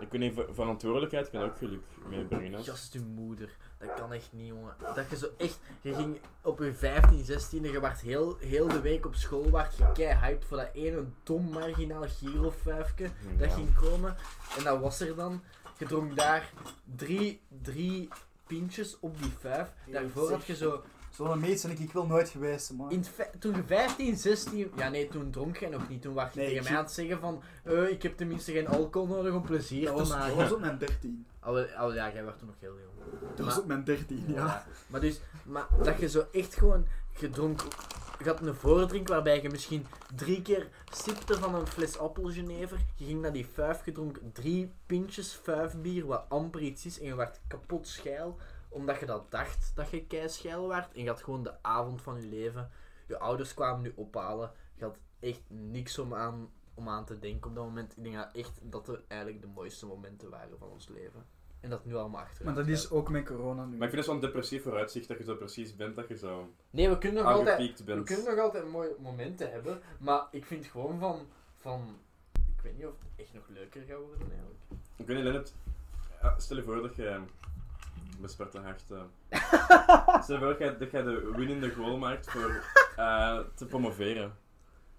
Speaker 3: Ik weet niet, ver- verantwoordelijkheid kan ook geluk meebrengen. hè.
Speaker 1: Just uw moeder. Dat kan echt niet, jongen. Dat je zo echt... Je ging op je 15, 16 je werd heel, heel de week op school, werd je keihyped voor dat ene dom marginaal gyrofuifje dat
Speaker 3: Ja.
Speaker 1: ging komen. En dat was er dan. Je dronk daar drie, drie pintjes op die vijf. Daarvoor had je zo...
Speaker 2: Zo'n meet ben ik, ik wil nooit geweest, man.
Speaker 1: In het fe- toen je 15, 16... Ja, nee, toen dronk jij nog niet. Toen was je
Speaker 2: Nee,
Speaker 1: tegen
Speaker 2: ik-
Speaker 1: mij aan het zeggen van... eh, ik heb tenminste geen alcohol nodig om plezier
Speaker 2: Dat was,
Speaker 1: te
Speaker 2: dat
Speaker 1: maken.
Speaker 2: was op mijn 13.
Speaker 1: Alhoewel, alhoewel, ja, jij werd toen nog heel jong.
Speaker 2: Dat was
Speaker 1: Maar-
Speaker 2: op mijn 13, ja.
Speaker 1: Ja. Maar dus, maar dat je zo echt gewoon gedronken. Je had een voordrink waarbij je misschien drie keer sipte van een fles appelgenever. Je ging naar die vijf gedronken, drie pintjes vijf bier, wat amper iets is. En je werd kapot scheil, omdat je dat dacht dat je keischeil werd. En je had gewoon de avond van je leven. Je ouders kwamen nu ophalen. Je had echt niks om aan, om aan te denken op dat moment. Ik denk dat echt dat er eigenlijk de mooiste momenten waren van ons leven. En dat nu allemaal achter
Speaker 2: Maar
Speaker 1: ons
Speaker 2: dat
Speaker 1: blijft.
Speaker 2: is ook met corona nu.
Speaker 3: Maar ik vind het zo'n depressief vooruitzicht dat je zo precies bent dat je zo
Speaker 1: Nee, we kunnen nog altijd...
Speaker 3: aangepiekt
Speaker 1: We
Speaker 3: bent.
Speaker 1: kunnen nog altijd mooie momenten hebben, maar ik vind gewoon van, van... Ik weet niet of het echt nog leuker gaat worden, eigenlijk.
Speaker 3: Ik weet niet, Lennart, ja, stel je voor dat je met Sparta Hart... eh, stel je voor dat jij- dat jij de winnende goal maakt voor eh, te promoveren.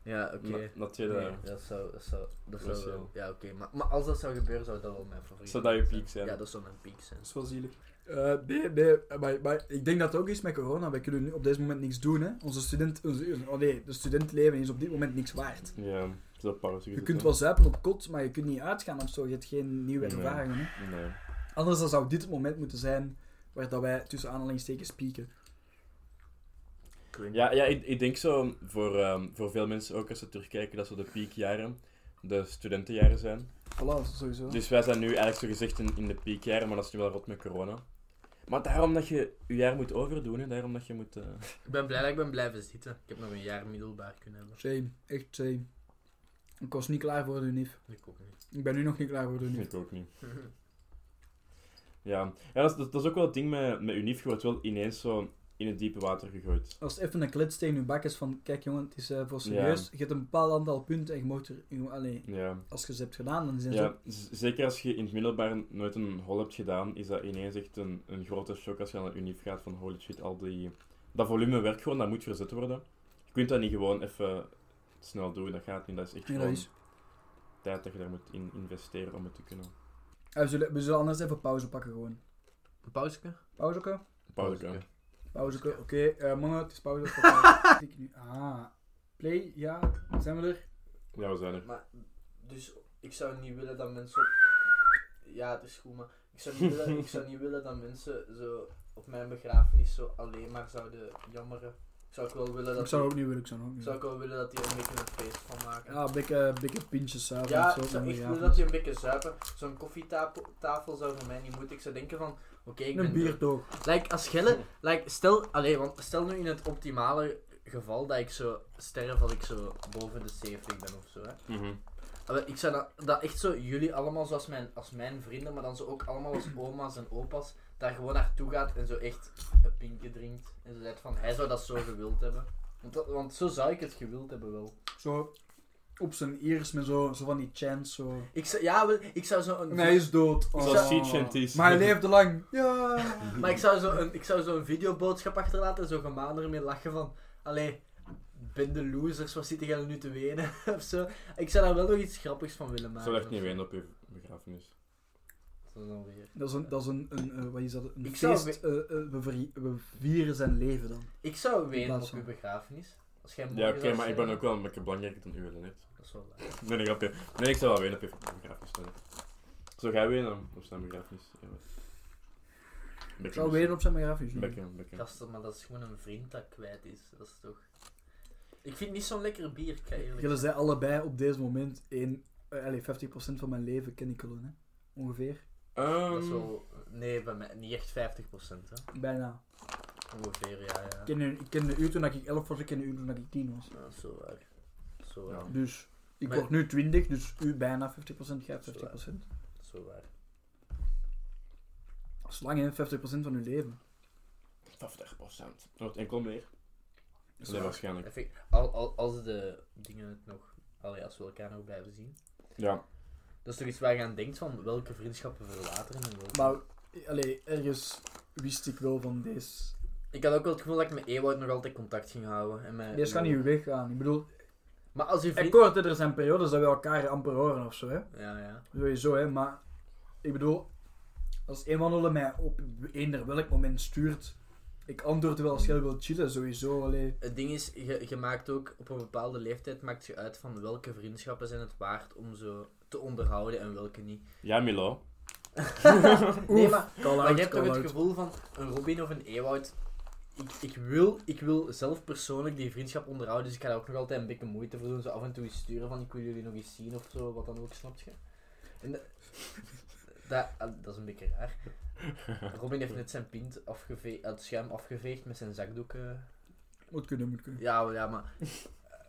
Speaker 1: Ja, oké.
Speaker 3: Na, na tweede...
Speaker 1: dat zou... Dat zou, dat
Speaker 3: zou
Speaker 1: zou
Speaker 3: wel- Cruciaal.
Speaker 1: ja, oké. Maar, maar als dat zou gebeuren, zou dat wel mijn favoriet
Speaker 3: Zou dat je piek zijn?
Speaker 1: Ja, dat zou mijn piek zijn.
Speaker 2: Dat is wel zielig. Eh, nee, nee, maar, maar ik denk dat het ook is met corona. Wij kunnen nu op deze moment niks doen. Hè. Onze student, onze, oh nee, de studentleven is op dit moment niks waard.
Speaker 3: eh, Ja, zo pauze.
Speaker 2: Je kunt wel zuipen op kot, maar je kunt niet uitgaan of zo. Je hebt geen nieuwe
Speaker 3: Nee.
Speaker 2: ervaringen. Hè.
Speaker 3: Nee.
Speaker 2: Anders dan zou dit het moment moeten zijn waar dat wij tussen aanhalingstekens pieken.
Speaker 3: Ja, ja ik, ik denk zo voor, ehm, voor veel mensen ook als ze terugkijken dat zo de piekjaren de studentenjaren zijn.
Speaker 2: Voilà, sowieso.
Speaker 3: Dus wij zijn nu eigenlijk zo gezegd in, in de piekjaren, maar dat is nu wel rot met corona. Maar daarom dat je je jaar moet overdoen, hè, daarom dat je moet... eh,
Speaker 1: Ik ben blij dat ik ben blijven zitten. Ik heb nog een jaar middelbaar kunnen hebben.
Speaker 2: Shame, echt shame. Ik was niet klaar voor de NIF.
Speaker 1: Ik ook niet.
Speaker 2: Ik ben nu nog niet klaar voor de
Speaker 3: Ik
Speaker 2: NIF.
Speaker 3: weet het ook niet. Ja, ja dat, is, dat is ook wel het ding met, met Unif. Je wordt wel ineens zo in het diepe water gegooid.
Speaker 2: Als het even een klets tegen je bak is van, kijk jongen, het is eh, voor serieus. Je hebt een bepaald aantal punten en je mag er... je- Allee,
Speaker 3: Ja.
Speaker 2: als je ze hebt gedaan, dan zijn ze...
Speaker 3: ja z- zeker als je in het middelbaar nooit een hol hebt gedaan, is dat ineens echt een, een grote shock als je naar Unif gaat van holy shit, al die... Dat volume werkt gewoon, dat moet verzet worden. Je kunt dat niet gewoon even snel doen, dat gaat niet. Dat is echt
Speaker 2: Nee, dat
Speaker 3: gewoon
Speaker 2: is-
Speaker 3: tijd dat je daar moet in investeren om het te kunnen.
Speaker 2: Ja, Ah, we, zullen, we zullen anders even pauze pakken gewoon.
Speaker 1: Een pauzeke?
Speaker 2: Pauzeke?
Speaker 3: Pauze.
Speaker 1: Pauze.
Speaker 2: Pauzeke, oké. eh, mannen, het is pauze. Klik ik nu. Ah. Play, ja. Zijn we er?
Speaker 3: Ja, we zijn er.
Speaker 1: Maar, dus, ik zou niet willen dat mensen... op- Ja, het is goed, maar... Ik zou niet willen, ik zou niet willen dat mensen zo op mijn begrafenis zo alleen maar zouden jammeren. Ik zou ook wel willen dat...
Speaker 2: Ik zou
Speaker 1: die-
Speaker 2: ook niet willen, ik zou ook niet
Speaker 1: zou
Speaker 2: willen.
Speaker 1: ik wel willen dat die er een beetje een feest van maken.
Speaker 2: Ja, dikke, dikke pintjes samen.
Speaker 1: Ja,
Speaker 2: zo,
Speaker 1: ik zou
Speaker 2: maar
Speaker 1: echt
Speaker 2: ja.
Speaker 1: willen dat die een beetje zuipen. Zo'n koffietafel tafel zou voor mij niet moeten. Ik zou denken van, oké, ik ben...
Speaker 2: Een bier toch.
Speaker 1: Like, als Gelle... Like, stel... Allee, want stel nu in het optimale geval dat ik zo sterf als ik zo boven de 70 ben of zo, hè.
Speaker 3: Mhm.
Speaker 1: Ah, wel, Ik zou dat, dat echt zo, jullie allemaal zoals mijn, als mijn vrienden, maar dan zo ook allemaal als oma's en opa's, daar gewoon naartoe gaat en zo echt een pinkje drinkt. En zo zegt van, hij zou dat zo gewild hebben. Want, dat- want zo zou ik het gewild hebben wel.
Speaker 2: Zo op zijn ears met zo, zo van die chants. Zo.
Speaker 1: Ik zou, ja, wel, ik zou zo een...
Speaker 2: En hij is dood. Oh.
Speaker 3: Zoals die chanties.
Speaker 2: Maar hij leefde lang. Ja.
Speaker 1: Maar ik zou zo een, ik zou zo een videoboodschap achterlaten en zo gemaand ermee lachen van, allee, ben de losers, wat zitten jullie nu te wenen? of zo. Ik zou daar wel nog iets grappigs van willen
Speaker 3: Ik
Speaker 1: maken.
Speaker 3: zou echt
Speaker 1: of
Speaker 3: niet
Speaker 1: zo.
Speaker 3: wenen op je begrafenis.
Speaker 1: Dat is dan weer...
Speaker 2: Dat is een, dat is een, een eh, wat is dat? Een
Speaker 1: Ik zou
Speaker 2: feest. eh, eh, we, veri- we vieren zijn leven dan.
Speaker 1: Ik zou wenen
Speaker 2: plaats
Speaker 1: op uw
Speaker 2: van-
Speaker 1: begrafenis. Als eh, jij
Speaker 3: Ja,
Speaker 1: morgen
Speaker 3: oké,
Speaker 1: zou
Speaker 3: maar ik
Speaker 1: sterven.
Speaker 2: eh,
Speaker 3: ben ook wel een beetje belangrijker dan u, net.
Speaker 1: Dat is wel waar.
Speaker 3: Nee, nee, grapje. Nee, ik zou wel winnen op je begrafenis. nee. Zou jij winnen op zijn begrafenis? Ja, maar- Bekken
Speaker 2: Ik zou
Speaker 3: misschien.
Speaker 2: weer op zijn begrafenis. doen.
Speaker 3: Bekken, bekken.
Speaker 1: Gasten, maar dat is gewoon een vriend dat kwijt is. Dat is toch... Ik vind niet zo'n lekker bier, ik ga eerlijk
Speaker 2: Jullie
Speaker 1: zijn.
Speaker 2: zijn allebei op dit moment in... eh, allee, 50% van mijn leven ken ik al, hè. Ongeveer.
Speaker 1: Dat is
Speaker 3: Ehm,
Speaker 1: wel... Nee, bij mij niet echt 50%, hè.
Speaker 2: Bijna.
Speaker 1: Ongeveer, ja, ja.
Speaker 2: Ik ken, ik ken de uur toen ik 11 was, ik ken de uur toen ik 10 was.
Speaker 1: Ja, zo waar. Zo waar.
Speaker 3: Ja.
Speaker 2: Dus ik
Speaker 1: Maar-
Speaker 2: word nu 20, dus u bijna 50%, jij 50%.
Speaker 1: Zo waar.
Speaker 2: Dat is lang, hè? 50% van uw leven.
Speaker 3: 50%. Wordt enkel meer?
Speaker 1: Dat is
Speaker 3: Nee,
Speaker 1: waar.
Speaker 3: waarschijnlijk.
Speaker 1: Even- al, al, als de dingen het nog... Allee, als we elkaar nog blijven zien.
Speaker 3: Ja.
Speaker 1: Dat is toch iets waar je aan denkt van welke vriendschappen verwateren en welke...
Speaker 2: Maar, allee, ergens wist ik wel van deze.
Speaker 1: Ik had ook wel het gevoel dat ik met Ewout nog altijd contact ging houden. En met,
Speaker 2: Deze gaat niet weggaan. Ik bedoel,
Speaker 1: Maar als je
Speaker 2: ik
Speaker 1: vriend...
Speaker 2: hoor dat er zijn periodes dat we elkaar amper horen of zo, hè.
Speaker 1: Ja, ja.
Speaker 2: Sowieso, hè. Maar ik bedoel, als Emanuele mij op eender welk moment stuurt, ik antwoord wel als jij wil chillen, sowieso. Allee.
Speaker 1: Het ding is, je, je maakt ook op een bepaalde leeftijd maakt je uit van welke vriendschappen zijn het waard om zo te onderhouden en welke niet.
Speaker 4: Ja, Milo.
Speaker 1: nee, maar
Speaker 2: Call
Speaker 1: Maar
Speaker 2: out,
Speaker 1: je hebt toch
Speaker 2: call
Speaker 1: het
Speaker 2: out.
Speaker 1: gevoel van een Robin of een Ewout. Ik, ik, wil, ik wil zelf persoonlijk die vriendschap onderhouden, dus ik ga daar ook nog altijd een beetje moeite voor doen. Zo af en toe eens sturen van ik wil jullie nog eens zien of zo, wat dan ook, snap je? En da- dat, ah, dat is een beetje raar. Robin heeft net zijn pint afgeve- uit het schuim afgeveegd met zijn zakdoeken.
Speaker 2: Moet kunnen, moet kunnen.
Speaker 1: Ja, wel, ja, maar eh,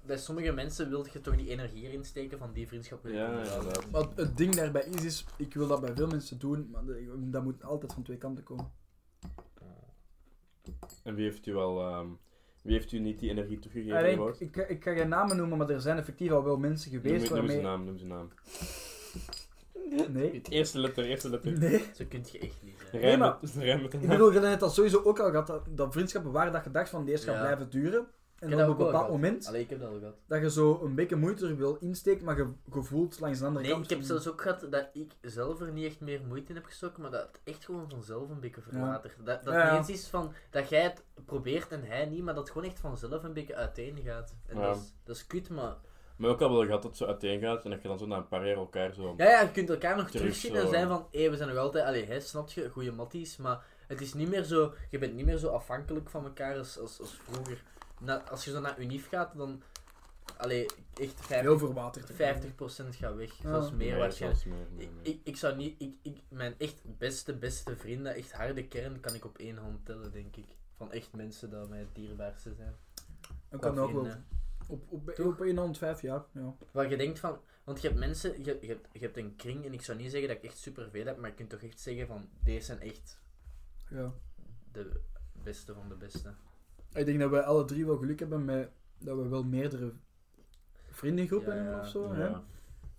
Speaker 1: bij sommige mensen wil je toch die energie erin steken van die vriendschap wil ik
Speaker 4: Ja,
Speaker 1: onderhouden.
Speaker 4: inderdaad.
Speaker 2: Maar het ding daarbij is, is, ik wil dat bij veel mensen doen, maar de- dat moet altijd van twee kanten komen.
Speaker 1: Eh,
Speaker 4: En wie heeft u al... ehm, wie heeft u niet die energie toegegeven?
Speaker 2: Alleen,
Speaker 4: Ewout?
Speaker 2: ik, ik ga geen namen noemen, maar er zijn effectief al wel mensen
Speaker 4: Noem,
Speaker 2: geweest
Speaker 4: noem zijn
Speaker 2: waarmee...
Speaker 4: naam, noem zijn naam.
Speaker 2: Nee,
Speaker 4: Eerste letter, eerste letter.
Speaker 2: nee.
Speaker 1: Zo kun je echt niet zijn.
Speaker 4: Rij
Speaker 2: maar-
Speaker 4: met, rij met de
Speaker 2: Ik
Speaker 4: naam.
Speaker 2: bedoel, je hebt dat sowieso ook al gehad, dat, dat vriendschappen waren dat je dacht van deze gaat
Speaker 1: Ja.
Speaker 2: blijven duren. En
Speaker 1: heb
Speaker 2: dan op
Speaker 1: dat
Speaker 2: een
Speaker 1: ook wel
Speaker 2: bepaald
Speaker 1: gehad.
Speaker 2: moment
Speaker 1: Allee, ik heb dat al gehad.
Speaker 2: dat je zo een beetje moeite er wil insteken, maar je gevoelt langs de andere
Speaker 1: Nee,
Speaker 2: kant.
Speaker 1: ik heb
Speaker 2: van-
Speaker 1: zelfs ook gehad dat ik zelf er niet echt meer moeite in heb gestoken, maar dat het echt gewoon vanzelf een beetje verwatert. Dat, dat
Speaker 2: Ja,
Speaker 1: het
Speaker 2: ja.
Speaker 1: niet eens is van dat jij het probeert en hij niet, maar dat het gewoon echt vanzelf een beetje uiteen gaat. En
Speaker 4: Ja.
Speaker 1: dat, is, dat is kut, maar...
Speaker 4: Maar ook al wel gehad dat het zo uiteen gaat en dat je dan zo na een paar jaar elkaar zo...
Speaker 1: Ja, ja, je kunt elkaar nog
Speaker 4: Terug
Speaker 1: terugzien
Speaker 4: zo.
Speaker 1: en zijn van, hé, we zijn nog altijd... Allee, hè, snap je? Goeie matties, maar het is niet meer zo... Je bent niet meer zo afhankelijk van elkaar als, als, als vroeger. Na- als je zo naar Unif gaat, dan... Allee, echt 50%,
Speaker 2: heel verwaterd.
Speaker 1: 50 gaat weg.
Speaker 2: Ja.
Speaker 1: Zelfs meer
Speaker 4: Nee,
Speaker 1: waarschijnlijk.
Speaker 4: zelfs meer, nee,
Speaker 1: Ik,
Speaker 4: nee.
Speaker 1: ik, ik zou niet, ik, ik, mijn echt beste, beste vrienden, echt harde kern, kan ik op één hand tellen, denk ik. Van echt mensen die mij het dierbaarste zijn.
Speaker 2: Dat
Speaker 1: Qua
Speaker 2: kan ook wel.
Speaker 1: vrienden.
Speaker 2: Op, op, op één hand vijf jaar, ja.
Speaker 1: Waar je denkt van, want je hebt mensen, je, je, hebt, je hebt een kring, en ik zou niet zeggen dat ik echt superveel heb, maar je kunt toch echt zeggen van, deze zijn echt
Speaker 2: ja.
Speaker 1: de beste van de beste.
Speaker 2: Ik denk dat we alle drie wel geluk hebben met dat we wel meerdere vriendengroepen
Speaker 1: Ja, ja.
Speaker 2: hebben of zo. Hè?
Speaker 4: Ja.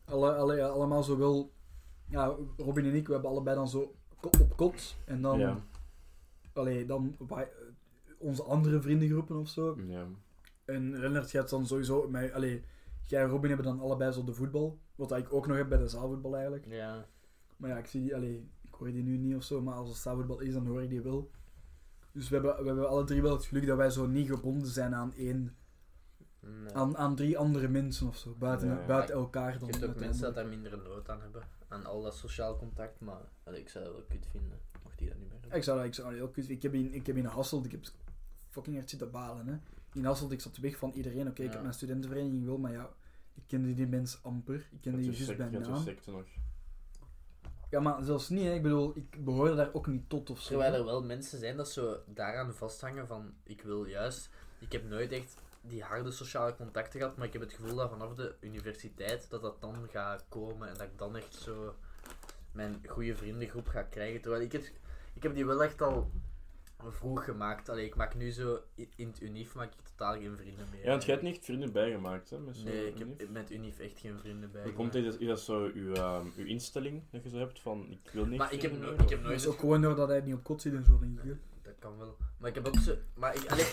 Speaker 2: Alle, alle, ja, allemaal zowel... Ja, Robin en ik, we hebben allebei dan zo ko- op kot. En dan...
Speaker 4: Ja.
Speaker 2: Allee, dan wa- onze andere vriendengroepen of zo.
Speaker 4: Ja.
Speaker 2: En Rennert gaat dan sowieso... Met, allee, jij en Robin hebben dan allebei zo de voetbal. Wat ik ook nog heb bij de zaalvoetbal eigenlijk.
Speaker 1: Ja.
Speaker 2: Maar ja, ik zie die... Allee, ik hoor die nu niet of zo. Maar als het zaalvoetbal is, dan hoor ik die wel. Dus we hebben, we hebben alle drie wel het geluk dat wij zo niet gebonden zijn aan één...
Speaker 1: Nee.
Speaker 2: Aan, aan drie andere mensen of zo. Buiten,
Speaker 4: Ja, ja.
Speaker 2: buiten elkaar dan.
Speaker 1: Je hebt ook mensen dat
Speaker 2: uiteindelijk.
Speaker 1: daar minder nood aan hebben, aan al dat sociaal contact, maar allee, ik zou dat wel kut vinden, mocht die dat niet meer hebben.
Speaker 2: Ik zou dat, ik zou dat heel kut- Ik heb in, ik heb in Hasselt, ik heb fucking hard zitten balen, hè. In Hasselt, ik zat weg van iedereen. Oké, ik
Speaker 1: Ja.
Speaker 2: heb mijn studentenvereniging wel, maar ja, ik kende die mensen amper. Ik kende
Speaker 4: Dat
Speaker 2: die dus
Speaker 4: is
Speaker 2: juist
Speaker 4: sect-
Speaker 2: bij
Speaker 4: dat is
Speaker 2: naam.
Speaker 4: secte nog.
Speaker 2: Ja, maar zelfs niet, hè. Ik bedoel, ik behoorde daar ook niet tot of zo.
Speaker 1: Terwijl
Speaker 2: hè.
Speaker 1: er wel mensen zijn dat zo daaraan vasthangen van ik wil juist, ik heb nooit echt die harde sociale contacten gehad, maar ik heb het gevoel dat vanaf de universiteit dat dat dan gaat komen en dat ik dan echt zo mijn goede vriendengroep ga krijgen. Terwijl ik het, ik heb die wel echt al vroeg gemaakt. Allee, ik maak nu zo i- in het unief maak ik totaal geen vrienden meer.
Speaker 4: Ja, want jij hebt niet echt vrienden bijgemaakt, hè? Met zo'n
Speaker 1: Nee, ik
Speaker 4: unief.
Speaker 1: heb met unief echt geen vrienden bij.
Speaker 4: Hoe komt dus dit? Is dat zo uw, ehm, uw instelling dat je zo hebt van ik wil niet
Speaker 1: Maar ik heb,
Speaker 4: vrienden
Speaker 1: no-
Speaker 4: meer,
Speaker 1: ik heb
Speaker 4: of-
Speaker 2: Dat
Speaker 1: nooit
Speaker 2: is ook gewoon doordat hij niet op kot zit en zo, denk ik. hè.
Speaker 1: Dat kan wel. Maar ik heb ook zo. Maar ik, allee,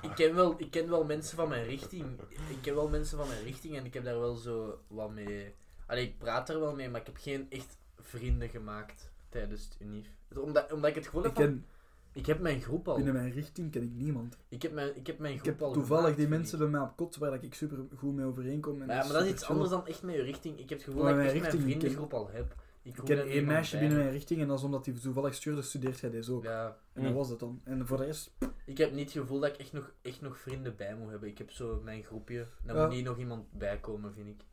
Speaker 1: ik, ken wel, ik ken wel mensen van mijn richting. Ik ken wel mensen van mijn richting en ik heb daar wel zo wat mee. Allee, ik praat er wel mee, maar ik heb geen echt vrienden gemaakt tijdens het unief. Omdat, omdat ik het gevoel heb
Speaker 2: Ik
Speaker 1: van,
Speaker 2: ken,
Speaker 1: ik heb mijn groep al.
Speaker 2: binnen mijn richting ken ik niemand.
Speaker 1: Ik heb mijn, ik heb mijn
Speaker 2: Ik
Speaker 1: groep
Speaker 2: heb
Speaker 1: al
Speaker 2: toevallig
Speaker 1: gemaakt,
Speaker 2: die
Speaker 1: vind
Speaker 2: mensen bij mij op kot, waar ik super goed mee overeenkom.
Speaker 1: ik.
Speaker 2: en
Speaker 1: Maar, ja, maar dat is
Speaker 2: super
Speaker 1: iets
Speaker 2: chill.
Speaker 1: anders dan echt mijn richting. Ik heb het gevoel
Speaker 2: Maar
Speaker 1: dat ik
Speaker 2: mijn
Speaker 1: echt mijn
Speaker 2: richting, ik ken-
Speaker 1: vriendengroep al heb. Ik
Speaker 2: Ik ken één meisje binnen mijn richting en dat is omdat hij toevallig stuurde, studeert hij deze ook.
Speaker 1: Ja,
Speaker 2: En dat
Speaker 4: Mm.
Speaker 2: was dat dan. En voor de rest,
Speaker 1: Ik heb niet het gevoel dat ik echt nog, echt nog vrienden bij moet hebben. Ik heb zo mijn groepje. Daar
Speaker 2: Ja.
Speaker 1: moet niet nog iemand bij komen, vind ik.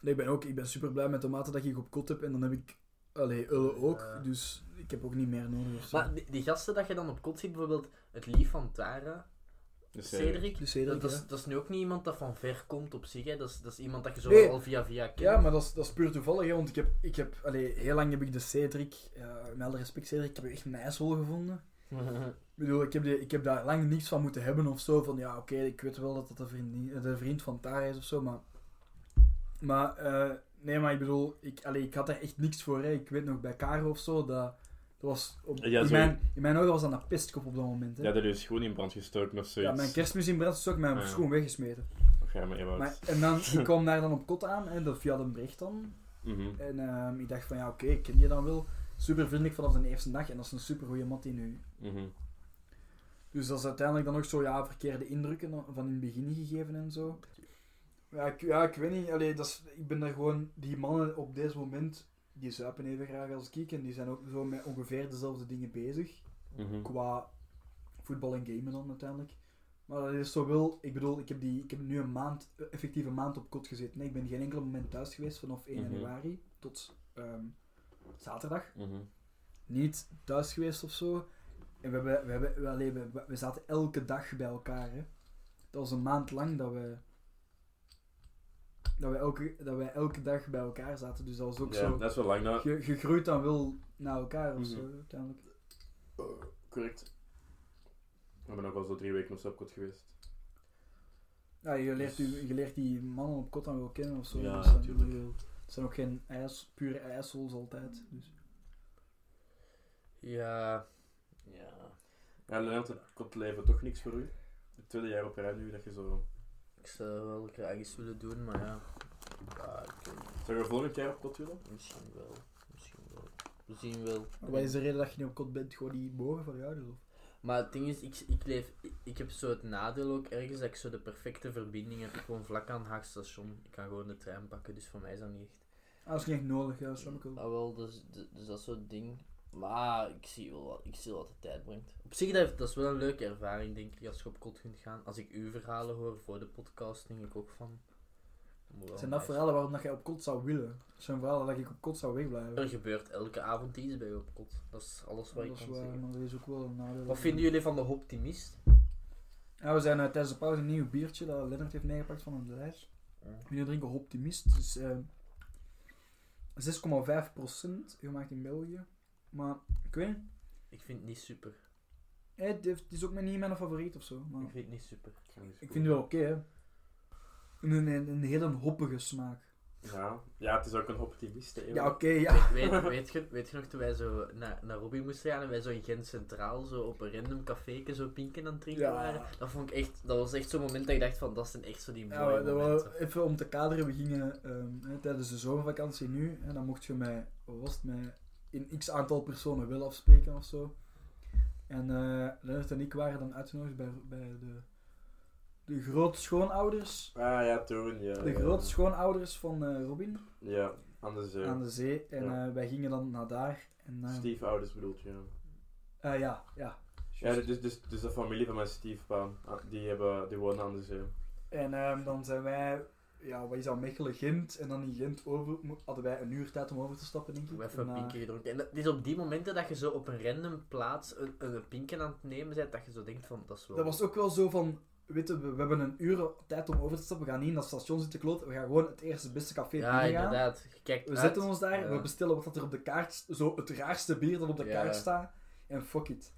Speaker 2: Nee, ik ben ook. Ik ben super blij met de mate dat ik op kot heb. En dan heb ik. Allee, Ulle ook.
Speaker 1: Ja.
Speaker 2: Dus ik heb ook niet meer nodig. Of zo.
Speaker 1: Maar die, die gasten dat je dan op kot ziet, bijvoorbeeld het lief van Tara,
Speaker 4: Dus Cedric.
Speaker 1: Cedric,
Speaker 2: Dus Cedric,
Speaker 1: dat, dat is,
Speaker 2: ja.
Speaker 1: dat is nu ook niet iemand dat van ver komt op zich. Hè. Dat, is, dat is iemand dat je zo
Speaker 2: Nee.
Speaker 1: al via via kent.
Speaker 2: Ja, maar dat is, dat is puur toevallig. Hè, want ik heb. Ik heb allee, heel lang heb ik de Cedric. eh, met alle respect, Cedric. Ik heb echt een ijswol gevonden. Ik bedoel, ik heb, die, ik heb daar lang niks van moeten hebben of zo. Van ja, oké, ik weet wel dat dat de vriend, de vriend van Tara is of zo. Maar. Maar. eh, nee, maar ik bedoel. Ik, allee, ik had daar echt niks voor. Hè. Ik weet nog bij Karo of zo. Dat. Dat was op,
Speaker 4: Ja,
Speaker 2: in,
Speaker 4: zo-
Speaker 2: mijn, in mijn ogen was dat een pestkop op dat moment. Hè.
Speaker 4: Ja, dat is gewoon in brand gestoken of
Speaker 2: Ja,
Speaker 4: zoiets.
Speaker 2: mijn kerstmis in brand is ook mijn
Speaker 4: Ah, ja.
Speaker 2: schoen weggesmeten.
Speaker 4: Of ja, maar Ewout.
Speaker 2: Maar, en dan, ik kwam daar dan op kot aan, hè, dat via de bericht dan.
Speaker 4: Mhm.
Speaker 2: En ehm, ik dacht van, ja oké, ik ken je dan wel. Super vriendelijk vanaf de eerste dag en dat is een super goede mat die nu.
Speaker 4: Mhm.
Speaker 2: Dus dat is uiteindelijk dan ook zo, ja, verkeerde indrukken dan- van in het begin gegeven en zo. Ja, ik, ja, ik weet niet, allee, dat is, ik ben daar gewoon, die mannen op dit moment, die zuipen even graag als ik en die zijn ook zo met ongeveer dezelfde dingen bezig.
Speaker 4: Mhm.
Speaker 2: qua voetbal en gamen dan uiteindelijk. Maar dat is zo wel, ik bedoel, ik heb, die, ik heb nu een maand, eh, effectief een maand op kot gezeten. Nee, ik ben geen enkel moment thuis geweest vanaf 1
Speaker 4: Mhm.
Speaker 2: januari tot ehm, zaterdag.
Speaker 4: Mhm.
Speaker 2: Niet thuis geweest of zo. En we, hebben, we, hebben, we, allee, we, we zaten elke dag bij elkaar. Hè. Dat was een maand lang dat we. Dat we, elke, dat we elke dag bij elkaar zaten. Dus dat was ook
Speaker 4: Ja,
Speaker 2: zo.
Speaker 4: dat is wel lang nou.
Speaker 2: Je, je groeit dan wel naar elkaar of
Speaker 4: Mhm.
Speaker 2: zo, uiteindelijk.
Speaker 4: Correct.
Speaker 3: Ik ben ook al zo drie weken of zo op kot geweest.
Speaker 2: Ja, je leert, die- je leert die mannen op kot dan wel kennen of zo.
Speaker 3: Ja,
Speaker 2: dus dan-
Speaker 3: natuurlijk.
Speaker 2: Het zijn ook geen ijs, pure ijshols altijd. Dus.
Speaker 1: Ja. Ja.
Speaker 3: Ja, Leonard, het kotleven toch niks voor u? Het tweede jaar op rij nu, dat je zo...
Speaker 1: Ik zou wel graag iets willen doen, maar ja. Ja, ik weet niet.
Speaker 3: Zou je volgend jaar op kot willen?
Speaker 1: Misschien wel. Misschien wel. We zien wel.
Speaker 2: Maar wat is de reden dat je niet op kot bent? Gewoon die boven van je ouders? Of?
Speaker 1: Maar het ding is, ik, ik, leef, ik, ik heb zo het nadeel ook ergens dat ik zo de perfecte verbinding heb. Gewoon vlak aan het Haag station. Ik kan gewoon de trein pakken, dus voor mij is dat niet echt.
Speaker 2: Ah, dat is niet echt nodig, ja, dat snap ik wel.
Speaker 1: Ah, wel, dus, dus, dus dat soort ding. Maar ik zie wel wat, ik zie wel wat de tijd brengt. Op zich, dat, dat is wel een leuke ervaring, denk ik, als je op kot kunt gaan. Als ik uw verhalen hoor voor de podcast, denk ik ook van. dat moet wel
Speaker 2: Het zijn dat
Speaker 1: nice
Speaker 2: verhalen waarom dat jij op kot zou willen. Het zijn verhalen dat ik op kot zou
Speaker 1: Er
Speaker 2: wegblijven.
Speaker 1: gebeurt elke avond iets bij op kot. Dat is alles wat
Speaker 2: Dat is
Speaker 1: ik kan
Speaker 2: waar,
Speaker 1: zeggen.
Speaker 2: maar dat is ook wel een nadeel.
Speaker 1: Wat vinden jullie van de optimist?
Speaker 2: Ja, we zijn eh, tijdens de pauze een nieuw biertje dat Lennart heeft meegepakt van een lijst. Jullie drinken Optimist. Dus, eh 6,5% gemaakt in België. Maar ik weet niet.
Speaker 1: Ik vind het niet super.
Speaker 2: eh, Het heeft- het is ook maar niet mijn favoriet of zo. Maar
Speaker 1: Ik vind het niet super.
Speaker 2: ik vind het wel oké, hè. Een, een, een hele hoppige smaak.
Speaker 3: Ja. ja, het is ook een optimist. hè,
Speaker 2: Ja,
Speaker 3: joh.
Speaker 2: oké, ja.
Speaker 1: Weet, weet, je, weet je nog toen wij zo naar, naar Robbie moesten gaan en wij zo in Gent Centraal zo op een random caféke zo pinken aan het drinken
Speaker 2: Ja.
Speaker 1: waren? Dat vond ik echt, dat was echt zo'n moment dat ik dacht van, dat zijn echt zo die mooie
Speaker 2: Ja, maar dat
Speaker 1: momenten.
Speaker 2: wel- even om te kaderen, we gingen ehm, hè, tijdens de zomervakantie nu, hè, dan mocht je mij, wat was het, mij in x aantal personen wel afspreken of zo. En eh Lennart en ik waren dan uitgenodigd bij, bij de, de grootschoonouders,
Speaker 3: Ah ja, toen, ja.
Speaker 2: de
Speaker 3: ja.
Speaker 2: grootschoonouders van eh, Robin
Speaker 3: Ja, aan de zee.
Speaker 2: aan de zee. En
Speaker 3: Ja.
Speaker 2: eh, wij gingen dan naar daar. En, eh,
Speaker 3: Steve ouders bedoelt je.
Speaker 2: eh, ja, ja.
Speaker 3: Ja, dus, dus, dus de familie van mijn stiefpa, ah, die, hebben, die wonen eh, aan de zee.
Speaker 2: En ehm, dan zijn wij, ja, wat is dat, Mechelen, Gent. En dan in Gent over, mo- hadden wij een uur tijd om over te stappen, denk ik.
Speaker 1: We hebben
Speaker 2: En, eh,
Speaker 1: pinken gedronken. En dat het is op die momenten dat je zo op een random plaats een, een pinken aan het nemen bent, dat je zo denkt van, dat is wel...
Speaker 2: Dat was ook wel zo van, weet je, we, we hebben een uur tijd om over te stappen. We gaan niet in dat station zitten kloten. We gaan gewoon het eerste beste café
Speaker 1: Ja,
Speaker 2: binnen gaan.
Speaker 1: inderdaad. Je kijkt
Speaker 2: We
Speaker 1: uit.
Speaker 2: zetten ons daar,
Speaker 1: Ja.
Speaker 2: we bestellen wat dat er op de kaart, st- zo het raarste bier dat op de
Speaker 1: Ja.
Speaker 2: kaart staat. En fuck it.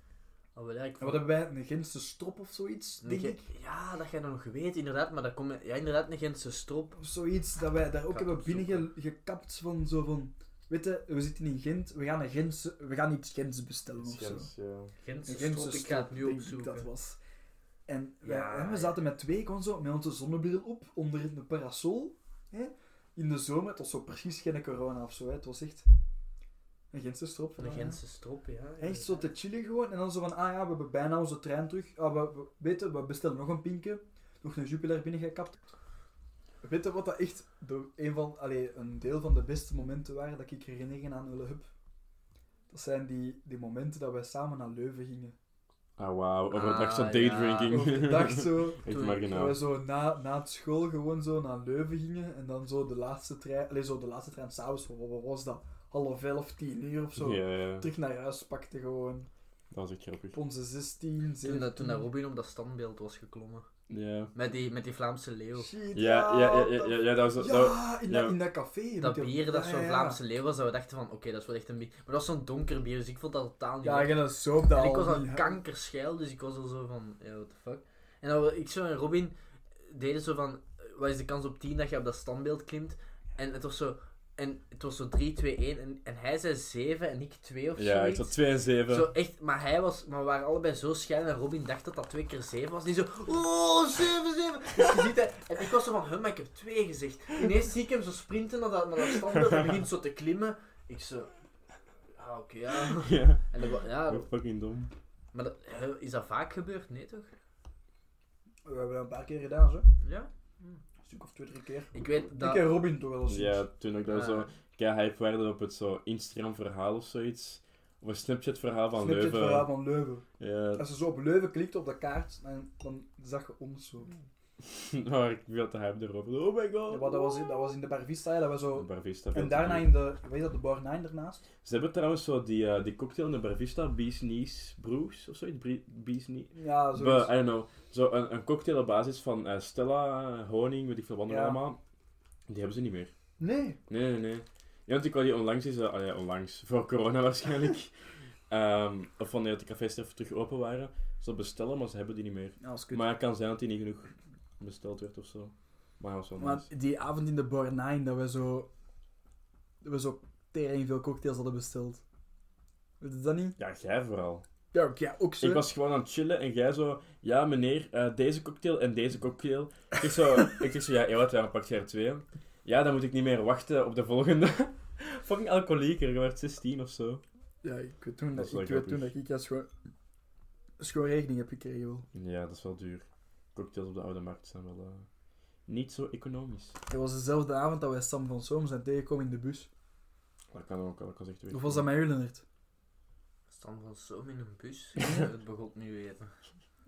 Speaker 1: Oh, wel, ja,
Speaker 2: En
Speaker 1: ik
Speaker 2: wat
Speaker 1: vond-
Speaker 2: hebben wij? Een Gentse strop of zoiets,
Speaker 1: Nee,
Speaker 2: denk ik.
Speaker 1: ge- Ja, dat jij dat nog weet, inderdaad. Maar dat komt... Ja, inderdaad, een Gentse strop.
Speaker 2: Of zoiets, dat wij daar ook
Speaker 1: Ga het
Speaker 2: hebben
Speaker 1: opzoeken.
Speaker 2: binnengekapt van zo van... Weet je, we zitten in Gent, we gaan, een Gentse, we gaan iets Gents bestellen of
Speaker 3: Iets
Speaker 2: zo.
Speaker 3: Gens, ja.
Speaker 1: Gentse,
Speaker 2: Een Gentse
Speaker 1: strop, ik ga het nu
Speaker 2: denk ik
Speaker 1: opzoeken.
Speaker 2: dat was. En wij,
Speaker 1: Ja,
Speaker 2: hè, we
Speaker 1: ja.
Speaker 2: zaten met twee gewoon zo, met onze zonnebril op, onder een parasol. Hè? In de zomer, het was zo precies geen corona of zo. Hè? Het was echt een Gentse strop.
Speaker 1: Een
Speaker 2: vandaag, hè.
Speaker 1: Gentse strop, ja.
Speaker 2: Echt zo te chillen gewoon. En dan zo van, ah ja, we hebben bijna onze trein terug. Ah, we, we, weet je, we bestellen nog een pinken. Nog een Jupiler binnengekapt. Weet je wat dat echt de, een, van, allee, een deel van de beste momenten waren dat ik herinnering aan Ulle Hub? Dat zijn die, die momenten dat wij samen naar Leuven gingen.
Speaker 4: Ah, wauw. Overdag
Speaker 1: Ah,
Speaker 4: zo'n
Speaker 1: ja.
Speaker 4: daydrinking.
Speaker 2: Overdag zo.
Speaker 4: Echt
Speaker 1: Toen-
Speaker 3: nou-
Speaker 2: Dat we
Speaker 4: marginaal.
Speaker 2: zo na, na het school gewoon zo naar Leuven gingen en dan zo de laatste trein, allee, zo de laatste trein s'avonds, wat wat was dat? Half elf, tien uur of
Speaker 4: Ja,
Speaker 2: zo.
Speaker 4: ja, ja. dat
Speaker 2: Terug naar huis pakte gewoon.
Speaker 4: was echt grappig.
Speaker 2: Op onze 16, 17.
Speaker 1: Toen, dat, toen dat
Speaker 2: Hmm.
Speaker 1: Robin op dat standbeeld was geklommen.
Speaker 4: Ja.
Speaker 1: Met die, met die Vlaamse leeuw.
Speaker 2: Shit,
Speaker 4: Ja, ja, ja, ja, ja, ja, dat was...
Speaker 2: dat-
Speaker 4: dat-
Speaker 2: ja, in,
Speaker 4: ja.
Speaker 2: Dat, in dat café.
Speaker 1: Dat
Speaker 2: met die-
Speaker 1: bier, dat
Speaker 2: ja,
Speaker 1: zo'n
Speaker 2: ja,
Speaker 1: Vlaamse leeuw was, dat we dachten van, oké, dat is wel echt een bier. Maar dat was zo'n donker bier, dus ik vond dat totaal niet
Speaker 2: Ja,
Speaker 1: lekker.
Speaker 2: ja, dat is zo op dat
Speaker 1: En ik
Speaker 2: al
Speaker 1: was aan
Speaker 2: niet-
Speaker 1: kankerschijl, dus ik was al zo van, ja, what the fuck. En dan, we- ik zo en Robin deden zo van, eh, wat is de kans op 10 dat je op dat standbeeld klimt? En het was zo, en en het was zo 3, 2, 1. En, en hij zei 7 en ik 2 of
Speaker 3: Ja, ik
Speaker 1: zoiets.
Speaker 3: zat 2 en 7.
Speaker 1: Zo echt, maar hij was, maar we waren allebei zo schijn en Robin dacht dat dat twee keer zeven was. Die zo, oh, zeven, zeven. Dus je ziet dat, en ik was zo van, huh, maar ik heb twee gezegd. Ineens zie ik hem zo sprinten naar dat, naar dat standbeeld en begint zo te klimmen. Ik zo, ah, oké, ja.
Speaker 3: Ja,
Speaker 1: En dat, wa- ja,
Speaker 3: Hoe fucking dom.
Speaker 1: maar dat, huh, is dat vaak gebeurd? Nee, toch?
Speaker 2: We hebben dat een paar keer gedaan, zo.
Speaker 1: Ja?
Speaker 2: Een stuk of twee, drie keer.
Speaker 1: Ik weet dat...
Speaker 2: Ik en Robin toch wel eens.
Speaker 3: Ja, toen ik daar
Speaker 1: Ah.
Speaker 3: zo kei hype werd op het zo Instagram verhaal of zoiets. Of een Snapchat verhaal van
Speaker 2: Snapchat
Speaker 3: Leuven.
Speaker 2: verhaal van Leuven.
Speaker 3: Ja,
Speaker 2: Als je zo op Leuven klikt op dat kaart, dan, dan zag je ons zo.
Speaker 3: maar ik viel te hype erover. Oh my god.
Speaker 2: Ja, maar dat, was in, dat was in de Bar Vista, hè, dat was zo...
Speaker 3: Bar Vista, veel
Speaker 2: En
Speaker 3: te
Speaker 2: daarna
Speaker 3: duur.
Speaker 2: in de... Weet je dat, de Bar 9 ernaast?
Speaker 3: Ze hebben trouwens zo die, eh, die cocktail in de Bar Vista, Bees Knees Brews of zoiets. Bre- Bees Knees.
Speaker 2: Ja,
Speaker 3: But,
Speaker 2: zo.
Speaker 3: I don't know. Zo een, een cocktail op basis van eh, Stella, honing, weet ik veel wat nog
Speaker 2: Ja.
Speaker 3: allemaal. Die hebben ze niet meer.
Speaker 2: Nee.
Speaker 3: Nee, nee, nee. Ja, want ik wou die onlangs is, ah ja, onlangs, voor corona waarschijnlijk. Ehm, of wanneer de cafés er terug open waren, ze bestellen, maar ze hebben die niet meer.
Speaker 2: Ja, als kut.
Speaker 3: Maar het kan zijn dat die niet genoeg besteld werd of zo. Maar ja, dat was wel
Speaker 2: Maar
Speaker 3: nice.
Speaker 2: die avond in de Bar 9, dat we zo... Dat we zo tering veel cocktails hadden besteld. Weet je dat niet?
Speaker 3: Ja, jij vooral.
Speaker 2: Ja, ook- ja ook zo.
Speaker 3: Ik was gewoon aan het chillen en jij zo, ja meneer, eh, deze cocktail en deze cocktail. Ik zeg zo, ik zeg zo ja, Ewout, waarom pak jij er twee? Ja, dan moet ik niet meer wachten op de volgende. Fucking alcoholieker, je werd 16 of zo.
Speaker 2: Ja, ik weet toen
Speaker 3: Dat
Speaker 2: dat,
Speaker 3: is wel
Speaker 2: ik, weet
Speaker 3: grappig.
Speaker 2: toen dat ik als gewoon... Als gewoon rekening heb gekregen, wel.
Speaker 3: Ja, dat is wel duur. Cocktails op de oude markt zijn wel eh, niet zo economisch.
Speaker 2: Het was dezelfde avond dat wij Sam van Soom zijn tegengekomen in de bus.
Speaker 3: Dat kan ook, dat kan echt weer.
Speaker 2: Of was dat met u, Lennart?
Speaker 1: Staan van zo in een bus. Het begon nu weten.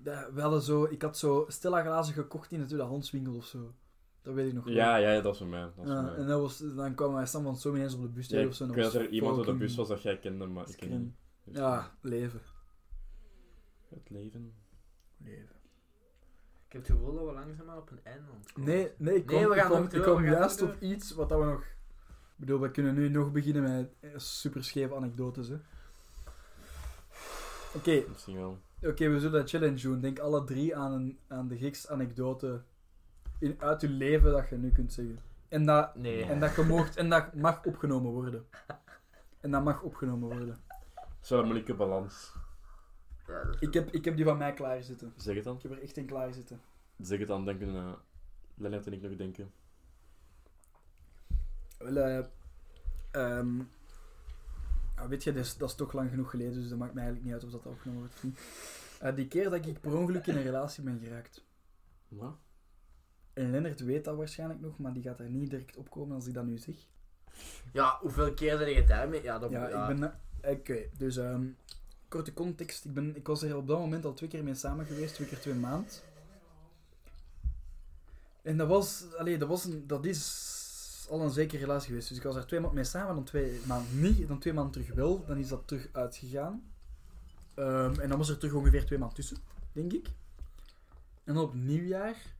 Speaker 2: Ja, we hadden zo... Ik had zo Stella glazen gekocht in de tweedehandswinkel of zo. Dat weet ik nog wel.
Speaker 3: Ja, ja, ja, dat is voor mij. Dat is
Speaker 2: Ja,
Speaker 3: voor mij.
Speaker 2: en dat was, dan kwam wij Sam van Soom ineens op de bus
Speaker 3: Ja,
Speaker 2: tegen
Speaker 3: ik
Speaker 2: of zo. en
Speaker 3: weet dat
Speaker 2: was
Speaker 3: er iemand op de
Speaker 2: fucking
Speaker 3: bus was dat jij kende, maar ik ken
Speaker 2: screen.
Speaker 3: niet. Dus,
Speaker 2: Ja, leven.
Speaker 3: Het leven.
Speaker 2: leven.
Speaker 1: Ik heb het gevoel dat we langzaamaan op een einde aan het komen
Speaker 2: Nee, nee, ik
Speaker 1: Nee,
Speaker 2: kwam,
Speaker 1: we gaan
Speaker 2: ik kwam,
Speaker 1: nog
Speaker 2: ik
Speaker 1: door,
Speaker 2: kwam
Speaker 1: we gaan
Speaker 2: juist
Speaker 1: nog
Speaker 2: op iets wat dat we nog... Ik bedoel, we kunnen nu nog beginnen met super scheve anekdotes, hè. Oké,
Speaker 3: Misschien wel.
Speaker 2: oké, we zullen dat challenge doen. Denk alle drie aan, een, aan de gekste anekdote in, uit je leven dat je nu kunt zeggen. En dat,
Speaker 1: Nee.
Speaker 2: en dat, je moogt, en dat mag opgenomen worden. En dat mag opgenomen worden.
Speaker 3: Het is wel een moeilijke balans.
Speaker 1: Ja, dat is-
Speaker 2: Ik heb, ik heb die van mij klaarzitten.
Speaker 3: Zeg het dan.
Speaker 2: Ik heb er echt in klaarzitten.
Speaker 3: Zeg het dan, denken eh Lennart en ik nog denken.
Speaker 2: Wel, eh, ehm, ah, weet je, dat is, dat is toch lang genoeg geleden, dus dat maakt mij eigenlijk niet uit of dat opgenomen wordt of niet. Eh, die keer dat ik per ongeluk in een relatie ben geraakt.
Speaker 3: Wat?
Speaker 2: En Lennart weet dat waarschijnlijk nog, maar die gaat er niet direct opkomen als ik dat nu zeg.
Speaker 1: Ja, hoeveel keer zijn je daarmee? Ja, dat
Speaker 2: Ja, ik ben... Oké, dus ehm, korte context. Ik, ben, ik was er op dat moment al twee keer mee samen geweest, twee keer twee maand. En dat was... Allee, dat, was een, dat is al een zekere relatie geweest. Dus ik was er twee maanden mee samen, dan twee maanden niet, dan twee maanden terug wel. Dan is dat terug uitgegaan. Ehm, en dan was er terug ongeveer twee maanden tussen, denk ik. En dan op nieuwjaar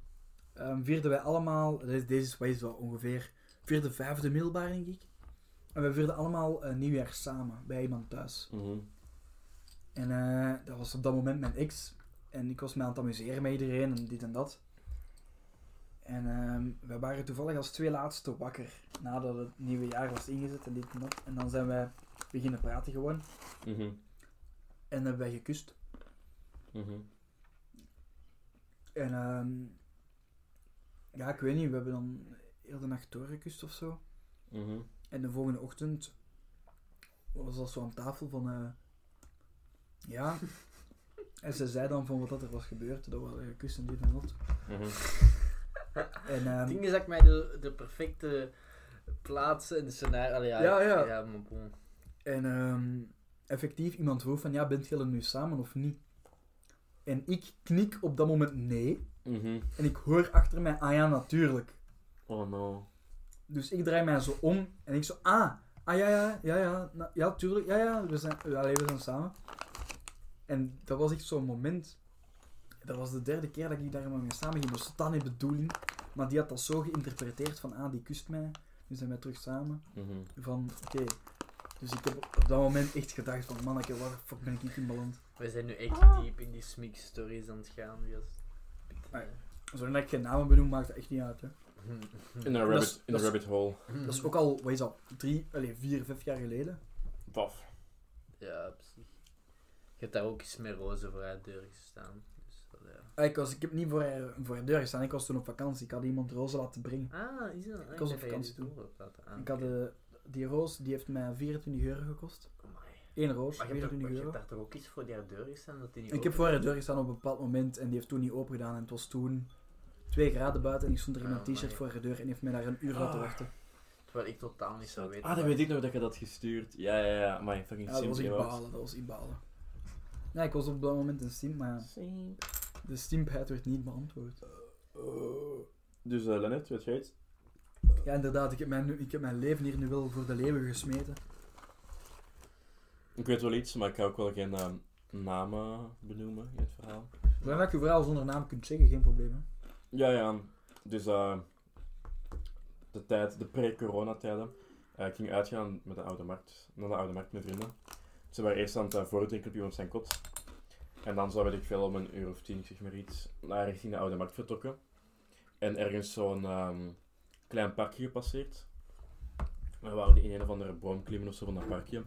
Speaker 2: ehm, vierden wij allemaal... dat is- Deze is, wat is dat, ongeveer vierde, vijfde middelbaar, denk ik. En we vierden allemaal eh, nieuwjaar samen bij iemand thuis.
Speaker 3: Mhm.
Speaker 2: En eh, dat was op dat moment mijn ex. En ik was me aan het amuseren met iedereen en dit en dat. En ehm we waren toevallig als twee laatste wakker. Nadat het nieuwe jaar was ingezet en dit en dat. En dan zijn wij beginnen praten gewoon.
Speaker 3: Mhm.
Speaker 2: En hebben wij gekust.
Speaker 3: Mhm.
Speaker 2: En ehm, ja, ik weet niet, we hebben dan heel de nacht doorgekust of zo.
Speaker 3: Mhm.
Speaker 2: En de volgende ochtend was dat zo aan tafel van... eh, ja. en ze zei dan van wat dat er was gebeurd. Dat was eh, kus en dit en dat.
Speaker 3: Mhm.
Speaker 2: En, ehm
Speaker 1: Het ding is dat ik mij de, de perfecte plaats en de scenario... Allee, ja,
Speaker 2: Ja, ja.
Speaker 1: Ja, maar bon.
Speaker 2: en ehm, effectief, iemand vroeg van ja, bent jullie nu samen of niet? En ik knik op dat moment nee.
Speaker 3: Mhm.
Speaker 2: En ik hoor achter mij, ah ja, natuurlijk.
Speaker 3: Oh no.
Speaker 2: Dus ik draai mij zo om en ik zo, ah, ah ja, ja, ja, ja, na- ja, tuurlijk, ja, ja, we zijn, ja, allee, we zijn samen. En dat was echt zo'n moment, dat was de derde keer dat ik daar maar mee samen ging, dat was totaal niet bedoeling. Maar die had dat zo geïnterpreteerd van, ah, die kust mij, nu zijn wij terug samen.
Speaker 3: Mhm.
Speaker 2: Van, oké, dus ik heb op dat moment echt gedacht van, manneke, waar de fuck ben ik in beland?
Speaker 1: We zijn nu echt diep in die smik stories aan het gaan. Dus...
Speaker 2: Ah, Zolang ik geen namen benoem, maakt dat echt niet uit, hè.
Speaker 3: In een
Speaker 2: Dat is-
Speaker 3: rabbit, in een
Speaker 2: dat is-
Speaker 3: rabbit hole.
Speaker 2: Dat is ook al, wat is dat, drie, allez, vier, vijf jaar geleden.
Speaker 3: Paf.
Speaker 1: Ja, op zich. Je hebt daar ook eens met rozen voor uit de deur gestaan. Dus dat, ja.
Speaker 2: Ah, Ik, was, ik heb niet voor haar, voor haar deur gestaan, ik was toen op vakantie. Ik had iemand rozen laten brengen.
Speaker 1: Ah, is dat? Ah,
Speaker 2: Ik was
Speaker 1: dacht
Speaker 2: op
Speaker 1: dat je
Speaker 2: vakantie
Speaker 1: die
Speaker 2: toen.
Speaker 1: toer op had. Ah,
Speaker 2: Ik had,
Speaker 1: oké.
Speaker 2: eh, die roos, die heeft mij 24 euro gekost.
Speaker 1: Amai.
Speaker 2: Eén roos,
Speaker 1: Maar je hebt, toch-
Speaker 2: 24 eh,
Speaker 1: je
Speaker 2: euro.
Speaker 1: hebt daar toch ook iets voor die deur gestaan dat die niet
Speaker 2: Ik heb
Speaker 1: open
Speaker 2: voor haar deur gestaan op een bepaald moment en die heeft toen niet open gedaan. En het was toen twee graden buiten en ik stond er in mijn
Speaker 1: Oh, Ah,
Speaker 2: t-shirt
Speaker 1: amai.
Speaker 2: voor haar deur en heeft mij daar een uur laten wachten.
Speaker 1: Terwijl ik totaal niet zou weten.
Speaker 3: Ah, dat
Speaker 1: waar-
Speaker 3: weet ik nog dat je dat gestuurd. Ja, ja, ja. Maar fucking
Speaker 2: Ja, dat was
Speaker 3: Sims,
Speaker 2: echt
Speaker 3: je was.
Speaker 2: balen, dat was echt balen. Ja, ik was op dat moment een simp, maar ja,
Speaker 3: Eh.
Speaker 2: de simpheid werd niet beantwoord.
Speaker 3: Dus eh Lennart, weet jij het?
Speaker 2: Ja, inderdaad, ik heb, mijn, nu- ik heb mijn leven hier nu wel voor de leeuwen gesmeten.
Speaker 3: Ik weet wel iets, maar ik ga ook wel geen eh, namen benoemen in het verhaal.
Speaker 2: Maar dat je vooral zonder naam kunt zeggen, geen probleem. Hè?
Speaker 3: Ja, ja. Dus eh, de tijd, de pre-coronatijden. eh, ik ging uitgaan met de oude markt, naar de oude markt met vrienden. Ze waren eerst aan het uh, voordenken op iemand zijn kot. En dan zou weet ik veel om een uur of tien, ik zeg maar iets, naar richting de oude markt vertrokken. En ergens zo'n ehm, klein parkje gepasseerd. We waren die in een of andere boom klimmen of zo van dat parkje.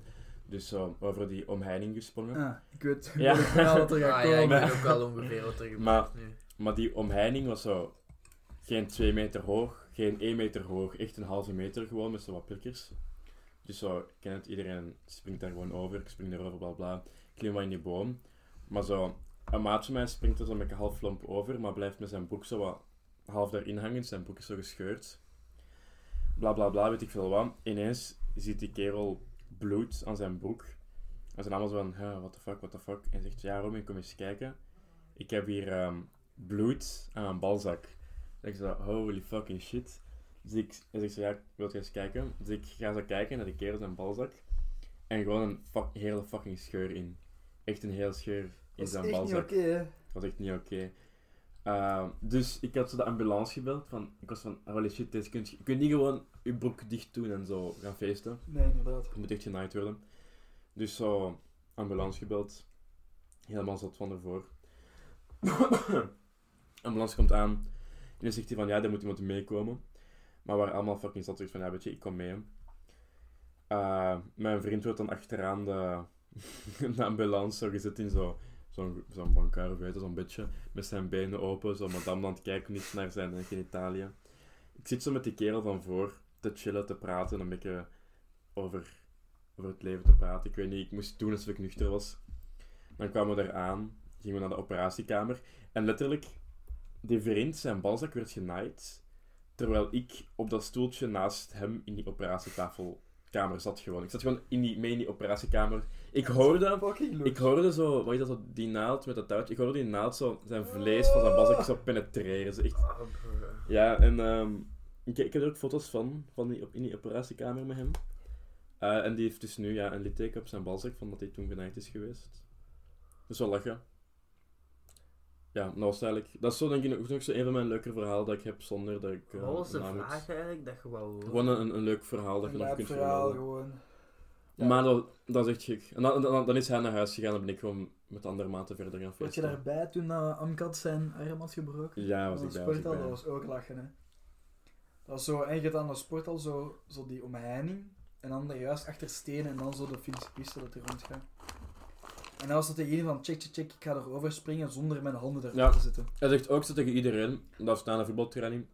Speaker 3: Dus zo over die omheining gesprongen.
Speaker 2: Ah, ik weet
Speaker 3: Ja.
Speaker 2: welk verhaal dat er gaat
Speaker 1: Ah ja, ik
Speaker 2: komen.
Speaker 1: weet ook wel ongeveer wat er gebeurt
Speaker 3: Maar-
Speaker 1: nu.
Speaker 3: Maar die omheining was zo geen 2 meter hoog, geen 1 meter hoog, echt een halve meter gewoon met zo wat pikkers. Dus zo, ik ken het, iedereen springt daar gewoon over, ik spring erover, bla bla, klim wat in die boom. Maar zo, een maat van mij springt er zo'n beetje half lomp over, maar blijft met zijn broek zo wat half daarin hangen, zijn broek is zo gescheurd. Bla bla bla, weet ik veel wat. Ineens ziet die kerel bloed aan zijn broek. En zijn allemaal zo van, huh, what the fuck, what the fuck. En zegt, ja Robin, kom eens kijken. Ik heb hier ehm, bloed aan een balzak. En ik zo, holy fucking shit. Dus ik, dus ik zo, ja, wil je eens kijken? Dus ik ga zo kijken naar de kerel zijn balzak. En gewoon een fuck, hele fucking scheur in. Echt een hele scheur in
Speaker 2: Dat is
Speaker 3: zijn
Speaker 2: echt niet
Speaker 3: balzak.
Speaker 2: oké, hè.
Speaker 3: Dat was echt niet oké. Ehm, dus ik had zo de ambulance gebeld. Van, ik was van, holy shit, deze kun je, je kunt niet gewoon je broek dicht doen en zo gaan feesten.
Speaker 2: Nee, inderdaad.
Speaker 3: Je moet echt genaaid worden. Dus zo, ambulance gebeld. Helemaal zat van ervoor. ambulance komt aan. En dan zegt hij van, ja, daar moet iemand meekomen. Maar we waren allemaal fucking zat. Dus van, ja, weet je, ik kom mee. Eh, mijn vriend wordt dan achteraan de, de ambulance zo gezet in zo- zo'n zo zo'n bankar, of weet je, zo'n beetje. Met zijn benen open, zo madame aan het kijken is naar zijn eh, genitaliën. Ik zit zo met die kerel van voor te chillen, te praten, een beetje over, over het leven te praten. Ik weet niet, ik moest doen alsof ik nuchter was. Dan kwamen we eraan, gingen we naar de operatiekamer. En letterlijk, die vriend, zijn balzak werd genaaid. Terwijl ik op dat stoeltje naast hem in die operatietafelkamer zat gewoon. Ik zat gewoon in die, mee in die operatiekamer. Ik hoorde...
Speaker 2: Fucking loose.
Speaker 3: Ik hoorde zo, wat is dat, zo, die naald met dat touwtje? Ik hoorde die naald zo, zijn vlees van zijn balzak zo penetreren. Zo echt.
Speaker 1: Ah, bro.
Speaker 3: Ja, en ehm, ik, ik heb er ook foto's van, van die, op- in die operatiekamer met hem. Eh, en die heeft dus nu ja, een litteken op zijn balzak van dat hij toen genaaid is geweest. Dus wel lachen. Ja, nou was eigenlijk... Dat is zo denk ik ook nog zo een van mijn leuker verhaal dat ik heb zonder dat ik... eh,
Speaker 1: Wat was de
Speaker 3: een naam moet-
Speaker 1: vraag eigenlijk dat je wou horen?
Speaker 3: Gewoon een, een leuk verhaal dat je nog
Speaker 2: Lijp
Speaker 3: kunt
Speaker 2: verhaal
Speaker 3: vermelden.
Speaker 2: gewoon.
Speaker 1: Ja.
Speaker 3: Maar dat, dat is echt gek. En dan, dan, dan is hij naar huis gegaan en ben ik gewoon met de andere maten verder gaan
Speaker 2: Word je
Speaker 3: feesten.
Speaker 2: daarbij toen eh, Amkat zijn arm had gebroken?
Speaker 3: Ja, was
Speaker 2: Aan
Speaker 3: ik
Speaker 2: het
Speaker 3: bij. Was ik
Speaker 2: sporthal,
Speaker 3: bij.
Speaker 2: dat was ook lachen, hè. Dat was zo, en je gaat aan de sporthal zo, zo die omheining, en dan daar juist achter stenen, en dan zo de fietspiste dat er rondgaan. En dan was dat tegen iedereen van, check, check, check, ik ga erover springen zonder mijn handen erop
Speaker 3: Ja.
Speaker 2: te zitten.
Speaker 3: Hij zegt ook zo tegen iedereen, dat we staan aan de voetbaltraining.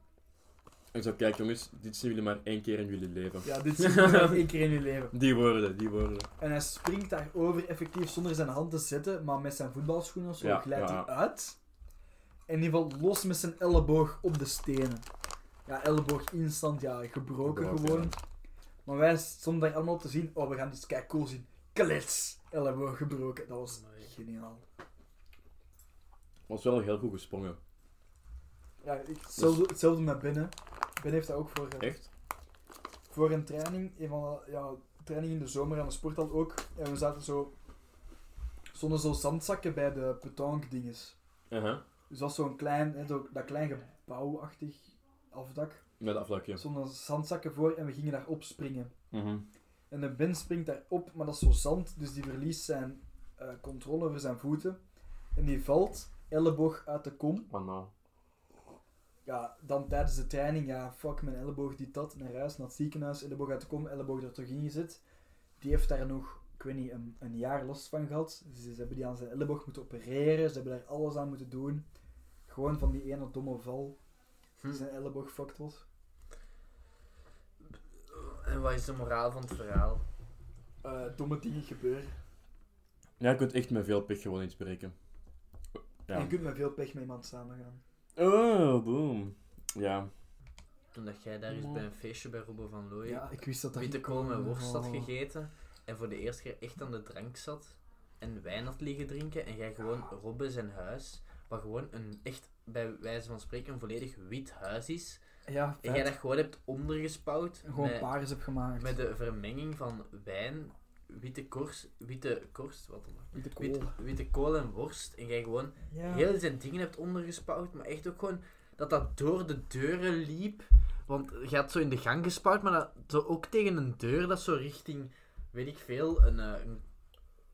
Speaker 3: Ik zou kijk jongens, dit zien jullie maar één keer in jullie leven.
Speaker 2: Ja, dit zie je echt één keer in je leven.
Speaker 3: Die woorden, die woorden.
Speaker 2: En hij springt daarover effectief zonder zijn hand te zetten, maar met zijn voetbalschoenen of zo
Speaker 3: Ja,
Speaker 2: glijdt
Speaker 3: ja.
Speaker 2: hij uit. En die valt los met zijn elleboog op de stenen. Ja, elleboog instant, ja, gebroken
Speaker 3: Gebroken,
Speaker 2: gewoon.
Speaker 3: ja.
Speaker 2: Maar wij stonden daar allemaal te zien, oh, we gaan dit kijk cool zien. Klets! Elleboog gebroken, dat was
Speaker 1: Amai.
Speaker 2: geniaal.
Speaker 3: Was wel heel goed gesprongen.
Speaker 2: Ja, ik- hetzelfde, hetzelfde met binnen. Ben heeft dat ook voor, eh,
Speaker 3: Echt?
Speaker 2: voor een training, een van de- ja, training in de zomer aan de sporthal ook. En we zaten zo, stonden zo zandzakken bij de petanque dinges.
Speaker 3: Uh-huh.
Speaker 2: Dus dat is zo'n klein, hè, zo, dat klein gebouwachtig afdak.
Speaker 3: Met aflakje.
Speaker 2: Er stonden zandzakken voor en we gingen daarop springen.
Speaker 3: Mhm.
Speaker 4: Mm-hmm.
Speaker 2: En de Ben springt daarop, maar dat is zo zand, dus die verliest zijn eh, controle over zijn voeten. En die valt, elleboog uit de kom.
Speaker 3: Oh no.
Speaker 2: ja, dan tijdens de training, ja, fuck, mijn elleboog, die dat, naar huis, naar het ziekenhuis, elleboog uit de kom, elleboog er toch in gezet. Die heeft daar nog, ik weet niet, een, een jaar last van gehad. Dus Ze, ze hebben die aan zijn elleboog moeten opereren, ze hebben daar alles aan moeten doen. Gewoon van die ene domme val, die
Speaker 1: Hm.
Speaker 2: zijn elleboog fucked was.
Speaker 1: En wat is de moraal van het verhaal?
Speaker 2: Eh, domme dingen gebeuren.
Speaker 4: Ja, je kunt echt met veel pech gewoon iets breken.
Speaker 2: En
Speaker 4: Ja.
Speaker 2: je kunt met veel pech met iemand samengaan.
Speaker 4: Oh, boom. Ja.
Speaker 1: Toen dat jij daar eens bij een feestje bij Robbe van Looy
Speaker 2: Ja, ik wist dat dat
Speaker 1: Oh, witte
Speaker 2: ging
Speaker 1: kool met
Speaker 2: komen.
Speaker 1: worst had
Speaker 2: Oh.
Speaker 1: gegeten en voor de eerste keer echt aan de drank zat en wijn had liggen drinken en jij gewoon Robbe zijn huis, wat gewoon een echt, bij wijze van spreken, een volledig wit huis is.
Speaker 2: Ja,
Speaker 1: En jij
Speaker 2: vet.
Speaker 1: dat gewoon hebt ondergespouwd
Speaker 2: gewoon
Speaker 1: met,
Speaker 2: paars heb gemaakt.
Speaker 1: met de vermenging van wijn, witte korst, witte korst, wat dan ook.
Speaker 2: Witte kool.
Speaker 1: Witte, witte kool en worst en jij gewoon
Speaker 2: Ja.
Speaker 1: heel zijn dingen hebt ondergespouwd, maar echt ook gewoon dat dat door de deuren liep. Want je had zo in de gang gespouwd, maar dat, zo ook tegen een deur dat zo richting, weet ik veel, een, eh, een,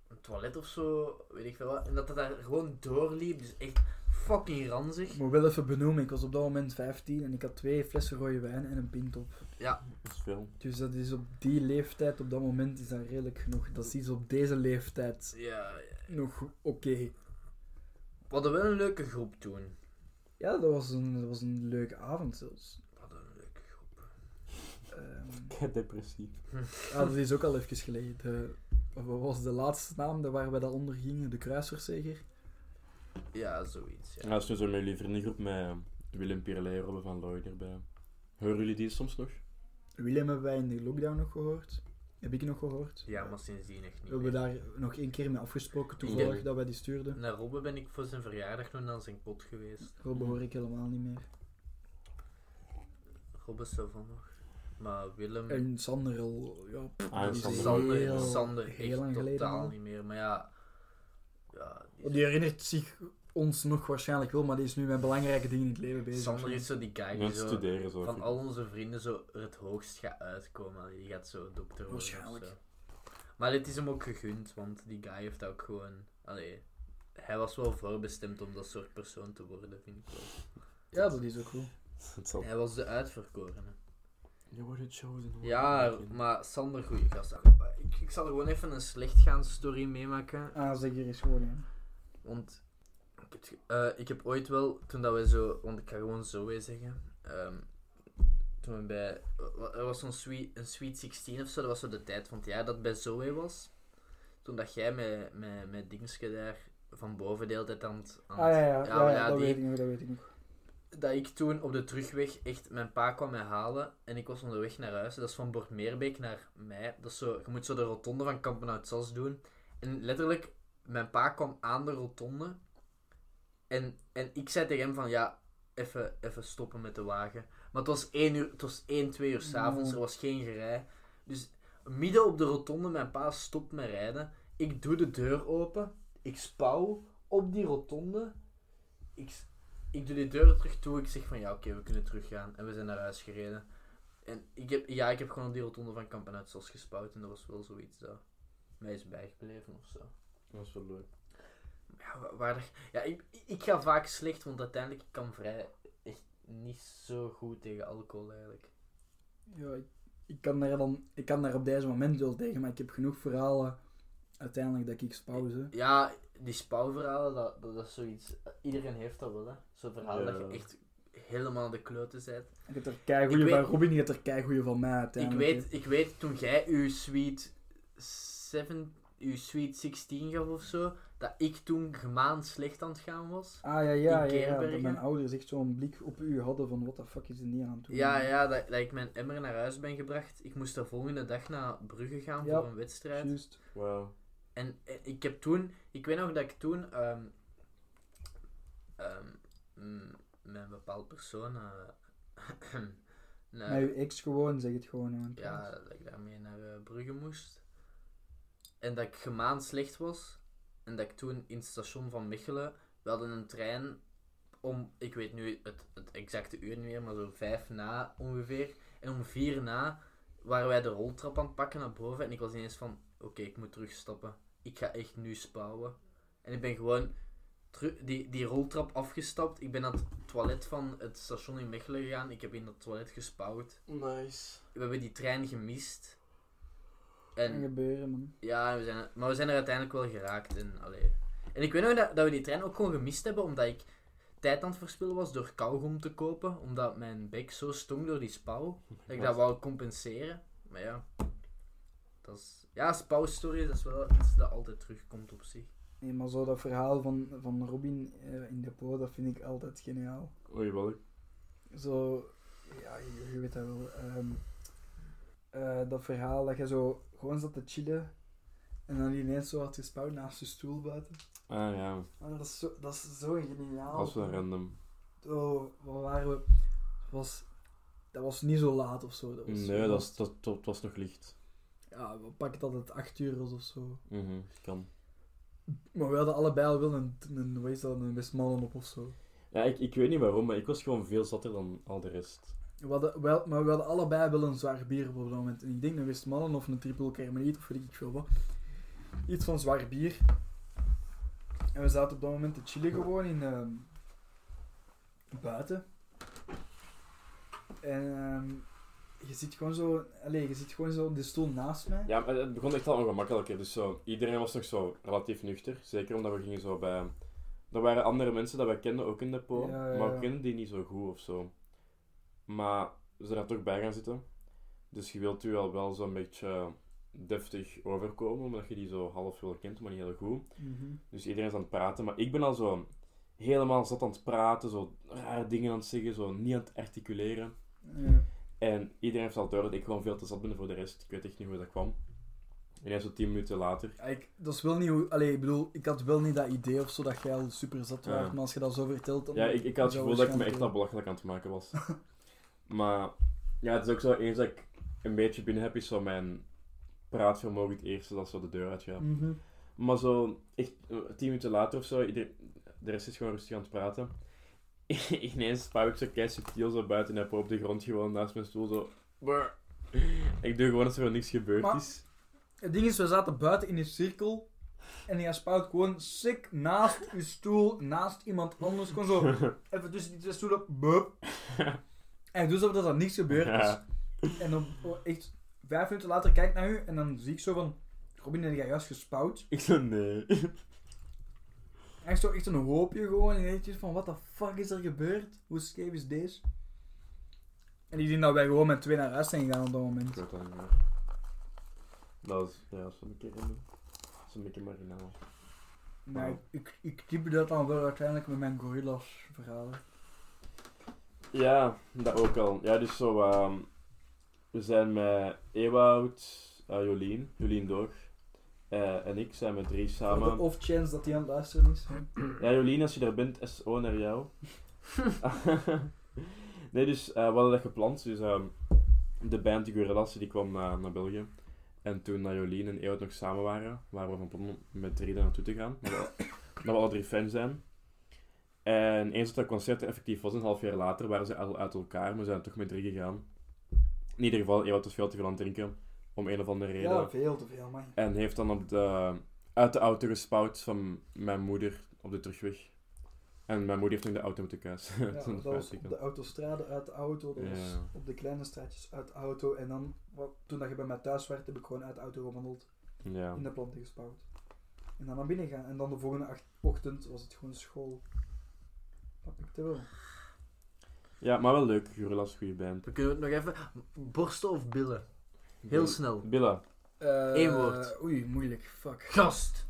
Speaker 1: een toilet of zo, weet ik veel wat. En dat dat daar gewoon doorliep, dus echt fucking ranzig.
Speaker 2: Ik moet wel even benoemen, ik was op dat moment 15 en ik had twee flessen rode wijn en een pint op.
Speaker 4: Dat is veel.
Speaker 2: Dus dat is op die leeftijd, op dat moment is dat redelijk genoeg. Dat is iets op deze leeftijd
Speaker 1: Ja,
Speaker 2: nog oké.
Speaker 1: we hadden wel een leuke groep toen.
Speaker 2: Ja, dat was, een, dat was een leuke avond zelfs.
Speaker 1: We hadden een leuke groep.
Speaker 2: Ehm,
Speaker 4: Depressief.
Speaker 2: ja, dat is ook al even geleden. De, wat was de laatste naam daar waar we dat onder gingen? De kruisverzeger?
Speaker 1: Ja, zoiets. Ja.
Speaker 4: Ja, dat is nu zo met jullie vriendengroep met Willem Pirley, Robben van Looy erbij. Horen jullie die soms nog?
Speaker 2: Willem hebben wij in de lockdown nog gehoord. Heb ik nog gehoord.
Speaker 1: ja, maar sindsdien echt
Speaker 2: We
Speaker 1: niet.
Speaker 2: hebben
Speaker 1: meer.
Speaker 2: daar nog één keer mee afgesproken, toevallig, dat wij die stuurden.
Speaker 1: Naar Robbe ben ik voor zijn verjaardag nog aan zijn kot geweest.
Speaker 2: Robbe hoor ik helemaal niet meer.
Speaker 1: Robbe is zo van nog. Maar Willem...
Speaker 2: En Sander al, ja, pff,
Speaker 4: Ah, en
Speaker 2: die is
Speaker 4: Sander.
Speaker 1: Sander,
Speaker 2: heel-
Speaker 1: Sander
Speaker 2: heel
Speaker 1: echt
Speaker 2: lang geleden
Speaker 1: totaal
Speaker 2: al.
Speaker 1: niet meer. Maar ja, ja die-
Speaker 2: Die herinnert zich ons nog waarschijnlijk wel, maar die is nu met belangrijke dingen in het leven bezig.
Speaker 1: Sander is zo die guy die
Speaker 4: Mensen
Speaker 1: zo
Speaker 4: studeren zo.
Speaker 1: van al onze vrienden zo er het hoogst gaat uitkomen. Die gaat zo dokter worden. of
Speaker 2: Waarschijnlijk.
Speaker 1: zo. Maar dit is hem ook gegund, want die guy heeft ook gewoon... Allee, hij was wel voorbestemd om dat soort persoon te worden, vind ik wel.
Speaker 2: Ja, dat is ook cool.
Speaker 4: Het zal-
Speaker 1: Hij was de uitverkorene.
Speaker 4: Je wordt het chosen.
Speaker 2: Oh,
Speaker 1: Ja,
Speaker 4: Oké.
Speaker 1: maar Sander, goeie gast. Ik, ik zal gewoon even een slecht gaan story meemaken.
Speaker 2: Ah, zeker is gewoon, ja.
Speaker 1: Want ik heb, het ge- eh, ik heb ooit wel, toen dat we zo, want ik ga gewoon zo weer zeggen. ehm, toen we bij, wa- er was zo'n sweet, een Sweet 16 of zo, dat was zo de tijd van het jaar dat bij Zoe was. Toen dat jij met, met, met Dingske daar van boven de hele tijd aan het... aan
Speaker 2: Ah, ja, ja, ja,
Speaker 1: het-
Speaker 2: ja,
Speaker 1: maar
Speaker 2: dat
Speaker 1: die-
Speaker 2: weet ik nog, dat weet ik nog.
Speaker 1: dat ik toen op de terugweg echt mijn pa kwam mij halen en ik was onderweg naar huis. Dat is van Bortmeerbeek naar mij. Dat is zo, je moet zo de rotonde van Kampen uit Zas doen. En letterlijk, mijn pa kwam aan de rotonde. En, en ik zei tegen hem van, ja, even even stoppen met de wagen. Maar het was 1, uur, het was 1 2 uur s'avonds,
Speaker 2: Mm.
Speaker 1: er was geen gerij. Dus midden op de rotonde, mijn pa stopt met rijden. Ik doe de deur open, ik spouw op die rotonde. Ik, s- ik doe die deur terug toe, ik zeg van, ja, oké, we kunnen teruggaan. En we zijn naar huis gereden. En ik heb, ja, ik heb gewoon op die rotonde van Kampen uit Sos gespouwd. En dat was wel zoiets dat mij is bijgebleven of zo.
Speaker 4: Dat is wel leuk.
Speaker 1: Ja, wa- waar, dat- ja ik, ik ga vaak slecht, want uiteindelijk ik kan vrij echt niet zo goed tegen alcohol eigenlijk.
Speaker 2: Ja, ik, ik kan daar dan, ik kan daar op deze moment wel tegen, maar ik heb genoeg verhalen uiteindelijk dat ik pauze.
Speaker 1: Ja, die spouwverhalen, dat, dat, dat is zoiets. Iedereen heeft dat wel, hè? Zo'n verhaal dat je
Speaker 4: Ja.
Speaker 1: echt helemaal de klote bent.
Speaker 2: Ik heb er keigoeie
Speaker 1: Ik
Speaker 2: van
Speaker 1: weet-
Speaker 2: Robin, je hebt er keigoeie van mij
Speaker 1: Ik
Speaker 2: uiteindelijk.
Speaker 1: weet, ik weet toen jij uw Sweet 7, uw Sweet 16 gaf of zo, dat ik toen gemaand slecht aan het gaan was.
Speaker 2: Ah, ja, ja,
Speaker 1: in
Speaker 2: ja, ja, dat
Speaker 1: Keerbergen.
Speaker 2: mijn ouders echt zo'n blik op u hadden van, what the fuck is er niet aan toe?
Speaker 1: Ja, ja, dat, dat ik mijn emmer naar huis ben gebracht. Ik moest de volgende dag naar Brugge gaan
Speaker 2: Ja,
Speaker 1: voor een wedstrijd.
Speaker 2: Juist.
Speaker 4: Wauw.
Speaker 1: En eh, ik heb toen, ik weet nog dat ik toen ehm, ehm, mm, met een bepaald persoon. eh, naar-
Speaker 2: Met uw ex gewoon, zeg het gewoon. jongen.
Speaker 1: ja, dat ik daarmee naar eh, Brugge moest. En dat ik gemaand slecht was. En dat ik toen in het station van Mechelen. We hadden een trein om, ik weet nu het, het exacte uur niet meer, maar zo vijf na ongeveer. En om vier na waren wij de roltrap aan het pakken naar boven. En ik was ineens van: oké, ik moet terugstappen. Ik ga echt nu spouwen. En ik ben gewoon teru- die, die roltrap afgestapt. Ik ben aan het toilet van het station in Mechelen gegaan. Ik heb in dat toilet gespouwd.
Speaker 3: Nice.
Speaker 1: We hebben die trein gemist.
Speaker 2: Kan
Speaker 1: En
Speaker 2: gebeuren, man.
Speaker 1: ja, we zijn, maar we zijn er uiteindelijk wel geraakt. En, allee. en ik weet nog dat, dat we die trein ook gewoon gemist hebben, omdat ik tijd aan het verspillen was door kauwgom te kopen. Omdat mijn bek zo stonk door die spouw, dat ik dat wou compenseren. Maar ja, dat is... Ja, spouwstories, dat is wel iets dat altijd terugkomt op zich.
Speaker 2: Nee, maar zo dat verhaal van, van Robin eh, in de po, dat vind ik altijd geniaal.
Speaker 3: Oei, wat?
Speaker 2: Zo, ja, je, je weet dat wel. ehm, eh, dat verhaal dat je zo gewoon zat te chillen en dan ineens zo had gespouwd naast je stoel buiten.
Speaker 3: Ah ja,
Speaker 4: Oh.
Speaker 2: Ah, dat, is zo, dat is zo geniaal.
Speaker 3: als we random.
Speaker 2: Oh, waar waren we? Was, dat was niet zo laat of zo. Dat was,
Speaker 3: Nee, dat, is- dat, dat was nog licht.
Speaker 2: Ja, we pakken dat het acht uur was of zo.
Speaker 3: Mhm, Kan.
Speaker 2: Maar we hadden allebei al wel een, een, hoe is dat, een Westmannen op of zo.
Speaker 3: Ja, ik, ik weet niet waarom, maar ik was gewoon veel zatter dan al de rest.
Speaker 2: We hadden, wel, maar we hadden allebei wel een zwaar bier op dat moment. En ik denk een Westmannen of een triple Carmeliet of weet ik veel wat. Iets van zwaar bier. En we zaten op dat moment te chillen gewoon in... ehm, buiten. En ehm, je zit gewoon zo... Allee, je zit gewoon zo op de stoel naast mij.
Speaker 3: Ja, maar het begon echt al ongemakkelijker. Dus zo, iedereen was nog zo relatief nuchter. Zeker omdat we gingen zo bij... Er waren andere mensen dat wij kenden ook in de pool.
Speaker 2: Ja, ja,
Speaker 3: Maar
Speaker 2: ja.
Speaker 3: we kenden die niet zo goed of zo. Maar ze zijn er toch bij gaan zitten. Dus je wilt u al wel zo'n beetje deftig overkomen. Omdat je die zo half wel kent, maar niet heel goed.
Speaker 2: Mhm.
Speaker 3: Dus iedereen is aan het praten, maar ik ben al zo helemaal zat aan het praten, zo rare dingen aan het zeggen, zo niet aan het articuleren.
Speaker 2: Ja.
Speaker 3: En iedereen heeft al door dat ik gewoon veel te zat ben voor de rest. Ik weet echt niet hoe dat kwam. En zo tien minuten later.
Speaker 2: Ja, Eh, ik, dat is wel niet hoe... Allee, ik bedoel, ik had wel niet dat idee of zo dat jij al super zat
Speaker 3: Ja.
Speaker 2: was. Maar als je dat zo vertelt, dan...
Speaker 3: Ja, ik, ik had het
Speaker 2: zou
Speaker 3: gevoel dat ik me echt al
Speaker 2: waarschijnlijk
Speaker 3: belachelijk aan het maken was. Maar ja, het is ook zo, eens dat ik een beetje binnen heb, is zo mijn praatvermogen het eerste dat zo de deur uitgaat.
Speaker 2: wel- Mhm.
Speaker 3: Maar zo, echt eh, tien minuten later of zo, ieder- de rest is gewoon rustig aan het praten. Ineens spouw ik zo kei subtiel zo buiten en heb op de grond gewoon naast mijn stoel zo. brr. Ik doe gewoon alsof er niks gebeurd
Speaker 2: Maar-
Speaker 3: is.
Speaker 2: Het ding is, we zaten buiten in een cirkel. En hij spuit gewoon sick naast uw stoel, naast iemand anders. Gewoon zo even tussen die twee stoelen. Bup. En doet alsof dat er niks gebeurd is.
Speaker 3: Ja.
Speaker 2: En dan oh, echt vijf minuten later kijk ik naar u en dan zie ik zo van... Robin, heb jij juist gespouwd?
Speaker 3: Ik zo, nee.
Speaker 2: Echt zo echt een hoopje gewoon. En je van, wat de fuck is er gebeurd? Hoe scheef is deze? En ik denk dat wij gewoon met twee naar huis zijn gegaan op dat moment.
Speaker 3: Ik weet dat niet meer. Dat was, ja, dat is een beetje random. Dat is een beetje marginaal.
Speaker 2: Maar ik, ik, ik type dat dan wel uiteindelijk met mijn gorillas verhalen.
Speaker 3: Ja, dat ook al. Ja, dus zo, ehm, we zijn met Ewout, eh, Jolien, Jolien Doog eh, en ik zijn met drie samen.
Speaker 2: Voor de off chance dat hij aan het luisteren is.
Speaker 3: Ja, Jolien, als je daar bent, SO naar jou. nee, dus eh, we hadden dat gepland. Dus ehm, de band, de Gorillaz, die kwam eh, naar België. En toen dat Jolien en Ewout nog samen waren, waren we van plan om met drie daar naartoe te gaan. Maar dat, dat we alle drie fan zijn. En eens dat dat concert er effectief was, een half jaar later, waren ze al uit elkaar. Maar we zijn toch met drie gegaan. In ieder geval, Ewout was veel te veel aan het drinken. Om een of andere reden.
Speaker 2: Ja, veel te veel, man.
Speaker 3: En heeft dan op de, uit de auto gespouwd van mijn moeder op de terugweg. En mijn moeder heeft nog in de auto moeten
Speaker 2: Ja,
Speaker 3: kuisen. Dat is
Speaker 2: dat
Speaker 3: een
Speaker 2: was op
Speaker 3: feit,
Speaker 2: de autostrade uit de auto, dat was
Speaker 3: Ja.
Speaker 2: op de kleine straatjes uit de auto. En dan, wat, toen dat je bij mij thuis werd, heb ik gewoon uit de auto gewandeld,
Speaker 3: Ja.
Speaker 2: in de planten gespouwd. En dan naar binnen gaan. En dan de volgende acht- ochtend was het gewoon school. Dat ik te wel.
Speaker 3: ja, maar wel leuk. Gorillaz, goede band.
Speaker 1: We kunnen het nog even... Borsten of billen? Heel snel.
Speaker 3: Billa.
Speaker 1: Eén woord.
Speaker 2: Eh, Oei, moeilijk. Fuck.
Speaker 1: Gast!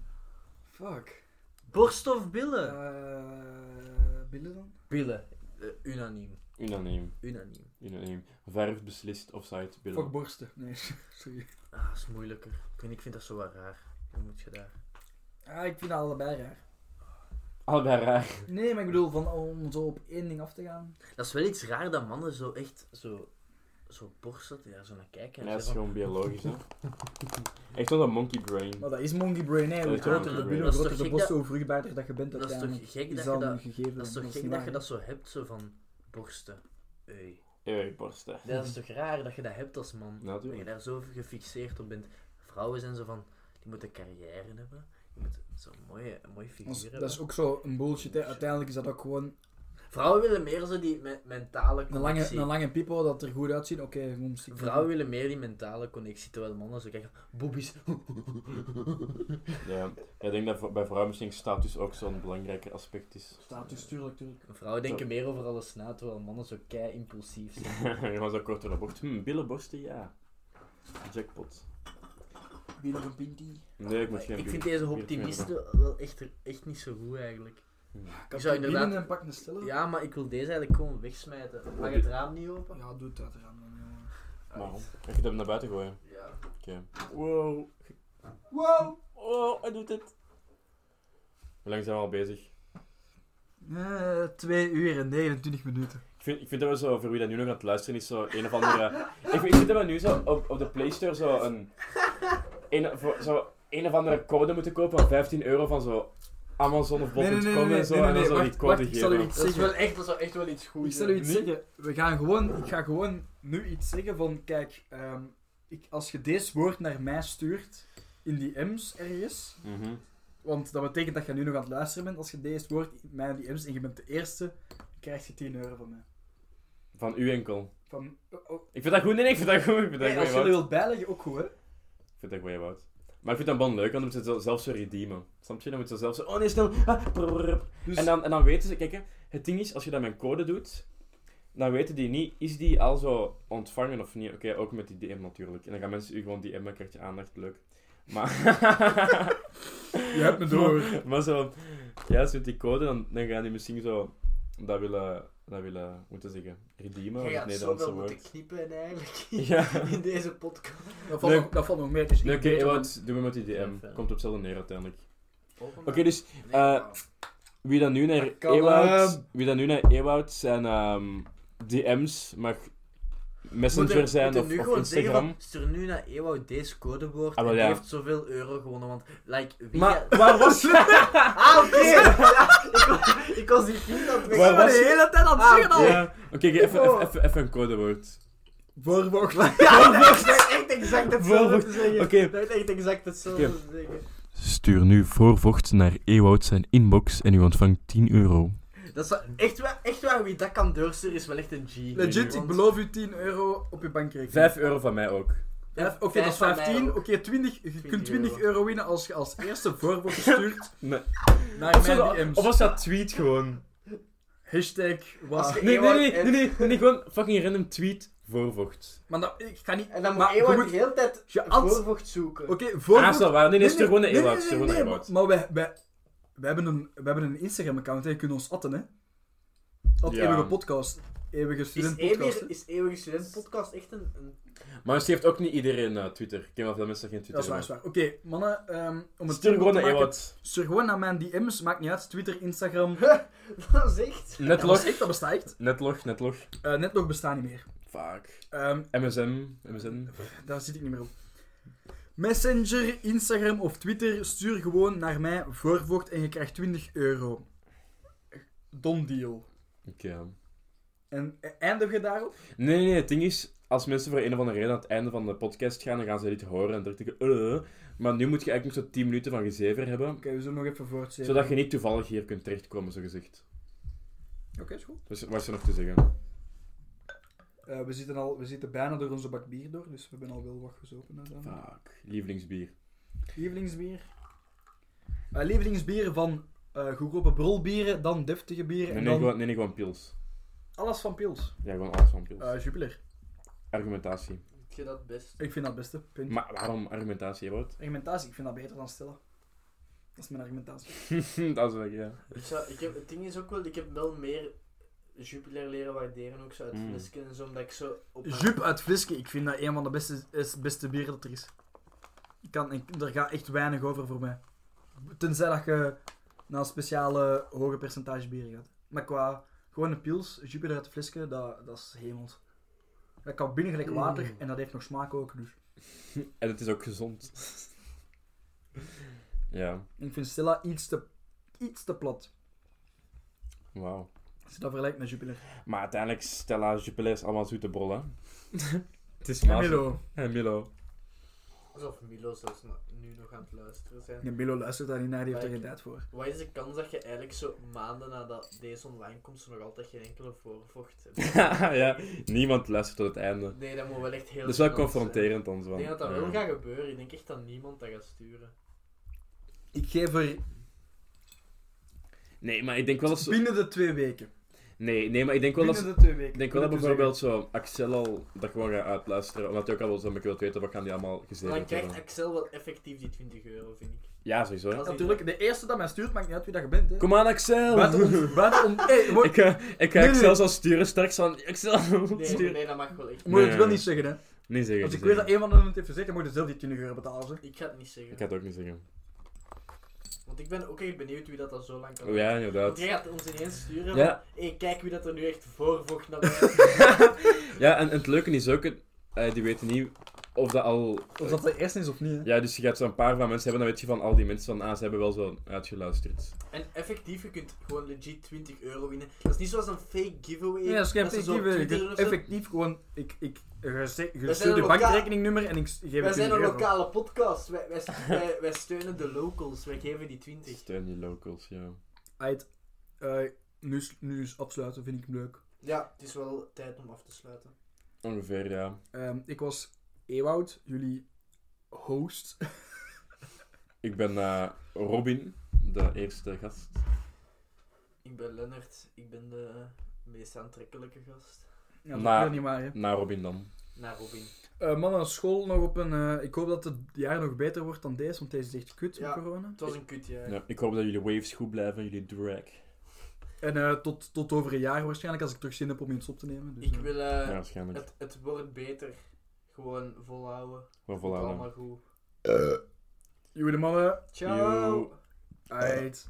Speaker 2: Fuck.
Speaker 1: Borsten of billen?
Speaker 2: Eh billen dan?
Speaker 1: Billen. Eh, unaniem.
Speaker 3: Unaniem.
Speaker 1: Unaniem.
Speaker 3: Unaniem. Verf beslist offside. Billa.
Speaker 2: Fuck borsten. Nee, sorry.
Speaker 1: Ah, dat is moeilijker. Ik, weet, niet, ik vind dat zo wel raar. Dan moet je daar...
Speaker 2: Ah, ik vind dat allebei raar.
Speaker 3: Allebei raar.
Speaker 2: Nee, maar ik bedoel, van, om zo op één ding af te gaan.
Speaker 1: Dat is wel iets raar dat mannen zo echt zo... Zo borsten, ja, zo naar kijken.
Speaker 3: Ja,
Speaker 1: en
Speaker 3: dat is
Speaker 1: zeggen
Speaker 3: gewoon biologisch, hè. Echt zo'n monkey brain.
Speaker 2: Maar dat is monkey brain, hè.
Speaker 3: Dat
Speaker 2: Hoe
Speaker 3: is
Speaker 2: groter
Speaker 3: monkey
Speaker 2: de
Speaker 3: brain.
Speaker 2: billen,
Speaker 1: Dat
Speaker 2: hoe
Speaker 1: is
Speaker 2: groter
Speaker 1: toch
Speaker 2: de
Speaker 1: gek
Speaker 2: borst, hoe vruchtbaarder dat je bent
Speaker 1: dat is
Speaker 2: uiteindelijk.
Speaker 1: toch gek
Speaker 2: Is
Speaker 1: dat je
Speaker 2: dat
Speaker 1: dat...
Speaker 2: een gegeven?
Speaker 1: Dat is toch
Speaker 2: niet
Speaker 1: gek dat
Speaker 2: waar.
Speaker 1: je dat zo hebt, zo van... Borsten. Ey.
Speaker 3: Eeuw, borsten.
Speaker 1: Dat is toch raar dat je dat hebt als man? Dat je
Speaker 3: Natuurlijk.
Speaker 1: daar zo gefixeerd op bent. Vrouwen zijn zo van, die moeten carrière hebben. Die moeten zo'n mooie, mooie
Speaker 2: Dat is-
Speaker 1: figuur
Speaker 2: Dat is
Speaker 1: hebben.
Speaker 2: ook zo een bullshit, hè. Uiteindelijk is dat ook gewoon
Speaker 1: Vrouwen willen meer zo die me- mentale
Speaker 2: Een lange,
Speaker 1: connectie.
Speaker 2: een lange pipo dat er goed uitziet, oké, je moet een stuk-
Speaker 1: Vrouwen willen meer die mentale connectie, terwijl mannen zo kijken, boobies.
Speaker 3: Ja. Ik denk dat voor- bij vrouwen misschien status ook zo'n belangrijk aspect is.
Speaker 2: Status, tuurlijk, tuurlijk.
Speaker 1: Vrouwen denken meer over alles na, terwijl mannen zo kei impulsief zijn.
Speaker 3: Je was ook kort door de bocht. Hm, billenborsten, ja. Jackpot.
Speaker 2: Wie nog een pintie?
Speaker 3: Nee, ik moet
Speaker 1: Maar
Speaker 3: geen
Speaker 1: ik
Speaker 3: bier-
Speaker 1: vind deze
Speaker 3: bier drinken.
Speaker 1: optimisten wel echt, echt niet zo goed eigenlijk.
Speaker 2: Ik
Speaker 1: zou
Speaker 2: zou
Speaker 1: inderdaad-
Speaker 2: inderdaad... en pak een stille.
Speaker 1: Ja, maar ik wil deze eigenlijk gewoon wegsmijten. Mag het raam niet open?
Speaker 2: Ja, doe het uiteraard. dan, ja.
Speaker 3: Waarom? Ik ga hem naar buiten gooien.
Speaker 1: Ja.
Speaker 3: Oké. Wow.
Speaker 2: Wow!
Speaker 3: Oh, hij doet dit. Hoe lang zijn we al bezig?
Speaker 2: Eh, 2 uur en 29 minuten.
Speaker 3: Ik vind, ik vind dat we zo, voor wie dat nu nog aan het luisteren is, zo een of andere... ik, vind- ik vind dat we nu zo op, op de Play Store zo een, een, voor, zo een of andere code moeten kopen van 15 euro van zo Amazon of bol.com
Speaker 2: Nee, nee, nee, nee,
Speaker 3: en zo.
Speaker 2: nee, nee,
Speaker 3: en dan zo
Speaker 2: wacht,
Speaker 3: die code
Speaker 2: wacht, ik zal u
Speaker 3: geven.
Speaker 2: iets-
Speaker 1: Dat is wel echt, dat zou echt wel iets
Speaker 2: Ik
Speaker 1: goeds
Speaker 2: zal u iets zeggen. We gaan gewoon, ik ga gewoon nu iets zeggen van, kijk, ehm, ik, als je deze woord naar mij stuurt, in die M's ergens,
Speaker 3: Mhm.
Speaker 2: want dat betekent dat je nu nog aan het luisteren bent, als je deze woord in mij in die M's en je bent de eerste, krijg je 10 euro van mij.
Speaker 3: Van u enkel.
Speaker 2: Van, oh, oh.
Speaker 3: Ik vind dat goed, nee, nee, ik vind dat goed. Ik vind dat
Speaker 2: Hey,
Speaker 3: goed,
Speaker 2: als je dat
Speaker 3: Wout.
Speaker 2: wilt bijleggen, ook goed, hè.
Speaker 3: Ik vind dat goed, Wout. Maar ik vind dat bon leuk, want dan moeten ze het zelf zo redeemen. Snap je? Dan moeten ze zelf zo... Oh nee, snel. Ah, prrrr.
Speaker 2: Dus,
Speaker 3: En dan, en dan weten ze, kijk, hè, het ding is, als je dat met een code doet, dan weten die niet, is die al zo ontvangen of niet? Oké, ook met die DM natuurlijk. En dan gaan mensen u gewoon DM'en, dan krijg je aandacht, leuk. Maar...
Speaker 2: je hebt me door.
Speaker 3: maar zo, ja, als je met die code, dan, dan gaan die misschien zo, dat willen, dat willen, moeten zeggen, redeemen,
Speaker 1: Je
Speaker 3: of het
Speaker 1: gaat zoveel
Speaker 3: Nederlandse
Speaker 1: moeten
Speaker 3: woord.
Speaker 1: knippen eigenlijk
Speaker 3: Ja.
Speaker 1: in deze podcast.
Speaker 2: Dat valt,
Speaker 3: Nee.
Speaker 2: nog, dat valt nog mee. Het is
Speaker 3: Nee,
Speaker 2: niet
Speaker 3: Oké,
Speaker 2: beter dan-
Speaker 3: wat doen we met die DM?
Speaker 1: Even.
Speaker 3: Komt op hetzelfde neer uiteindelijk. Oké,
Speaker 1: Oké,
Speaker 3: dus eh, Wie dan nu naar
Speaker 2: Dat kan, ehm.
Speaker 3: Ewoud, wie dan nu naar Ewoud zijn ehm, DM's mag Messenger zijn of,
Speaker 1: nu
Speaker 3: of
Speaker 1: gewoon
Speaker 3: Instagram.
Speaker 1: Zeggen van, stuur nu naar Ewout deze codewoord
Speaker 3: Ah,
Speaker 1: en
Speaker 3: wel,
Speaker 1: die
Speaker 3: ja.
Speaker 1: heeft zoveel euro gewonnen, want like, wie...
Speaker 3: Maar waar was
Speaker 1: Ah, oké! ik, ik was die vriend aan het
Speaker 3: Waar was-
Speaker 1: de hele tijd aan het zeggen al.
Speaker 3: ja. Oké, oké, even- even even- even een codewoord.
Speaker 2: Voorbocht.
Speaker 1: Ja, dat is echt exact hetzelfde
Speaker 3: Voorvocht.
Speaker 1: te zeggen.
Speaker 3: Oké.
Speaker 1: Dat is echt exact hetzelfde
Speaker 3: Oké.
Speaker 1: te zeggen.
Speaker 3: Stuur nu voorvocht naar Ewoud zijn inbox en u ontvangt 10 euro.
Speaker 1: Dat is wel- echt, waar, echt waar, wie dat kan doorsturen is wel echt een G.
Speaker 2: Legit, ik
Speaker 1: Want-
Speaker 2: beloof u 10 euro op je bankrekening.
Speaker 3: 5 euro van mij ook.
Speaker 2: Ja, Oké, dat is
Speaker 1: Vijf van mij
Speaker 2: 15.
Speaker 1: ook.
Speaker 2: Oké, 20. Je
Speaker 1: 20
Speaker 2: kunt 20
Speaker 1: euro.
Speaker 2: euro. winnen als je als eerste voorwoord stuurt
Speaker 3: Nee.
Speaker 2: naar
Speaker 3: Of, zo,
Speaker 2: mijn DM's.
Speaker 3: of was dat tweet gewoon?
Speaker 2: Hashtag was.
Speaker 1: Als je-
Speaker 3: Nee, nee, nee, nee, nee, nee, nee, gewoon fucking random tweet voorvocht.
Speaker 2: Maar dat, ik ga niet.
Speaker 1: En dan moet
Speaker 2: maar je
Speaker 1: Ewout de
Speaker 2: moet-
Speaker 1: hele tijd
Speaker 2: je ans-
Speaker 1: voorvocht zoeken.
Speaker 2: Oké,
Speaker 3: Ah,
Speaker 2: voorwoord.
Speaker 3: is dat waar? Nee, nee, stuur gewoon naar
Speaker 2: nee,
Speaker 3: Ewoud.
Speaker 2: nee,
Speaker 3: Stuur
Speaker 2: nee,
Speaker 3: gewoon naar
Speaker 2: nee,
Speaker 3: Ewoud.
Speaker 2: Maar wij, wij, wij, hebben een, wij hebben een Instagram-account, hè. je kunt ons atten, hè? At
Speaker 3: Ja.
Speaker 2: eeuwige podcast. Eeuwige
Speaker 1: Is,
Speaker 2: student podcast.
Speaker 1: eeuwig, is Eeuwige Student Podcast echt een... een...
Speaker 3: Maar misschien heeft ook niet iedereen eh, Twitter. Ik ken wel veel mensen die geen
Speaker 2: Dat
Speaker 3: Twitter
Speaker 2: is waar, is waar. Oké, mannen, ehm, om
Speaker 3: hebben.
Speaker 2: het
Speaker 3: Stuur
Speaker 2: simpel
Speaker 3: gewoon
Speaker 2: te
Speaker 3: naar
Speaker 2: maken,
Speaker 3: Ewoud.
Speaker 2: Stuur gewoon naar mijn DM's, maakt niet uit. Twitter, Instagram.
Speaker 1: Dat is echt...
Speaker 2: Dat, was
Speaker 3: Netlog.
Speaker 2: echt, dat bestaat echt.
Speaker 3: Netlog, netlog.
Speaker 2: Eh, net nog bestaan niet meer.
Speaker 3: Fuck.
Speaker 2: Ehm,
Speaker 3: MSN, MSN.
Speaker 2: Daar zit ik niet meer op. Messenger, Instagram of Twitter, stuur gewoon naar mij voorvocht en je krijgt 20 euro. Don deal.
Speaker 3: Oké.
Speaker 2: En eh, eindig je daarop?
Speaker 3: Nee, nee, nee, het ding is, als mensen voor een of andere reden aan het einde van de podcast gaan, dan gaan ze dit horen en dan denken, eh. Maar nu moet je eigenlijk nog zo'n 10 minuten van gezever hebben,
Speaker 2: Oké, we zullen nog even voortzetten.
Speaker 3: zodat je niet toevallig hier kunt terechtkomen, zo gezegd.
Speaker 2: Oké, is goed.
Speaker 3: Dus wat is er nog te zeggen?
Speaker 2: Eh, we, zitten al, we zitten bijna door onze bak bier door, dus we hebben al wel wat gezopen. Gedaan.
Speaker 3: Fuck. Lievelingsbier.
Speaker 2: Lievelingsbier. Eh, lievelingsbier van eh goedkope brolbieren, dan deftige bieren
Speaker 3: Nee,
Speaker 2: en
Speaker 3: nee,
Speaker 2: dan
Speaker 3: gewoon, nee, nee, gewoon pils.
Speaker 2: alles van pils.
Speaker 3: Ja, gewoon alles van pils.
Speaker 2: Eh Jupiler.
Speaker 3: Argumentatie.
Speaker 1: Vind je dat best?
Speaker 2: Ik vind dat het beste. Punt.
Speaker 3: Maar waarom argumentatie, Wout?
Speaker 2: Argumentatie, ik vind dat beter dan stille. Dat is mijn argumentatie.
Speaker 3: dat is wel, ja.
Speaker 1: Ik zou, ik heb, het ding is ook wel, ik heb wel meer Jupiler leren waarderen, ook zo uit
Speaker 3: Mm.
Speaker 1: flesken en zo, omdat ik zo... Op
Speaker 2: Jup uit Vliske, ik vind dat een van de beste, is, beste bieren dat er is. Ik kan, ik, er gaat echt weinig over voor mij. Tenzij dat je naar speciale hoge percentage bieren gaat. Maar qua gewoon een pils, Jupiter uit Vliske, dat, dat is hemels. Dat kan binnen gelijk water en dat heeft nog smaak ook. Dus.
Speaker 3: En het is ook gezond. ja,
Speaker 2: Ik vind Stella iets te, iets te plat.
Speaker 3: wauw.
Speaker 2: Als je dat vergelijkt met Jupiter.
Speaker 3: Maar uiteindelijk, Stella, Jupiler is allemaal zoete bollen. het is
Speaker 2: En Milo.
Speaker 3: En Milo.
Speaker 1: Alsof Milo zelfs na- nu nog aan het luisteren zijn.
Speaker 2: En Milo luistert daar niet naar, die heeft er
Speaker 1: Maar
Speaker 2: geen
Speaker 1: ik-
Speaker 2: tijd voor.
Speaker 1: Wat is de kans dat je eigenlijk zo maanden nadat deze online komt, zo nog altijd geen enkele voorvocht hebt?
Speaker 3: ja, niemand luistert tot het einde.
Speaker 1: Nee, dat moet wel echt heel
Speaker 3: Dat is wel
Speaker 1: gênant zijn.
Speaker 3: confronterend dan zo.
Speaker 1: Ik denk dat dat
Speaker 3: Ja.
Speaker 1: wel gaat gebeuren. Ik denk echt dat niemand dat gaat sturen.
Speaker 2: Ik geef er
Speaker 3: Nee, maar ik denk wel dat zo...
Speaker 2: binnen de twee weken.
Speaker 3: Nee, nee, maar ik denk wel dat
Speaker 2: binnen de twee weken.
Speaker 3: Ik denk wel dat
Speaker 2: moet ik u zeggen.
Speaker 3: bijvoorbeeld zo Axel al dat gewoon gaat uitluisteren, omdat hij ook al wel zo'n beetje wil weten wat gaan die allemaal
Speaker 1: Maar dan
Speaker 3: gezegd
Speaker 1: krijgt
Speaker 3: hebben.
Speaker 1: Excel wel effectief die 20 euro, vind ik.
Speaker 3: Ja, sowieso. hè.
Speaker 1: Als die-
Speaker 2: Natuurlijk, de eerste dat mij stuurt, maakt niet uit wie dat je bent. Hè.
Speaker 3: Kom aan Axel!
Speaker 2: Buiten om... Buiten om hey, mo-
Speaker 3: Ik ga, ik ga
Speaker 2: Nee,
Speaker 3: Axel
Speaker 2: nee.
Speaker 3: zo sturen straks van Axel,
Speaker 1: Nee,
Speaker 3: stuur.
Speaker 1: nee, dat mag wel echt.
Speaker 2: Moet je het
Speaker 3: Nee.
Speaker 2: wel niet zeggen, hè.
Speaker 3: Nee, zeggen.
Speaker 2: Als ik
Speaker 3: niet
Speaker 2: weet dat
Speaker 3: zeggen.
Speaker 2: een van hen het heeft gezegd, dan moet je zelf die 20 euro betalen. Zeg.
Speaker 1: Ik ga het niet zeggen.
Speaker 3: Ik ga het ook niet zeggen.
Speaker 1: Want ik ben ook echt benieuwd wie dat al zo lang kan
Speaker 3: Oh, ja,
Speaker 1: Want
Speaker 3: inderdaad.
Speaker 1: jij gaat ons ineens sturen.
Speaker 3: Ja.
Speaker 1: Ja. Hey, kijk wie dat er nu echt voorvocht naar mij is.
Speaker 3: Ja, en, en het leuke is ook, eh, die weten niet of dat al...
Speaker 2: Of dat de eerste is of niet, hè.
Speaker 3: Ja, dus je gaat zo'n paar van mensen hebben, dan weet je van al die mensen van, ah, ze hebben wel zo uitgeluisterd.
Speaker 1: En effectief, je kunt gewoon legit 20 euro winnen. Dat is niet zoals een fake giveaway.
Speaker 2: Ja, dat is geen
Speaker 1: ze zo
Speaker 2: effectief.
Speaker 1: op
Speaker 2: eh,
Speaker 1: Twitter
Speaker 2: ik-
Speaker 1: of zo-
Speaker 2: Effectief gewoon, ik, ik, je ze- je
Speaker 1: zijn
Speaker 2: stuurt je
Speaker 1: een lokaal-
Speaker 2: bankrekeningnummer en ik s- geef
Speaker 1: Wij
Speaker 2: het
Speaker 1: zijn
Speaker 2: 20
Speaker 1: een
Speaker 2: euro.
Speaker 1: lokale podcast. Wij, wij, wij, wij steunen de locals. Wij geven die 20.
Speaker 3: Steun die locals, ja.
Speaker 2: Uit, eh, nu, is- nu is afsluiten, vind ik hem leuk.
Speaker 1: Ja, het is wel tijd om af te sluiten.
Speaker 3: Ongeveer, ja.
Speaker 2: Ehm, ik was Ewoud, jullie host.
Speaker 3: Ik ben eh, Robin, de eerste gast.
Speaker 1: Ik ben Lennart. Ik ben de meest aantrekkelijke gast.
Speaker 2: Ja, dat
Speaker 3: Maar-
Speaker 2: is niet waar, hè.
Speaker 3: Na Robin dan.
Speaker 1: Naar Robin.
Speaker 2: Eh, mannen, school nog op een... eh, ik hoop dat het jaar nog beter wordt dan deze, want deze is echt kut
Speaker 1: Ja.
Speaker 2: met corona.
Speaker 1: Het was een kutjaar.
Speaker 3: Ja, ik hoop dat jullie waves goed blijven, jullie drag.
Speaker 2: En eh, tot, tot over een jaar waarschijnlijk, als ik terug zin heb om iets op te nemen. Dus,
Speaker 1: Ik
Speaker 2: eh,
Speaker 1: wil... eh,
Speaker 3: ja, waarschijnlijk.
Speaker 1: het, het wordt beter. Gewoon volhouden.
Speaker 3: Wel
Speaker 1: Komt
Speaker 3: volhouden.
Speaker 1: allemaal goed.
Speaker 2: Jullie mannen,
Speaker 1: Ciao!
Speaker 3: Yo.
Speaker 2: uit.